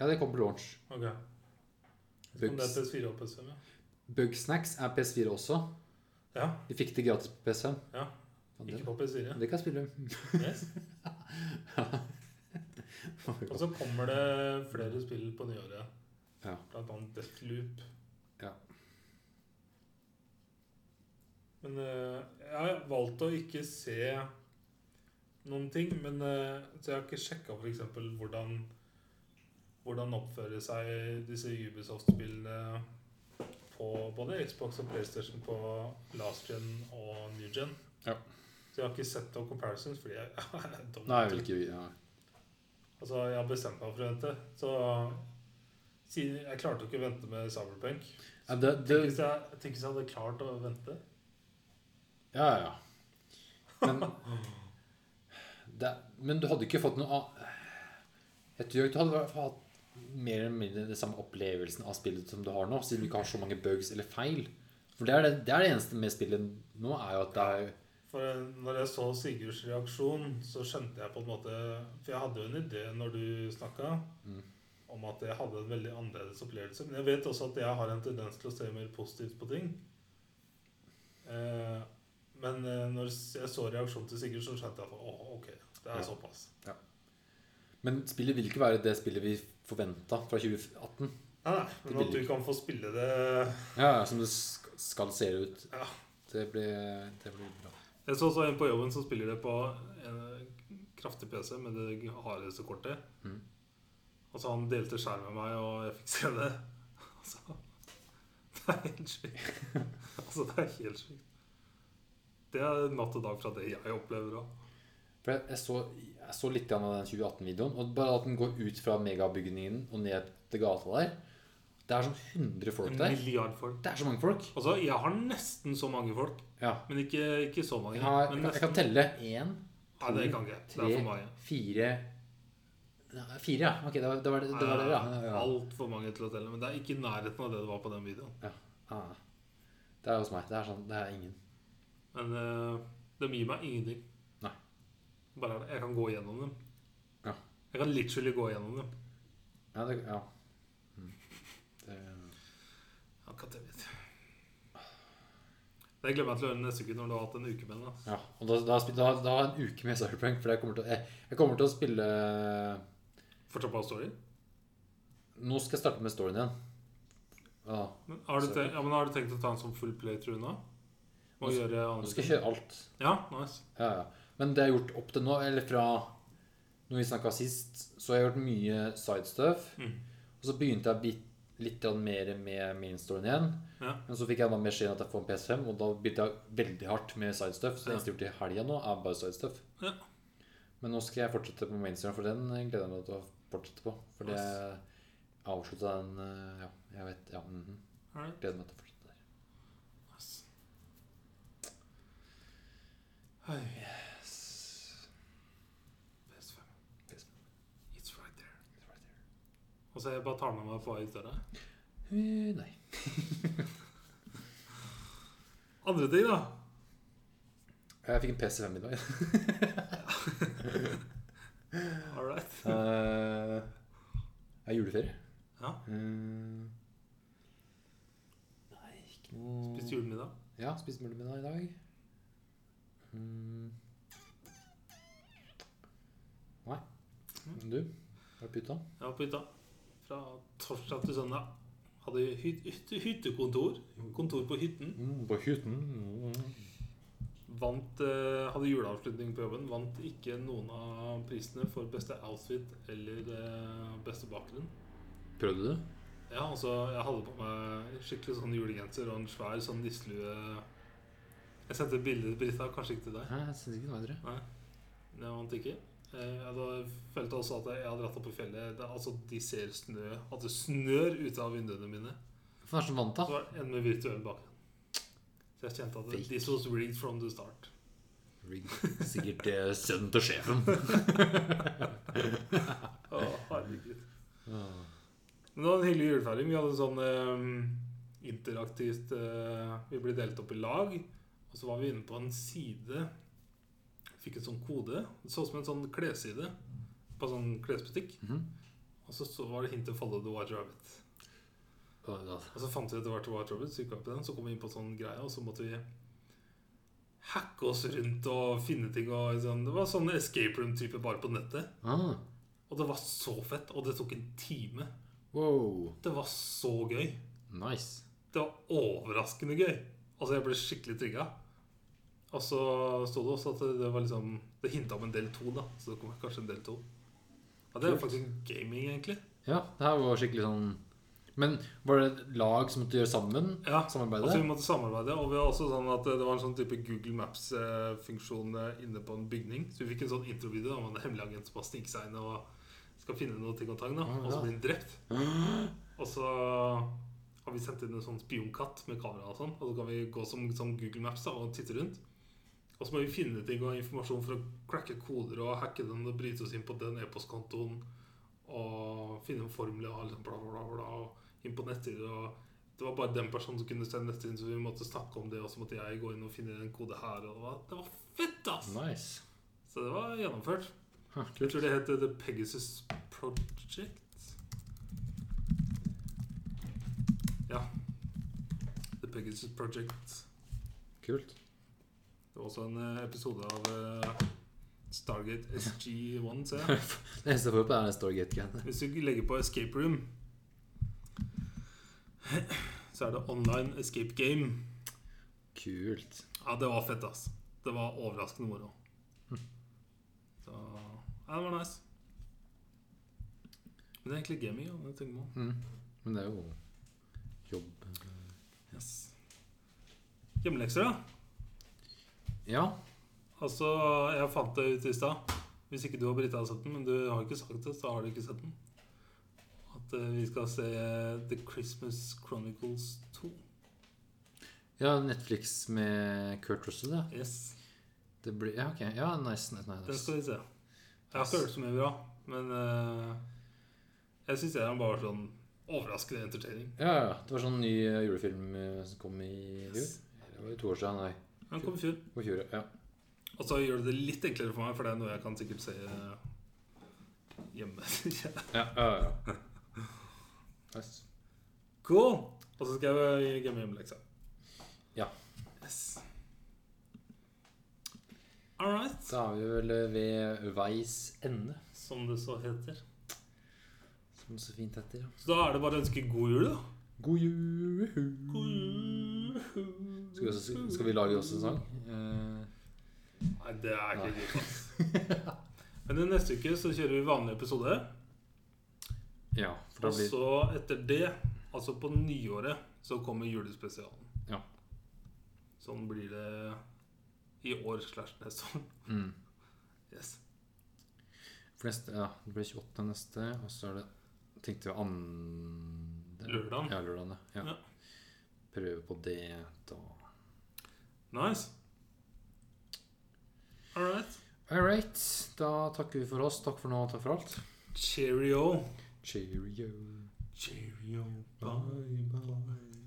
Speaker 1: det kommer til launch.
Speaker 3: Ok. Jeg vet ikke Om det er
Speaker 1: Bugs,
Speaker 3: PS4 og PS5, ja.
Speaker 1: Bugsnacks er PS4 også.
Speaker 3: Ja,
Speaker 1: De fikk det gratis på PS5.
Speaker 3: Ja.
Speaker 1: Ja,
Speaker 3: Ikke
Speaker 1: det,
Speaker 3: på
Speaker 1: <laughs>
Speaker 3: PS4.
Speaker 1: det kan jeg
Speaker 3: <laughs>
Speaker 1: spille.
Speaker 3: Yes. Og så kommer det flere spill på nyåret.
Speaker 1: Ja.
Speaker 3: Blant annet Deathloop.
Speaker 1: Ja.
Speaker 3: Men eh, jeg har valgt å ikke se noen ting, men eh, så jeg har ikke sjekka f.eks. hvordan hvordan oppfører seg disse Ubisoft-spillene på både Xbox og PlayStation på last gen og new gen.
Speaker 1: Ja.
Speaker 3: Så jeg har ikke sett noen comparisons, fordi jeg <laughs> er dum.
Speaker 1: Nei, jeg vil ikke ja.
Speaker 3: Altså, jeg har bestemt meg for å vente. Så siden jeg klarte jo ikke å vente med Cyberpunk.
Speaker 1: Ja, det, det,
Speaker 3: Tenk hvis jeg, tenk hvis jeg hadde klart å vente.
Speaker 1: ja, ja. Men, det, men du hadde ikke fått noe av Jeg tror ikke du hadde vært- hatt mer eller mindre den samme opplevelsen av spillet som du har nå, siden du ikke har så mange bugs eller feil. For det er det, det, er det eneste med spillet nå, er jo at det er
Speaker 3: For eh, når jeg så Sigurds reaksjon, så skjønte jeg på en måte For jeg hadde jo en idé når du snakka,
Speaker 1: Mm.
Speaker 3: om at jeg hadde en veldig annerledes opplevelse. Men jeg vet også at jeg har en tendens til å se mer positivt på ting. Eh, men eh, når jeg så reaksjonen til Sigurd, så skjønte jeg at å, ok, det er
Speaker 1: Ja.
Speaker 3: såpass.
Speaker 1: Men spillet vil ikke være det spillet vi forventa fra 2018.
Speaker 3: Nei, nei, men at du kan få spille det
Speaker 1: Ja, ja, Som det sk- skal se ut.
Speaker 3: Ja.
Speaker 1: Det blir, det blir bra.
Speaker 2: Jeg så også en på jobben som spiller det på en kraftig PC med det hardeste kortet.
Speaker 1: Mhm.
Speaker 2: Altså, han delte skjerm med meg, og jeg fikk se det. <laughs> Altså, det er helt sjukt.
Speaker 1: <laughs>
Speaker 2: Altså, det er helt sjukt. Det er natt og dag fra det jeg opplever òg.
Speaker 1: For jeg, jeg, så, jeg så litt grann av den 2018-videoen. Og bare at den går ut fra megabygningen og ned til gata der Det er sånn 100 folk
Speaker 2: En
Speaker 1: der.
Speaker 2: milliard folk.
Speaker 1: Det er så mange folk.
Speaker 2: Altså, jeg har nesten så mange folk,
Speaker 1: Ja.
Speaker 2: men ikke, ikke så mange.
Speaker 1: Jeg, har, jeg,
Speaker 2: men
Speaker 1: kan, jeg kan telle én,
Speaker 2: Nei, det kan ikke. Det
Speaker 1: sånn Tre.
Speaker 2: er for mange.
Speaker 1: fire Nei, Fire, ja. Ok, det var det, var det, det, var det ja. ja.
Speaker 2: Altfor Eh, mange til å telle, men det er ikke i nærheten av det det var på den videoen.
Speaker 1: ja. Ah. Det er hos meg. Det er sånn, det er ingen.
Speaker 2: Men eh, de gir meg ingenting.
Speaker 1: Nei.
Speaker 2: Bare er det. Jeg kan gå gjennom dem.
Speaker 1: Ja.
Speaker 2: Jeg kan literally gå gjennom dem.
Speaker 1: Ja. Det, ja. Mm. Det,
Speaker 2: Akkurat det vet jeg. Det gleder jeg meg til å høre neste uke når du har hatt en uke med den. da.
Speaker 1: ja. Og da, da, da, da har jeg en uke med Cyberprank, for jeg kommer til, å- jeg, jeg kommer til å spille
Speaker 2: Fortsatt på story.
Speaker 1: Nå skal jeg starte med storyen igjen. Ja.
Speaker 2: Men har, du
Speaker 1: Så-
Speaker 2: tenkt, ja, men har du tenkt å ta en sånn full playthrough nå?
Speaker 1: Nå
Speaker 2: Og
Speaker 1: skal-
Speaker 2: gjøre
Speaker 1: Nå
Speaker 2: andre
Speaker 1: skal
Speaker 2: ting?
Speaker 1: jeg kjøre alt.
Speaker 2: Ja, nice.
Speaker 1: Ja, ja. Men det jeg har gjort opp til nå, eller fra når vi snakka sist, så har jeg gjort mye sidestuff.
Speaker 2: Mm.
Speaker 1: Og så begynte jeg bit, litt grann mer med mainstoryen igjen.
Speaker 2: Ja.
Speaker 1: Men så fikk jeg da beskjed om at jeg får en PS5, og da begynte jeg veldig hardt med sidestuff. Så det
Speaker 2: Ja.
Speaker 1: eneste jeg har gjort i helga nå, er bare sidestuff.
Speaker 2: Ja.
Speaker 1: Men nå skal jeg fortsette på mainstoryen, for den gleder jeg meg til å fortsette på. For det
Speaker 2: Nice.
Speaker 1: avslutta den eh, Ja, jeg vet Ja, mhm.
Speaker 2: Alright.
Speaker 1: gleder meg til å fortsette der.
Speaker 2: Nice. Hei. PS5.
Speaker 1: PS5.
Speaker 2: It's right there. Og så jeg bare tar med meg på vei ut døra.
Speaker 1: Eh, Nei.
Speaker 2: Andre ting, da.
Speaker 1: Jeg fikk en PS5 i dag.
Speaker 2: All right.
Speaker 1: Eh, Det er juleferie.
Speaker 2: Ja.
Speaker 1: Eh, nei, ikke noe
Speaker 2: Spiste julemiddag.
Speaker 1: Ja, spiste julemiddag i dag. Mm. Nei.
Speaker 2: Mm.
Speaker 1: Men Du? Hva er puta?
Speaker 2: Jeg var på hytta fra torsdag til søndag. Hadde hy hytte hyttekontor. Kontor på hytten.
Speaker 1: Mm, på Mm. hytten.
Speaker 2: Vant, eh, hadde juleavslutning på jobben. Vant ikke noen av prisene for beste outfit eller eh, beste bakgrunn.
Speaker 1: Prøvde du?
Speaker 2: Ja, altså, jeg hadde på meg skikkelig sånn julegenser og en svær sånn nisselue. Jeg sendte et bilde til Brita, kanskje ikke til deg.
Speaker 1: Hæ, jeg synes ikke det var det.
Speaker 2: Nei, det vant ikke. Eh, Jeg hadde- følte også at jeg hadde dratt opp på fjellet. Det, altså, de ser snø. At det snør ute av vinduene mine.
Speaker 1: Hvorfor er det så vant,
Speaker 2: Så
Speaker 1: da?
Speaker 2: var det en med virtuell bakgrunn. Så jeg kjente at det-
Speaker 1: Fake.
Speaker 2: this was rigged from the start.
Speaker 1: Rigg. Sikkert eh, sønnen til sjefen.
Speaker 2: Å, herregud. Men det var en hyggelig julefeiring. Vi hadde sånn eh, interaktivt eh, Vi ble delt opp i lag. Og så var vi inne på en side. Fikk en sånn kode. Det så ut som en sånn klesside på en sånn klesbutikk.
Speaker 1: Mhm.
Speaker 2: Og så, så var det hint til 'Follow the White Rabbit'.
Speaker 1: Og da-
Speaker 2: Og så fant vi etter hvert White Rabbit, så gikk vi opp i den, så kom vi inn på en sånn greie, og så måtte vi hacke oss rundt og finne ting. Og sånn. Det var sånn escape room-type bare på nettet.
Speaker 1: Ah,
Speaker 2: Og det var så fett. Og det tok en time.
Speaker 1: wow.
Speaker 2: Det var så gøy.
Speaker 1: Nice.
Speaker 2: Det var overraskende gøy. Altså, jeg ble skikkelig trigga. Og så sto det også at det- det var liksom Det hinta om en del to, da. Så det kommer kanskje en del to. Ja, det er jo
Speaker 1: Kult.
Speaker 2: faktisk gaming, egentlig.
Speaker 1: Ja, det her var skikkelig sånn Men var det et lag som måtte gjøre sammen?
Speaker 2: Ja,
Speaker 1: Samarbeide?
Speaker 2: Altså, vi måtte samarbeide. Og vi var også sånn at det var en sånn type Google Maps-funksjon eh, inne på en bygning. Så vi fikk en sånn introvideo om en hemmelig agent som har sniket seg inn og skal finne noe ting og tang, da.
Speaker 1: Ja,
Speaker 2: Og så
Speaker 1: ja.
Speaker 2: blir han drept. Og så har vi sendt inn en sånn spionkatt med kamera og sånn. Og så kan vi gå som, som Google Maps da, og titte rundt. Og så må vi finne ting og informasjon for å cracke koder og hacke den og bryte oss inn på den e-postkontoen. Og finne en formel og liksom bla, bla, bla, bla. Og inn på nettsider og Det var bare den personen som kunne sende nettsiden, så vi måtte snakke om det. Og så måtte jeg gå inn og finne en kode her. Og det var, det var fett, ass!
Speaker 1: Nice.
Speaker 2: Så det var gjennomført.
Speaker 1: Ha,
Speaker 2: Jeg
Speaker 1: kult.
Speaker 2: tror det heter The Pegasus Project. Ja. The Pegasus Project.
Speaker 1: kult.
Speaker 2: Det var også en eh, episode av eh, Stargate SG1, ser jeg.
Speaker 1: Det eneste <laughs> jeg får på, er den Stargate-greiene.
Speaker 2: Hvis du legger på Escape Room, så er det online escape game.
Speaker 1: Kult.
Speaker 2: Ja, det var fett, ass. Det var overraskende moro. Så Ja, det var nice. Men det er egentlig gaming, ja. Det tenker man.
Speaker 1: Mm. Men det er jo jobb
Speaker 2: Yes. Hjemmelekser, da.
Speaker 1: Ja.
Speaker 2: Altså, jeg fant det ut i stad. Hvis ikke du og Brita har sett den, men du har ikke sagt det, så har du ikke sett den. At eh, vi skal se The Christmas Chronicles 2.
Speaker 1: ja, Netflix med Kurt Russell, ja.
Speaker 2: Yes.
Speaker 1: Det blir, ja, ok. Ja, nice, nice, nice.
Speaker 2: Den
Speaker 1: nice.
Speaker 2: skal vi se. Jeg har ikke hørt så mye bra, men eh, jeg syns den var sånn overraskende entertaining.
Speaker 1: Ja, ja, ja. Det var sånn ny eh, julefilm eh, som kom i fjor.
Speaker 2: Yes.
Speaker 1: Det var i to år siden, nei.
Speaker 2: Den kom i fjor.
Speaker 1: På fjor, ja.
Speaker 2: Og så gjør det det litt enklere for meg, for det er noe jeg kan sikkert se eh, hjemme. <laughs>
Speaker 1: Ja, ja, <laughs> ja. Nice.
Speaker 2: Cool. Og så skal jeg gi meg hjemmeleksa.
Speaker 1: Ja.
Speaker 2: Yes. All right.
Speaker 1: Da er vi vel eh, ved veis ende,
Speaker 2: Som det så heter.
Speaker 1: som det så fint heter. Ja.
Speaker 2: Så da er det bare å ønske god jul, da.
Speaker 1: God jul!
Speaker 2: God jul.
Speaker 1: Skal vi, også, skal vi lage også en sang? Eh,
Speaker 2: Nei, det er ikke gitt, ass. <laughs> Men i neste uke så kjører vi vanlig episode.
Speaker 1: ja, for da
Speaker 2: Og
Speaker 1: blir
Speaker 2: så etter det, altså på nyåret, så kommer julespesialen.
Speaker 1: Ja.
Speaker 2: Sånn blir det i år slash neste år. <laughs>
Speaker 1: mm,
Speaker 2: Yes.
Speaker 1: for neste, ja, Det blir 28 neste, og så er det Tenkte vi andre
Speaker 2: Lørdagen.
Speaker 1: Ja, lørdagen, ja.
Speaker 2: Ja.
Speaker 1: ja. Prøve på det, da.
Speaker 2: Nice. All right.
Speaker 1: All right. Da takker vi for oss. Takk for nå, takk for alt.
Speaker 2: Cheerio.
Speaker 1: Cheerio.
Speaker 2: Cheerio. Bye, bye.